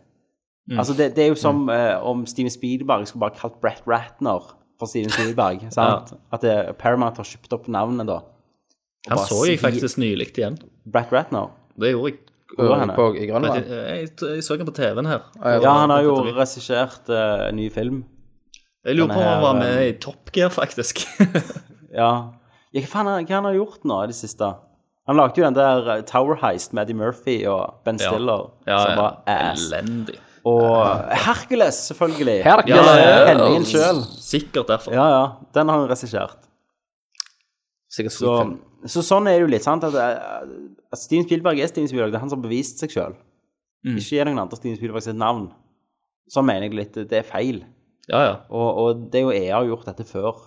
[SPEAKER 1] Altså, det, det er jo som eh, om Steven Spielberg skulle bare kalt Brett Ratner for Steven Spielberg, sant? At eh, Paramount har kjøpt opp navnet da.
[SPEAKER 5] Han
[SPEAKER 1] bare
[SPEAKER 5] så jeg
[SPEAKER 1] si-
[SPEAKER 5] faktisk nylig igjen.
[SPEAKER 1] Brett Ratner.
[SPEAKER 5] Det gjorde jeg.
[SPEAKER 1] Hvor er han?
[SPEAKER 6] På, I
[SPEAKER 5] Vet
[SPEAKER 6] Grønland.
[SPEAKER 5] du, Jeg, jeg så han på TV-en her.
[SPEAKER 1] Ja, han har jo regissert eh, en ny film.
[SPEAKER 5] Jeg lurer på om han
[SPEAKER 1] her,
[SPEAKER 5] var med i Top Gear, faktisk.
[SPEAKER 1] Ja. ja hva faen har- hva han har gjort nå i det siste? Han lagde jo den der eh, Tower Heist med Eddie Murphy og Ben Stiller, som var ass.
[SPEAKER 5] Elendig.
[SPEAKER 1] Og eh, Hercules, selvfølgelig.
[SPEAKER 6] Hercules!
[SPEAKER 1] Ja, ja, Henningen selv.
[SPEAKER 5] Sikkert derfor.
[SPEAKER 1] Ja, ja. Den har han regissert.
[SPEAKER 6] Sikkert
[SPEAKER 1] Så,
[SPEAKER 6] skitfilm.
[SPEAKER 1] så sånn er det jo litt, sant? At, eh, at Steven Spielberg er Steven Spielberg. Det er han som har bevist seg sjøl. Ikke gi noen andre Steven Spielberg sitt navn. Så mener jeg litt eh, Det er feil.
[SPEAKER 5] Ja, ja.
[SPEAKER 1] Og, og det er jo EA har gjort dette før,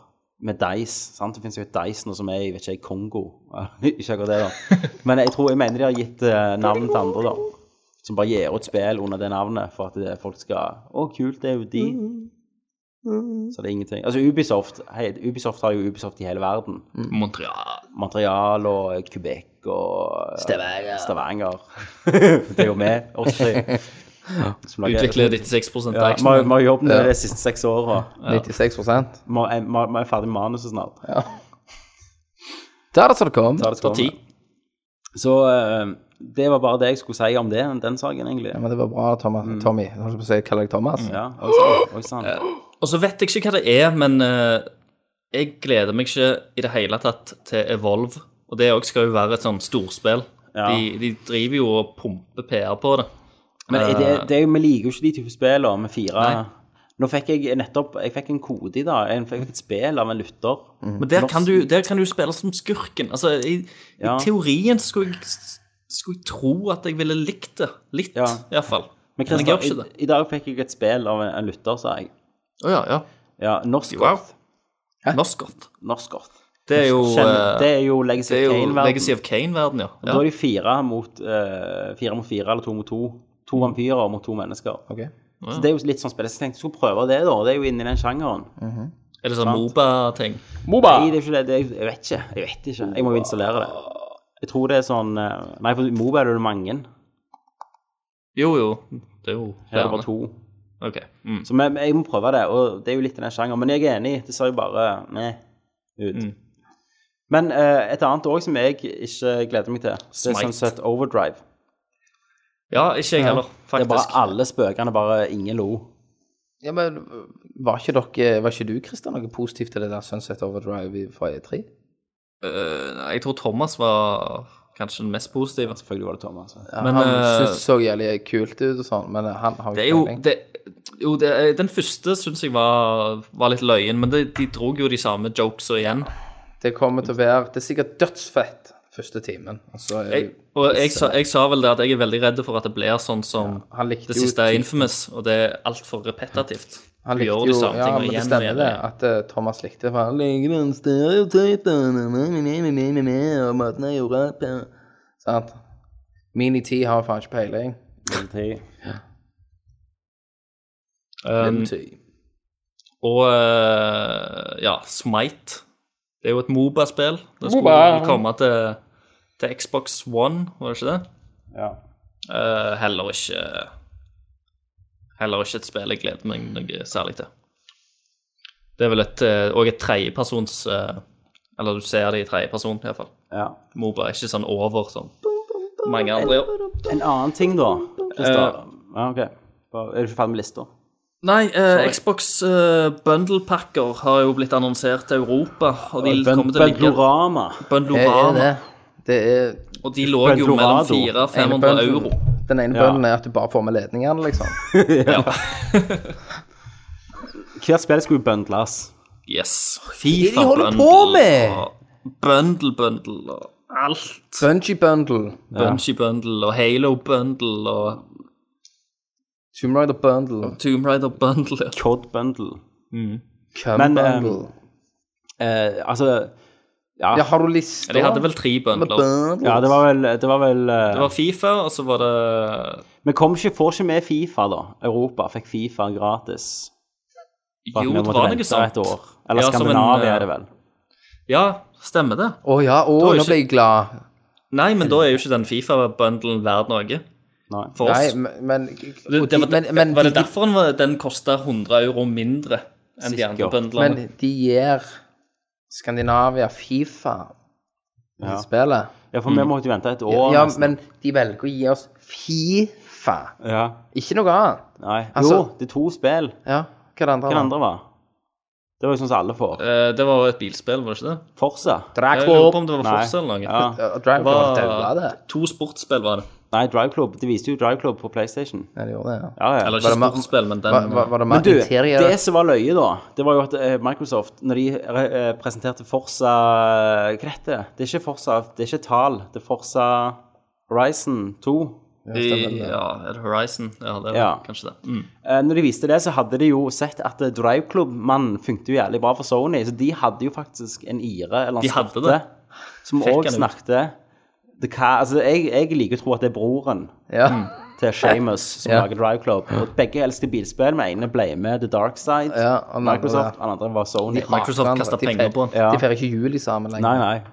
[SPEAKER 1] med Dice. sant? Det finnes jo et Dice nå som er i vet ikke, jeg, Kongo. ikke akkurat det, da. Men jeg tror jeg mener de har gitt eh, navn til andre, da. Som bare gir ut spill under det navnet for at det, folk skal Å, kult, det er jo de. Så det er ingenting. Altså Ubisoft hei, Ubisoft har jo Ubisoft i hele verden.
[SPEAKER 5] Montreal.
[SPEAKER 1] Montreal og Quebec og Stavanger. det er jo vi, oss tre. som lager-
[SPEAKER 5] Utvikler
[SPEAKER 1] ja,
[SPEAKER 5] 96 av
[SPEAKER 1] Vi har- vi har jobbet med
[SPEAKER 6] Ja.
[SPEAKER 1] det de siste seks åra.
[SPEAKER 6] 96
[SPEAKER 1] Vi er, vi er ferdig med manuset snart.
[SPEAKER 6] Der er det så det kom.
[SPEAKER 1] Ta det som
[SPEAKER 5] Tar ti.
[SPEAKER 1] kommer. Så eh, det var bare det jeg skulle si om det, den saken, egentlig.
[SPEAKER 6] Ja, men det var bra, Thomas. Tommy. Jeg
[SPEAKER 1] Mm.
[SPEAKER 6] holdt på å si, kaller deg Thomas.
[SPEAKER 1] Ja, oi sann. oi sann.
[SPEAKER 5] Og så vet jeg ikke hva det er, men eh, jeg gleder meg ikke i det hele tatt til Evolve. Og det også skal jo være et sånn storspill.
[SPEAKER 1] Ja.
[SPEAKER 5] De, de driver jo og pumper PR på det.
[SPEAKER 1] Men er det,
[SPEAKER 5] Eh,
[SPEAKER 1] det er jo, vi liker jo ikke de type spill og vi fire
[SPEAKER 5] Nei.
[SPEAKER 1] Nå fikk jeg nettopp Jeg fikk en kode i dag. Jeg fikk et spill av en lytter.
[SPEAKER 5] Men der kan, du, der kan du spille som skurken. Altså, i,
[SPEAKER 1] Ja.
[SPEAKER 5] i teorien så skulle jeg, skulle jeg tro at jeg ville likt det. Litt,
[SPEAKER 1] Ja.
[SPEAKER 5] i hvert fall.
[SPEAKER 1] Men
[SPEAKER 5] Men jeg gjør
[SPEAKER 1] Christer,
[SPEAKER 5] ikke det.
[SPEAKER 1] i, i dag fikk jeg et spill av en, en lytter, sa jeg.
[SPEAKER 5] Å ja, ja.
[SPEAKER 1] Ja, Norsk
[SPEAKER 5] Wow.
[SPEAKER 1] Goth.
[SPEAKER 5] Noscott.
[SPEAKER 1] Norsk Goth.
[SPEAKER 5] Det er jo,
[SPEAKER 1] Kjenner-
[SPEAKER 5] eh,
[SPEAKER 1] Det er jo Legacy
[SPEAKER 5] det er
[SPEAKER 1] of
[SPEAKER 5] jo
[SPEAKER 1] Kane-verden.
[SPEAKER 5] Legacy of Kane-verden, ja.
[SPEAKER 1] Og Da
[SPEAKER 5] ja.
[SPEAKER 1] er de fire mot eh, fire, mot fire eller to mot to. To vampyrer mot to mennesker.
[SPEAKER 6] Ok.
[SPEAKER 1] Så Det er jo litt sånn spill. Så jeg tenkte jeg skulle prøve det, da. Det er jo inni den sjangeren.
[SPEAKER 5] Er det sånn Moba-ting?
[SPEAKER 6] Moba!
[SPEAKER 1] Nei, det er ikke det. det er, jeg vet ikke. Jeg vet ikke. Jeg må jo installere det. Jeg tror det er sånn eh, Nei, for i Moba er det jo mange.
[SPEAKER 5] Jo, jo. Det er jo
[SPEAKER 1] Her er det bare to.
[SPEAKER 5] Ok. Mm.
[SPEAKER 1] Så men, jeg må prøve det, og det er jo litt i den sjangeren. Men jeg er enig, det ser jo bare meh ut.
[SPEAKER 5] Mm.
[SPEAKER 1] Men eh, et annet òg som jeg ikke gleder meg til, det er
[SPEAKER 5] Smite.
[SPEAKER 1] sånn sett Overdrive.
[SPEAKER 5] Ja, ikke jeg heller,
[SPEAKER 1] Det er bare
[SPEAKER 5] faktisk.
[SPEAKER 1] alle spøkene, bare ingen lo.
[SPEAKER 6] Ja, men øh, var ikke, dere, var ikke du, Christian, noe positivt til det der Sunset Overdrive i- fra E3?
[SPEAKER 5] Eh, jeg tror Thomas var kanskje den mest positive.
[SPEAKER 1] Selvfølgelig var det Thomas. altså. Ja.
[SPEAKER 5] Men,
[SPEAKER 6] han
[SPEAKER 5] eh,
[SPEAKER 6] syntes det så jævlig kult ut og sånn, men han har
[SPEAKER 5] Det er jo,
[SPEAKER 6] peiling.
[SPEAKER 5] det, jo det, er- Den første syns jeg var, var litt løyen, men det, de drog jo de samme jokesa igjen.
[SPEAKER 6] Det kommer til å være Det er sikkert dødsfett første timen. og så er
[SPEAKER 5] Jeg,
[SPEAKER 6] det-
[SPEAKER 5] og jeg sa, jeg sa vel det at jeg er veldig redd for at det blir sånn som
[SPEAKER 6] han likte
[SPEAKER 5] det
[SPEAKER 6] jo
[SPEAKER 5] siste er
[SPEAKER 6] typen.
[SPEAKER 5] infamous, og det er altfor repetitivt.
[SPEAKER 6] han
[SPEAKER 5] Du
[SPEAKER 6] likte
[SPEAKER 5] gjør de
[SPEAKER 6] jo-
[SPEAKER 5] samme
[SPEAKER 6] ja,
[SPEAKER 5] tingene
[SPEAKER 6] men det
[SPEAKER 5] igjen og
[SPEAKER 6] stemmer
[SPEAKER 5] igjen.
[SPEAKER 6] det, at eh, Thomas likte for han liker den stereotypen, me, me, me, me, me, me, og måten jeg gjorde det på. Sant? Mini-T har faen ikke peiling.
[SPEAKER 5] Um,
[SPEAKER 6] Mini-T.
[SPEAKER 5] og eh, ja, Smite. Det er jo et Moba-spill. Det skulle
[SPEAKER 6] MOBA.
[SPEAKER 5] vel komme til, til Xbox One, var det ikke det?
[SPEAKER 1] Ja.
[SPEAKER 5] Eh, heller ikke Heller ikke et spill jeg gleder meg noe særlig til. Det er vel et eh, Og et tredjepersons eh, Eller du ser det i tredjeperson, iallfall.
[SPEAKER 1] ja.
[SPEAKER 5] Moba er ikke sånn over som mange andre gjør.
[SPEAKER 1] En annen ting, da. Christer. ja, OK. Bare, er du ikke ferdig med lista?
[SPEAKER 5] Nei, eh, Xbox eh, bundle-pakker har jo blitt annonsert til Europa, og de kommer til å ligge
[SPEAKER 1] Bøndorama.
[SPEAKER 6] Det er
[SPEAKER 5] Bundlorama.
[SPEAKER 6] det. Det er
[SPEAKER 5] Og de lå jo mellom
[SPEAKER 1] Bundlorado.
[SPEAKER 5] 400 og 500
[SPEAKER 6] bønnen-
[SPEAKER 5] euro.
[SPEAKER 6] Den ene
[SPEAKER 1] Ja.
[SPEAKER 6] bønnen er at du bare får med ledningene, liksom.
[SPEAKER 1] Hvert spill skulle jo bøndles.
[SPEAKER 5] Yes.
[SPEAKER 6] er det de holder på
[SPEAKER 5] Fifa-bundle
[SPEAKER 6] med?
[SPEAKER 5] og Bundle-bundle og alt.
[SPEAKER 6] Bungee Bundle,
[SPEAKER 5] Bungie Bundle og Halo Bundle og
[SPEAKER 6] Tomb Raider Bundle,
[SPEAKER 5] Tomb Raider Bundle.
[SPEAKER 1] Cod bundle.
[SPEAKER 6] Cum
[SPEAKER 1] Men, eh,
[SPEAKER 6] Bundle.
[SPEAKER 1] Eh, altså ja.
[SPEAKER 6] ja, har du lista?
[SPEAKER 5] De hadde vel tre
[SPEAKER 6] med
[SPEAKER 5] bundler.
[SPEAKER 6] bundles?
[SPEAKER 1] ja, det var vel, det var vel eh,
[SPEAKER 5] Det var Fifa, og så var det
[SPEAKER 1] Vi kom ikke, får ikke med Fifa, da. Europa fikk Fifa gratis. Bare at
[SPEAKER 5] Jo,
[SPEAKER 1] vi
[SPEAKER 5] det
[SPEAKER 1] måtte
[SPEAKER 5] var
[SPEAKER 1] vente
[SPEAKER 5] noe
[SPEAKER 1] Et år.
[SPEAKER 5] sånt.
[SPEAKER 1] Eller
[SPEAKER 5] Ja, som en,
[SPEAKER 1] Skandinavia,
[SPEAKER 5] eh,
[SPEAKER 1] er det vel.
[SPEAKER 5] Ja, stemmer det.
[SPEAKER 6] Å ja, å,
[SPEAKER 5] var jo
[SPEAKER 6] nå
[SPEAKER 5] ikke-
[SPEAKER 6] ble jeg glad.
[SPEAKER 5] Nei, men da er jo ikke den Fifa-bundlen verd noe
[SPEAKER 1] Nei.
[SPEAKER 5] for
[SPEAKER 6] Nei,
[SPEAKER 5] oss.
[SPEAKER 6] men, men,
[SPEAKER 5] Det,
[SPEAKER 6] og
[SPEAKER 5] det
[SPEAKER 6] de,
[SPEAKER 5] var,
[SPEAKER 6] men, men,
[SPEAKER 5] var det
[SPEAKER 6] de,
[SPEAKER 5] derfor den, var- den kosta 100 euro mindre enn de andre
[SPEAKER 1] Sikkert.
[SPEAKER 6] men
[SPEAKER 5] bundlene?
[SPEAKER 6] de gir Skandinavia Fifa
[SPEAKER 1] Ja.
[SPEAKER 6] ja. spillet.
[SPEAKER 1] Ja, for
[SPEAKER 5] Mm.
[SPEAKER 1] vi måtte jo vente et år.
[SPEAKER 6] Ja,
[SPEAKER 1] nesten.
[SPEAKER 6] men de velger å gi oss Fifa,
[SPEAKER 1] ja.
[SPEAKER 6] ikke noe annet.
[SPEAKER 1] Nei.
[SPEAKER 6] Altså-
[SPEAKER 1] jo, det er to spill.
[SPEAKER 6] Ja, hva er det
[SPEAKER 1] Hva
[SPEAKER 6] andre?
[SPEAKER 1] det
[SPEAKER 6] var?
[SPEAKER 1] andre var? Det var jo sånn som alle får.
[SPEAKER 5] Eh, Det var jo et bilspill, var det ikke det?
[SPEAKER 1] Forza.
[SPEAKER 5] Jeg
[SPEAKER 6] Drag
[SPEAKER 5] lurer på
[SPEAKER 6] Club.
[SPEAKER 5] om det var
[SPEAKER 1] Nei.
[SPEAKER 5] Forza eller noe.
[SPEAKER 1] Ja.
[SPEAKER 6] Ja, Drive
[SPEAKER 5] Det
[SPEAKER 6] Club var daua, det.
[SPEAKER 5] var to sportsspill, var det.
[SPEAKER 1] Nei, Drive Club. De viste jo Drive Club på PlayStation.
[SPEAKER 6] Ja, de gjorde det, ja.
[SPEAKER 1] Ja, ja.
[SPEAKER 6] Var
[SPEAKER 5] Eller ikke
[SPEAKER 6] det mer-
[SPEAKER 5] sportsspill, men
[SPEAKER 6] Var,
[SPEAKER 5] den eh,
[SPEAKER 6] var, var det
[SPEAKER 1] Men
[SPEAKER 6] mer
[SPEAKER 1] du,
[SPEAKER 6] interiør? Mm.
[SPEAKER 1] det som var løye da, det var jo at eh, Microsoft, når de eh, presenterte Forza Hva heter det? Det er ikke Forza, det er ikke Tal, det er Forza Horizon 2.
[SPEAKER 6] stemmer det.
[SPEAKER 5] Ja, er det Horizon? Ja, det er
[SPEAKER 1] Ja.
[SPEAKER 5] vel kanskje det. Mm.
[SPEAKER 1] Eh, Når de viste det, så hadde de jo sett at eh, Drive Club-mannen funket jo jævlig bra for Sony, så de hadde jo faktisk en ire eller en
[SPEAKER 5] De hadde
[SPEAKER 1] sorte
[SPEAKER 5] det.
[SPEAKER 1] som
[SPEAKER 5] Fikk
[SPEAKER 1] òg
[SPEAKER 5] han ut.
[SPEAKER 1] snakket det ka, altså, jeg, jeg liker å tro at det er broren
[SPEAKER 6] Ja.
[SPEAKER 1] til Shamus som
[SPEAKER 6] Ja.
[SPEAKER 1] lager Drive Club. Og begge elsker bilspill. Den ene ble med The Dark Side,
[SPEAKER 6] Ja, og den andre-
[SPEAKER 1] Microsoft, den andre var Sony.
[SPEAKER 5] Microsoft
[SPEAKER 6] Hverandre,
[SPEAKER 5] kastet
[SPEAKER 6] de
[SPEAKER 5] penger
[SPEAKER 6] feirer-
[SPEAKER 5] på den.
[SPEAKER 1] Ja.
[SPEAKER 6] De feirer ikke jul i sammen lenger.
[SPEAKER 1] Nei, nei.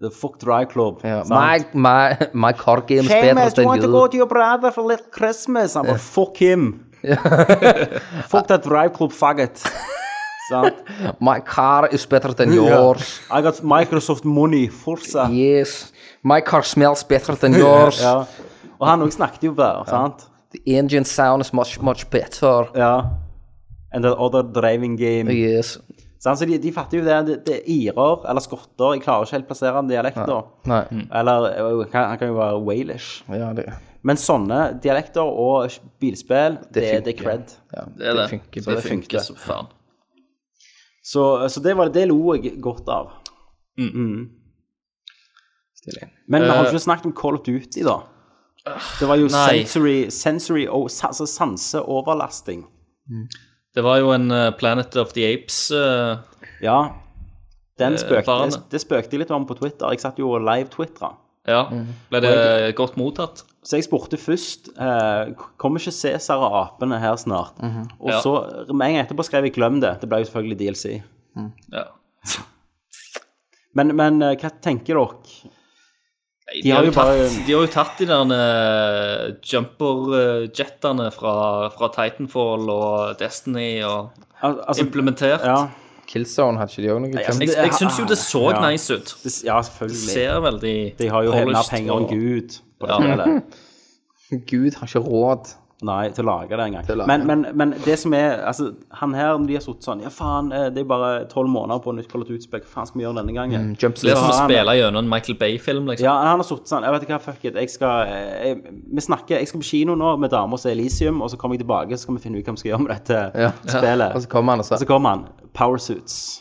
[SPEAKER 1] The fuck dry club.
[SPEAKER 6] Ja,
[SPEAKER 1] sant?
[SPEAKER 6] my, my, my car game is better
[SPEAKER 1] do you
[SPEAKER 6] than
[SPEAKER 1] want to
[SPEAKER 6] you.
[SPEAKER 1] go to your brother for little Christmas? Han bare, fuck him. fuck that dry club faggot. Sant?
[SPEAKER 6] My car is better than yours.
[SPEAKER 1] I got Microsoft money, forza.
[SPEAKER 6] Yes. My car smells better than yours.
[SPEAKER 1] Ja. Og han også snakket jo bare, sant?
[SPEAKER 6] The engine sound is much, much better.
[SPEAKER 1] Ja. And the other driving game.
[SPEAKER 6] Yes.
[SPEAKER 1] Sant? Så de, de fatter jo det. Det, det er irer eller skotter. Jeg klarer ikke helt plassere en dialekt da.
[SPEAKER 6] Nei.
[SPEAKER 5] Mm.
[SPEAKER 1] Eller eh, han han kan jo være walish.
[SPEAKER 6] Ja, det,
[SPEAKER 1] Men sånne dialekter og bilspill, det, det, er
[SPEAKER 6] funker.
[SPEAKER 1] cred.
[SPEAKER 6] ja,
[SPEAKER 5] Det er det.
[SPEAKER 6] funker
[SPEAKER 5] så
[SPEAKER 6] bare.
[SPEAKER 5] det
[SPEAKER 1] det funker.
[SPEAKER 5] funker som faen.
[SPEAKER 1] Så, så det var det. Det lo jeg godt av. Mm.
[SPEAKER 6] Stilig.
[SPEAKER 1] Men vi har jo ikke snakket om Call of Duty, da. Det var jo
[SPEAKER 5] Nei.
[SPEAKER 1] sensory, sensory og sa- altså sanseoverlasting.
[SPEAKER 5] Det var jo en eh, Planet of the Apes eh,
[SPEAKER 1] Ja. Den
[SPEAKER 5] Eh,
[SPEAKER 1] spøkte,
[SPEAKER 5] barnet.
[SPEAKER 1] det, det spøkte jeg litt om på Twitter. Jeg satt jo og live-twitra.
[SPEAKER 5] Ja.
[SPEAKER 1] Mhm.
[SPEAKER 5] Ble det godt mottatt?
[SPEAKER 1] Så jeg spurte først eh, Kommer ikke Cæsar og apene her snart? Og
[SPEAKER 5] Ja.
[SPEAKER 1] så med en gang etterpå skrev jeg 'glem det'. Det ble jo selvfølgelig DLC.
[SPEAKER 5] Ja.
[SPEAKER 1] Men, men eh, hva tenker dere?
[SPEAKER 5] Nei,
[SPEAKER 1] De har jo
[SPEAKER 5] tatt,
[SPEAKER 1] bare-
[SPEAKER 5] de har jo tatt de der eh, jumper-jettene fra, fra Titanfall og Destiny og
[SPEAKER 1] Al altså,
[SPEAKER 5] implementert.
[SPEAKER 1] ja,
[SPEAKER 6] Killzone hadde ikke de òg noe
[SPEAKER 1] altså,
[SPEAKER 6] jump?
[SPEAKER 5] Jeg, jeg syns jo det så
[SPEAKER 1] Ja.
[SPEAKER 5] nice ut.
[SPEAKER 1] det, ja,
[SPEAKER 5] Det
[SPEAKER 1] selvfølgelig.
[SPEAKER 5] ser veldig
[SPEAKER 1] De har jo helt mer
[SPEAKER 5] polished
[SPEAKER 1] penger enn
[SPEAKER 5] og-
[SPEAKER 1] Gud på det
[SPEAKER 5] Ja.
[SPEAKER 1] spillet.
[SPEAKER 6] altså, Gud har ikke råd.
[SPEAKER 1] Nei, til å lage det
[SPEAKER 6] Til å
[SPEAKER 1] engang.
[SPEAKER 6] lage
[SPEAKER 1] Men,
[SPEAKER 6] det.
[SPEAKER 1] men, men det som er Altså, han her, når de har sittet sånn Ja, faen, eh, det er bare tolv måneder på nytt Call of Duty-spill. Hva faen skal vi gjøre denne gangen?
[SPEAKER 6] Mm, Jump
[SPEAKER 5] Det er som
[SPEAKER 6] slips.
[SPEAKER 1] Ja,
[SPEAKER 5] å spille gjennom en Michael Bay-film, liksom.
[SPEAKER 1] Ja, han har sittet sånn Jeg vet ikke hva, fuck it. Jeg skal eh, jeg, Vi snakker Jeg skal på kino nå med damer og se Elisium, og så kommer jeg tilbake, så skal vi finne ut hva vi skal gjøre med dette
[SPEAKER 6] Ja.
[SPEAKER 1] spillet.
[SPEAKER 6] Og så kommer han og
[SPEAKER 1] Og
[SPEAKER 6] sier
[SPEAKER 1] så kommer han. Powersuits.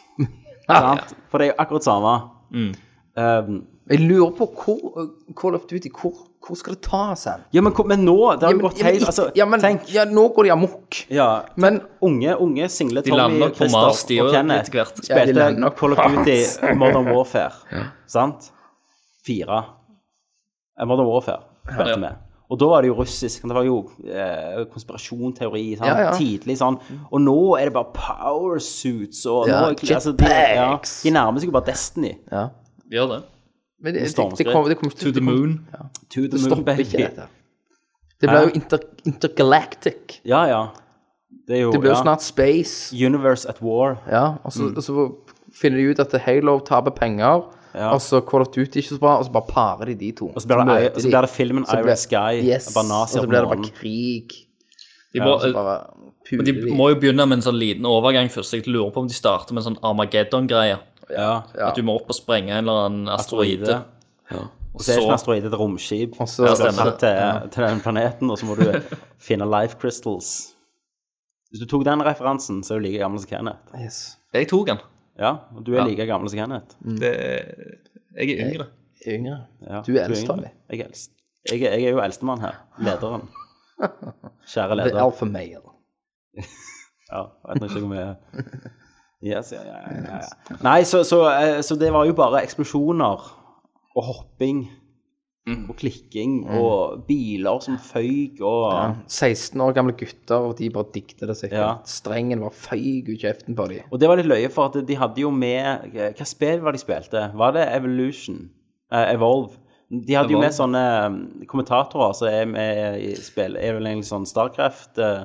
[SPEAKER 1] Sant? For det er jo akkurat samme.
[SPEAKER 5] Mm.
[SPEAKER 1] Um,
[SPEAKER 6] Jeg lurer på hvor uh, Call of Duty Hvor, hvor skal det tas hen?
[SPEAKER 1] ja, men, hvor- men nå Det har jo gått
[SPEAKER 6] ja, men,
[SPEAKER 1] helt Altså,
[SPEAKER 6] ja, men
[SPEAKER 1] tenk.
[SPEAKER 6] ja, nå går de amok.
[SPEAKER 1] Ja,
[SPEAKER 6] Men
[SPEAKER 1] unge, unge single
[SPEAKER 5] De lander
[SPEAKER 1] Tommy,
[SPEAKER 5] på
[SPEAKER 1] Christer
[SPEAKER 5] Mars, de
[SPEAKER 1] og
[SPEAKER 5] òg,
[SPEAKER 1] Kenneth
[SPEAKER 5] etter hvert.
[SPEAKER 6] Ja, de
[SPEAKER 1] spilte
[SPEAKER 6] lander på
[SPEAKER 1] Call of
[SPEAKER 6] Mars.
[SPEAKER 1] Duty Modern Warfare. Sant? Fire. Eh, Modern Warfare spilte
[SPEAKER 5] Ja.
[SPEAKER 1] vi. Og da var det jo russisk. Det var jo eh, konspirasjonteori. Sant?
[SPEAKER 6] Ja, ja.
[SPEAKER 1] Tidlig sånn. Og nå er det bare power suits og
[SPEAKER 6] Ja,
[SPEAKER 1] nå, er- altså, de, ja,
[SPEAKER 6] jetpacks.
[SPEAKER 1] de nærmer seg jo bare Destiny.
[SPEAKER 6] ja.
[SPEAKER 5] De Gjør det.
[SPEAKER 6] Men det, det, det,
[SPEAKER 1] stormskritt.
[SPEAKER 6] kommer- det kommer
[SPEAKER 5] To
[SPEAKER 6] ikke
[SPEAKER 5] the moon.
[SPEAKER 1] To the
[SPEAKER 6] Det
[SPEAKER 1] moon,
[SPEAKER 6] stopper
[SPEAKER 1] baby.
[SPEAKER 6] ikke dette. Det blir jo inter, intergalactic.
[SPEAKER 1] Ja, ja. Det er jo
[SPEAKER 6] Det blir jo
[SPEAKER 1] ja.
[SPEAKER 6] snart space.
[SPEAKER 1] Universe at war.
[SPEAKER 6] Ja, og så, og så finner de ut at Halo taper penger,
[SPEAKER 1] Ja.
[SPEAKER 6] og så Call of Duty ikke så bra, og så bare parer de de to.
[SPEAKER 1] Og så blir det,
[SPEAKER 6] møter
[SPEAKER 1] og
[SPEAKER 6] de.
[SPEAKER 1] så blir det filmen
[SPEAKER 6] Så
[SPEAKER 1] Iron
[SPEAKER 6] blir-
[SPEAKER 1] Sky.
[SPEAKER 6] Yes,
[SPEAKER 1] bare
[SPEAKER 6] og
[SPEAKER 1] nazier
[SPEAKER 6] så
[SPEAKER 1] på
[SPEAKER 6] blir det bare
[SPEAKER 1] månen.
[SPEAKER 6] krig.
[SPEAKER 5] De
[SPEAKER 6] og
[SPEAKER 1] altså,
[SPEAKER 6] så
[SPEAKER 5] må,
[SPEAKER 6] bare puler
[SPEAKER 5] de må jo begynne med en sånn liten overgang først. så Jeg lurer på om de starter med en sånn Armageddon-greie.
[SPEAKER 1] Ja.
[SPEAKER 6] Ja.
[SPEAKER 5] At du må opp og sprenge en eller annen asteroide.
[SPEAKER 1] Asteroide.
[SPEAKER 5] Og
[SPEAKER 1] Det er ikke en
[SPEAKER 5] så
[SPEAKER 1] asteroide, det er et romskip.
[SPEAKER 6] Og så-
[SPEAKER 1] Ja, stemmer
[SPEAKER 5] stemmer
[SPEAKER 1] det. Til, til den planeten, og så må du finne life crystals. Hvis du tok den referansen, så er du like gammel som Kenneth.
[SPEAKER 6] Yes.
[SPEAKER 5] Jeg tok den.
[SPEAKER 1] Ja, og du er like gammel som Kenneth.
[SPEAKER 5] Jeg er yngre.
[SPEAKER 6] Yngre.
[SPEAKER 1] Ja,
[SPEAKER 6] Du er eldst
[SPEAKER 1] yngre.
[SPEAKER 6] av dem.
[SPEAKER 1] Jeg er eldst. Jeg, er- jeg er jo eldstemann her. Lederen. Kjære
[SPEAKER 6] The
[SPEAKER 1] leder.
[SPEAKER 6] alpha male.
[SPEAKER 1] Ja, jeg vet ikke om jeg yes, ja, ja, ja, ja, ja. Nei, så, så, eh, så det var jo bare eksplosjoner og hopping og klikking
[SPEAKER 6] Mm.
[SPEAKER 1] og biler som føyk og
[SPEAKER 6] 16 år gamle gutter, og de bare dikter det sikkert.
[SPEAKER 1] Ja.
[SPEAKER 6] Strengen bare feig ut kjeften på dem.
[SPEAKER 1] Og det var litt løye, for at de hadde jo med Hva spill var de spilte? Var det Evolution? Eh, Evolve? De hadde jo med sånne eh, kommentatorer som er med i spill. Er vel egentlig sånn Starcraft eh.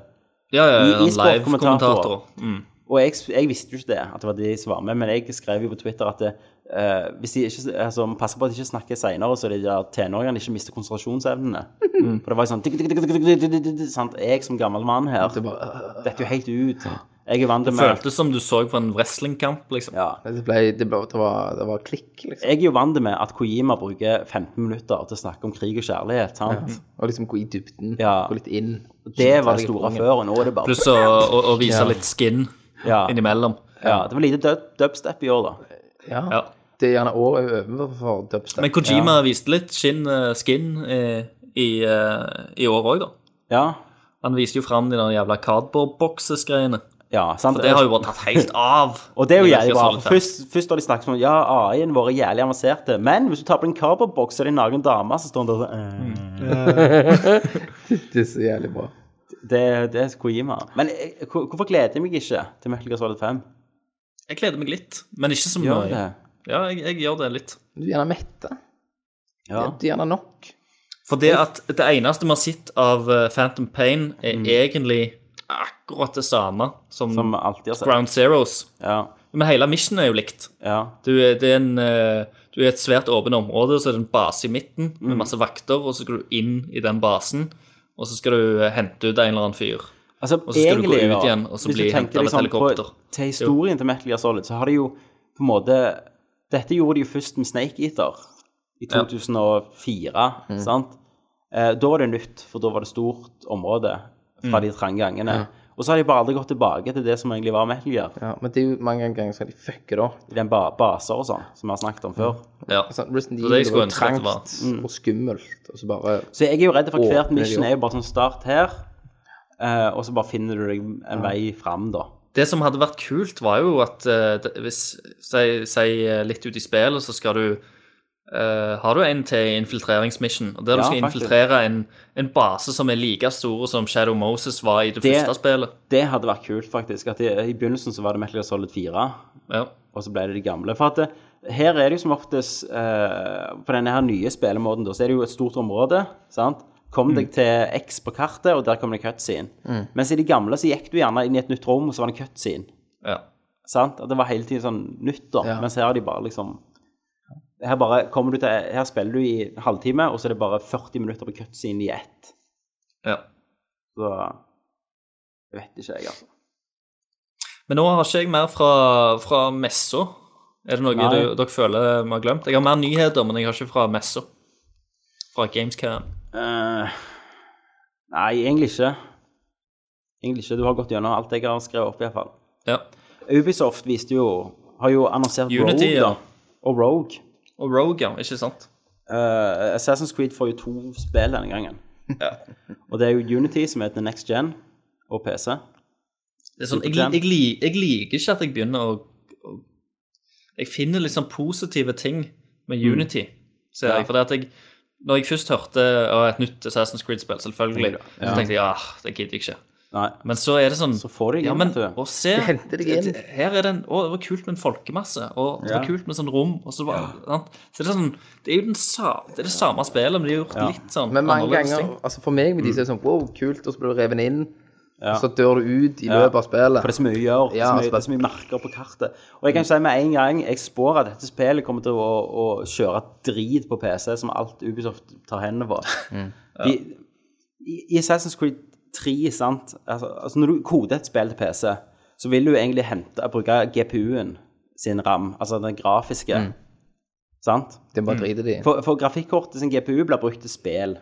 [SPEAKER 5] Ja, ja,
[SPEAKER 1] I-
[SPEAKER 5] ja, en
[SPEAKER 1] e-sport
[SPEAKER 5] live-kommentator. Mm.
[SPEAKER 1] Og jeg, jeg visste jo ikke det, at det var de som var med, men jeg skrev jo på Twitter at det, eh, hvis de ikke, altså, man passer på at de ikke snakker seinere, så de der tenåringene ikke mister konsentrasjonsevnene. For det var jo sånn tikk, tikk, tikk, tikk, tikk, tikk, tikk, sant? Jeg som gammel mann her
[SPEAKER 6] Det bare, øh,
[SPEAKER 1] detter jo helt ut. Jeg er vant til med
[SPEAKER 5] Føltes som du så på en wrestlingkamp, liksom.
[SPEAKER 1] ja,
[SPEAKER 6] det, ble, det, ble, det, var, det var klikk, liksom.
[SPEAKER 1] Jeg er jo vant med at Kojima bruker 15 minutter til å snakke om krig og kjærlighet. sant?
[SPEAKER 6] Og liksom gå i dybden,
[SPEAKER 1] Ja.
[SPEAKER 6] gå litt inn.
[SPEAKER 1] Det var det store før, og nå er det bare
[SPEAKER 5] Pluss å, å, å vise litt skin
[SPEAKER 1] ja,
[SPEAKER 5] innimellom.
[SPEAKER 1] ja, Det var lite dub dubstep i år, da.
[SPEAKER 6] Ja.
[SPEAKER 5] Ja.
[SPEAKER 6] Det er gjerne året overfor dubstep.
[SPEAKER 5] Men Kojima viste litt skin, eh, skin eh, i, eh, i år òg, da.
[SPEAKER 1] Ja,
[SPEAKER 5] Han viste jo fram de der jævla cardboard-boxes-greiene.
[SPEAKER 1] ja sant?
[SPEAKER 5] For det har jo bare tatt helt av.
[SPEAKER 1] Og det er jo
[SPEAKER 5] i
[SPEAKER 1] jævlig bra.
[SPEAKER 5] Solid
[SPEAKER 1] for
[SPEAKER 5] Fem.
[SPEAKER 1] Først, først har de snakket sånn Ja, AI-en vår er jævlig avanserte, men hvis du tar på en cardboardboks, så er det en naken dame som står der sånn eh.
[SPEAKER 6] Det er så jævlig bra.
[SPEAKER 1] det, det er Kojima. Men eh, hvor- hvorfor gleder jeg meg ikke til Metal Gear Solid 5?
[SPEAKER 5] Jeg gleder meg litt, men ikke så
[SPEAKER 1] Gjør
[SPEAKER 5] mye.
[SPEAKER 1] det.
[SPEAKER 5] Ja, jeg, jeg gjør det litt.
[SPEAKER 6] Du er gjerne mette.
[SPEAKER 1] Ja.
[SPEAKER 6] Du er gjerne nok.
[SPEAKER 5] For det at det eneste vi har sett av eh, Phantom Pain, er egentlig akkurat det samme som,
[SPEAKER 1] Som vi alltid har sett.
[SPEAKER 5] Ground Zeroes.
[SPEAKER 1] Ja,
[SPEAKER 5] Men hele missionen er jo likt.
[SPEAKER 1] ja.
[SPEAKER 5] Du er, det er en, eh, du er et svært åpent område, og så er det en base i midten med masse vakter, og så skal du inn i den basen, og så skal du eh, hente ut en eller annen fyr.
[SPEAKER 1] Altså,
[SPEAKER 5] Og så skal du gå
[SPEAKER 1] egentlig,
[SPEAKER 5] ut
[SPEAKER 1] da,
[SPEAKER 5] igjen, og så
[SPEAKER 1] hvis du
[SPEAKER 5] bli
[SPEAKER 1] tenker liksom,
[SPEAKER 5] hentet av et helikopter.
[SPEAKER 1] På, til historien til Metal Gear Solid, så har de jo på en måte Dette gjorde de jo først med Snake Eater i 2004,
[SPEAKER 5] Mm.
[SPEAKER 1] sant? Eh, da var det nytt, for da var det stort område
[SPEAKER 5] Mm.
[SPEAKER 1] fra de trange gangene. Og så har de bare aldri gått tilbake til det som egentlig var Metal Gear,
[SPEAKER 6] Ja, men det er jo mange ganger skal de fucke det opp.
[SPEAKER 1] i den ba baser og sånn, som vi har snakket om
[SPEAKER 5] Mm.
[SPEAKER 1] før.
[SPEAKER 5] Ja.
[SPEAKER 6] Altså, Resident
[SPEAKER 5] var det jeg
[SPEAKER 6] Evil
[SPEAKER 5] skulle
[SPEAKER 6] var jo
[SPEAKER 5] ønske at det var.
[SPEAKER 6] trangt og skummelt, og så bare
[SPEAKER 1] Så jeg er jo redd for
[SPEAKER 6] Åpner
[SPEAKER 1] hvert
[SPEAKER 6] de
[SPEAKER 1] mission
[SPEAKER 6] opp.
[SPEAKER 1] er jo bare sånn start her, eh, og så bare finner du deg en vei fram, da.
[SPEAKER 5] Det som hadde vært kult, var jo at eh, det- hvis Si, si eh, litt ut i spillet, så skal du eh, Har du en til infiltreringsmission, og
[SPEAKER 1] Ja,
[SPEAKER 5] der du skal
[SPEAKER 1] faktisk.
[SPEAKER 5] infiltrere en, en base som er like stor som Shadow Moses var i det,
[SPEAKER 1] Det-
[SPEAKER 5] første spillet.
[SPEAKER 1] Det hadde vært kult, faktisk. At i, I begynnelsen så var det Metal Gear Solid 4,
[SPEAKER 5] Ja.
[SPEAKER 1] og så ble det de gamle. For at det, her er det jo som oftest eh, På denne her nye spillemåten da, så er det jo et stort område. sant? Kom deg til X på kartet, og der kom det cutscene. Mens i de gamle så gikk du gjerne inn i et nytt rom, og så var det cutscene.
[SPEAKER 5] ja.
[SPEAKER 1] sant? At det var hele tiden sånn nytt, da.
[SPEAKER 6] Ja.
[SPEAKER 1] Mens her er de bare liksom her, bare kommer du til, her spiller du i en halvtime, og så er det bare 40 minutter på cutscene i ett.
[SPEAKER 5] ja.
[SPEAKER 1] Så Jeg vet ikke, jeg, altså.
[SPEAKER 5] Men nå har ikke jeg mer fra, fra messa. Er det noe
[SPEAKER 1] Nei.
[SPEAKER 5] du, dere føler vi har glemt? Jeg har mer nyheter, men jeg har ikke fra messa. Fra Gamescan.
[SPEAKER 1] Eh, nei, egentlig ikke. Egentlig ikke. Du har gått gjennom alt jeg har skrevet opp, iallfall.
[SPEAKER 5] Ja.
[SPEAKER 1] Ubisoft viste jo Har jo annonsert
[SPEAKER 5] Unity,
[SPEAKER 1] Rogue,
[SPEAKER 5] ja.
[SPEAKER 1] da. Og Rogue.
[SPEAKER 5] Og Rogue, ja. Ikke sant?
[SPEAKER 1] Eh, Assassin's Creed får jo to spill denne gangen. og det er jo Unity, som heter Next Gen, og PC.
[SPEAKER 5] Det er sånn, jeg, jeg, li- jeg liker ikke at jeg begynner å, å Jeg finner liksom positive ting med Unity, ser jeg. For det at jeg Når jeg først hørte å, et nytt Assassin's Creed-spill, selvfølgelig, så tenkte jeg ah, det gidder jeg ikke.
[SPEAKER 1] Nei.
[SPEAKER 5] Men så er det sånn
[SPEAKER 1] Så får de
[SPEAKER 5] ja,
[SPEAKER 1] igjen,
[SPEAKER 5] men,
[SPEAKER 1] vet du.
[SPEAKER 5] å, se,
[SPEAKER 6] henter deg inn.
[SPEAKER 5] det- Her er det en, å, det var kult med en folkemasse, og det var kult med sånn rom og så, var, sant? så det er sånn Det er jo den sa, det, er det samme spillet, men de har gjort litt sånn
[SPEAKER 6] Men mange
[SPEAKER 5] annerledes
[SPEAKER 6] ganger,
[SPEAKER 5] ting.
[SPEAKER 6] altså for meg med
[SPEAKER 1] Mm.
[SPEAKER 6] de som er sånn wow, kult, og så blir du revet inn, og så dør du ut i løpet av spillet.
[SPEAKER 1] For det er så mye å gjøre, det,
[SPEAKER 6] Ja,
[SPEAKER 1] er så mye, det er så mye merker på kartet. Og jeg kan jo si med en gang, jeg spår at dette spillet kommer til å, å kjøre drit på PC, som alt Ubisoft tar hendene på. De, i, I Assassin's Creed 3, sant, altså, altså når du koder et spill til PC, så vil du egentlig hente, bruke GPU-en sin RAM, altså den grafiske, sant?
[SPEAKER 6] Det bare driter de i.
[SPEAKER 1] For, for grafikkortet sin GPU blir brukt til spill.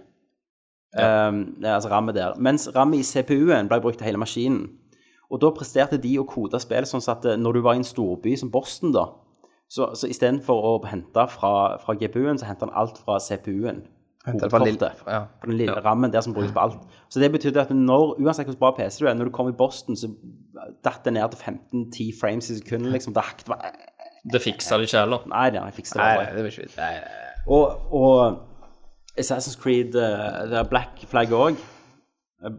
[SPEAKER 1] Um, det er altså rammet der. Mens rammet i CPU-en ble brukt til hele maskinen. Og da presterte de å kode spill sånn at eh, når du var i en storby som Boston, da, så, så istedenfor å hente fra, fra GPU-en, så henta han alt fra CPU-en.
[SPEAKER 6] Det var lill-
[SPEAKER 1] Hovedkortet.
[SPEAKER 6] ja.
[SPEAKER 1] På den lille rammen der som brukes på alt. Så det betydde at når, uansett hvordan bra PC du er, når du kom i Boston, så datt det ned til 15-10 frames i sekundet, liksom. Det hakket var
[SPEAKER 5] Det fiksa de ikke heller.
[SPEAKER 1] Nei, nei, jeg fikser det
[SPEAKER 6] Nei,
[SPEAKER 1] aldri.
[SPEAKER 6] nei, det var ikke vits. Nei, nei, nei.
[SPEAKER 1] Og, og Assassin's Creed eh, Det er Black Flag òg. Er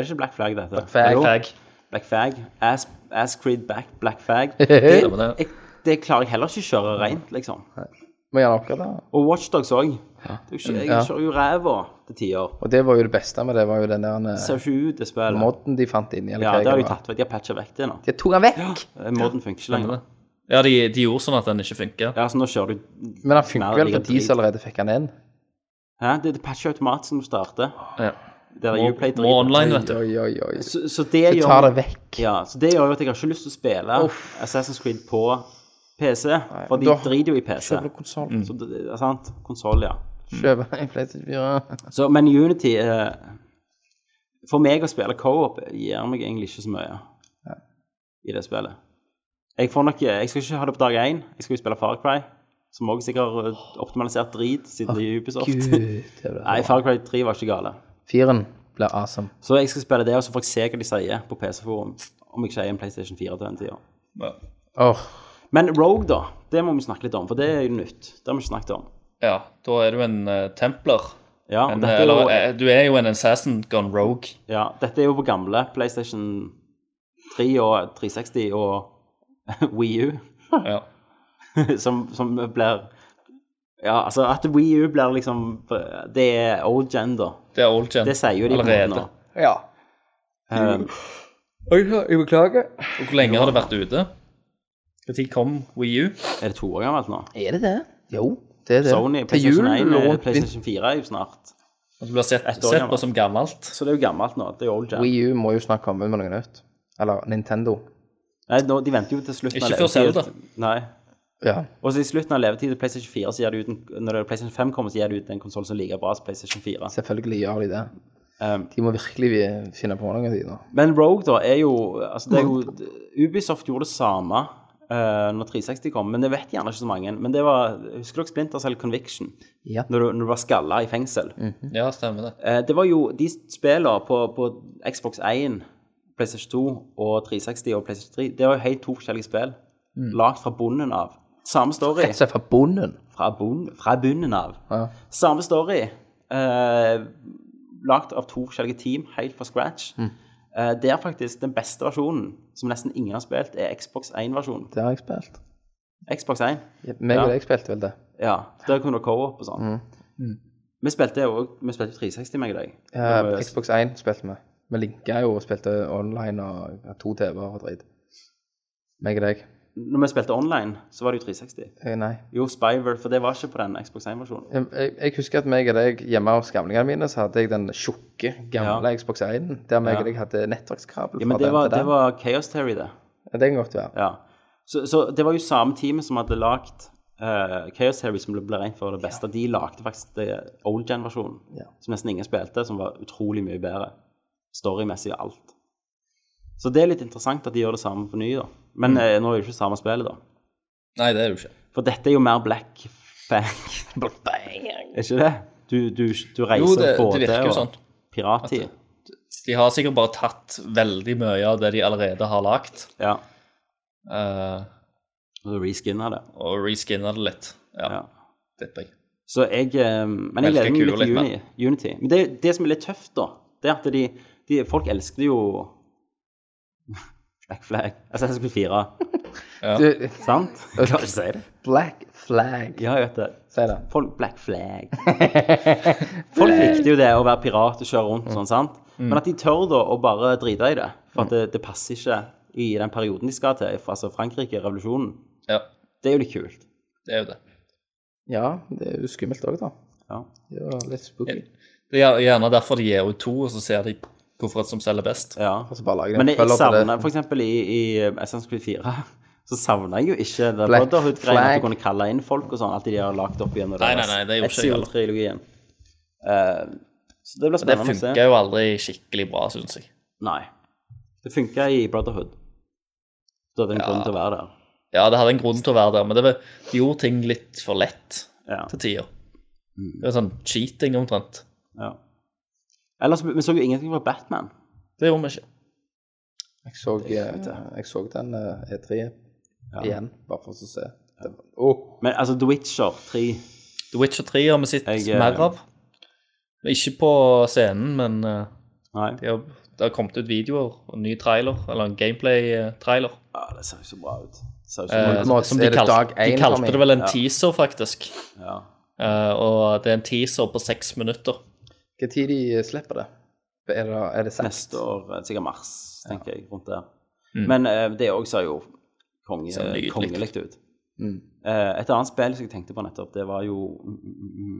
[SPEAKER 1] det ikke Black Flag, dette? Black
[SPEAKER 6] Flag.
[SPEAKER 5] Fag.
[SPEAKER 1] Black Fag. Ass, Ass Creed Back, Black Fag.
[SPEAKER 5] Stemmer det.
[SPEAKER 1] Jeg, det klarer jeg heller ikke å kjøre rent, liksom.
[SPEAKER 6] Må gjerne oppgradere.
[SPEAKER 1] Og Watchdogs òg. Jeg
[SPEAKER 6] Ja.
[SPEAKER 1] kjører jo ræva til tider.
[SPEAKER 6] Og det var jo det beste med det, var jo den der
[SPEAKER 1] Det
[SPEAKER 6] eh,
[SPEAKER 1] Ser ikke ut, det spillet.
[SPEAKER 6] modden de fant inni. eller
[SPEAKER 1] Ja,
[SPEAKER 6] hva
[SPEAKER 1] det har de
[SPEAKER 6] var.
[SPEAKER 1] tatt vekk. De har patcha vekk det nå.
[SPEAKER 6] De tok han vekk!
[SPEAKER 1] Moden funker ikke lenger.
[SPEAKER 5] Ja, de, de gjorde sånn at den ikke funker.
[SPEAKER 1] Ja, så nå kjører du
[SPEAKER 6] Men han funker
[SPEAKER 1] Nei,
[SPEAKER 6] vel
[SPEAKER 1] det ligger
[SPEAKER 6] for de
[SPEAKER 1] drit.
[SPEAKER 6] som allerede fikk han inn.
[SPEAKER 1] Hæ? Det det patcher automatisk når du starter.
[SPEAKER 5] Ja.
[SPEAKER 1] Det der
[SPEAKER 5] Må,
[SPEAKER 1] Uplay
[SPEAKER 5] må
[SPEAKER 1] driter.
[SPEAKER 5] online, vet du.
[SPEAKER 6] Oi, oi, oi. Så
[SPEAKER 1] Så, så det gjør
[SPEAKER 6] tar det vekk.
[SPEAKER 1] Ja, så det gjør jo at jeg har ikke lyst til å spille Assassin's Creed på PC, for de
[SPEAKER 6] da-
[SPEAKER 1] driter jo i PC.
[SPEAKER 6] Kjøper du konsoll?
[SPEAKER 1] Så det, det er sant? Konsoll, ja.
[SPEAKER 6] Mm. Kjøper en PlayStation 4?
[SPEAKER 1] Så, men Unity eh, For meg å spille co-op gir meg egentlig ikke så mye i det spillet. Jeg, får nok, jeg skal ikke ha det på dag én. Jeg skal jo spille Far Cry, som også sikkert har eh, optimalisert drit siden det er Ubisoft.
[SPEAKER 6] Gud, det
[SPEAKER 1] Nei,
[SPEAKER 6] var
[SPEAKER 1] Far Cry 3 var ikke gale.
[SPEAKER 6] Firen ble awesome.
[SPEAKER 1] Så jeg skal spille det, og så får jeg se hva de sier på PC-forum, om jeg ikke eier en PlayStation 4 til den tida.
[SPEAKER 6] Åh,
[SPEAKER 1] Men Rogue, da, det må vi snakke litt om, for det er jo nytt. Det har vi ikke snakket om.
[SPEAKER 5] Ja, da er du en eh, templer.
[SPEAKER 1] Ja, og
[SPEAKER 5] En,
[SPEAKER 1] dette, er
[SPEAKER 5] eller,
[SPEAKER 1] jo,
[SPEAKER 5] eh, du er jo en assassin gone rogue.
[SPEAKER 1] ja, dette er jo på gamle PlayStation 3 og 360 og Wii U,
[SPEAKER 5] Ja.
[SPEAKER 1] som, som blir Ja, altså at Wii U blir liksom Det er old gen, da.
[SPEAKER 5] Det er old gen.
[SPEAKER 1] Det sier jo de på en måte nå.
[SPEAKER 6] ja.
[SPEAKER 1] Um,
[SPEAKER 6] Oi, jeg beklager.
[SPEAKER 5] Og hvor lenge har det vært ute? Når kom Wii U?
[SPEAKER 1] er det to år gammelt nå?
[SPEAKER 6] Er det det? Jo, det er det.
[SPEAKER 1] Sony,
[SPEAKER 6] Til jul
[SPEAKER 1] PlayStation 1 og
[SPEAKER 6] rundt
[SPEAKER 1] PlayStation 4 er jo snart
[SPEAKER 5] At det blir sett,
[SPEAKER 1] Ett år
[SPEAKER 5] sett på
[SPEAKER 1] gammelt.
[SPEAKER 5] som gammelt.
[SPEAKER 1] Så det er jo gammelt nå. Det er jo old jam.
[SPEAKER 6] Wii U må jo snart komme med noe nytt. Eller Nintendo.
[SPEAKER 1] Nei, nå, de venter jo til slutten
[SPEAKER 5] Ikke før Zelda.
[SPEAKER 1] Nei.
[SPEAKER 6] Ja.
[SPEAKER 1] Og så i slutten av levetiden til PlayStation 4, så gir de ut en, når PlayStation 5 kommer, så gir de ut en konsoll som er like bra som PlayStation 4.
[SPEAKER 6] Selvfølgelig gjør de det.
[SPEAKER 1] Um,
[SPEAKER 6] De må virkelig vi- finne på noe, de nå.
[SPEAKER 1] Men Rogue, da, er jo altså det er jo Ubisoft gjorde det samme uh, når 360 kom, men det vet gjerne ikke så mange. Men det var Husker dere Splinter Cell Conviction?
[SPEAKER 6] Ja.
[SPEAKER 1] Når, du, når du var skalla i fengsel.
[SPEAKER 6] Mm.
[SPEAKER 5] Ja, stemmer det.
[SPEAKER 1] Eh, det var jo de spillene på, på Xbox 1, PlayStation 2 og 360 og PlayStation 3 Det var jo helt to forskjellige spill. Lagt fra bunnen av. Samme story.
[SPEAKER 6] Mm. Rett og slett fra bunnen.
[SPEAKER 1] Fra, bunn, fra bunnen av.
[SPEAKER 6] Ja.
[SPEAKER 1] Samme story. Eh, lagt av to forskjellige team, helt fra scratch.
[SPEAKER 6] Mm.
[SPEAKER 1] Eh, det er faktisk den beste versjonen, som nesten ingen har spilt, er Xbox 1-versjonen.
[SPEAKER 6] Det har jeg spilt.
[SPEAKER 1] Xbox 1.
[SPEAKER 6] Ja, Meg og
[SPEAKER 1] Ja.
[SPEAKER 6] deg spilte vel det.
[SPEAKER 1] Ja. Der kunne du co-op og sånn.
[SPEAKER 6] Mm.
[SPEAKER 1] Vi spilte jo også- vi spilte 360, meg og deg.
[SPEAKER 6] Ja,
[SPEAKER 1] Når vi-
[SPEAKER 6] Xbox 1 spilte vi. Vi linka jo og spilte online og ja, to TV-er og dritt. Meg og deg.
[SPEAKER 1] Når vi spilte online, så var det jo 360.
[SPEAKER 6] Eh, Nei.
[SPEAKER 1] Jo, Spyver, for det var ikke på den Xbox 1-versjonen.
[SPEAKER 6] Jeg, jeg, jeg husker at meg og deg hjemme hos gamlingene mine, så hadde jeg den tjukke, gamle
[SPEAKER 1] Ja.
[SPEAKER 6] Xbox 1 der meg
[SPEAKER 1] Ja.
[SPEAKER 6] og deg hadde nettverkskabel
[SPEAKER 1] Ja, men
[SPEAKER 6] fra
[SPEAKER 1] det
[SPEAKER 6] den
[SPEAKER 1] var,
[SPEAKER 6] til
[SPEAKER 1] det
[SPEAKER 6] den.
[SPEAKER 1] var Chaos Theory, det.
[SPEAKER 6] Ja, det kan godt være.
[SPEAKER 1] Ja. Så, så det var jo samme teamet som hadde lagd eh, Chaos Theory, som ble ble regnet for det beste. De lagde faktisk det old gen-versjonen,
[SPEAKER 6] Ja.
[SPEAKER 1] som nesten ingen spilte, som var utrolig mye bedre. Storymessig og alt. Så det er litt interessant at de gjør det samme på ny, da. Men
[SPEAKER 5] Mm.
[SPEAKER 1] eh, nå er det jo ikke samme spillet, da.
[SPEAKER 5] Nei, det er det jo ikke.
[SPEAKER 1] For dette er jo mer black bang. er ikke det? Du, du, du reiser
[SPEAKER 5] Jo, det, det
[SPEAKER 1] både
[SPEAKER 5] virker jo
[SPEAKER 1] og
[SPEAKER 5] sånn.
[SPEAKER 1] pirattid.
[SPEAKER 5] De har sikkert bare tatt veldig mye av det de allerede har lagd,
[SPEAKER 1] Ja.
[SPEAKER 5] eh,
[SPEAKER 1] Og reskinner det.
[SPEAKER 5] og reskinna det litt. Ja,
[SPEAKER 1] Ja.
[SPEAKER 5] tipper jeg.
[SPEAKER 1] Så jeg eh, Men jeg gleder
[SPEAKER 5] Melker
[SPEAKER 1] meg
[SPEAKER 5] kula
[SPEAKER 1] litt til
[SPEAKER 5] litt
[SPEAKER 1] Uni, Unity. Men det, det som er litt tøft, da, det er at de, de Folk elsket jo Black Flag. Altså SSB4,
[SPEAKER 6] Du,
[SPEAKER 1] sant? Jeg klarer ikke å si det.
[SPEAKER 6] black flag.
[SPEAKER 1] Ja, jeg vet det.
[SPEAKER 6] Si det.
[SPEAKER 1] Folk Black Flag. Folk likte jo det å være pirat og kjøre rundt og sånn, sant?
[SPEAKER 6] Mm.
[SPEAKER 1] Men at de tør da å bare drite i det, for at det, det passer ikke i den perioden de skal til, altså Frankrike, revolusjonen,
[SPEAKER 5] Ja,
[SPEAKER 1] det er jo litt kult.
[SPEAKER 5] det er jo det.
[SPEAKER 6] Ja, det er jo skummelt òg, da.
[SPEAKER 1] Ja.
[SPEAKER 6] Det var litt spooky.
[SPEAKER 5] Det er gjerne derfor de gir ut to, og så ser de hvorfor som selger best.
[SPEAKER 1] ja.
[SPEAKER 6] Og så bare lager de en
[SPEAKER 1] Men jeg, jeg
[SPEAKER 6] følger til det.
[SPEAKER 1] savner for eksempel i, i Assassin's Creed 4 så savner jeg jo ikke det
[SPEAKER 6] Black
[SPEAKER 1] Brotherhood-greiene at
[SPEAKER 6] Flag.
[SPEAKER 1] du kunne kalle inn folk og sånn, alt det de har lagt opp igjen.
[SPEAKER 5] Nei, nei, nei, det gjorde ikke jeg heller.
[SPEAKER 1] trilogien Eh, så det blir
[SPEAKER 5] Det
[SPEAKER 1] spennende å se.
[SPEAKER 5] funker jo aldri skikkelig bra, syns jeg.
[SPEAKER 1] Nei. Det funka i Brotherhood. Da er det en grunn til å være der.
[SPEAKER 5] Ja, det hadde en grunn til å være der, men det var, de gjorde ting litt for lett
[SPEAKER 1] Ja.
[SPEAKER 5] til tider. Det var sånn cheating omtrent.
[SPEAKER 1] ja. Ellers, vi så jo ingenting fra Batman.
[SPEAKER 5] Det gjorde vi ikke.
[SPEAKER 6] Jeg så, eh, jeg så den eh, E3 igjen, bare for å se. Det var- Åh,
[SPEAKER 1] Men altså, The Witcher 3
[SPEAKER 5] The Witcher 3 har vi sett
[SPEAKER 1] Jeg, eh,
[SPEAKER 5] mer av. Ikke på scenen, men eh,
[SPEAKER 1] Nei.
[SPEAKER 5] de har, det har kommet ut videoer og ny trailer, eller en gameplay-trailer.
[SPEAKER 1] Ja, Ah, det ser jo så bra ut. Det ser jo så
[SPEAKER 5] Eh,
[SPEAKER 1] bra ut.
[SPEAKER 6] nå
[SPEAKER 5] som de,
[SPEAKER 6] er det
[SPEAKER 5] kalt,
[SPEAKER 6] dag
[SPEAKER 5] de
[SPEAKER 6] én for
[SPEAKER 5] kalte
[SPEAKER 6] meg.
[SPEAKER 5] det vel en
[SPEAKER 1] Ja.
[SPEAKER 5] teaser, faktisk.
[SPEAKER 1] Ja.
[SPEAKER 5] Eh, og det er en teaser på seks minutter.
[SPEAKER 6] Hva tid de slipper det? Er det, er det sent?
[SPEAKER 1] Neste år, eh, sikkert mars, tenker jeg, rundt der. Men eh, det òg ser jo konge,
[SPEAKER 5] Mm. Ser Mm. nydelig ut.
[SPEAKER 1] kongelig ut. Eh, et annet spill som jeg tenkte på nettopp, det var jo mm,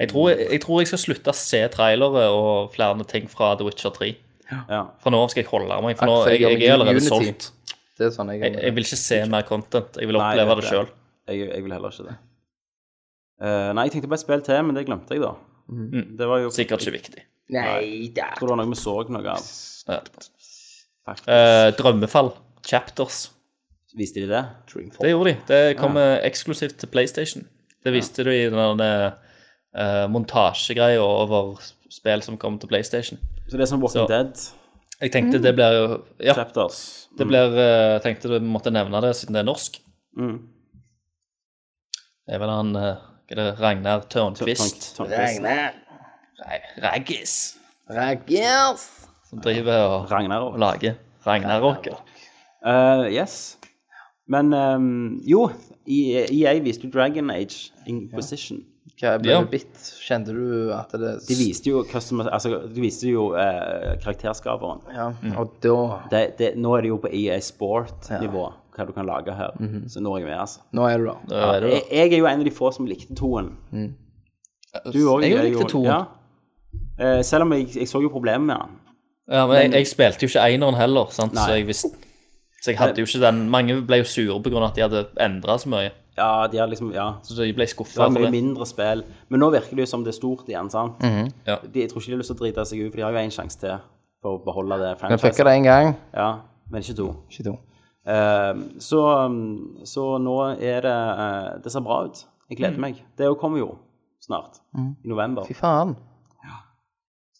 [SPEAKER 5] Jeg tror jeg, tror jeg skal slutte å se trailere og flere ting fra The Witcher 3.
[SPEAKER 1] Ja.
[SPEAKER 5] Fra nå av skal jeg holde meg, for nå
[SPEAKER 6] Akkurat, jeg
[SPEAKER 5] jeg, jeg er
[SPEAKER 6] gjør med
[SPEAKER 5] allerede
[SPEAKER 6] Unity.
[SPEAKER 5] solgt.
[SPEAKER 6] Det er sånn jeg,
[SPEAKER 5] Jeg, jeg vil ikke se mer content. Jeg vil
[SPEAKER 1] Nei,
[SPEAKER 5] oppleve
[SPEAKER 1] vet
[SPEAKER 5] det
[SPEAKER 1] jeg.
[SPEAKER 5] sjøl.
[SPEAKER 1] Jeg, jeg vil heller ikke det. Eh, nei, jeg tenkte på et spill til, men det glemte jeg, da. Mm. Det var jo
[SPEAKER 5] Mm. Sikkert ikke viktig.
[SPEAKER 6] Nei da.
[SPEAKER 1] Jeg tror det var noe vi så noe av.
[SPEAKER 5] Ja.
[SPEAKER 1] Faktisk.
[SPEAKER 5] Eh, drømmefall. Chapters.
[SPEAKER 1] Viste de det?
[SPEAKER 5] Det gjorde de. Det kom eh, eksklusivt til PlayStation. Det viste de i den uh, montasjegreia over spill som kom til PlayStation.
[SPEAKER 1] Så det er som Walking
[SPEAKER 5] Så-
[SPEAKER 1] Dead
[SPEAKER 5] Jeg tenkte det blir jo Ja,
[SPEAKER 1] chapters.
[SPEAKER 5] det blir eh, tenkte du måtte nevne det siden det er norsk.
[SPEAKER 1] Mm.
[SPEAKER 5] Det er vel han eh, hva er det, Ragnar Tørnquist
[SPEAKER 1] Tom- Tom Quist.
[SPEAKER 5] Nei, Raggis
[SPEAKER 6] Raggers!
[SPEAKER 5] som driver og,
[SPEAKER 1] Ragnarok.
[SPEAKER 5] og lager Ragnarok.
[SPEAKER 1] Eh, yes. Men ehm, jo, E- EA viste jo Dragon Age Inquisition.
[SPEAKER 6] Hva ble
[SPEAKER 5] Ja.
[SPEAKER 6] du bitt? Kjente du at det
[SPEAKER 1] De viste jo, customer, altså, de viste jo eh, karakterskaperen.
[SPEAKER 6] Ja,
[SPEAKER 5] Mm.
[SPEAKER 6] og da
[SPEAKER 1] Det, det, nå er det jo på E EA Sport-nivå hva du kan lage her. Så nå er jeg med, altså.
[SPEAKER 6] Nå er du der.
[SPEAKER 5] Ja, det er
[SPEAKER 1] Jeg,
[SPEAKER 5] det.
[SPEAKER 1] jeg er jo en av de få som likte toen. Du òg.
[SPEAKER 8] Jeg likte toen.
[SPEAKER 1] Ja. Eh, selv om jeg, jeg så jo problemet med den.
[SPEAKER 5] Ja, men jeg, jeg spilte jo ikke eineren heller, sant? så
[SPEAKER 1] Nei.
[SPEAKER 5] jeg visste Så jeg hadde jo ikke den Mange ble jo sure på grunn av at de hadde endra så mye.
[SPEAKER 1] Ja, de har liksom Ja.
[SPEAKER 5] Så de ble
[SPEAKER 1] Det var
[SPEAKER 5] skuffa for
[SPEAKER 1] mye
[SPEAKER 5] det.
[SPEAKER 1] mindre spill. Men nå virker det jo som det er stort igjen, sant?
[SPEAKER 5] Ja.
[SPEAKER 1] de, jeg tror ikke de har lyst til å drite seg ut, for de har jo én sjanse til for å beholde det
[SPEAKER 6] Vi fucka
[SPEAKER 1] franchiset.
[SPEAKER 6] det én gang.
[SPEAKER 1] Ja, men ikke to.
[SPEAKER 6] Ikke to.
[SPEAKER 1] Eh, så, um, så nå er det eh, Det ser bra ut. Jeg gleder meg. Det jo kommer jo snart. I november.
[SPEAKER 6] Fy faen.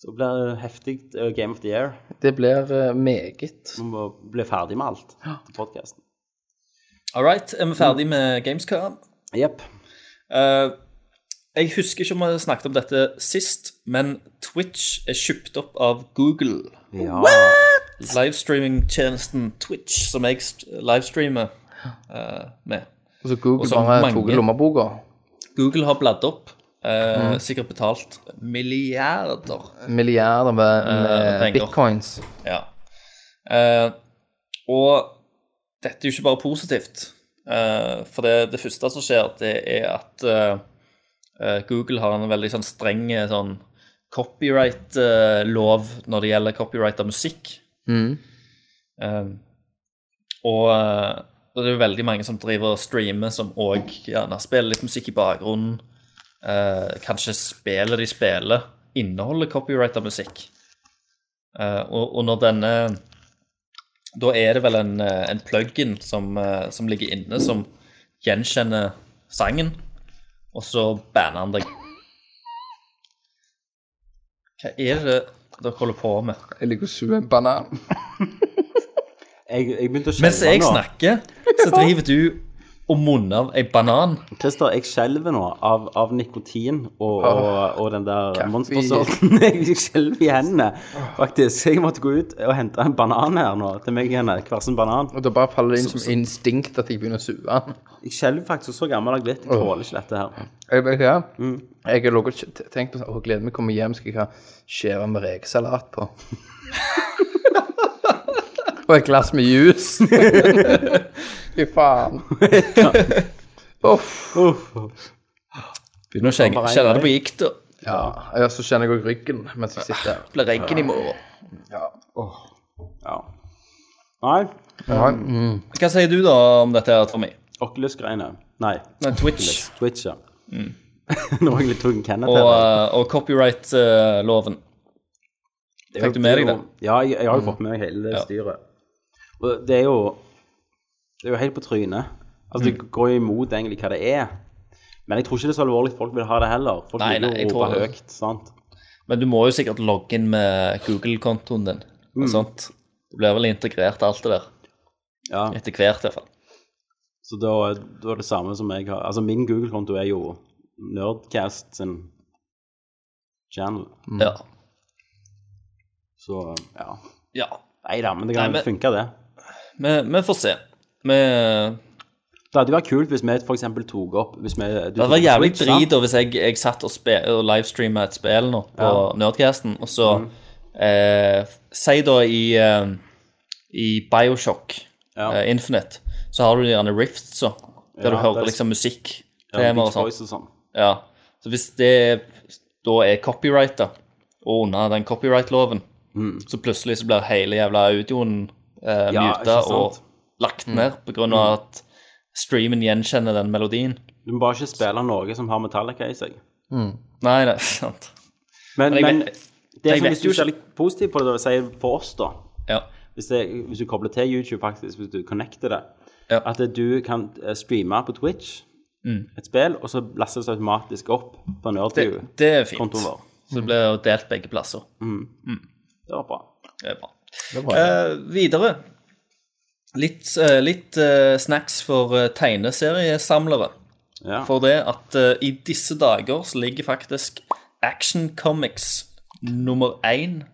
[SPEAKER 1] Så blir det heftig eh, Game of the Year.
[SPEAKER 6] Det blir eh, meget.
[SPEAKER 1] Vi må bli ferdig med alt til podkasten.
[SPEAKER 5] All right, er vi ferdig med Gamescom?
[SPEAKER 1] Jepp.
[SPEAKER 5] Eh, jeg husker ikke om vi snakket om dette sist, men Twitch er kjøpt opp av Google.
[SPEAKER 1] Ja.
[SPEAKER 5] Livestreamingtjenesten Twitch, som jeg st- livestreamer eh, med.
[SPEAKER 6] Og så Google
[SPEAKER 5] Og så
[SPEAKER 6] bare
[SPEAKER 5] mange.
[SPEAKER 6] tok lommeboka.
[SPEAKER 5] Google har bladd opp.
[SPEAKER 1] Mm.
[SPEAKER 5] eh, Sikkert betalt milliarder.
[SPEAKER 6] Milliarder med,
[SPEAKER 5] Eh,
[SPEAKER 6] med
[SPEAKER 5] penger.
[SPEAKER 6] bitcoins.
[SPEAKER 5] Ja. Eh, og dette er jo ikke bare positivt. Eh, for det, det første som skjer, det er at eh, eh, Google har en veldig sånn streng eh, sånn copyright-lov når det gjelder copyright av musikk. Eh, og eh, og det er jo veldig mange som driver og streamer, som òg gjerne spiller litt musikk i bakgrunnen. Eh, kanskje spillet de spiller, inneholder copyright av musikk. Eh, og, og når denne Da er det vel en, eh, en plug-in som, eh, som ligger inne, som gjenkjenner sangen, og så banner han deg. Hva er det dere holder på med?
[SPEAKER 6] Jeg liker å suge en banan.
[SPEAKER 1] Jeg, jeg begynte å
[SPEAKER 5] Mens
[SPEAKER 1] skjelve
[SPEAKER 5] jeg
[SPEAKER 1] nå.
[SPEAKER 5] snakker, så driver du og munner av ei banan.
[SPEAKER 1] Christer, jeg skjelver nå av, av nikotin og, og, og den der
[SPEAKER 6] Kaffe.
[SPEAKER 1] monstersorten. Jeg skjelver i hendene, faktisk. Jeg måtte gå ut og hente en banan her nå til meg igjen. Hver sin banan.
[SPEAKER 6] Og da bare faller det inn som instinkt at jeg begynner å suge.
[SPEAKER 1] Jeg skjelver faktisk så gammel jeg har blitt. Jeg tåler ikke dette her.
[SPEAKER 6] Jeg vet ikke, jeg har ligget og tenkt på sånn, å gleder meg til å komme hjem, skal jeg ha skjeve med rekesalat på. og et glass med juice. Fy faen. Uff.
[SPEAKER 5] Begynner å kjenne kjenne det på gikta.
[SPEAKER 6] Ja, ja, så kjenner jeg også ryggen mens jeg sitter her.
[SPEAKER 5] Blir eggen i morgen.
[SPEAKER 1] Ja. Nei,
[SPEAKER 5] Hva sier du da om dette, her, Tommy?
[SPEAKER 1] Oculus-greiene. Nei,
[SPEAKER 5] Nei, Twitch
[SPEAKER 1] Twitch, ja. nå er jeg litt tung Kenneth.
[SPEAKER 5] Mm. og,
[SPEAKER 1] her.
[SPEAKER 5] eh, og copyright-loven.
[SPEAKER 1] Det er jo-
[SPEAKER 5] eh, Fikk du med deg det? Mm.
[SPEAKER 1] Ja, jeg, jeg har jo fått med meg hele det
[SPEAKER 5] Ja.
[SPEAKER 1] styret. Og det er jo Det er jo helt på trynet. Altså,
[SPEAKER 5] Mm.
[SPEAKER 1] det går jo imot egentlig hva det er. Men jeg tror ikke det er så alvorlig folk vil ha det heller. Folk
[SPEAKER 5] Nei,
[SPEAKER 1] vil
[SPEAKER 5] nei,
[SPEAKER 1] jo
[SPEAKER 5] jeg
[SPEAKER 1] rope
[SPEAKER 5] tror-
[SPEAKER 1] høyt, sant?
[SPEAKER 5] Men du må jo sikkert logge inn med Google-kontoen din. og sånt. Det blir vel integrert alt det der.
[SPEAKER 1] Ja,
[SPEAKER 5] Etter hvert, iallfall.
[SPEAKER 1] så da, da er det samme som jeg har Altså, min Google-konto er jo Nerdcast sin channel.
[SPEAKER 5] Ja.
[SPEAKER 1] Så, ja.
[SPEAKER 5] ja.
[SPEAKER 1] Nei da, men det kan
[SPEAKER 5] Nei, men-
[SPEAKER 1] funke, det.
[SPEAKER 5] Vi, vi får se. Vi, det
[SPEAKER 1] Det hadde jo vært kult hvis vi for eksempel tok opp hvis vi, du
[SPEAKER 5] hadde vært
[SPEAKER 1] tok
[SPEAKER 5] jævlig
[SPEAKER 1] Switch,
[SPEAKER 5] drit
[SPEAKER 1] sant?
[SPEAKER 5] da hvis jeg, jeg satt og, spe- og livestreama et spill nå på Nerdcasten, og så eh, Si da i, eh, i Bioshock
[SPEAKER 1] Ja.
[SPEAKER 5] eh, Infinite, så har du gjerne Rifts, så, der
[SPEAKER 1] Ja,
[SPEAKER 5] du hører
[SPEAKER 1] det er-
[SPEAKER 5] liksom musikk.
[SPEAKER 1] Ja,
[SPEAKER 5] temaer og
[SPEAKER 1] Beach
[SPEAKER 5] sånt.
[SPEAKER 1] Boys og sånn.
[SPEAKER 5] Ja, så hvis det da er copyright da, og under den copyright-loven, så plutselig så blir hele jævla audioen eh,
[SPEAKER 1] Mm. Ja,
[SPEAKER 5] muta
[SPEAKER 1] ikke sant. Mm.
[SPEAKER 5] og lagt ned på grunn av at streamen gjenkjenner den melodien.
[SPEAKER 1] Du må bare ikke spille noe som har Metallica i seg.
[SPEAKER 5] Nei, det er sant.
[SPEAKER 1] Men,
[SPEAKER 5] Men jeg
[SPEAKER 1] men
[SPEAKER 5] vet-
[SPEAKER 1] det
[SPEAKER 5] jeg
[SPEAKER 1] som
[SPEAKER 5] vet
[SPEAKER 1] hvis du
[SPEAKER 5] jo
[SPEAKER 1] ser
[SPEAKER 5] ikke-
[SPEAKER 1] litt positivt på det, da, sier for oss, da
[SPEAKER 5] Ja,
[SPEAKER 1] hvis, det, hvis du kobler til YouTube, faktisk, hvis du connecter det
[SPEAKER 5] Ja. Mm.
[SPEAKER 1] At det- du kan eh, streame på Twitch et spill, og så lastes det automatisk opp på
[SPEAKER 5] det,
[SPEAKER 1] Nerdview-kontoen
[SPEAKER 5] det er fint.
[SPEAKER 1] vår. Mm.
[SPEAKER 5] Så det blir jo delt begge plasser.
[SPEAKER 1] Det var bra.
[SPEAKER 5] Det er bra. Eh, videre. Litt, eh, litt eh, snacks for eh, tegneseriesamlere.
[SPEAKER 1] Ja.
[SPEAKER 5] for det at eh, i disse dager så ligger faktisk Action Comics nummer én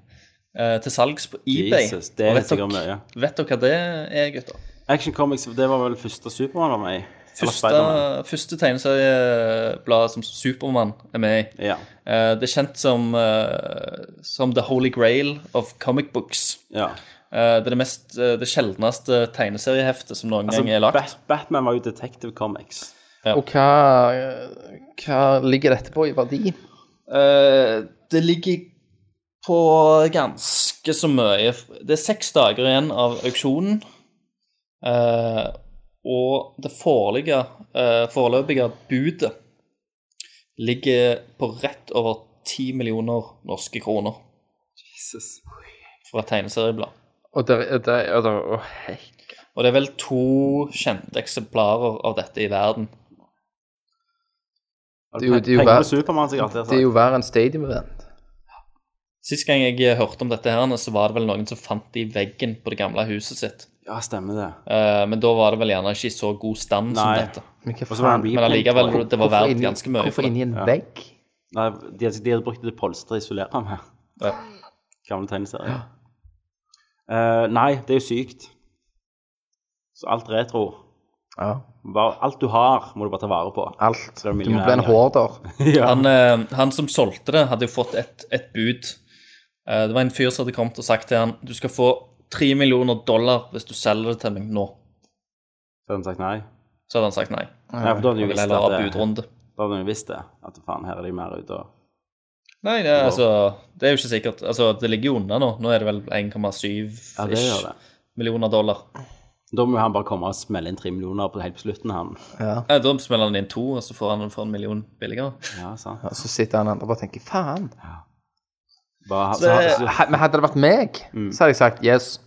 [SPEAKER 5] eh, til salgs på eBay.
[SPEAKER 1] Jesus, det
[SPEAKER 5] Og
[SPEAKER 1] er
[SPEAKER 5] vet
[SPEAKER 1] sikkert
[SPEAKER 5] dere-
[SPEAKER 1] mye.
[SPEAKER 5] Vet dere hva det er, gutter?
[SPEAKER 1] Action Comics, det var vel første Supermann var med i? Eller
[SPEAKER 5] Første,
[SPEAKER 1] Spiderman.
[SPEAKER 5] første tegneserieblad som Supermann er med i.
[SPEAKER 1] Ja.
[SPEAKER 5] Eh, det er kjent som, eh, som The Holy Grail of Comic Books.
[SPEAKER 1] ja.
[SPEAKER 5] Eh, det er det, mest, eh, det sjeldneste tegneserieheftet som noen gang
[SPEAKER 1] Altså,
[SPEAKER 5] er lagt.
[SPEAKER 1] Bat Batman var jo Detective Comics.
[SPEAKER 6] Og hva, hva ligger dette på i verdi?
[SPEAKER 5] Eh, det ligger på ganske så mye Det er seks dager igjen av auksjonen. Eh, og det foreligger, eh, foreløpige budet ligger på rett over ti millioner norske kroner fra et tegneserieblad.
[SPEAKER 6] Og det, det, og det, å, hei.
[SPEAKER 5] Og det er vel to kjente eksemplarer av dette i verden.
[SPEAKER 6] Det er jo- det er jo
[SPEAKER 1] Penger
[SPEAKER 6] verdt-
[SPEAKER 1] på Supermann, sikkert.
[SPEAKER 6] det er jo verre enn Stadium Event.
[SPEAKER 5] Sist gang jeg hørte om dette, her, så var det vel noen som fant det i veggen på det gamle huset sitt.
[SPEAKER 1] Ja, stemmer det.
[SPEAKER 5] Eh, Men da var det vel gjerne ikke i så god stand som
[SPEAKER 1] Nei.
[SPEAKER 5] dette.
[SPEAKER 6] Men hva
[SPEAKER 1] Og så var det en
[SPEAKER 5] Men
[SPEAKER 1] replay.
[SPEAKER 5] allikevel,
[SPEAKER 1] tror jeg.
[SPEAKER 5] det var
[SPEAKER 6] Hvorfor
[SPEAKER 5] verdt
[SPEAKER 6] inni-
[SPEAKER 5] ganske mye.
[SPEAKER 6] Hvorfor
[SPEAKER 5] For det.
[SPEAKER 6] inni en vegg?
[SPEAKER 1] Nei, de, de hadde brukt det til polstre og isolere med.
[SPEAKER 5] Ja.
[SPEAKER 1] Gamle tegneserier. Eh, nei, det er jo sykt. Så alt retro
[SPEAKER 6] Ja.
[SPEAKER 1] bare, Alt du har, må du bare ta vare på.
[SPEAKER 6] Alt.
[SPEAKER 1] Så det er
[SPEAKER 6] Du må bli en hoarder.
[SPEAKER 1] ja.
[SPEAKER 5] Han, eh, han som solgte det, hadde jo fått et, et bud. Eh, Det var en fyr som hadde kommet og sagt til han du skal få tre millioner dollar hvis du selger det til meg nå.
[SPEAKER 1] Så hadde han sagt nei.
[SPEAKER 5] Så hadde han sagt nei.
[SPEAKER 1] Nei, for da hadde
[SPEAKER 5] Jeg
[SPEAKER 1] du
[SPEAKER 5] vil
[SPEAKER 1] visst
[SPEAKER 5] heller
[SPEAKER 1] at
[SPEAKER 5] ha
[SPEAKER 1] det-
[SPEAKER 5] budrunde.
[SPEAKER 1] Da hadde du visst det. At faen, her er de mer ute og
[SPEAKER 5] Nei, det, er altså, det er jo ikke sikkert. Altså, det ligger jo unna nå. Nå er det vel 1,7
[SPEAKER 1] Ja, det gjør det.
[SPEAKER 5] millioner dollar.
[SPEAKER 1] Da må jo han bare komme og smelle inn tre millioner på helt på slutten, han.
[SPEAKER 5] Eh, Da smeller han inn to, og så får han den for en million billigere.
[SPEAKER 1] Ja, sant.
[SPEAKER 6] Og så sitter han andre og bare tenker faen.
[SPEAKER 1] Bare, så,
[SPEAKER 5] Det-
[SPEAKER 1] så,
[SPEAKER 6] Ha- Men hadde det vært meg,
[SPEAKER 5] Mm.
[SPEAKER 6] så hadde jeg sagt yes.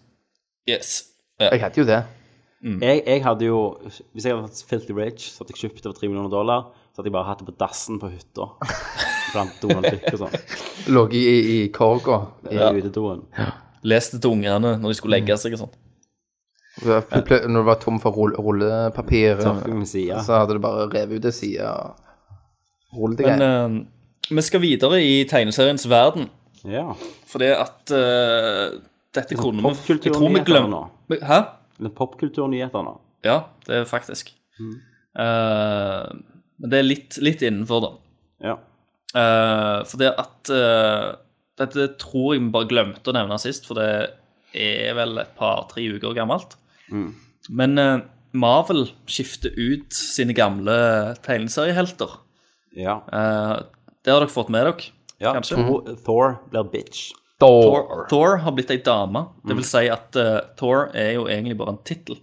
[SPEAKER 5] Yes. Ja.
[SPEAKER 6] Jeg hadde jo det.
[SPEAKER 1] jeg, jeg hadde jo Hvis jeg hadde vært filthy rich, så hadde jeg kjøpt det for tre millioner dollar, så hadde jeg bare hatt det på dassen på hytta. Blant Donald Duck og sånn.
[SPEAKER 6] Lå i, i korga.
[SPEAKER 1] I
[SPEAKER 5] Ja.
[SPEAKER 1] utedoen.
[SPEAKER 5] Leste til ungene når de skulle legge seg og sånn.
[SPEAKER 6] Pl- pl- Når du var tom for rull, rullepapir,
[SPEAKER 1] Tørking med sida.
[SPEAKER 5] Altså,
[SPEAKER 6] så hadde du bare revet ut ei side og rullet deg
[SPEAKER 5] Men eh, vi skal videre i tegneseriens verden.
[SPEAKER 1] Ja.
[SPEAKER 5] Fordi at eh, dette
[SPEAKER 1] Altså,
[SPEAKER 5] kunne vi Jeg tror vi
[SPEAKER 1] popkulturnyheter
[SPEAKER 5] glemte Hæ?
[SPEAKER 1] Litt popkulturnyheter nå.
[SPEAKER 5] Ja, det er faktisk. Eh, Men det er litt, litt innenfor, da.
[SPEAKER 1] Ja.
[SPEAKER 5] Eh, for det at eh, Dette tror jeg vi bare glemte å nevne sist, for det er vel et par-tre uker gammelt. Men eh, Marvel skifter ut sine gamle tegneseriehelter.
[SPEAKER 1] ja.
[SPEAKER 5] Eh, det har dere fått med dere,
[SPEAKER 1] ja.
[SPEAKER 5] kanskje?
[SPEAKER 1] Thor, Thor blir bitch.
[SPEAKER 6] Thor.
[SPEAKER 5] Thor, Thor har blitt ei dame. Det
[SPEAKER 1] Mm.
[SPEAKER 5] vil si at eh, Thor er jo egentlig bare en tittel.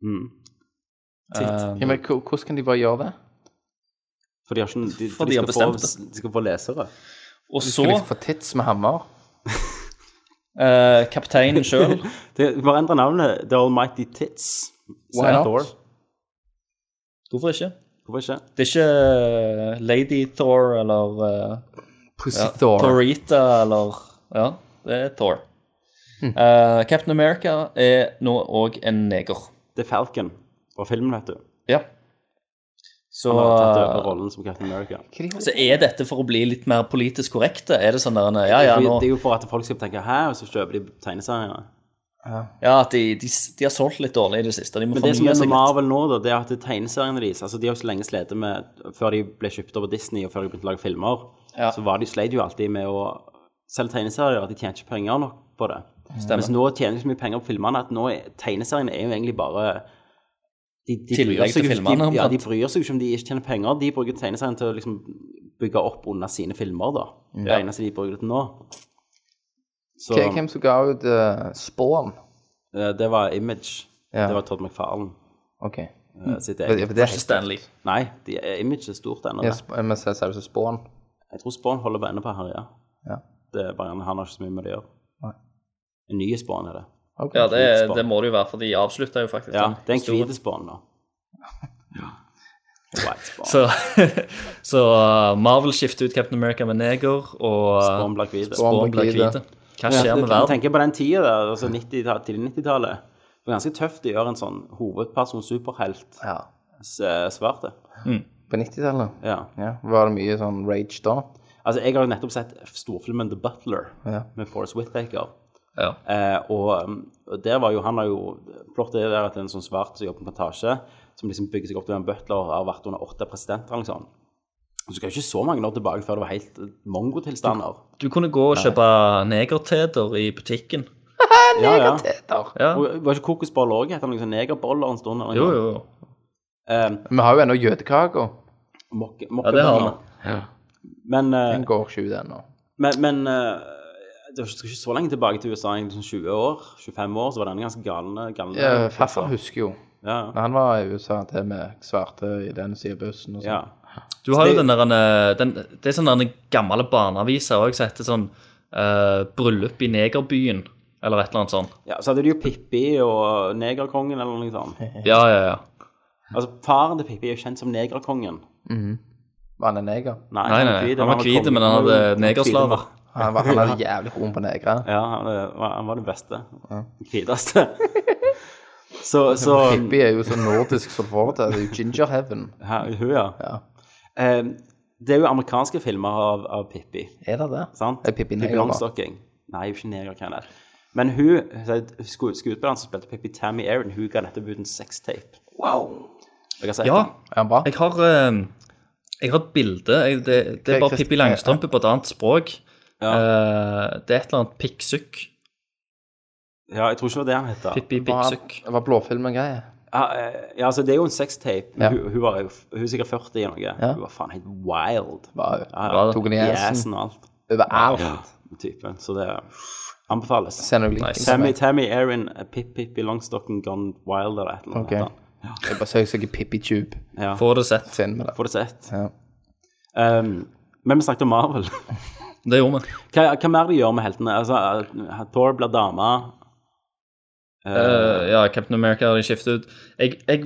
[SPEAKER 1] Mm.
[SPEAKER 5] Eh,
[SPEAKER 6] Ja, men h- hvordan kan de bare gjøre det?
[SPEAKER 1] For de har ikke de,
[SPEAKER 5] For
[SPEAKER 1] for
[SPEAKER 5] de
[SPEAKER 1] de
[SPEAKER 5] har
[SPEAKER 1] skal få,
[SPEAKER 5] bestemt
[SPEAKER 1] de skal få lesere.
[SPEAKER 5] og så
[SPEAKER 6] Skal de liksom få tits med hammer?
[SPEAKER 5] eh, kapteinen sjøl.
[SPEAKER 1] Det, bare endre navnet. The Almighty Tits. Så
[SPEAKER 6] Why
[SPEAKER 1] er
[SPEAKER 6] not?
[SPEAKER 1] Thor.
[SPEAKER 5] Hvorfor ikke?
[SPEAKER 1] Hvorfor ikke?
[SPEAKER 5] Det er ikke eh, Lady Thor eller eh,
[SPEAKER 6] Pussy
[SPEAKER 5] ja,
[SPEAKER 6] Thor.
[SPEAKER 5] Thorita eller Ja, det er Thor.
[SPEAKER 1] Hm.
[SPEAKER 5] Eh, Captain America er nå òg en neger.
[SPEAKER 1] Det er Falcon fra filmen, vet du.
[SPEAKER 5] Ja. Så, eh,
[SPEAKER 1] Han har tatt over rollen som Captain America.
[SPEAKER 5] så er dette for å bli litt mer politisk korrekte? Er det sånn der Ja, ja,
[SPEAKER 1] Fordi
[SPEAKER 5] nå
[SPEAKER 1] Det er jo for at folk skal tenke 'hæ', og så kjøper de tegneseriene.
[SPEAKER 5] Ja, at de, de, de har solgt litt dårlig i det siste. De må
[SPEAKER 1] Men det som
[SPEAKER 5] fornye
[SPEAKER 1] er med
[SPEAKER 5] seg litt.
[SPEAKER 1] Marvel nå, da, det er at tegneseriene deres altså De har jo så lenge slitt med Før de ble kjøpt over Disney, og før de begynte å lage filmer,
[SPEAKER 5] Ja.
[SPEAKER 1] så var de sleit jo alltid med å selge tegneserier. At de tjente ikke penger nok på det. Mens
[SPEAKER 5] Stemmer.
[SPEAKER 1] nå tjener de så mye penger på filmene at nå er, tegneseriene er jo egentlig bare de, de
[SPEAKER 5] Tillegg
[SPEAKER 1] bryr seg
[SPEAKER 5] til
[SPEAKER 1] jo ikke-
[SPEAKER 5] filmene,
[SPEAKER 1] De, ja,
[SPEAKER 5] omtrent.
[SPEAKER 1] de bryr seg jo ikke om de ikke tjener penger. De bruker tegneseriene til å liksom bygge opp under sine filmer, da.
[SPEAKER 5] Mm.
[SPEAKER 1] Det eneste de bruker det til nå. Så
[SPEAKER 6] Hvem- Hvem som ga ut uh, Spawn?
[SPEAKER 1] eh, det var Image.
[SPEAKER 6] Ja. Mm.
[SPEAKER 1] Det var Todd McFarlane
[SPEAKER 6] OK.
[SPEAKER 1] eh, sitt
[SPEAKER 6] Men-
[SPEAKER 1] eget.
[SPEAKER 6] men det er
[SPEAKER 5] Ikke Stanley.
[SPEAKER 1] Nei, de, eh, Image er stort ennå.
[SPEAKER 6] ja,
[SPEAKER 1] det.
[SPEAKER 6] sp- Men så sier du så Spawn.
[SPEAKER 1] Jeg tror Spawn holder på ennå på her, ja.
[SPEAKER 6] Ja.
[SPEAKER 1] Det er bare han han har ikke så mye med det å gjøre.
[SPEAKER 6] Nei.
[SPEAKER 1] En ny Spawn er det.
[SPEAKER 6] Ok.
[SPEAKER 5] Ja, det, er- det må det jo være, for de avslutta jo faktisk
[SPEAKER 1] Ja,
[SPEAKER 5] den
[SPEAKER 1] det er en
[SPEAKER 5] historien.
[SPEAKER 1] hvit Spawn, da. Ja. White Spawn.
[SPEAKER 5] Så, så uh, Marvel skifter ut Captain America med neger, og uh,
[SPEAKER 1] Spawn blir hvit.
[SPEAKER 6] Spawn
[SPEAKER 5] Spawn blir
[SPEAKER 6] blir hvite.
[SPEAKER 5] hvite. Hva skjer med
[SPEAKER 1] Jeg
[SPEAKER 5] verden?
[SPEAKER 1] tenker på den tida der, altså 90-tallet, tidlig 90-tallet. Det var ganske tøft å gjøre en sånn hovedperson superhelt
[SPEAKER 6] Ja.
[SPEAKER 1] s- eh, svarte.
[SPEAKER 6] På 90-tallet
[SPEAKER 1] Ja.
[SPEAKER 6] ja. var det mye sånn rage da.
[SPEAKER 1] Altså, jeg har jo nettopp sett storfilmen The Butler
[SPEAKER 6] Ja.
[SPEAKER 1] med Forrest Whittaker.
[SPEAKER 5] Ja.
[SPEAKER 1] Eh, og, um, og der var jo, han har jo Plottet er der at det er en sånn svart som jobber på en plantasje, som liksom bygger seg opp til en butler og har vært under åtte presidenter. eller noe sånt. Og så skal jo ikke så mange år tilbake før det var helt eh, mongotilstander.
[SPEAKER 5] Du kunne gå og kjøpe negerteter i butikken.
[SPEAKER 1] Ja, eh, ja.
[SPEAKER 6] Teter.
[SPEAKER 5] Ja.
[SPEAKER 1] Oh, Og Var ikke kokosboller òg? Het han liksom sånn negerboller en stund? eller noe
[SPEAKER 5] Jo,
[SPEAKER 1] sånt?
[SPEAKER 5] jo, jo.
[SPEAKER 1] Eh,
[SPEAKER 6] Vi har jo ennå jødekaka.
[SPEAKER 1] mokke,
[SPEAKER 5] Ja, det har vi.
[SPEAKER 1] mokkebønner. Men, eh,
[SPEAKER 6] Den går ikke ut ennå.
[SPEAKER 1] men, men eh, det var ikke- skal ikke så lenge tilbake til USA, egentlig sånn 20 år, 25 år, så var denne ganske galne. galne
[SPEAKER 6] Ja, Eh, Farfar husker jo.
[SPEAKER 1] Ja,
[SPEAKER 6] Når han var i USA, det med svarte i den siden av bussen og
[SPEAKER 1] ja.
[SPEAKER 6] sånn.
[SPEAKER 5] Du har jo den der eh, den, Det er sånn der en gammel barneavise òg som heter sånn eh, 'Bryllup i negerbyen', eller et eller annet sånt.
[SPEAKER 1] ja. Så hadde de jo Pippi og Negerkongen eller noe sånt.
[SPEAKER 5] Ja, ja, ja.
[SPEAKER 1] Altså, faren til Pippi er jo kjent som Negerkongen.
[SPEAKER 6] Var han en neger?
[SPEAKER 1] Nei,
[SPEAKER 5] Nei, nei, han var hvit, men han hadde
[SPEAKER 1] kongen. Hvite
[SPEAKER 5] negerslaver.
[SPEAKER 1] var-
[SPEAKER 6] Han, var, han hadde jævlig horn på negre.
[SPEAKER 1] Ja, han, eh, var- han var den beste. Den hviteste. så, så
[SPEAKER 6] Pippi er jo så nordisk som du får det til. Det er jo ginger heaven.
[SPEAKER 1] her, Hun, ja.
[SPEAKER 6] Ja.
[SPEAKER 1] Eh, det er jo amerikanske filmer av, av Pippi.
[SPEAKER 6] Er det det?
[SPEAKER 1] sant?
[SPEAKER 6] Er Pippi neger, da?
[SPEAKER 1] Longstocking. Nei, hun er ikke neger, Kenneth. Men hun, hun sku- skuespilleren som spilte Pippi Tammy Aaron, hun ga nettopp ut en sextape. Wow! Jeg har sett
[SPEAKER 5] ja.
[SPEAKER 1] den.
[SPEAKER 6] Er han bra?
[SPEAKER 5] Jeg har, eh, jeg har et bilde. Jeg, det, det
[SPEAKER 6] Hva-
[SPEAKER 5] er bare
[SPEAKER 6] hva-
[SPEAKER 5] Pippi Langstrømpe på et annet språk.
[SPEAKER 1] Ja.
[SPEAKER 5] Eh, det er et eller annet pikksukk.
[SPEAKER 1] ja, jeg tror ikke det var det han het. da.
[SPEAKER 5] Pippi
[SPEAKER 6] Var,
[SPEAKER 5] pikksukk.
[SPEAKER 6] var blåfilm en greie?
[SPEAKER 1] Ja, eh, ja, altså, det er jo en sextape. men
[SPEAKER 6] Ja.
[SPEAKER 1] Hun, hun, var jo f- hun er sikkert 40 eller noe. Hun var faen helt wild.
[SPEAKER 6] Var jo.
[SPEAKER 1] Ja,
[SPEAKER 6] Tok han i
[SPEAKER 1] I
[SPEAKER 6] assen
[SPEAKER 5] sånn.
[SPEAKER 1] assen og alt.
[SPEAKER 6] overalt.
[SPEAKER 1] Typen. Så det anbefales.
[SPEAKER 6] Send noen link.
[SPEAKER 5] Nice.
[SPEAKER 1] Tammy, Tammy Aaron, eh, Pip Pippi Longstocken Gone Wild eller et eller annet.
[SPEAKER 6] Ok.
[SPEAKER 1] heter han.
[SPEAKER 6] Jeg bare søker seg i Pippi Tube.
[SPEAKER 1] Ja,
[SPEAKER 5] Får det sett.
[SPEAKER 6] Send meg det.
[SPEAKER 1] Får det sett.
[SPEAKER 6] Ja.
[SPEAKER 1] Um, men vi snakket om Marvel.
[SPEAKER 5] Det gjorde vi.
[SPEAKER 1] Hva, hva mer de gjør med heltene? Altså, eh, Thor blir dame.
[SPEAKER 5] Eh, ja, Captain America har de skiftet ut. Jeg, jeg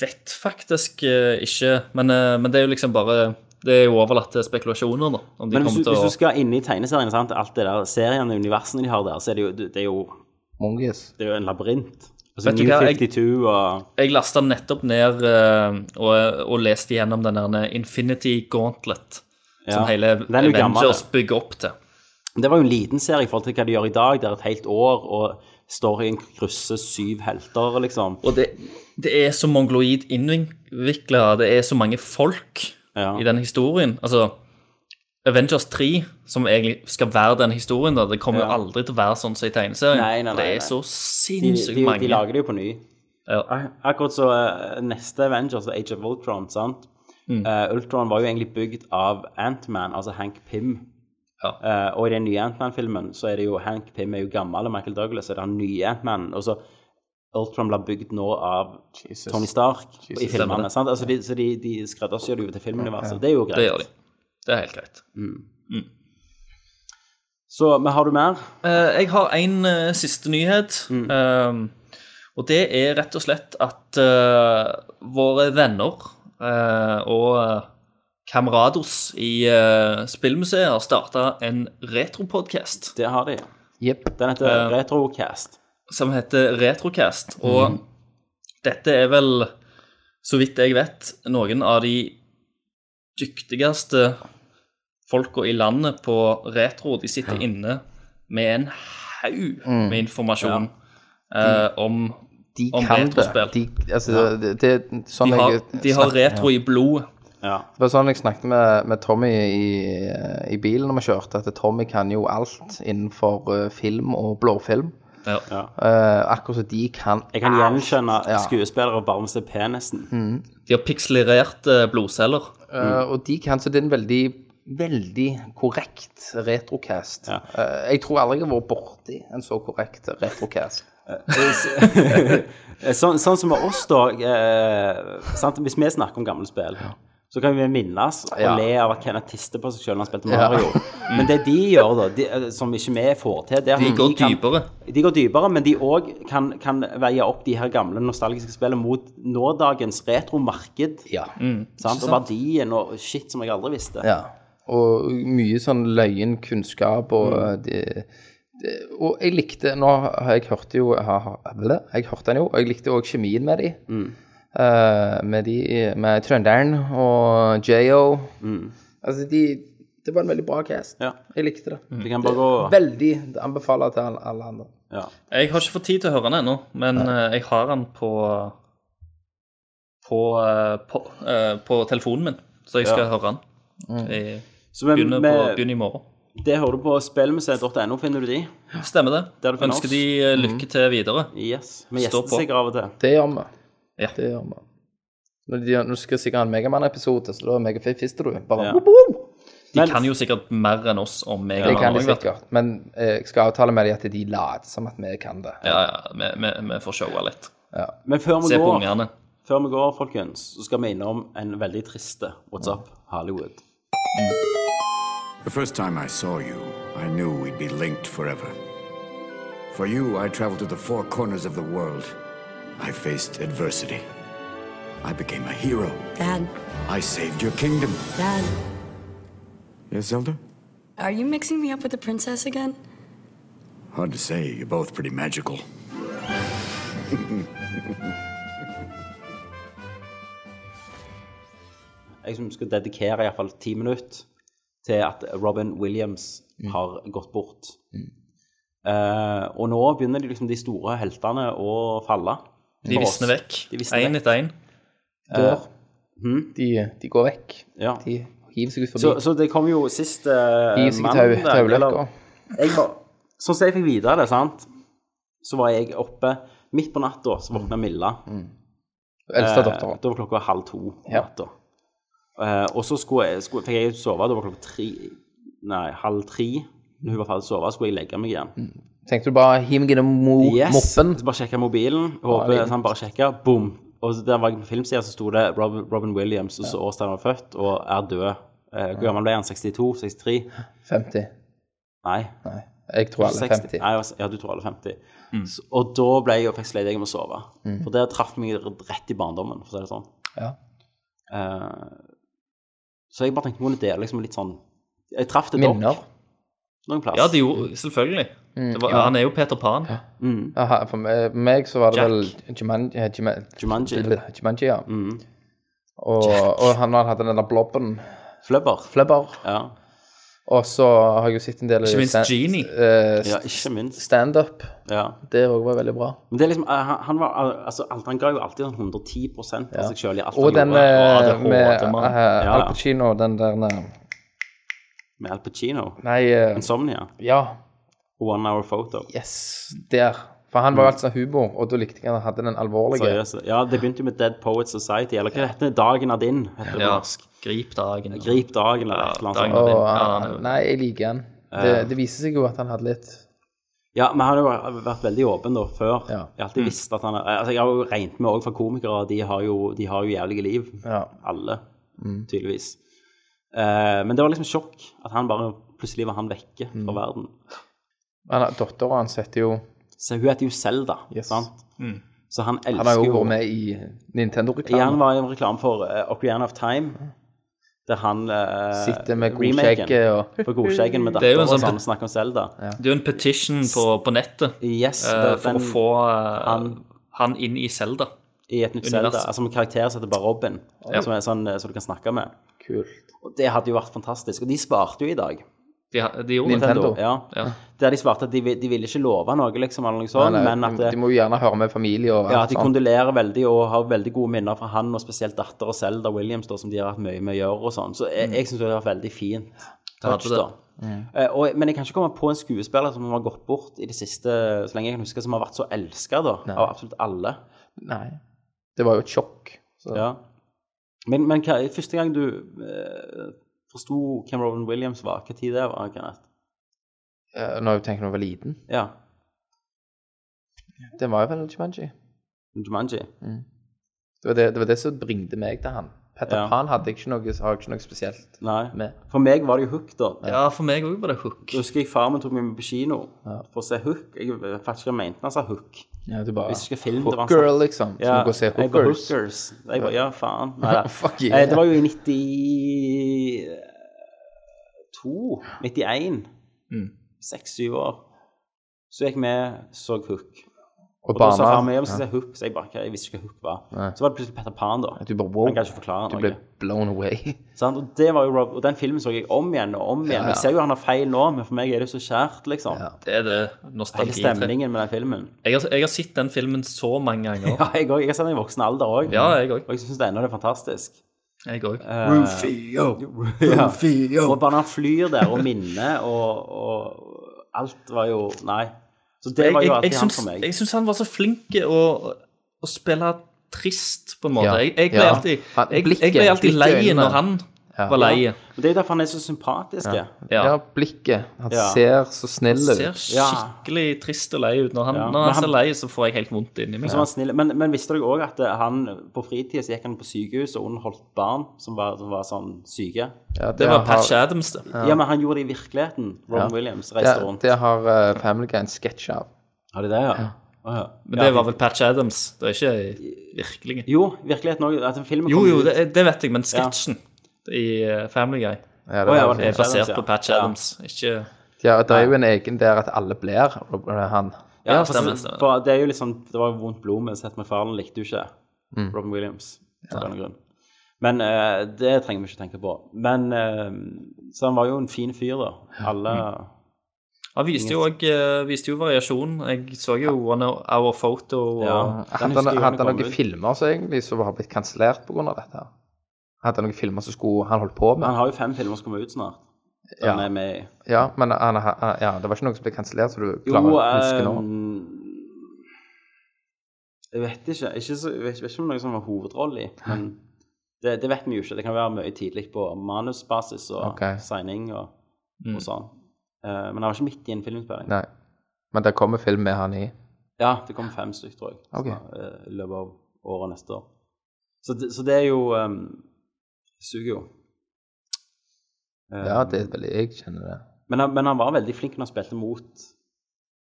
[SPEAKER 5] vet faktisk eh, ikke, men, eh, men det er jo liksom bare Det er jo overlatt til spekulasjoner, da. Om de
[SPEAKER 1] Men hvis
[SPEAKER 5] kommer
[SPEAKER 1] du, hvis
[SPEAKER 5] til å
[SPEAKER 1] du skal inn i tegneseriene, sant? alt det der seriene og universene de har der, så er det jo, det er jo,
[SPEAKER 6] Mongis.
[SPEAKER 1] det er jo en labyrint. Altså,
[SPEAKER 5] Vet du
[SPEAKER 1] New
[SPEAKER 5] hva, jeg-
[SPEAKER 1] 52 og
[SPEAKER 5] Jeg lasta nettopp ned eh, og, og leste gjennom den der Infinity Gauntlet, som
[SPEAKER 1] Ja.
[SPEAKER 5] hele
[SPEAKER 1] Den er jo gammel,
[SPEAKER 5] Avengers bygger opp til.
[SPEAKER 1] Det var jo en liten serie i forhold til hva de gjør i dag. Det er et helt år, og storyen krysser syv helter, liksom.
[SPEAKER 5] Og det, det er så mongoloid innvikla, det er så mange folk
[SPEAKER 1] Ja.
[SPEAKER 5] i den historien. Altså Avengers 3, som egentlig skal være den historien, da, det kommer jo
[SPEAKER 1] Ja.
[SPEAKER 5] aldri til å være sånn som i tegneserien.
[SPEAKER 1] Nei, nei, nei,
[SPEAKER 5] det
[SPEAKER 1] nei.
[SPEAKER 5] er så
[SPEAKER 1] De,
[SPEAKER 5] sinnssykt
[SPEAKER 1] de,
[SPEAKER 5] mange.
[SPEAKER 1] de lager det jo på ny.
[SPEAKER 5] ja.
[SPEAKER 1] Ak- Akkurat så eh, neste Avengers, Age of Ultron, sant?
[SPEAKER 5] Mm.
[SPEAKER 1] Eh, Ultron var jo egentlig bygd av Ant-Man, altså Hank Pym.
[SPEAKER 5] Ja.
[SPEAKER 1] Eh, og i den nye Ant-Man-filmen så er det jo Hank Pym er jo gammel, og Michael Douglas er den nye Ant-Man. Og så Ultron blir bygd nå av Tony Stark i
[SPEAKER 5] Stemmer
[SPEAKER 1] filmene.
[SPEAKER 5] det.
[SPEAKER 1] Sant? Altså, de, så de, de skreddersyr det jo til filmuniverset. Det er jo greit.
[SPEAKER 5] Det gjør de. Det er helt greit.
[SPEAKER 1] Så men har du mer?
[SPEAKER 5] Eh, jeg har en eh, siste nyhet. Eh, og det er rett og slett at eh, våre venner eh, og eh, kamerados i eh, spillmuseet har starta en retropodkast
[SPEAKER 1] Det har de.
[SPEAKER 6] Jepp.
[SPEAKER 1] Den heter Retrocast.
[SPEAKER 5] som heter Retrocast. Og dette er vel, så vidt jeg vet, noen av de dyktigste folka i landet på retro. De sitter inne med en haug med informasjon eh, om
[SPEAKER 6] De
[SPEAKER 5] Om
[SPEAKER 6] kan det.
[SPEAKER 5] retrospill.
[SPEAKER 6] De, altså, det, det, er sånn
[SPEAKER 5] de har,
[SPEAKER 6] jeg
[SPEAKER 5] de har
[SPEAKER 6] snakker-
[SPEAKER 5] retro i blodet.
[SPEAKER 1] Ja.
[SPEAKER 6] Det var sånn jeg snakket med, med Tommy i, i bilen når vi kjørte, at Tommy kan jo alt innenfor eh, film og blåfilm.
[SPEAKER 5] Ja.
[SPEAKER 6] Eh, akkurat som de kan
[SPEAKER 1] Jeg kan
[SPEAKER 6] alt.
[SPEAKER 1] gjenkjenne
[SPEAKER 6] Ja.
[SPEAKER 1] skuespillere og bare med å se penisen.
[SPEAKER 5] De har pikselererte blodceller.
[SPEAKER 6] Eh, og de kan, så det er en veldig, veldig korrekt retrocast.
[SPEAKER 1] Ja.
[SPEAKER 6] Eh, jeg tror aldri jeg har vært borti en så korrekt retrocast.
[SPEAKER 1] Sånn, sånn som med oss, da. Eh, sant? Hvis vi snakker om gamle spill, så kan vi minnes og
[SPEAKER 6] Ja.
[SPEAKER 1] le av at Kenneth tiste på seg selv når han spilte Mario. Men det de gjør, da, de, eh, som ikke vi får til det er at
[SPEAKER 5] Mm. De går
[SPEAKER 1] kan-
[SPEAKER 5] dypere.
[SPEAKER 1] De går dypere, men de òg kan, kan veie opp de her gamle nostalgiske spillene mot nådagens retromarked.
[SPEAKER 6] Ja.
[SPEAKER 1] Sant? Og verdien og shit som jeg aldri visste.
[SPEAKER 6] Ja. Og mye sånn løyen kunnskap og eh, det, det, Og jeg likte Nå har jeg hørt jo jeg, har, vel det, jeg hørte den jo, og jeg likte òg kjemien med de. Eh, med de med Trønderen og JO. Altså, de Det var en veldig bra cast.
[SPEAKER 1] Ja.
[SPEAKER 6] Jeg likte det.
[SPEAKER 1] De kan bare gå
[SPEAKER 6] Veldig det anbefaler jeg til alle, alle andre.
[SPEAKER 1] ja.
[SPEAKER 5] Jeg har ikke fått tid til å høre den ennå, men eh, jeg har den på på, eh, på, eh, på telefonen min, så jeg skal høre den. Jeg
[SPEAKER 1] Så vi,
[SPEAKER 5] begynner, på,
[SPEAKER 1] vi,
[SPEAKER 5] begynner i morgen.
[SPEAKER 1] det hører du på spillmuseet.no, finner du de?
[SPEAKER 5] Stemmer det.
[SPEAKER 1] Der du finner
[SPEAKER 5] Ønsker
[SPEAKER 1] oss.
[SPEAKER 5] de eh, lykke til videre.
[SPEAKER 1] Yes. Vi
[SPEAKER 5] Stå på.
[SPEAKER 1] gjester sikkert av og til.
[SPEAKER 6] Det gjør vi.
[SPEAKER 5] Ja.
[SPEAKER 6] Det gjør vi. Nå de- nå skal sikkert ha en Megaman-episode, så da er Megafister du. Bare
[SPEAKER 1] Ja.
[SPEAKER 6] whoop, whoop.
[SPEAKER 5] De
[SPEAKER 1] Men-
[SPEAKER 5] kan jo sikkert mer enn oss om meg.
[SPEAKER 6] Det kan de sikkert. Men eh, jeg skal avtale med dem at de later som at vi kan det.
[SPEAKER 5] Ja, ja, vi, vi, vi får showa litt.
[SPEAKER 1] Men før vi,
[SPEAKER 5] Se på
[SPEAKER 1] går,
[SPEAKER 5] ungene.
[SPEAKER 1] før vi går, folkens, så skal vi innom en veldig triste What's Up Hollywood.
[SPEAKER 8] The first time I saw you, I knew we'd be linked forever. For you, I traveled to the four corners of the world. I faced adversity. I became a hero.
[SPEAKER 9] Dad,
[SPEAKER 8] I saved your kingdom.
[SPEAKER 9] Dad,
[SPEAKER 8] Yes, Zelda?
[SPEAKER 9] are you mixing me up with the princess again?
[SPEAKER 8] Hard to say. You're both pretty magical.
[SPEAKER 1] Jeg som skal dedikere iallfall ti minutter til at Robin Williams
[SPEAKER 6] Mm.
[SPEAKER 1] har gått bort. Eh, og nå begynner de, liksom, de store heltene å falle.
[SPEAKER 5] De
[SPEAKER 1] For oss.
[SPEAKER 5] visner vekk.
[SPEAKER 1] De visner
[SPEAKER 5] Én
[SPEAKER 1] vekk.
[SPEAKER 5] etter én.
[SPEAKER 6] Dør. De, de går vekk.
[SPEAKER 1] Ja.
[SPEAKER 6] De hiver seg ut forbi.
[SPEAKER 1] Så, så det kom jo sist uh,
[SPEAKER 6] hiver seg i tau- tauløkka.
[SPEAKER 1] jeg var, sånn som jeg fikk vite det, sant, så var jeg oppe midt på natta, så
[SPEAKER 6] Mm.
[SPEAKER 1] våkna Milla.
[SPEAKER 6] Eldste
[SPEAKER 1] Eh,
[SPEAKER 6] datteren.
[SPEAKER 1] Da var klokka halv to på
[SPEAKER 6] Ja.
[SPEAKER 1] natta. Eh, og så skulle jeg, skulle, fikk jeg sove, da var klokka tre Nei, halv tre. Når hun var ferdig å sove, skulle jeg legge meg igjen.
[SPEAKER 6] Tenkte du bare hiv meg i den mo
[SPEAKER 1] Yes.
[SPEAKER 6] moppen?
[SPEAKER 1] Så bare sjekka mobilen. Håper
[SPEAKER 6] Ja,
[SPEAKER 1] så han bare sjekka. Boom. Og så der var jeg på filmsida, så sto det Robin, Robin Williams, og så årsdagen han var født, og er død. Eh, hvor gammel ble han? 62? 63?
[SPEAKER 6] 50.
[SPEAKER 1] Nei.
[SPEAKER 6] Nei, jeg tror alle er
[SPEAKER 1] 60.
[SPEAKER 6] 50.
[SPEAKER 1] Nei, altså, ja, du tror alle 50.
[SPEAKER 5] Mm.
[SPEAKER 1] Så, og da ble jeg jo faktisk lei deg med å sove. For der traff meg rett i barndommen, for å si det sånn.
[SPEAKER 6] Mm. Ja.
[SPEAKER 1] Eh, så jeg bare tenkte må jeg dele liksom litt sånn Jeg traff det dere
[SPEAKER 6] Minner. Mm.
[SPEAKER 1] noen plass.
[SPEAKER 5] Ja, det gjorde Selvfølgelig. Det var, Han er jo Peter Pan.
[SPEAKER 1] Mm.
[SPEAKER 6] Aha, for meg, meg så var det
[SPEAKER 5] Jack.
[SPEAKER 6] vel Juman, eh, Juman,
[SPEAKER 1] Jumanji. Mm.
[SPEAKER 6] Jumanji, ja. Og, og han, han hadde den der blobben,
[SPEAKER 1] Flubber.
[SPEAKER 6] flubber.
[SPEAKER 1] Ja.
[SPEAKER 6] Og så har jeg jo sett en del
[SPEAKER 5] Ikke minst
[SPEAKER 6] stand-
[SPEAKER 5] Genie.
[SPEAKER 6] eh,
[SPEAKER 1] ja, ikke minst.
[SPEAKER 6] Stand-up.
[SPEAKER 1] Ja.
[SPEAKER 6] Det òg var veldig bra.
[SPEAKER 1] Men det er liksom eh, Han, han var eh, Altså, alt- han ga jo alltid sånn 110 av seg sjøl i alt
[SPEAKER 6] Og
[SPEAKER 1] han
[SPEAKER 6] den
[SPEAKER 1] gjorde.
[SPEAKER 5] og
[SPEAKER 6] eh,
[SPEAKER 5] ADHD,
[SPEAKER 6] med
[SPEAKER 5] mann.
[SPEAKER 6] eh,
[SPEAKER 1] Ja,
[SPEAKER 6] Al
[SPEAKER 1] ja.
[SPEAKER 6] Pacino, den der eh,
[SPEAKER 1] Med Al Pacino.
[SPEAKER 6] Nei, eh,
[SPEAKER 1] Insomnia.
[SPEAKER 6] ja.
[SPEAKER 1] One Hour Photo.
[SPEAKER 6] Yes, der. For han var jo altså humor, og da likte jeg han hadde den alvorlige.
[SPEAKER 1] Mm. Seriøst. Ja, det begynte jo med Dead Poets Society, eller hva heter det? Dagen er din, heter det på
[SPEAKER 5] Ja.
[SPEAKER 1] norsk.
[SPEAKER 5] Grip dagen.
[SPEAKER 1] Grip dagen, eller et eller annet
[SPEAKER 5] Dagen
[SPEAKER 1] sånt.
[SPEAKER 5] er
[SPEAKER 6] Og,
[SPEAKER 5] din.
[SPEAKER 6] han-
[SPEAKER 5] Ja, han er-
[SPEAKER 6] nei, jeg liker han. Det, det viser seg jo at han hadde litt
[SPEAKER 1] Ja, men han har jo vært veldig åpen da før.
[SPEAKER 6] Ja. Mm.
[SPEAKER 1] Jeg har alltid visst at han er Altså, jeg har jo regnet med òg fra komikere, de har jo, de har jo jævlige liv.
[SPEAKER 6] Ja. Mm.
[SPEAKER 1] Alle, tydeligvis. Eh, men det var liksom sjokk at han bare plutselig var han vekke
[SPEAKER 6] Mm.
[SPEAKER 1] fra verden.
[SPEAKER 6] han, Dattera hans heter jo
[SPEAKER 1] Så hun heter jo Selda,
[SPEAKER 6] Yes.
[SPEAKER 1] sant? Så han elsker
[SPEAKER 6] Han har jo
[SPEAKER 1] jo
[SPEAKER 6] vært med i
[SPEAKER 1] Ja, han
[SPEAKER 6] Nintendo-reklame.
[SPEAKER 1] var i en reklame for eh, Ocarina of Time, der han eh,
[SPEAKER 6] Sitter med eh,
[SPEAKER 1] remaken
[SPEAKER 6] godskjegget og
[SPEAKER 1] På godskjeggen med
[SPEAKER 5] Det er jo
[SPEAKER 1] datteren
[SPEAKER 5] en
[SPEAKER 1] og
[SPEAKER 5] sånn-
[SPEAKER 1] sånn, snakker om Selda.
[SPEAKER 5] Det er jo en petition på, på nettet
[SPEAKER 1] Yes,
[SPEAKER 5] eh,
[SPEAKER 1] det-
[SPEAKER 5] for
[SPEAKER 1] den-
[SPEAKER 5] å få eh, han,
[SPEAKER 1] han-
[SPEAKER 5] inn i Selda.
[SPEAKER 1] i et nytt
[SPEAKER 5] Univers.
[SPEAKER 1] Zelda. Altså en karakter som heter bare Robin,
[SPEAKER 5] Ja.
[SPEAKER 1] som er sånn eh, som du kan snakke med.
[SPEAKER 6] Kult.
[SPEAKER 1] Og det hadde jo vært fantastisk. Og de svarte jo i dag.
[SPEAKER 5] De, de gjorde det.
[SPEAKER 6] Nintendo.
[SPEAKER 1] Ja.
[SPEAKER 5] Ja.
[SPEAKER 1] Der de svarte at de, vil- de ville ikke love noe, liksom, eller noe sånt,
[SPEAKER 6] Nei,
[SPEAKER 1] men at,
[SPEAKER 6] de,
[SPEAKER 1] det-
[SPEAKER 6] de må sånn. jo gjerne høre med familie og
[SPEAKER 1] ja, at de
[SPEAKER 6] sånt.
[SPEAKER 1] kondolerer veldig og har veldig gode minner fra han, og spesielt datter og Selda Williams, da, som de har hatt mye med å gjøre og sånn. Så jeg,
[SPEAKER 6] Mm.
[SPEAKER 1] jeg syns det hadde vært veldig fint.
[SPEAKER 5] hadde
[SPEAKER 1] Touch,
[SPEAKER 5] det.
[SPEAKER 1] da. Eh, og, men jeg kan ikke komme på en skuespiller som har gått bort i det siste, så lenge jeg kan huske, som har vært så elska, da, av absolutt alle.
[SPEAKER 6] Nei. Det var jo et sjokk. Så.
[SPEAKER 1] Ja. Men, men hva, første gang du eh, forsto hvem Robin Williams var, hva tid det var, Kenneth?
[SPEAKER 6] Eh, Når jeg tenker når jeg var liten.
[SPEAKER 1] Ja,
[SPEAKER 6] Det var jo vel Jumanji.
[SPEAKER 1] Jumanji.
[SPEAKER 6] Det var det, det, var det som bringte meg til han. Petter
[SPEAKER 1] Ja.
[SPEAKER 6] Pan hadde jeg ikke noe, har jeg ikke noe spesielt.
[SPEAKER 1] Nei.
[SPEAKER 6] Med.
[SPEAKER 1] For meg var det jo Hook, da.
[SPEAKER 5] Ja, for meg òg var det hook.
[SPEAKER 1] Jeg husker jeg faren min tok meg med på kino for å se Hook. Jeg vet ikke hva han mente når han sa Hook.
[SPEAKER 6] Ja, du bare
[SPEAKER 1] Hvis ikke film, det var en
[SPEAKER 6] Hooker,
[SPEAKER 1] sånn-
[SPEAKER 6] liksom. Som å gå og se
[SPEAKER 1] jeg bare,
[SPEAKER 6] Hookers.
[SPEAKER 1] hookers. Jeg bare, ja, faen. Nei, da.
[SPEAKER 6] Fuck yeah.
[SPEAKER 1] Eh, det var jo i 92 91.
[SPEAKER 6] Mm.
[SPEAKER 1] Seks-syv år. Så gikk vi, så Hook.
[SPEAKER 6] Og
[SPEAKER 1] Og da sa faren
[SPEAKER 6] barna
[SPEAKER 1] min jeg skal se Hook, så jeg bare, «Hva? jeg visste ikke hva Hook var.
[SPEAKER 6] Nei.
[SPEAKER 1] Så var det plutselig Petter Pan, da.
[SPEAKER 6] Du bare wow.
[SPEAKER 1] Han kan ikke forklare
[SPEAKER 6] Du
[SPEAKER 1] noe.
[SPEAKER 6] ble blown away.
[SPEAKER 1] Sant? Og, det var jo Rob, og den filmen så jeg om igjen og om igjen.
[SPEAKER 6] ja.
[SPEAKER 1] Jeg ser jo han har feil nå, men for meg er det jo så kjært, liksom.
[SPEAKER 6] Ja.
[SPEAKER 5] Det er det
[SPEAKER 1] Hele
[SPEAKER 5] nostalgi til.
[SPEAKER 1] stemningen med den filmen.
[SPEAKER 5] Jeg har, jeg har sett den filmen så mange ganger.
[SPEAKER 1] Ja, jeg, også, jeg har sett den i voksen alder òg,
[SPEAKER 5] Ja, jeg òg.
[SPEAKER 1] og jeg syns det ennå er fantastisk.
[SPEAKER 5] Jeg òg.
[SPEAKER 1] Eh, Ja. Og bare når han flyr der, og minnet og, og alt var jo Nei. Så det
[SPEAKER 5] Jeg,
[SPEAKER 1] var
[SPEAKER 5] jeg,
[SPEAKER 1] jo
[SPEAKER 5] jeg,
[SPEAKER 1] alltid han
[SPEAKER 5] syns,
[SPEAKER 1] for meg.
[SPEAKER 5] jeg syns han var så flink å, å spille trist, på en måte.
[SPEAKER 6] Ja.
[SPEAKER 5] Jeg, jeg ble
[SPEAKER 6] Ja.
[SPEAKER 5] alltid,
[SPEAKER 6] Han-
[SPEAKER 5] jeg, jeg
[SPEAKER 6] blikket-
[SPEAKER 5] ble alltid
[SPEAKER 6] blikket i
[SPEAKER 5] lei
[SPEAKER 6] øynene.
[SPEAKER 5] når han var lei.
[SPEAKER 1] Ja. Og det er derfor han er så sympatisk. Ja.
[SPEAKER 5] Ja.
[SPEAKER 6] Ja, blikket. Han
[SPEAKER 1] Ja.
[SPEAKER 6] ser så snill ut.
[SPEAKER 5] Ser
[SPEAKER 1] Ja.
[SPEAKER 5] skikkelig trist og lei ut. Når han,
[SPEAKER 1] Ja.
[SPEAKER 5] når
[SPEAKER 1] Men
[SPEAKER 5] han
[SPEAKER 1] han-
[SPEAKER 5] ser lei, så får jeg helt vondt inni meg.
[SPEAKER 1] Som var snill. Men, men visste dere òg at eh, han på fritida så gikk han på sykehus og underholdt barn som var, som var sånn syke?
[SPEAKER 6] Ja,
[SPEAKER 5] Det var
[SPEAKER 6] har-
[SPEAKER 5] Patch Adams, det.
[SPEAKER 1] Ja. men han gjorde det i virkeligheten. Robin Williams reiste
[SPEAKER 6] Det,
[SPEAKER 1] rundt.
[SPEAKER 6] det har eh, Family Guy en sketsj av.
[SPEAKER 1] Har de det, ja? Å, ja.
[SPEAKER 5] Men det var vel Patch Adams. Det er ikke i virkeligheten.
[SPEAKER 1] Jo, virkeligheten òg. At filmen
[SPEAKER 5] Jo,
[SPEAKER 1] kom
[SPEAKER 5] jo,
[SPEAKER 1] ut.
[SPEAKER 5] det, det vet jeg, men sketsjen i eh, Family Guy
[SPEAKER 6] Ja, det,
[SPEAKER 1] Å, ja,
[SPEAKER 6] var-
[SPEAKER 1] var
[SPEAKER 5] er
[SPEAKER 1] det- Patch
[SPEAKER 5] basert
[SPEAKER 1] Adams, ja.
[SPEAKER 5] på Patch
[SPEAKER 1] Ja.
[SPEAKER 5] Adams. Ikke
[SPEAKER 6] ja, det er jo en egen der at alle blir Rob- eh, han.
[SPEAKER 1] Ja,
[SPEAKER 5] Ja,
[SPEAKER 1] for-
[SPEAKER 5] stemmer, stemmer.
[SPEAKER 1] For det er jo litt sånn, det var jo vondt blod, men Seth MacFarlane likte jo ikke
[SPEAKER 5] Mm.
[SPEAKER 1] Robin Williams. av en eller annen grunn. Men eh, det trenger vi ikke tenke på. Men eh, Så han var jo en fin fyr, da. Alle
[SPEAKER 5] Han viste jo, også, eh, viste jo variasjon. Jeg så jo One Hour Photo. Og,
[SPEAKER 1] Ja. Den
[SPEAKER 6] Hadde
[SPEAKER 1] husker
[SPEAKER 6] han,
[SPEAKER 1] jeg
[SPEAKER 6] hadde
[SPEAKER 1] når
[SPEAKER 6] han
[SPEAKER 1] den kom
[SPEAKER 6] noen
[SPEAKER 1] ut.
[SPEAKER 6] filmer så egentlig som har blitt kansellert pga. dette? her? Hadde han noen filmer som skulle han holdt
[SPEAKER 5] Mm.
[SPEAKER 6] på
[SPEAKER 1] Han
[SPEAKER 6] med?
[SPEAKER 1] har jo fem filmer som kommer ut snart. som
[SPEAKER 6] Ja.
[SPEAKER 1] er med i.
[SPEAKER 6] Ja, men eh, han, han, ja, det var ikke noe som ble kansellert, så du
[SPEAKER 1] Jo, eh,
[SPEAKER 6] klarer å
[SPEAKER 5] eh,
[SPEAKER 6] huske nå?
[SPEAKER 1] ehm, Jeg vet ikke. ikke så, jeg vet jeg vet ikke om noen som var hovedrolle i. Men det, det vet vi jo ikke. Det kan være mye tidlig på manusbasis og
[SPEAKER 6] Ok. Mm.
[SPEAKER 1] signing og, og sånn. Eh, men han var ikke midt i en filminnspilling.
[SPEAKER 6] Nei. Men det kommer film med han i.
[SPEAKER 1] Ja, det kommer fem stykker, tror jeg,
[SPEAKER 6] Ok.
[SPEAKER 1] så, eh, i løpet av året neste år. Så det, så det er jo ehm, Suger jo. Eh,
[SPEAKER 6] Ja, det er vel jeg kjenner det.
[SPEAKER 1] Men han, men han var veldig flink når han spilte mot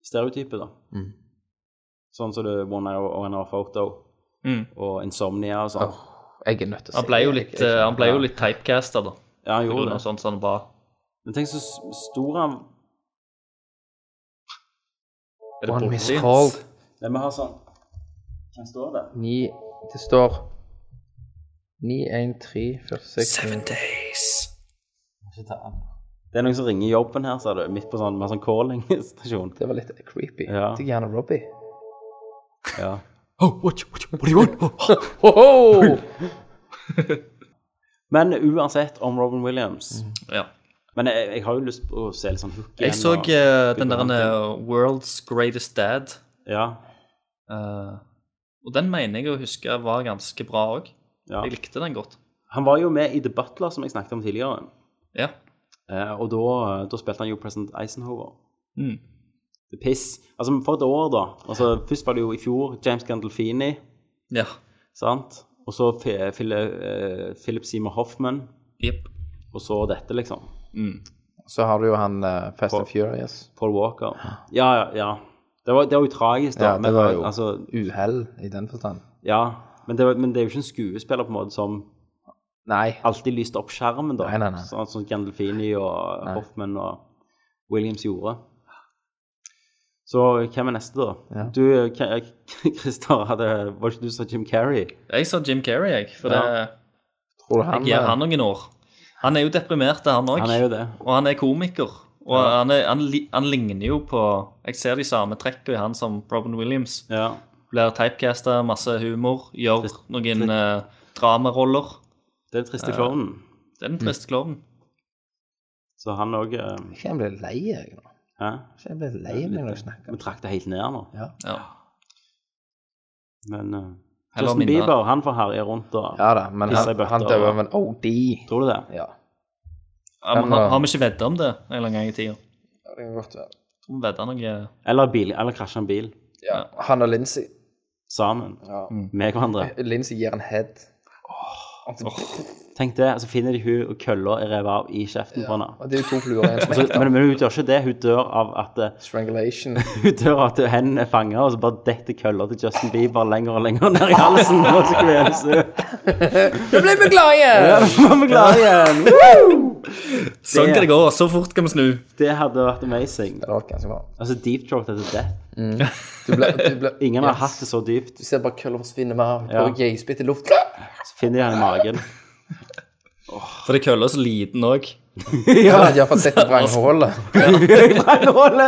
[SPEAKER 1] stereotypet, da.
[SPEAKER 6] Mm.
[SPEAKER 1] Sånn som det One Hour og Hour Photo
[SPEAKER 5] Mm.
[SPEAKER 1] og Insomnia og sånn.
[SPEAKER 6] Jeg er nødt til å
[SPEAKER 5] Han
[SPEAKER 6] se
[SPEAKER 5] ble jo
[SPEAKER 6] det.
[SPEAKER 5] litt,
[SPEAKER 6] Jeg- jeg-
[SPEAKER 5] eh, han ble jo litt typecasta, da.
[SPEAKER 1] Ja, han
[SPEAKER 5] På grunn
[SPEAKER 1] gjorde
[SPEAKER 5] av
[SPEAKER 1] det.
[SPEAKER 5] sånn som han var.
[SPEAKER 1] Men tenk så s- stor han
[SPEAKER 5] Er det
[SPEAKER 6] One Miss
[SPEAKER 5] Borderlands?
[SPEAKER 6] Call.
[SPEAKER 1] Nei, vi har sånn Hvem står det?
[SPEAKER 6] Ni Det står 91346
[SPEAKER 5] Seven Days.
[SPEAKER 1] Det er noen som ringer i jobben her, sa du. Midt på sånn, med sånn calling-stasjon.
[SPEAKER 6] Det var litt creepy.
[SPEAKER 1] Ja.
[SPEAKER 6] Det er gjerne Robbie. Oh,
[SPEAKER 1] Ja.
[SPEAKER 6] Ho-ho!
[SPEAKER 1] Men uansett om Robin Williams
[SPEAKER 5] Ja.
[SPEAKER 1] Men jeg, jeg har jo lyst på å se litt sånn hook igjen.
[SPEAKER 5] Mm. Jeg så
[SPEAKER 1] og-
[SPEAKER 5] eh, den
[SPEAKER 1] Bygger
[SPEAKER 5] der
[SPEAKER 1] han
[SPEAKER 5] eh, World's Greatest Dad.
[SPEAKER 1] Ja.
[SPEAKER 5] eh, og den mener jeg å huske var ganske bra òg.
[SPEAKER 1] ja.
[SPEAKER 5] Jeg likte den godt.
[SPEAKER 1] Han var jo med i The Butler, som jeg snakket om tidligere.
[SPEAKER 5] Ja.
[SPEAKER 1] Eh, og da, da spilte han jo President Eisenhower.
[SPEAKER 5] Mm.
[SPEAKER 1] Det er piss. Altså, for et år, da. Altså, først var det jo i fjor James Gandolfini,
[SPEAKER 5] ja.
[SPEAKER 1] sant? Og så Fe- Phil- eh, Philip Seymour Hoffman,
[SPEAKER 5] Jepp.
[SPEAKER 1] og så dette, liksom.
[SPEAKER 6] Så har du jo han eh, Fast and Furious.
[SPEAKER 1] Paul Walker. Ja, ja. ja. Det var, det var jo tragisk, da.
[SPEAKER 6] Ja, det var jo-
[SPEAKER 1] Altså,
[SPEAKER 6] Uhell i den forstand.
[SPEAKER 1] ja. Men det, var, men det er jo ikke en skuespiller på en måte som
[SPEAKER 6] Nei.
[SPEAKER 1] alltid lyste opp skjermen, da.
[SPEAKER 6] Nei, nei, nei.
[SPEAKER 1] Sånn som Gandolfini og Hoffman og Williams gjorde. Så hvem er neste, da?
[SPEAKER 6] Ja.
[SPEAKER 1] Du, eh, K- Christer, hadde, var ikke du som Jim Carrey?
[SPEAKER 5] Jeg sa Jim Carrey, jeg. For
[SPEAKER 1] Ja. eh,
[SPEAKER 5] det
[SPEAKER 6] Tror du han, eh,
[SPEAKER 5] jeg gir han noen år. Han er jo deprimert, han òg.
[SPEAKER 1] Han er jo det.
[SPEAKER 5] Og han er komiker. Og han, er, han, li- han ligner jo på Jeg ser de samme trekkene i han som Robin Williams.
[SPEAKER 1] Ja.
[SPEAKER 5] Blir typecasta, masse humor, gjør noen eh, dramaroller.
[SPEAKER 1] Det er den triste klovnen. Mm.
[SPEAKER 5] Det er den triste klovnen.
[SPEAKER 1] Så han òg
[SPEAKER 6] Ikke jeg blir lei jeg nå.
[SPEAKER 1] Hæ?
[SPEAKER 6] Ikke jeg blir lei meg når jeg snakker.
[SPEAKER 1] Vi trakk det helt ned nå.
[SPEAKER 5] Ja.
[SPEAKER 1] Men eh,
[SPEAKER 5] Heller
[SPEAKER 1] Justin
[SPEAKER 5] minne-
[SPEAKER 1] Bieber, han får herje rundt og
[SPEAKER 6] Ja da, men
[SPEAKER 1] Pisser i
[SPEAKER 6] han,
[SPEAKER 1] bøtter
[SPEAKER 6] han
[SPEAKER 1] og-
[SPEAKER 6] døde av en OD.
[SPEAKER 1] Tror du det?
[SPEAKER 6] Ja.
[SPEAKER 5] Ja, men har, har vi ikke vedda om det en eller annen gang i tida?
[SPEAKER 6] Det kan godt være.
[SPEAKER 5] Tror vi vedda noe eh,
[SPEAKER 1] Eller, bil, eller krasja en bil
[SPEAKER 6] Ja. Han og Lincy
[SPEAKER 1] sammen med hverandre.
[SPEAKER 6] Lincy gir en head.
[SPEAKER 1] Tenk det, så finner de hun og kølla er revet av i kjeften på henne.
[SPEAKER 6] Og det er jo to fluer i en
[SPEAKER 1] Så,
[SPEAKER 6] smekk. da.
[SPEAKER 1] men, men hun gjør ikke det. Hun dør av at eh,
[SPEAKER 6] Strangulation.
[SPEAKER 1] Hun dør av at hendene er fanga, og så bare detter kølla til Justin Bieber lenger og lenger ned i halsen. Og så kveles hun.
[SPEAKER 6] Nå ble vi glad igjen!
[SPEAKER 1] Så er vi glad igjen.
[SPEAKER 5] Sånn kan det gå. Så fort kan vi snu.
[SPEAKER 1] Det hadde vært amazing.
[SPEAKER 6] Det var ganske bra.
[SPEAKER 1] Altså deep throat etter death.
[SPEAKER 6] Du ble, du ble,
[SPEAKER 1] Ingen har
[SPEAKER 6] Yes.
[SPEAKER 1] hatt det så dypt.
[SPEAKER 6] Du ser bare kølla forsvinne mer.
[SPEAKER 1] Ja.
[SPEAKER 6] Og geisbitt i luft.
[SPEAKER 1] Så finner de henne i magen.
[SPEAKER 5] For det køller så liten òg.
[SPEAKER 6] Han hadde iallfall sett vrangholdet.
[SPEAKER 1] Rolle.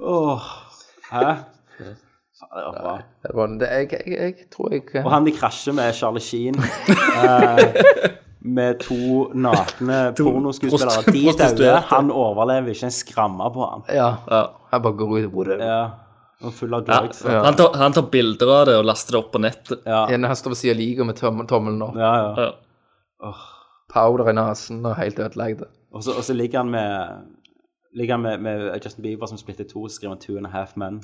[SPEAKER 1] Åh, Hæ? Ja, det var bra.
[SPEAKER 6] Det var- det- Jeg, jeg, jeg tror jeg
[SPEAKER 1] Og han de krasjer med Charlie Sheen. Eh, med to nakne pornoskuespillere. De
[SPEAKER 5] prostituerte.
[SPEAKER 1] dauer. Han overlever ikke en skramme på han.
[SPEAKER 6] Ja. Jeg bare går ut og bor der.
[SPEAKER 1] Ja. Og full av
[SPEAKER 5] Ja.
[SPEAKER 1] drugs. Ja,
[SPEAKER 5] Han, tar, han tar bilder av det og laster det opp på nettet.
[SPEAKER 1] ja, ja.
[SPEAKER 6] En han står ved siden av liket med tommel, tommelen opp,
[SPEAKER 1] ja.
[SPEAKER 5] Ja.
[SPEAKER 6] powder i nesen og helt ødelagt.
[SPEAKER 1] Og så- og så ligger han med Ligger han med, med Justin Bieber som splitter i to, så skriver han 'Two and a Half Men'.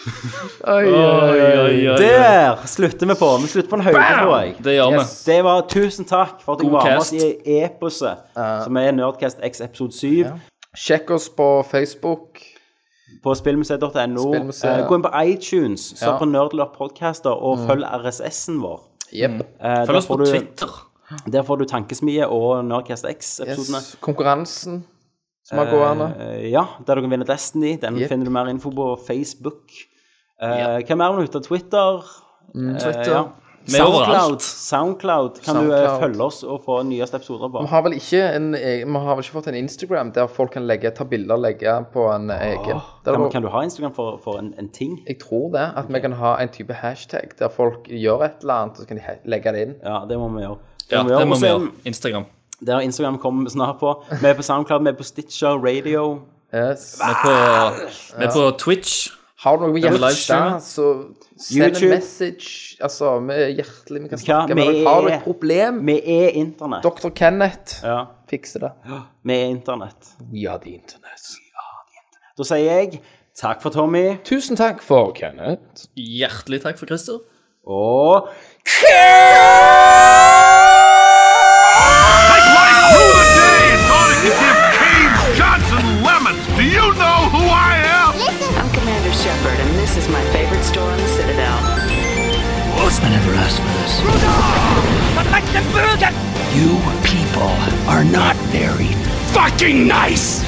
[SPEAKER 6] Oi, oi,
[SPEAKER 5] Oi, oi, oi, oi.
[SPEAKER 1] Der slutter vi på! Vi slutter på en høyde, tror jeg.
[SPEAKER 5] Det gjør vi.
[SPEAKER 6] Yes.
[SPEAKER 1] Det var Tusen takk for at dere
[SPEAKER 5] God
[SPEAKER 1] var med oss
[SPEAKER 5] cast.
[SPEAKER 1] i eposet, som er Nerdcast X episode 7.
[SPEAKER 6] Sjekk oss på Facebook.
[SPEAKER 1] På spillmuseet.no.
[SPEAKER 6] Spillmuseet.
[SPEAKER 1] Eh, Gå inn på iTunes, søk
[SPEAKER 6] Ja. Mm.
[SPEAKER 1] på Nerdlurt Podcaster, og følg RSS-en vår.
[SPEAKER 6] Yep.
[SPEAKER 1] Eh, der
[SPEAKER 5] Følg oss
[SPEAKER 1] får
[SPEAKER 5] på
[SPEAKER 1] du-
[SPEAKER 5] Twitter.
[SPEAKER 1] Der får du Tankesmie og Nerdcast X-episodene.
[SPEAKER 6] Yes. Konkurransen som er gående.
[SPEAKER 1] Eh, ja, der du kan vinne Destiny. Den
[SPEAKER 6] Yep.
[SPEAKER 1] finner du mer info på Facebook. Eh, Hvem er du ute av Twitter?
[SPEAKER 6] Twitter.
[SPEAKER 1] ja.
[SPEAKER 5] Vi er
[SPEAKER 1] Mm, Soundcloud.
[SPEAKER 5] overalt.
[SPEAKER 1] Soundcloud. Kan du eh,
[SPEAKER 6] Soundcloud.
[SPEAKER 1] følge oss og få nyeste episoder på?
[SPEAKER 6] Vi har vel ikke en egen, vi har vel ikke fått en Instagram der folk kan legge, ta bilder og legge på en egen. Der,
[SPEAKER 1] Kan, kan du ha Instagram for, for en, en ting?
[SPEAKER 6] jeg tror det, at vi kan ha en type hashtag der folk gjør et eller annet, og så kan de he- legge det inn.
[SPEAKER 1] Ja, det må vi gjøre.
[SPEAKER 5] Ja, det må
[SPEAKER 1] Og så
[SPEAKER 5] vi
[SPEAKER 1] er-
[SPEAKER 5] gjøre. Instagram.
[SPEAKER 1] Der Instagram kommer snart på. Vi er på SoundCloud, vi er på Stitcher Radio.
[SPEAKER 6] Yes.
[SPEAKER 5] Vi er på, vi er på
[SPEAKER 1] Ah.
[SPEAKER 5] Twitch.
[SPEAKER 6] Har du noe med
[SPEAKER 5] Der vi
[SPEAKER 6] hjertet,
[SPEAKER 5] livestreamer.
[SPEAKER 6] så send
[SPEAKER 1] YouTube.
[SPEAKER 6] en message. Altså, vi er hjertelig, vi kan snakke
[SPEAKER 1] vi
[SPEAKER 6] med deg. Har du
[SPEAKER 1] er-
[SPEAKER 6] et problem?
[SPEAKER 1] Vi er internett.
[SPEAKER 6] Dr. Kenneth
[SPEAKER 1] Ja,
[SPEAKER 6] fikser det.
[SPEAKER 1] vi er internett.
[SPEAKER 6] We are the internet.
[SPEAKER 1] Da sier jeg takk for Tommy
[SPEAKER 6] Tusen takk for Kenneth.
[SPEAKER 5] Hjertelig takk for Christer.
[SPEAKER 1] og
[SPEAKER 2] Like life through the day and thought it could give Cave Johnson lemons. Do you know who I am?
[SPEAKER 3] I'm Commander Shepard, and this is my favorite store on the Citadel.
[SPEAKER 4] Osman never asked for this. You people are not very fucking nice.